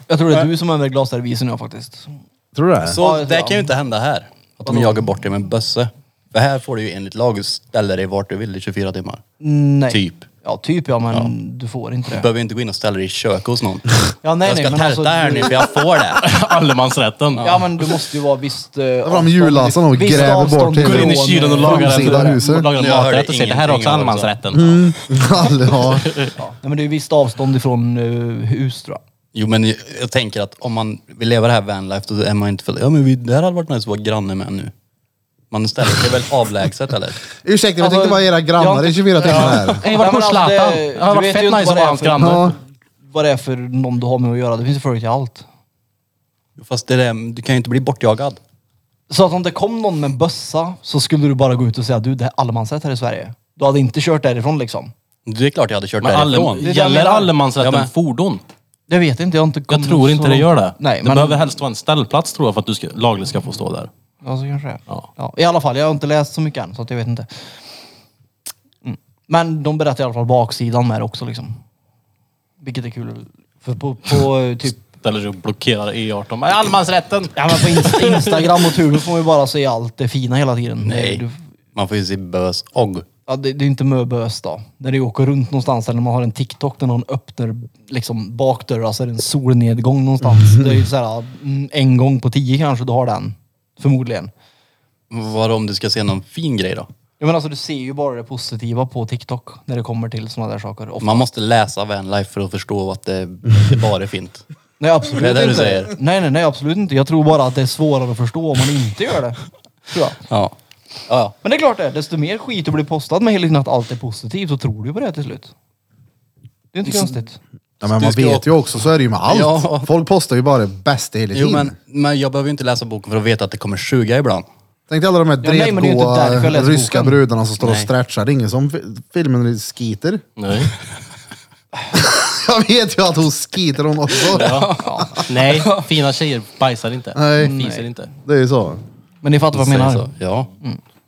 [SPEAKER 2] Jag tror det är du som använder glasservisen jag faktiskt.
[SPEAKER 1] Tror du det? *laughs*
[SPEAKER 2] Ja,
[SPEAKER 4] Så det
[SPEAKER 2] ja.
[SPEAKER 4] kan ju inte hända här. Att de jagar bort dig med en bössa. För här får du ju enligt lag ställa dig vart du vill i 24 timmar.
[SPEAKER 2] Nej.
[SPEAKER 4] Typ.
[SPEAKER 2] Ja, typ ja, men du får inte
[SPEAKER 4] Du
[SPEAKER 2] det.
[SPEAKER 4] behöver inte gå in och ställa dig i köket hos *laughs* någon.
[SPEAKER 2] Ja, nej, nej,
[SPEAKER 4] jag ska
[SPEAKER 2] men
[SPEAKER 4] tälta
[SPEAKER 2] alltså,
[SPEAKER 4] här
[SPEAKER 2] du-
[SPEAKER 4] nu för jag får det.
[SPEAKER 3] Allemansrätten.
[SPEAKER 2] Ja, men du måste ju vara visst... Uh,
[SPEAKER 1] var de julasarna och gräver bort det.
[SPEAKER 3] Går
[SPEAKER 2] eh,
[SPEAKER 3] in i kylen och lagar en,
[SPEAKER 1] Framsida huset.
[SPEAKER 3] lagar en
[SPEAKER 4] Jag hörde
[SPEAKER 3] maträtt och säger det här är också
[SPEAKER 4] ingenting om det.
[SPEAKER 3] allemansrätten.
[SPEAKER 1] ja.
[SPEAKER 2] Ja, nej, men det är visst avstånd ifrån eh, hus tror jag.
[SPEAKER 4] Jo men jag, jag tänker att om man vill leva det här vanlife då är man inte för... Ja men vi, det här hade varit nice att vara granne med nu. Man ställer sig väl avlägset *laughs* eller?
[SPEAKER 1] Ursäkta, jag
[SPEAKER 2] Alltså,
[SPEAKER 1] tänkte vara era
[SPEAKER 2] jag har
[SPEAKER 1] grannar
[SPEAKER 2] inte-
[SPEAKER 1] i 24 timmar här.
[SPEAKER 3] Hej, vart bor Zlatan? Det hade varit fett nice att vara hans granne.
[SPEAKER 1] Ja.
[SPEAKER 2] Vad det är för någon du har med att göra. Det finns ju folk till allt.
[SPEAKER 4] Fast det är, det- du kan ju inte bli bortjagad.
[SPEAKER 2] Så att om det kom någon med en bössa så skulle du bara gå ut och säga du det är allemansrätt här i Sverige. Du hade inte kört därifrån liksom.
[SPEAKER 4] Det är klart jag hade kört
[SPEAKER 3] Men
[SPEAKER 4] därifrån.
[SPEAKER 3] alle,
[SPEAKER 2] är
[SPEAKER 3] gäller
[SPEAKER 2] där.
[SPEAKER 3] allemansrätten
[SPEAKER 4] Ja, men-
[SPEAKER 3] fordon?
[SPEAKER 2] Jag vet inte, jag har inte
[SPEAKER 3] Jag
[SPEAKER 2] kommit
[SPEAKER 3] tror inte
[SPEAKER 2] så
[SPEAKER 3] det gör
[SPEAKER 2] långt.
[SPEAKER 3] det.
[SPEAKER 2] Nej,
[SPEAKER 3] det
[SPEAKER 2] men...
[SPEAKER 3] behöver helst vara en ställplats tror jag för att du ska, lagligt ska få stå där.
[SPEAKER 2] Ja, så kanske det är.
[SPEAKER 3] Ja.
[SPEAKER 2] Ja. I alla fall, jag har inte läst så mycket än så att jag vet inte. Mm. Men de berättar i alla fall baksidan med det också liksom. Vilket är kul. För på, på eh,
[SPEAKER 3] *laughs*
[SPEAKER 2] typ
[SPEAKER 3] Ställer sig och blockerar E18. Nej, Allemansrätten!
[SPEAKER 2] Ja, men på Inst- Instagram och Tulu får man ju bara se allt det fina hela tiden.
[SPEAKER 4] Nej.
[SPEAKER 2] Du,
[SPEAKER 4] Man får ju se bös och.
[SPEAKER 2] ja, det, det är inte möbös då. När du åker runt någonstans eller man har en TikTok där någon öppnar liksom bakdörrar så är det en solnedgång någonstans. Det är ju såhär mm, en gång på tio kanske du har den. Förmodligen.
[SPEAKER 4] Vad om du ska se någon fin grej då?
[SPEAKER 2] Jag menar alltså du ser ju bara det positiva på TikTok när det kommer till sådana där saker. Ofta.
[SPEAKER 4] Man måste läsa Vanlife för att förstå att *laughs* det, det bara är fint.
[SPEAKER 2] Nej absolut
[SPEAKER 4] Det är det du
[SPEAKER 2] inte.
[SPEAKER 4] säger.
[SPEAKER 2] Nej nej nej absolut inte. Jag tror bara att det är svårare att förstå om man inte gör det. Tror jag.
[SPEAKER 4] Ja. Ja, ja.
[SPEAKER 2] Men det är klart det, desto mer skit du blir postad med hela tiden att allt är positivt så tror du ju på det till slut. Det är inte konstigt.
[SPEAKER 1] Ja, men
[SPEAKER 4] Du
[SPEAKER 1] man
[SPEAKER 4] ska-
[SPEAKER 1] vet ju också, så är det ju med allt.
[SPEAKER 4] Ja.
[SPEAKER 1] Folk postar ju bara det bästa hela
[SPEAKER 4] Jo
[SPEAKER 1] tiden.
[SPEAKER 4] men, men jag behöver ju inte läsa boken för att veta att det kommer suga ibland.
[SPEAKER 1] Tänk dig alla de här
[SPEAKER 2] Ja, nej, men det är ju inte därför jag
[SPEAKER 1] dretgoa
[SPEAKER 2] läser
[SPEAKER 1] ryska
[SPEAKER 2] boken.
[SPEAKER 1] brudarna som står och
[SPEAKER 4] Nej.
[SPEAKER 1] stretchar. Det är ingen som fi- filmen skiter.
[SPEAKER 3] Nej.
[SPEAKER 1] *laughs* Jag vet ju att hon skiter hon också.
[SPEAKER 3] Nej, fina tjejer bajsar inte.
[SPEAKER 1] Nej.
[SPEAKER 3] Fiser inte.
[SPEAKER 1] Det är ju så.
[SPEAKER 2] Men ni fattar vad jag
[SPEAKER 4] Säg
[SPEAKER 2] menar.
[SPEAKER 4] så. Ja.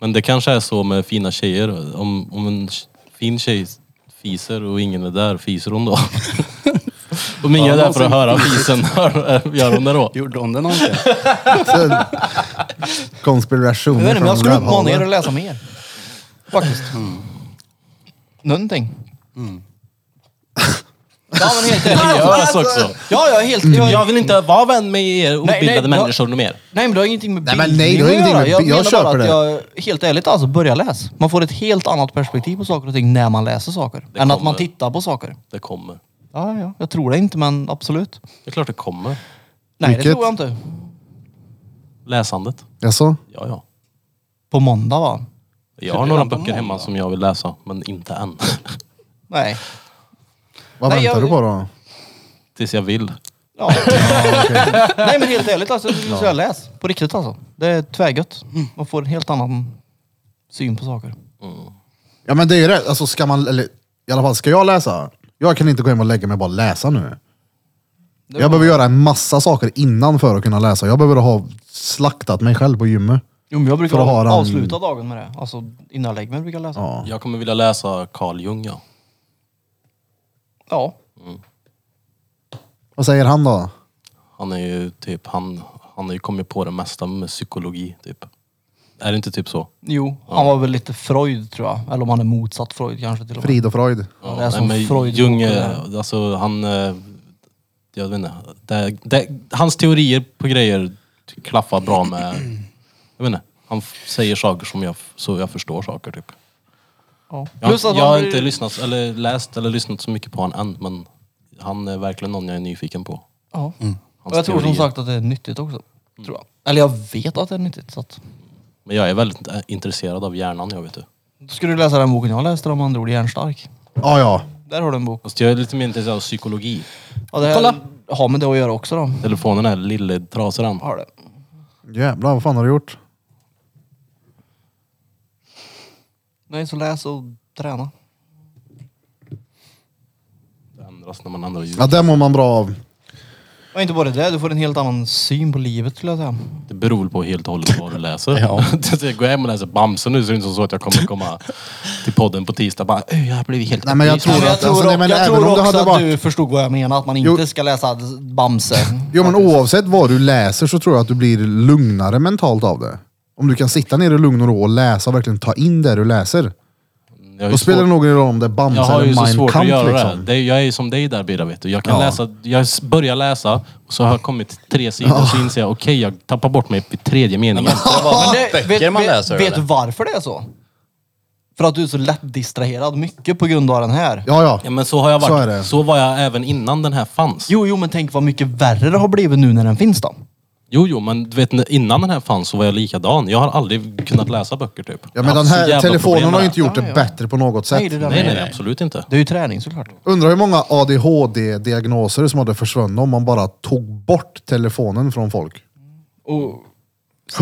[SPEAKER 3] Men det kanske är så med fina tjejer. Om, om en tj- fin tjej fiser och ingen är där, fiser hon *laughs* då? Om ingen är där för att höra fisen, *laughs* hör- gör hon det då?
[SPEAKER 4] Gjorde hon det någonsin? *laughs*
[SPEAKER 1] så
[SPEAKER 2] Jag, vet
[SPEAKER 1] konspirationer
[SPEAKER 2] inte,
[SPEAKER 1] från
[SPEAKER 2] men jag
[SPEAKER 1] Mm.
[SPEAKER 2] skulle uppmana er
[SPEAKER 1] rövhålet.
[SPEAKER 2] att läsa mer. Faktiskt. Någonting.
[SPEAKER 1] Mm.
[SPEAKER 2] Ja
[SPEAKER 1] *laughs*
[SPEAKER 2] men helt ärligt. jag-
[SPEAKER 3] Seriös också!
[SPEAKER 2] Ja, jag är helt...
[SPEAKER 1] Mm.
[SPEAKER 2] Jag,
[SPEAKER 3] alltså- Jag vill inte vara vän med er
[SPEAKER 2] nej,
[SPEAKER 3] obildade
[SPEAKER 2] jag-
[SPEAKER 3] människor mer.
[SPEAKER 2] nej men det har ingenting med
[SPEAKER 1] Nej, men
[SPEAKER 2] bildning
[SPEAKER 1] nej, det har ingenting
[SPEAKER 2] att
[SPEAKER 1] med-
[SPEAKER 2] göra.
[SPEAKER 1] jag
[SPEAKER 2] menar
[SPEAKER 1] köper
[SPEAKER 2] bara
[SPEAKER 1] det.
[SPEAKER 2] att jag, helt ärligt alltså, börja läs. Man får ett helt annat perspektiv på saker och ting när man läser saker.
[SPEAKER 3] Det
[SPEAKER 2] än att
[SPEAKER 3] kommer.
[SPEAKER 2] man tittar på saker.
[SPEAKER 3] Det kommer.
[SPEAKER 2] Ja, ja. Jag tror det inte men absolut.
[SPEAKER 3] Det är klart det kommer.
[SPEAKER 2] Nej det
[SPEAKER 1] Vilket?
[SPEAKER 2] tror jag inte.
[SPEAKER 3] Läsandet.
[SPEAKER 1] Jaså?
[SPEAKER 3] Ja, ja.
[SPEAKER 2] På måndag va?
[SPEAKER 3] Jag har några böcker hemma som jag vill läsa, men inte än. *laughs*
[SPEAKER 2] Nej.
[SPEAKER 1] Vad
[SPEAKER 2] Nej,
[SPEAKER 1] väntar
[SPEAKER 2] jag-
[SPEAKER 1] du på då?
[SPEAKER 3] Tills jag vill.
[SPEAKER 2] Ja. Nej men helt ärligt alltså, det ja. Mm. jag läs. På riktigt alltså. Det är tvärgött. Man får en helt annan syn på saker.
[SPEAKER 1] Ja men det är ju rätt, alltså ska man, eller i alla fall ska jag läsa? Jag kan inte gå hem och lägga mig och bara läsa nu. Jag behöver göra en massa saker innan för att kunna läsa. Jag behöver ha slaktat mig själv på gymmet.
[SPEAKER 2] Jo men jag brukar
[SPEAKER 1] För att ha den-
[SPEAKER 2] avsluta dagen med det. Alltså innan jag lägger mig brukar jag läsa. Ja.
[SPEAKER 1] Ja.
[SPEAKER 3] Jag kommer vilja läsa Carl Jung, ja.
[SPEAKER 1] Vad säger han då?
[SPEAKER 3] Han är ju typ, han, han har ju kommit på det mesta med psykologi, typ. Är det inte typ så?
[SPEAKER 2] Jo, han var väl lite Freud tror jag. Eller om han är motsatt Freud kanske till och med.
[SPEAKER 1] Frid och fröjd.
[SPEAKER 2] Ja, det är som Freud.
[SPEAKER 3] Jung, eh, alltså han... eh, Jag vet inte. Det, det, hans teorier på grejer klaffar bra med... Jag vet inte. Han f- säger saker som jag, f- så jag förstår saker, typ.
[SPEAKER 2] Ja.
[SPEAKER 3] Jag,
[SPEAKER 2] Plus att
[SPEAKER 3] jag
[SPEAKER 2] han
[SPEAKER 3] har
[SPEAKER 2] blir-
[SPEAKER 3] inte lyssnat, eller läst eller lyssnat så mycket på honom än, men han är verkligen någon jag är nyfiken på.
[SPEAKER 2] Ja.
[SPEAKER 3] Mm. Hans
[SPEAKER 2] Och jag tror som
[SPEAKER 3] teorier. Mm.
[SPEAKER 2] sagt att det är nyttigt också. Tror jag. Eller jag vet att det är nyttigt. Så att...
[SPEAKER 3] Men jag är väldigt eh, intresserad av hjärnan, jag vet du.
[SPEAKER 2] Då ska du läsa den boken jag läste om andra ord, Hjärnstark.
[SPEAKER 1] Ja ja.
[SPEAKER 2] Där har du en bok.
[SPEAKER 3] Fast jag är lite mer intresserad av psykologi.
[SPEAKER 2] Ja, det här Kolla. har med det att göra också då.
[SPEAKER 3] Telefonen är lille trasig den.
[SPEAKER 2] Har det.
[SPEAKER 1] Jävlar vad fan har du gjort?
[SPEAKER 2] Nej, så läs och träna.
[SPEAKER 3] Det ändras när man ändrar ljud.
[SPEAKER 1] Ja det mår man bra av.
[SPEAKER 2] Och inte bara det, du får en helt annan syn på livet skulle jag säga.
[SPEAKER 3] Det beror väl på helt och hållet vad du läser.
[SPEAKER 4] Ja.
[SPEAKER 3] Så *laughs* jag går hem och läser Bamse nu så är det inte så att jag kommer komma till podden på tisdag och bara "Öh, jag har blivit helt
[SPEAKER 1] Nej, men jag
[SPEAKER 3] upplyst."
[SPEAKER 1] tror
[SPEAKER 2] Nej, men
[SPEAKER 1] att- alltså, nej, men
[SPEAKER 2] jag
[SPEAKER 1] även
[SPEAKER 2] tror
[SPEAKER 1] om det
[SPEAKER 2] också
[SPEAKER 1] hade
[SPEAKER 2] att
[SPEAKER 1] varit-
[SPEAKER 2] du förstod vad jag menar, att man
[SPEAKER 1] Jo.
[SPEAKER 2] inte ska läsa Bamse.
[SPEAKER 1] Jo men oavsett vad du läser så tror jag att du blir lugnare mentalt av det. Om du kan sitta ner i lugn och ro och läsa och verkligen ta in det du läser.
[SPEAKER 3] Jag har ju
[SPEAKER 1] Då spelar det
[SPEAKER 3] svårt-
[SPEAKER 1] nog ingen roll om det Mm. är Bamse
[SPEAKER 3] Jag har
[SPEAKER 1] eller
[SPEAKER 3] ju så
[SPEAKER 1] Mein
[SPEAKER 3] svårt att
[SPEAKER 1] Kampf
[SPEAKER 3] göra
[SPEAKER 1] liksom.
[SPEAKER 3] det. det. är- Jag är som dig där Birra vet du. Jag kan
[SPEAKER 1] Ja.
[SPEAKER 3] läsa, jag s- börjar läsa och så har jag kommit tre sidor och så inser jag okej jag tappar bort mig vid tredje meningen.
[SPEAKER 2] Men
[SPEAKER 4] böcker man läser,
[SPEAKER 2] vet, vet
[SPEAKER 4] eller?
[SPEAKER 2] du varför det är så? För att du är så lätt distraherad, mycket på grund av den här.
[SPEAKER 1] Ja
[SPEAKER 3] Ja
[SPEAKER 1] ja.
[SPEAKER 3] men så har jag
[SPEAKER 1] Så är
[SPEAKER 3] varit. Så,
[SPEAKER 1] det.
[SPEAKER 3] var jag även innan den här fanns.
[SPEAKER 2] Jo, jo, men tänk vad mycket värre det har blivit nu när den finns då.
[SPEAKER 3] Jo, jo, men du vet när- innan den här fanns så var jag likadan. Jag har aldrig kunnat läsa böcker typ.
[SPEAKER 1] Ja,
[SPEAKER 3] Jag har
[SPEAKER 1] men den
[SPEAKER 3] haft så jävla
[SPEAKER 1] här telefonen
[SPEAKER 3] problem
[SPEAKER 1] har
[SPEAKER 3] med
[SPEAKER 1] ju inte gjort det bättre på något
[SPEAKER 2] Nej,
[SPEAKER 1] sätt.
[SPEAKER 2] det där
[SPEAKER 3] det.
[SPEAKER 2] med-
[SPEAKER 3] Nej, nej, absolut inte.
[SPEAKER 2] Det är ju träning såklart.
[SPEAKER 1] Undrar hur många ADHD-diagnoser som hade försvunnit om man bara tog bort telefonen från folk.
[SPEAKER 2] Och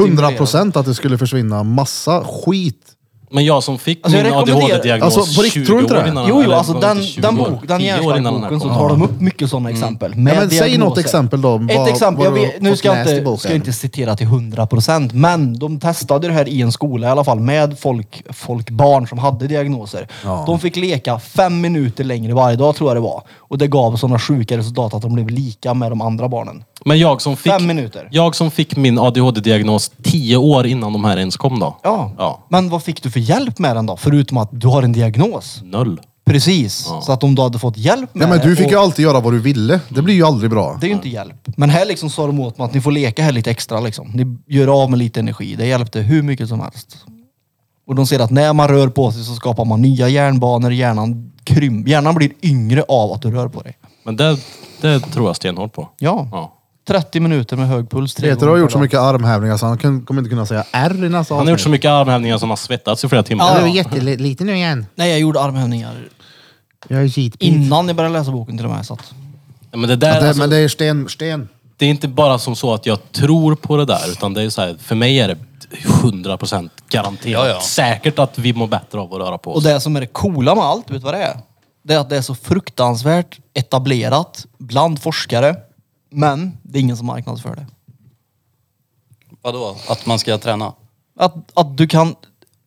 [SPEAKER 1] 100 procent att det skulle försvinna massa skit.
[SPEAKER 3] Men jag som fick
[SPEAKER 2] Alltså, jag
[SPEAKER 3] min
[SPEAKER 2] rekommenderar-
[SPEAKER 3] ADHD-diagnos
[SPEAKER 1] Alltså, på riktigt,
[SPEAKER 3] 20
[SPEAKER 1] tror du inte
[SPEAKER 3] år
[SPEAKER 1] det?
[SPEAKER 3] innan
[SPEAKER 2] Jo, jo,
[SPEAKER 3] eller
[SPEAKER 2] alltså
[SPEAKER 3] var det
[SPEAKER 2] den,
[SPEAKER 3] inte 20
[SPEAKER 2] den,
[SPEAKER 3] år,
[SPEAKER 2] bok, den
[SPEAKER 3] 10 år innan den
[SPEAKER 2] hjärnstark-boken så
[SPEAKER 3] kom.
[SPEAKER 2] tar
[SPEAKER 3] Mm.
[SPEAKER 2] de upp mycket sådana exempel. Med
[SPEAKER 1] Ja, men säg
[SPEAKER 2] diagnoser.
[SPEAKER 1] något exempel då.
[SPEAKER 2] Ett
[SPEAKER 1] Vad-
[SPEAKER 2] exempel,
[SPEAKER 1] vad
[SPEAKER 2] jag
[SPEAKER 1] du har
[SPEAKER 2] vet, nu
[SPEAKER 1] fått
[SPEAKER 2] ska jag,
[SPEAKER 1] läst i boken.
[SPEAKER 2] inte, ska jag inte citera till 100% men de testade det här i en skola i alla fall med folk, folk barn som hade diagnoser. De fick leka fem minuter längre varje dag tror jag det var. Och det gav sådana sjuka resultat att de blev lika med de andra barnen.
[SPEAKER 3] Men jag som fick,
[SPEAKER 2] Fem minuter.
[SPEAKER 3] Jag som fick min ADHD-diagnos 10 år innan de här ens kom då.
[SPEAKER 2] Ja.
[SPEAKER 3] ja.
[SPEAKER 2] Men vad fick du för hjälp med den då? Förutom att du har en diagnos.
[SPEAKER 3] Noll.
[SPEAKER 2] Precis. Så att om du hade fått hjälp med
[SPEAKER 1] Ja, men
[SPEAKER 2] det
[SPEAKER 1] du fick
[SPEAKER 2] och-
[SPEAKER 1] ju alltid göra vad du ville. Det blir ju aldrig bra.
[SPEAKER 2] Det är ju inte hjälp. Men här liksom sa de åt mig att ni får leka här lite extra liksom. Ni gör av med lite energi. Det hjälpte hur mycket som helst. Och de ser att när man rör på sig så skapar man nya hjärnbanor. Hjärnan, krym- hjärnan blir yngre av att du rör på dig.
[SPEAKER 3] Men det, det tror jag stenhårt på.
[SPEAKER 2] Ja.
[SPEAKER 3] Ja.
[SPEAKER 2] 30 minuter med hög puls. tre
[SPEAKER 1] Peter
[SPEAKER 2] gånger
[SPEAKER 1] har
[SPEAKER 2] per
[SPEAKER 1] gjort så
[SPEAKER 2] dag.
[SPEAKER 1] mycket armhävningar så han kan- kommer inte kunna säga R i nästa
[SPEAKER 3] Han har gjort så mycket armhävningar som har svettats i flera timmar.
[SPEAKER 1] är jätteliten nu igen.
[SPEAKER 2] Nej, jag gjorde armhävningar
[SPEAKER 1] Jag är skitbit.
[SPEAKER 2] innan jag började läsa boken till och med. Så att...
[SPEAKER 3] Ja, Men det, där,
[SPEAKER 1] Ja, det,
[SPEAKER 3] alltså,
[SPEAKER 1] men det är sten, sten.
[SPEAKER 3] det är inte bara som så att jag tror på det där, utan det är ju så här, för mig är det 100% garanterat
[SPEAKER 4] Ja, ja.
[SPEAKER 3] säkert att vi mår bättre av att röra på
[SPEAKER 2] Och
[SPEAKER 3] oss.
[SPEAKER 2] det som är det coola med allt, vet du vad det är? Det är att det är så fruktansvärt etablerat bland forskare. Men det är ingen som marknadsför det.
[SPEAKER 4] Vadå? Att man ska träna?
[SPEAKER 2] Att, att du kan...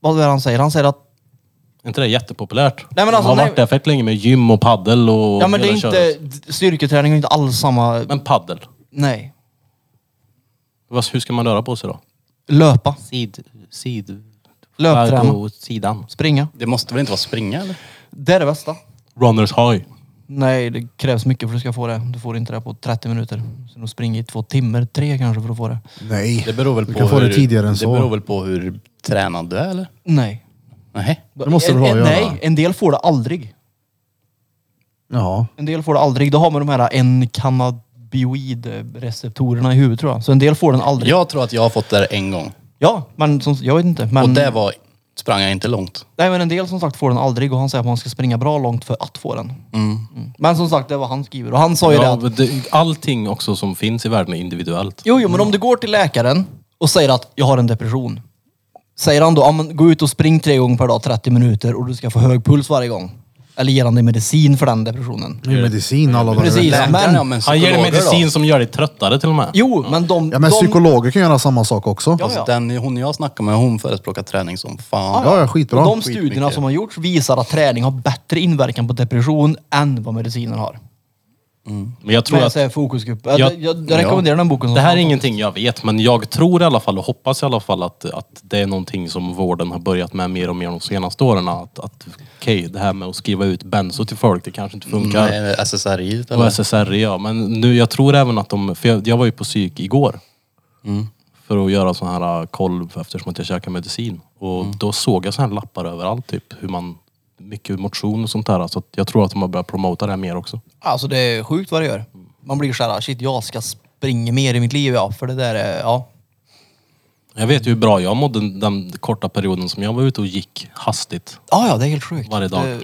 [SPEAKER 2] Vad är det han säger? Han säger att...
[SPEAKER 3] Är inte det jättepopulärt?
[SPEAKER 2] men alltså,
[SPEAKER 3] de har
[SPEAKER 2] nej.
[SPEAKER 3] varit där fett länge med gym och paddel och
[SPEAKER 2] Ja men det är
[SPEAKER 3] hela
[SPEAKER 2] inte...
[SPEAKER 3] köret.
[SPEAKER 2] Styrketräning är inte alls samma...
[SPEAKER 3] Men paddel.
[SPEAKER 2] Nej.
[SPEAKER 3] Vad- Hur ska man röra på sig då?
[SPEAKER 2] Löpa.
[SPEAKER 3] Sid... Sid...
[SPEAKER 2] Löpträna.
[SPEAKER 3] Åt sidan.
[SPEAKER 2] Springa.
[SPEAKER 4] Det måste väl inte vara springa eller?
[SPEAKER 2] Det är det bästa.
[SPEAKER 3] Runners high.
[SPEAKER 2] Nej, det krävs mycket för att du ska få det. Du får inte det på 30 minuter. Så du springer i två timmar, tre kanske för att få det.
[SPEAKER 1] Nej.
[SPEAKER 4] Det beror väl på
[SPEAKER 1] Du kan få
[SPEAKER 4] hur,
[SPEAKER 1] det tidigare än
[SPEAKER 4] det
[SPEAKER 1] så.
[SPEAKER 4] beror väl på hur tränad du är eller?
[SPEAKER 2] Nej.
[SPEAKER 4] Nej.
[SPEAKER 1] Det måste
[SPEAKER 2] en,
[SPEAKER 1] det vara,
[SPEAKER 2] en,
[SPEAKER 1] ja.
[SPEAKER 2] Nej, en del får det aldrig.
[SPEAKER 1] Ja.
[SPEAKER 2] En del får det aldrig. Det har med de här enkannabioidreceptorerna i huvudet tror jag. Så en del får den aldrig. Ja,
[SPEAKER 4] Jag tror att jag har fått det här en gång.
[SPEAKER 2] men som, jag vet inte. Men,
[SPEAKER 4] Och det var, sprang jag inte långt.
[SPEAKER 2] nej, men en del som sagt får den aldrig och han säger att man ska springa bra långt för att få den. Mm. Men som sagt, det var han skriver. Och han sa ju det
[SPEAKER 3] Ja,
[SPEAKER 2] att
[SPEAKER 3] men det, allting också som finns i världen är individuellt.
[SPEAKER 2] Jo, jo, men om du går till läkaren och säger att jag har en depression. Säger han då, ja, men gå ut och spring tre gånger per dag 30 minuter och du ska få hög puls varje gång. Eller ger han dig medicin för den depressionen?
[SPEAKER 1] Det är medicin alla dagar i
[SPEAKER 2] Precis.
[SPEAKER 1] veckan.
[SPEAKER 2] Ja, men-
[SPEAKER 4] ja, men
[SPEAKER 3] Han ger dig
[SPEAKER 4] psykologer
[SPEAKER 3] medicin
[SPEAKER 4] då?
[SPEAKER 3] som gör dig tröttare till och med.
[SPEAKER 2] Jo, men de...
[SPEAKER 1] Ja, men
[SPEAKER 2] de,
[SPEAKER 1] psykologer kan göra samma sak också.
[SPEAKER 2] Ja,
[SPEAKER 4] Alltså, den, hon jag snackar med, hon förespråkar träning som fan.
[SPEAKER 1] Ja, ja, skitbra.
[SPEAKER 2] De studierna som har gjorts visar att träning har bättre inverkan på depression än vad medicinen har.
[SPEAKER 3] Men jag tror
[SPEAKER 2] Men jag
[SPEAKER 3] att
[SPEAKER 2] säger fokusgrupp. Jag, jag, jag rekommenderar den boken. som
[SPEAKER 3] det här är
[SPEAKER 2] fan.
[SPEAKER 3] ingenting jag vet, men jag tror i alla fall och hoppas i alla fall att, att det är någonting som vården har börjat med mer och mer de senaste åren. Att, att okej, det här med att skriva ut benzo till folk, det kanske inte funkar.
[SPEAKER 4] Nej, är det SSRI
[SPEAKER 3] Och
[SPEAKER 4] eller?
[SPEAKER 3] SSRI ja, men nu, jag tror även att de, för jag, jag var ju på psyk igår. För att göra sån här äh, koll eftersom att jag käkar medicin. Och då såg jag såna här lappar överallt typ. Hur man, mycket motion och sånt där. Så att jag tror att de har börjat promota det här mer också.
[SPEAKER 2] Alltså det är sjukt vad det gör. Man blir såhär, shit jag ska springa mer i mitt liv ja. För det där är, ja.
[SPEAKER 3] Jag vet ju hur bra jag mådde den, den korta perioden som jag var ute och gick hastigt.
[SPEAKER 2] Ja, ja, det är helt sjukt.
[SPEAKER 3] Varje dag.
[SPEAKER 2] Det,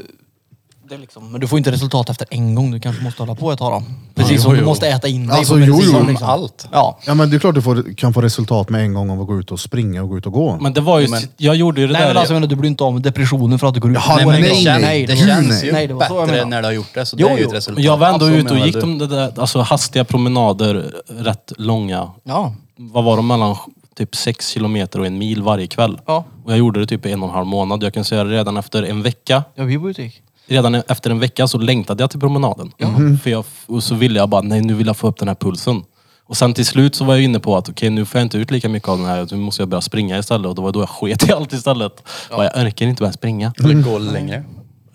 [SPEAKER 2] det är liksom, men du får inte resultat efter en gång. Du kanske måste hålla på ett tag då. Precis som du måste äta in dig
[SPEAKER 1] Alltså,
[SPEAKER 2] på
[SPEAKER 1] jo,
[SPEAKER 2] medicin,
[SPEAKER 1] jo.
[SPEAKER 2] Liksom.
[SPEAKER 4] Allt.
[SPEAKER 2] Ja.
[SPEAKER 1] Ja, men det är klart du får, kan få resultat med en gång om att gå ut och springa och gå ut och gå.
[SPEAKER 3] Men det var ju, jag gjorde ju det
[SPEAKER 2] Nej
[SPEAKER 3] där.
[SPEAKER 2] men alltså jag menar, du blir inte av med depressionen för att du går ut.
[SPEAKER 1] Jaha,
[SPEAKER 2] men
[SPEAKER 1] nej,
[SPEAKER 2] det-
[SPEAKER 1] nej, nej.
[SPEAKER 4] Det
[SPEAKER 1] Gud,
[SPEAKER 4] känns
[SPEAKER 1] nej.
[SPEAKER 4] ju
[SPEAKER 2] Nej, det var så jag
[SPEAKER 4] bättre
[SPEAKER 2] menade.
[SPEAKER 4] när du har gjort det. Så
[SPEAKER 2] Jo,
[SPEAKER 4] det är ju
[SPEAKER 2] jo.
[SPEAKER 4] ett resultat.
[SPEAKER 3] jag var ändå
[SPEAKER 4] Ja, så
[SPEAKER 3] ute och
[SPEAKER 4] menar
[SPEAKER 3] gick
[SPEAKER 4] du.
[SPEAKER 3] de där, alltså hastiga promenader, rätt långa.
[SPEAKER 2] Ja.
[SPEAKER 3] Vad var de mellan typ sex kilometer och en mil varje kväll?
[SPEAKER 2] Ja.
[SPEAKER 3] Och jag gjorde det typ i en och en halv månad. Jag kan säga redan efter en vecka,
[SPEAKER 2] Ja, vi var ute och gick.
[SPEAKER 3] redan efter en vecka så längtade jag till promenaden. Mm-hmm. För jag, och så ville jag bara, nej nu vill jag få upp den här pulsen. Och sen till slut så var jag inne på att okej nu får jag inte ut lika mycket av den här, nu måste jag börja springa istället. Och det var då jag sket i allt istället. Bara, jag orkar inte börja springa.
[SPEAKER 4] Eller gå längre.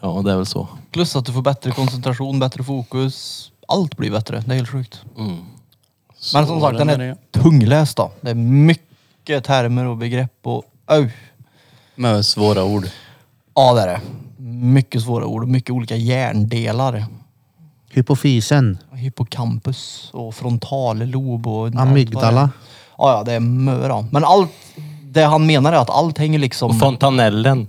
[SPEAKER 3] Ja, det är väl så.
[SPEAKER 2] Plus att du får bättre koncentration, bättre fokus. Allt blir bättre. Det är helt sjukt. Men som sagt, den
[SPEAKER 4] är det.
[SPEAKER 2] är tungläst då. Det är mycket termer och begrepp och... Au.
[SPEAKER 4] Med svåra ord.
[SPEAKER 2] Ja, det är det. Mycket svåra ord och mycket olika hjärndelar.
[SPEAKER 1] Hypofysen.
[SPEAKER 2] Hippocampus och frontallob och... allt vad
[SPEAKER 1] Amygdala.
[SPEAKER 2] det är. Ja, ja, det är möra. Men allt... Det han menar är att allt hänger liksom...
[SPEAKER 3] Och
[SPEAKER 1] Mm.
[SPEAKER 3] fontanellen.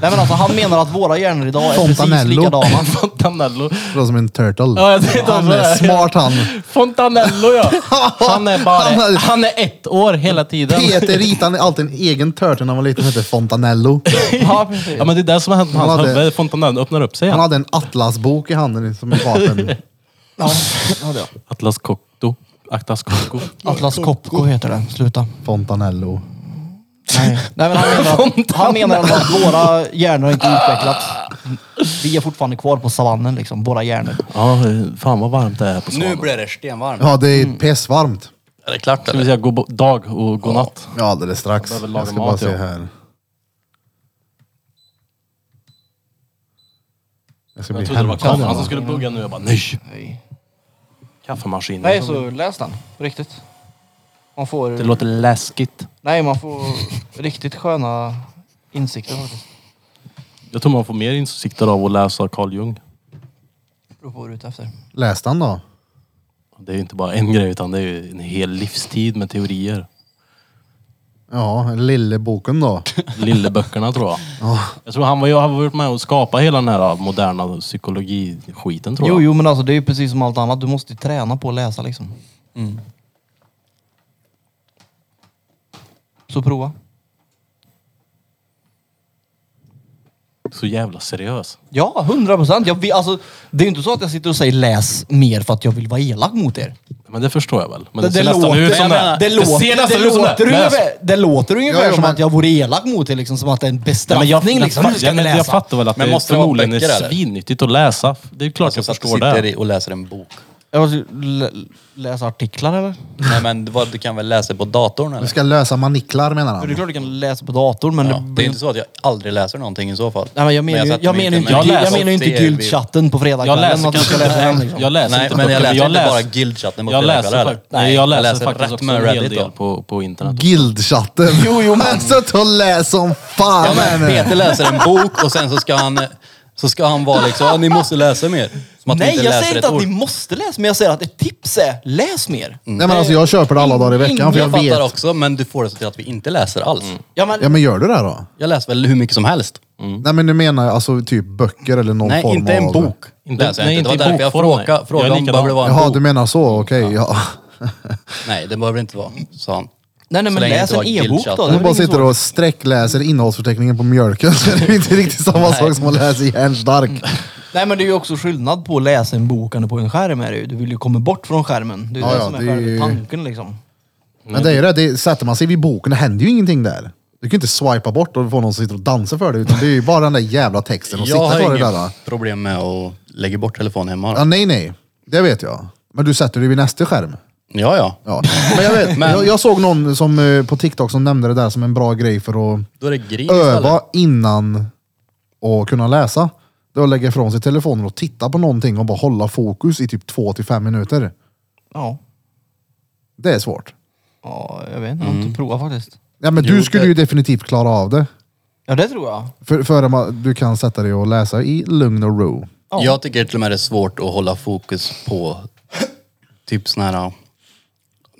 [SPEAKER 2] Nej men alltså han menar att våra hjärnor idag är precis
[SPEAKER 1] Fontanello.
[SPEAKER 3] *laughs*
[SPEAKER 2] likadana.
[SPEAKER 3] Fontanello.
[SPEAKER 1] Det låter som en turtle.
[SPEAKER 3] Ja, jag tänkte
[SPEAKER 1] han
[SPEAKER 3] också
[SPEAKER 1] är
[SPEAKER 3] det.
[SPEAKER 1] smart han.
[SPEAKER 3] Fontanello
[SPEAKER 1] *laughs*
[SPEAKER 3] ja. Han är
[SPEAKER 1] Han är-
[SPEAKER 3] bara... Han är ett år hela tiden.
[SPEAKER 1] Peter ritade alltid en egen turtle när han var liten. Han hette Fontanello.
[SPEAKER 2] Ja, precis.
[SPEAKER 3] Ja men det är det som har hänt med
[SPEAKER 1] Han
[SPEAKER 3] hans
[SPEAKER 1] hade-
[SPEAKER 3] huvud. Fontanellen öppnar upp sig
[SPEAKER 1] Han
[SPEAKER 3] igen.
[SPEAKER 1] hade en atlasbok i handen som ett vapen.
[SPEAKER 3] Atlas Cocteau. Atlas Cocteau.
[SPEAKER 2] Atlas Copco heter det. Sluta.
[SPEAKER 1] Fontanello.
[SPEAKER 2] Nej, Nej men han menar, *laughs* att- han menar ändå att våra hjärnor har inte utvecklats. Vi är fortfarande kvar på savannen liksom, våra hjärnor.
[SPEAKER 3] Ja, fan vad varmt det är här på
[SPEAKER 4] Nu
[SPEAKER 3] Svanen.
[SPEAKER 4] blir det stenvarmt.
[SPEAKER 1] Ja, det är pissvarmt.
[SPEAKER 4] Är det klart
[SPEAKER 3] Ska vi
[SPEAKER 4] eller?
[SPEAKER 3] säga god bo- dag och god natt?
[SPEAKER 1] Ja, alldeles strax.
[SPEAKER 3] Jag behöver
[SPEAKER 1] Jag ska
[SPEAKER 3] laga
[SPEAKER 1] bara
[SPEAKER 3] mat,
[SPEAKER 1] se
[SPEAKER 3] ja.
[SPEAKER 1] här. Jag ska
[SPEAKER 3] Jag
[SPEAKER 1] bli
[SPEAKER 3] trodde det var Alltså,
[SPEAKER 1] hämtad.
[SPEAKER 3] kameran som
[SPEAKER 1] idag.
[SPEAKER 3] skulle bugga nu. Jag bara nej.
[SPEAKER 2] Nej.
[SPEAKER 3] Kaffemaskinen.
[SPEAKER 2] Nej, så läs den. På riktigt. Man
[SPEAKER 3] Det
[SPEAKER 2] får...
[SPEAKER 3] låter läskigt.
[SPEAKER 2] Nej, man får riktigt sköna insikter faktiskt.
[SPEAKER 3] Jag tror man får mer insikter av att läsa Carl Jung.
[SPEAKER 2] Beror på vad du är ute efter.
[SPEAKER 1] Läste han då?
[SPEAKER 3] Det är ju inte bara en grej utan det är ju en hel livstid med teorier.
[SPEAKER 1] Ja, Lilleboken då.
[SPEAKER 3] Lilleböckerna tror jag. Jag tror han var, han har varit med och skapat hela den här moderna psykologiskiten tror jag.
[SPEAKER 2] Jo, jo, men alltså det är ju precis som allt annat. Du måste ju träna på att läsa liksom.
[SPEAKER 3] Mm.
[SPEAKER 2] Så prova.
[SPEAKER 3] Så jävla seriös.
[SPEAKER 2] Ja, hundra procent. Jag vill- Alltså, det är ju inte så att jag sitter och säger läs mer för att jag vill vara elak mot er.
[SPEAKER 3] Men det förstår jag väl. Men
[SPEAKER 2] Det,
[SPEAKER 3] det,
[SPEAKER 2] det,
[SPEAKER 3] ser nästan
[SPEAKER 2] låter,
[SPEAKER 3] ut som det.
[SPEAKER 2] det, låter,
[SPEAKER 3] ser
[SPEAKER 2] det,
[SPEAKER 3] nästan ut som det.
[SPEAKER 2] låter
[SPEAKER 3] Läs.
[SPEAKER 2] ungefär, det låter ungefär
[SPEAKER 1] Ja, ja,
[SPEAKER 2] som
[SPEAKER 1] men-
[SPEAKER 2] att jag vore elak mot er, liksom, som att det är en bestraffning.
[SPEAKER 3] jag,
[SPEAKER 2] liksom.
[SPEAKER 3] jag,
[SPEAKER 2] Nu ska
[SPEAKER 3] jag,
[SPEAKER 2] ni
[SPEAKER 3] men jag
[SPEAKER 2] läsa.
[SPEAKER 3] fattar väl att
[SPEAKER 4] Men
[SPEAKER 3] det
[SPEAKER 4] måste det vara
[SPEAKER 3] förmodligen
[SPEAKER 4] böcker,
[SPEAKER 3] är
[SPEAKER 4] eller?
[SPEAKER 3] svinnyttigt att läsa. Det är klart
[SPEAKER 4] Alltså, så
[SPEAKER 3] jag
[SPEAKER 4] att du
[SPEAKER 3] förstår
[SPEAKER 4] sitter
[SPEAKER 3] det.
[SPEAKER 4] i och läser en bok.
[SPEAKER 2] Jag måste ju lä- läsa artiklar eller?
[SPEAKER 4] Nej men vad, du kan väl läsa på datorn
[SPEAKER 1] Du
[SPEAKER 4] eller?
[SPEAKER 1] ska lösa maniklar menar
[SPEAKER 2] För det är
[SPEAKER 1] han.
[SPEAKER 2] klart du kan läsa på datorn men...
[SPEAKER 4] Ja,
[SPEAKER 2] det,
[SPEAKER 4] det är inte så att jag aldrig läser någonting i så fall.
[SPEAKER 2] Nej, men jag menar ju
[SPEAKER 4] satte
[SPEAKER 2] jag
[SPEAKER 4] mig
[SPEAKER 2] menar ju inte,
[SPEAKER 4] med-
[SPEAKER 2] jag
[SPEAKER 3] läser
[SPEAKER 2] jag menar ju inte
[SPEAKER 4] TV.
[SPEAKER 2] guldchatten på
[SPEAKER 3] Jag läser
[SPEAKER 2] fredagskvällen. att du
[SPEAKER 3] kanske
[SPEAKER 2] ska läsa den, liksom.
[SPEAKER 3] Jag läser
[SPEAKER 4] Nej,
[SPEAKER 3] inte
[SPEAKER 4] men
[SPEAKER 3] böcker,
[SPEAKER 4] jag läser
[SPEAKER 3] jag
[SPEAKER 4] inte bara
[SPEAKER 3] läser-
[SPEAKER 4] guildchatten på
[SPEAKER 3] Jag läser,
[SPEAKER 4] fredagskvällar
[SPEAKER 3] fakt-
[SPEAKER 4] heller.
[SPEAKER 3] nej, jag läser faktiskt
[SPEAKER 4] rätt
[SPEAKER 3] också
[SPEAKER 4] med
[SPEAKER 3] en hel
[SPEAKER 4] Reddit
[SPEAKER 3] del
[SPEAKER 4] då. Mm.
[SPEAKER 3] på, på internet.
[SPEAKER 1] Guildchatten. Jo, jo, *laughs* men. Suttit och läst som
[SPEAKER 4] Ja,
[SPEAKER 1] fan här
[SPEAKER 4] men
[SPEAKER 1] nu.
[SPEAKER 4] Peter läser en bok och sen så ska han, så ska han vara liksom, "Ja, ni måste läsa mer. Som att vi
[SPEAKER 2] Nej, jag
[SPEAKER 4] läser
[SPEAKER 2] säger
[SPEAKER 4] ett
[SPEAKER 2] inte att
[SPEAKER 4] ord.
[SPEAKER 2] ni måste läsa, men jag säger att ett tips är läs mer.
[SPEAKER 1] Nej men alltså jag köper det alla dagar i veckan för jag
[SPEAKER 4] Jag fattar
[SPEAKER 1] vet.
[SPEAKER 4] också, men du får det så till att vi inte läser alls.
[SPEAKER 2] Ja, men,
[SPEAKER 1] Ja men gör du det då?
[SPEAKER 4] Jag läser väl hur mycket som helst.
[SPEAKER 1] Nej men du menar alltså typ böcker eller någon
[SPEAKER 4] Nej,
[SPEAKER 1] form av...
[SPEAKER 4] inte en bok.
[SPEAKER 3] Inte-
[SPEAKER 4] läser jag
[SPEAKER 3] nej,
[SPEAKER 4] inte.
[SPEAKER 3] inte
[SPEAKER 4] Det
[SPEAKER 3] i
[SPEAKER 4] var därför jag
[SPEAKER 3] bokform, nej.
[SPEAKER 4] frågade,
[SPEAKER 3] Jag är
[SPEAKER 4] frågade om
[SPEAKER 3] likadan.
[SPEAKER 4] behöver det vara en
[SPEAKER 1] Jaha,
[SPEAKER 4] bok.
[SPEAKER 1] du menar så. Okej, ja.
[SPEAKER 4] Nej, det behöver det inte vara, sa han.
[SPEAKER 2] nej, nej,
[SPEAKER 4] Så
[SPEAKER 2] men
[SPEAKER 4] länge
[SPEAKER 2] läs
[SPEAKER 4] det
[SPEAKER 2] en
[SPEAKER 4] inte var
[SPEAKER 2] e-bok då. Det är
[SPEAKER 4] guildchatten.
[SPEAKER 1] Om
[SPEAKER 2] väl
[SPEAKER 1] du bara
[SPEAKER 2] inget
[SPEAKER 1] sitter
[SPEAKER 2] svårt.
[SPEAKER 1] och sträckläser innehållsförteckningen på mjölken så är det inte riktigt samma sak som att läsa järnstark.
[SPEAKER 2] Nej, men det är ju också skillnad på att läsa en bok än på en skärm. Är det ju. Du vill ju komma bort från skärmen. Det är ju
[SPEAKER 1] Ja,
[SPEAKER 2] det
[SPEAKER 1] ja,
[SPEAKER 2] som är
[SPEAKER 1] det är ju-
[SPEAKER 2] själva tanken liksom.
[SPEAKER 1] Men det är ju det, det sätter man sig vid boken, det händer ju ingenting där. Du kan ju inte swipa bort och få någon som sitter och dansar för dig, utan det är ju bara den där jävla texten och
[SPEAKER 4] Jag
[SPEAKER 1] sitta på
[SPEAKER 4] har
[SPEAKER 1] det där. då.
[SPEAKER 4] inget problem med att lägga bort telefonen hemma.
[SPEAKER 1] Ja, nej, nej. Det vet jag. Men du sätter dig vid nästa skärm.
[SPEAKER 4] Ja, ja.
[SPEAKER 1] Ja. *laughs* Men jag vet, jag, jag såg någon som, eh, på TikTok som nämnde det där som en bra grej för att
[SPEAKER 4] Då är det gris
[SPEAKER 1] öva innan och kunna läsa. Det är att lägga ifrån sig telefonen och titta på någonting och bara hålla fokus i typ två till fem minuter.
[SPEAKER 2] Ja.
[SPEAKER 1] Det är svårt.
[SPEAKER 2] ja, jag vet inte. Jag har
[SPEAKER 1] Mm.
[SPEAKER 2] inte provat faktiskt.
[SPEAKER 1] Ja, men du skulle ju definitivt klara av det.
[SPEAKER 2] Ja, det tror jag.
[SPEAKER 1] För, före man, du kan sätta dig och läsa i lugn och ro.
[SPEAKER 2] Ja.
[SPEAKER 4] Jag tycker till och med det är svårt att hålla fokus på typ sån här...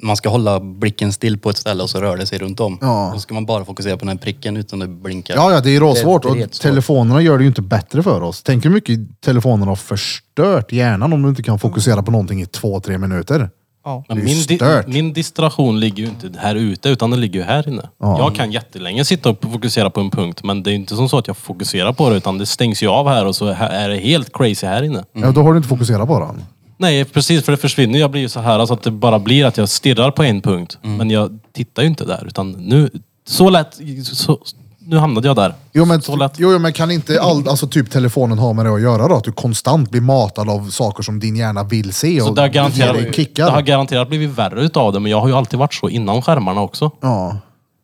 [SPEAKER 4] Man ska hålla blicken still på ett ställe och så rör det sig runt om.
[SPEAKER 1] Ja.
[SPEAKER 4] Och så ska man bara fokusera på den här pricken utan att blinka.
[SPEAKER 1] Ja, ja, det är råsvårt
[SPEAKER 4] Det- det är
[SPEAKER 1] och
[SPEAKER 4] jättesvårt.
[SPEAKER 1] telefonerna gör det ju inte bättre för oss. Tänk hur mycket telefonerna har förstört hjärnan om du inte kan fokusera på någonting i två, tre minuter.
[SPEAKER 2] Ja.
[SPEAKER 1] Det
[SPEAKER 3] Men
[SPEAKER 1] är ju
[SPEAKER 3] min, di
[SPEAKER 1] stört.
[SPEAKER 3] min distraktion ligger ju inte här ute utan den ligger ju här inne. Jag kan jättelänge sitta och fokusera på en punkt men det är ju inte som så att jag fokuserar på det utan det stängs ju av här och så här- är det helt crazy här inne.
[SPEAKER 1] Ja, då har du inte fokuserat på den.
[SPEAKER 3] Nej precis för det försvinner Jag blir ju så här alltså att det bara blir att jag stirrar på en punkt men jag tittar ju inte där utan nu, så lätt, så, nu hamnade jag där.
[SPEAKER 1] Jo men,
[SPEAKER 3] så lätt.
[SPEAKER 1] jo, jo, men kan inte all, alltså, typ telefonen ha med det att göra då? Att du konstant blir matad av saker som din hjärna vill se och
[SPEAKER 3] Så det har, garanterat,
[SPEAKER 1] ger dig
[SPEAKER 3] det har
[SPEAKER 1] kickar.
[SPEAKER 3] garanterat blivit värre utav det men jag har ju alltid varit så innan skärmarna också.
[SPEAKER 1] Ja.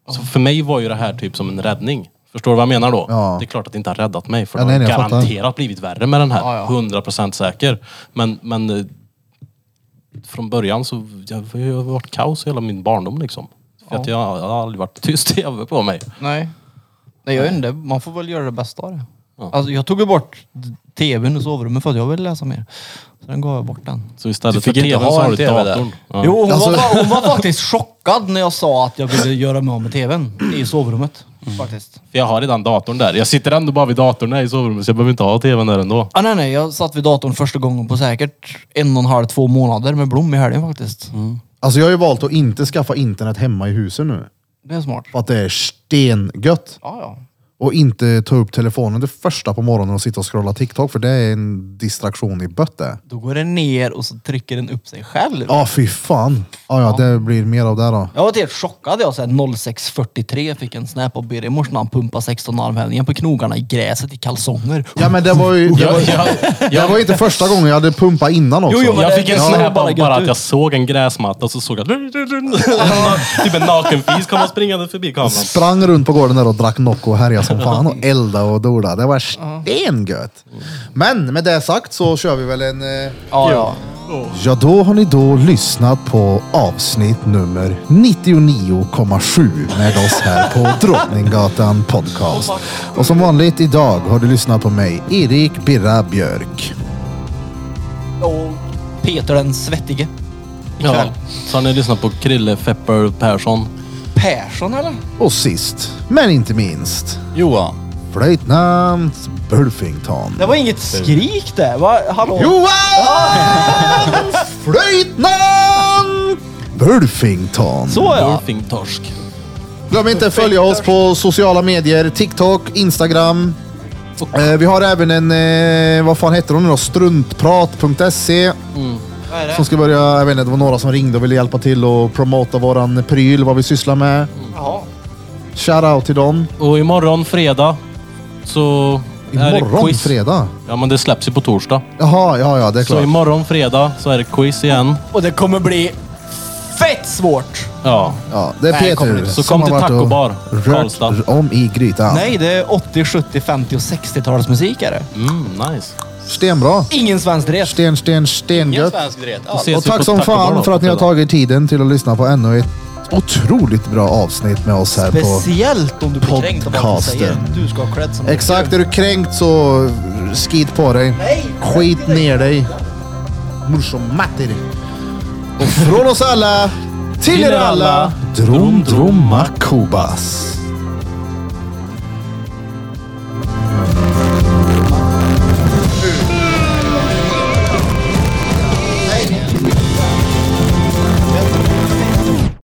[SPEAKER 3] Så för mig var ju det här typ som en räddning. Förstår du vad jag menar då?
[SPEAKER 1] Ja.
[SPEAKER 3] Det är klart att det inte har räddat mig. För
[SPEAKER 1] Ja,
[SPEAKER 3] det
[SPEAKER 1] nej,
[SPEAKER 3] har
[SPEAKER 1] nej, jag fattar.
[SPEAKER 3] garanterat blivit värre med den
[SPEAKER 2] Ja,
[SPEAKER 3] här.
[SPEAKER 2] ja.
[SPEAKER 3] 100% säker. Men, men eh, från början så jag, jag har varit kaos hela min barndom liksom. För att jag, jag har aldrig varit *laughs* tyst tv på mig.
[SPEAKER 2] Nej. Nej, jag vet inte. Man får väl göra det bästa av det. Alltså, jag tog ju bort tvn i sovrummet för att jag ville läsa mer. Så den gav jag bort den.
[SPEAKER 3] Så istället
[SPEAKER 4] Du fick
[SPEAKER 3] för
[SPEAKER 4] inte
[SPEAKER 3] tvn
[SPEAKER 4] ha
[SPEAKER 3] så
[SPEAKER 4] en
[SPEAKER 3] har du
[SPEAKER 4] TV där.
[SPEAKER 3] datorn. Ja.
[SPEAKER 2] Jo, hon,
[SPEAKER 1] Alltså-
[SPEAKER 2] var, fa-
[SPEAKER 1] *laughs*
[SPEAKER 2] hon var faktiskt chockad när jag sa att jag ville göra mig av med tvn i sovrummet.
[SPEAKER 1] Mm.
[SPEAKER 2] Faktiskt.
[SPEAKER 3] För jag har redan datorn där. Jag sitter ändå bara vid datorn här i sovrummet så jag behöver inte ha tvn där ändå.
[SPEAKER 2] Ah, nej, nej, jag satt vid datorn första gången på säkert en och en halv, två månader med Blom i helgen faktiskt.
[SPEAKER 1] Alltså jag har ju valt att inte skaffa internet hemma i huset nu.
[SPEAKER 2] Det är smart.
[SPEAKER 1] För att det är stengött.
[SPEAKER 2] Ja, ja.
[SPEAKER 1] Och inte ta upp telefonen det första på morgonen och sitta och scrolla TikTok för det är en distraktion i bötte.
[SPEAKER 2] Då går den ner och så trycker den upp sig själv.
[SPEAKER 1] Ja, fy fan. Ja, ja, det blir mer av det då.
[SPEAKER 2] Jag var helt chockad. Jag så här 06.43 fick en snap av Birger i morse när han pumpade 16 armhävningar på knogarna i gräset i kalsonger.
[SPEAKER 1] Ja, men det
[SPEAKER 3] *laughs*
[SPEAKER 1] var ju det var, det var ju inte första gången jag hade pumpat innan också.
[SPEAKER 2] Jo, jo, men
[SPEAKER 3] Jag
[SPEAKER 2] det-
[SPEAKER 3] fick en
[SPEAKER 2] det såg
[SPEAKER 3] snap
[SPEAKER 2] bara
[SPEAKER 3] bara,
[SPEAKER 2] gött
[SPEAKER 3] bara att
[SPEAKER 2] ut.
[SPEAKER 3] jag såg en gräsmatta och så såg jag *laughs* typ en nakenfis komma springande förbi kameran.
[SPEAKER 1] Sprang runt på gården där och drack Nocco och härjade som fan och elda och dola. Det var stengött. Men med det sagt så kör vi väl en... eh,
[SPEAKER 2] Ja, ja.
[SPEAKER 1] Ja, då har ni då lyssnat på avsnitt nummer 99,7 med oss här på Drottninggatan Podcast. Och som vanligt idag har du lyssnat på mig, Erik Birra Björk.
[SPEAKER 2] Och Peter den svettige.
[SPEAKER 3] Ja. Så har ni lyssnat på Krille Fepper Persson.
[SPEAKER 2] Persson eller?
[SPEAKER 1] Och sist, men inte minst,
[SPEAKER 4] Johan.
[SPEAKER 1] flöjtnant Bulfington.
[SPEAKER 2] Det var inget skrik där. Va? Hallå?
[SPEAKER 1] Johan! Flöjtnant Bulfington.
[SPEAKER 2] Så ja.
[SPEAKER 3] Dorfingtorsk.
[SPEAKER 1] Glöm inte att följa oss på sociala medier. TikTok, Instagram. Eh, vi har även en, eh, vad fan heter hon nu då?
[SPEAKER 3] Mm.
[SPEAKER 1] Struntprat.se.
[SPEAKER 2] Vad är det?
[SPEAKER 1] Som ska börja, jag vet inte, det var några som ringde och ville hjälpa till och promota våran pryl, vad vi sysslar med.
[SPEAKER 3] Mm.
[SPEAKER 2] Jaha.
[SPEAKER 1] Shoutout till dem.
[SPEAKER 3] Och imorgon fredag så är det
[SPEAKER 1] Imorgon
[SPEAKER 3] quiz.
[SPEAKER 1] fredag.
[SPEAKER 3] Ja men det släpps ju på torsdag.
[SPEAKER 1] Jaha, ja, ja, det är
[SPEAKER 3] Så
[SPEAKER 1] klart.
[SPEAKER 3] imorgon fredag så är det quiz igen.
[SPEAKER 2] Och det kommer bli fett svårt.
[SPEAKER 3] Ja.
[SPEAKER 1] Ja, det är
[SPEAKER 2] Nej, kommer
[SPEAKER 1] Peter
[SPEAKER 2] inte.
[SPEAKER 3] Så
[SPEAKER 1] som
[SPEAKER 3] kom till
[SPEAKER 1] har varit
[SPEAKER 3] Taco
[SPEAKER 1] och
[SPEAKER 3] Bar, Karlstad.
[SPEAKER 1] Rört om i grytan.
[SPEAKER 2] Nej, det är 80, 70, 50 och 60-talets musik är det.
[SPEAKER 3] Mm, nice.
[SPEAKER 1] Stenbra.
[SPEAKER 2] Ingen svensk rätt.
[SPEAKER 1] Sten, sten, stengött.
[SPEAKER 4] svensk rätt alls.
[SPEAKER 3] ses
[SPEAKER 1] Och
[SPEAKER 3] vi på
[SPEAKER 1] tack som
[SPEAKER 3] Taco Bar då
[SPEAKER 1] fan för
[SPEAKER 3] på
[SPEAKER 1] att ni har
[SPEAKER 3] fredag.
[SPEAKER 1] tagit tiden till att lyssna på ännu ett otroligt bra avsnitt med oss här på...
[SPEAKER 2] Speciellt om du blir kränkt av vad du säger.
[SPEAKER 1] podcasten.
[SPEAKER 2] Du ska ha cred som
[SPEAKER 1] Exakt, är du kränkt så skit på dig. Skit ner dig. Morsomatter. Och från oss alla, till er alla, Drom Droma Kubas.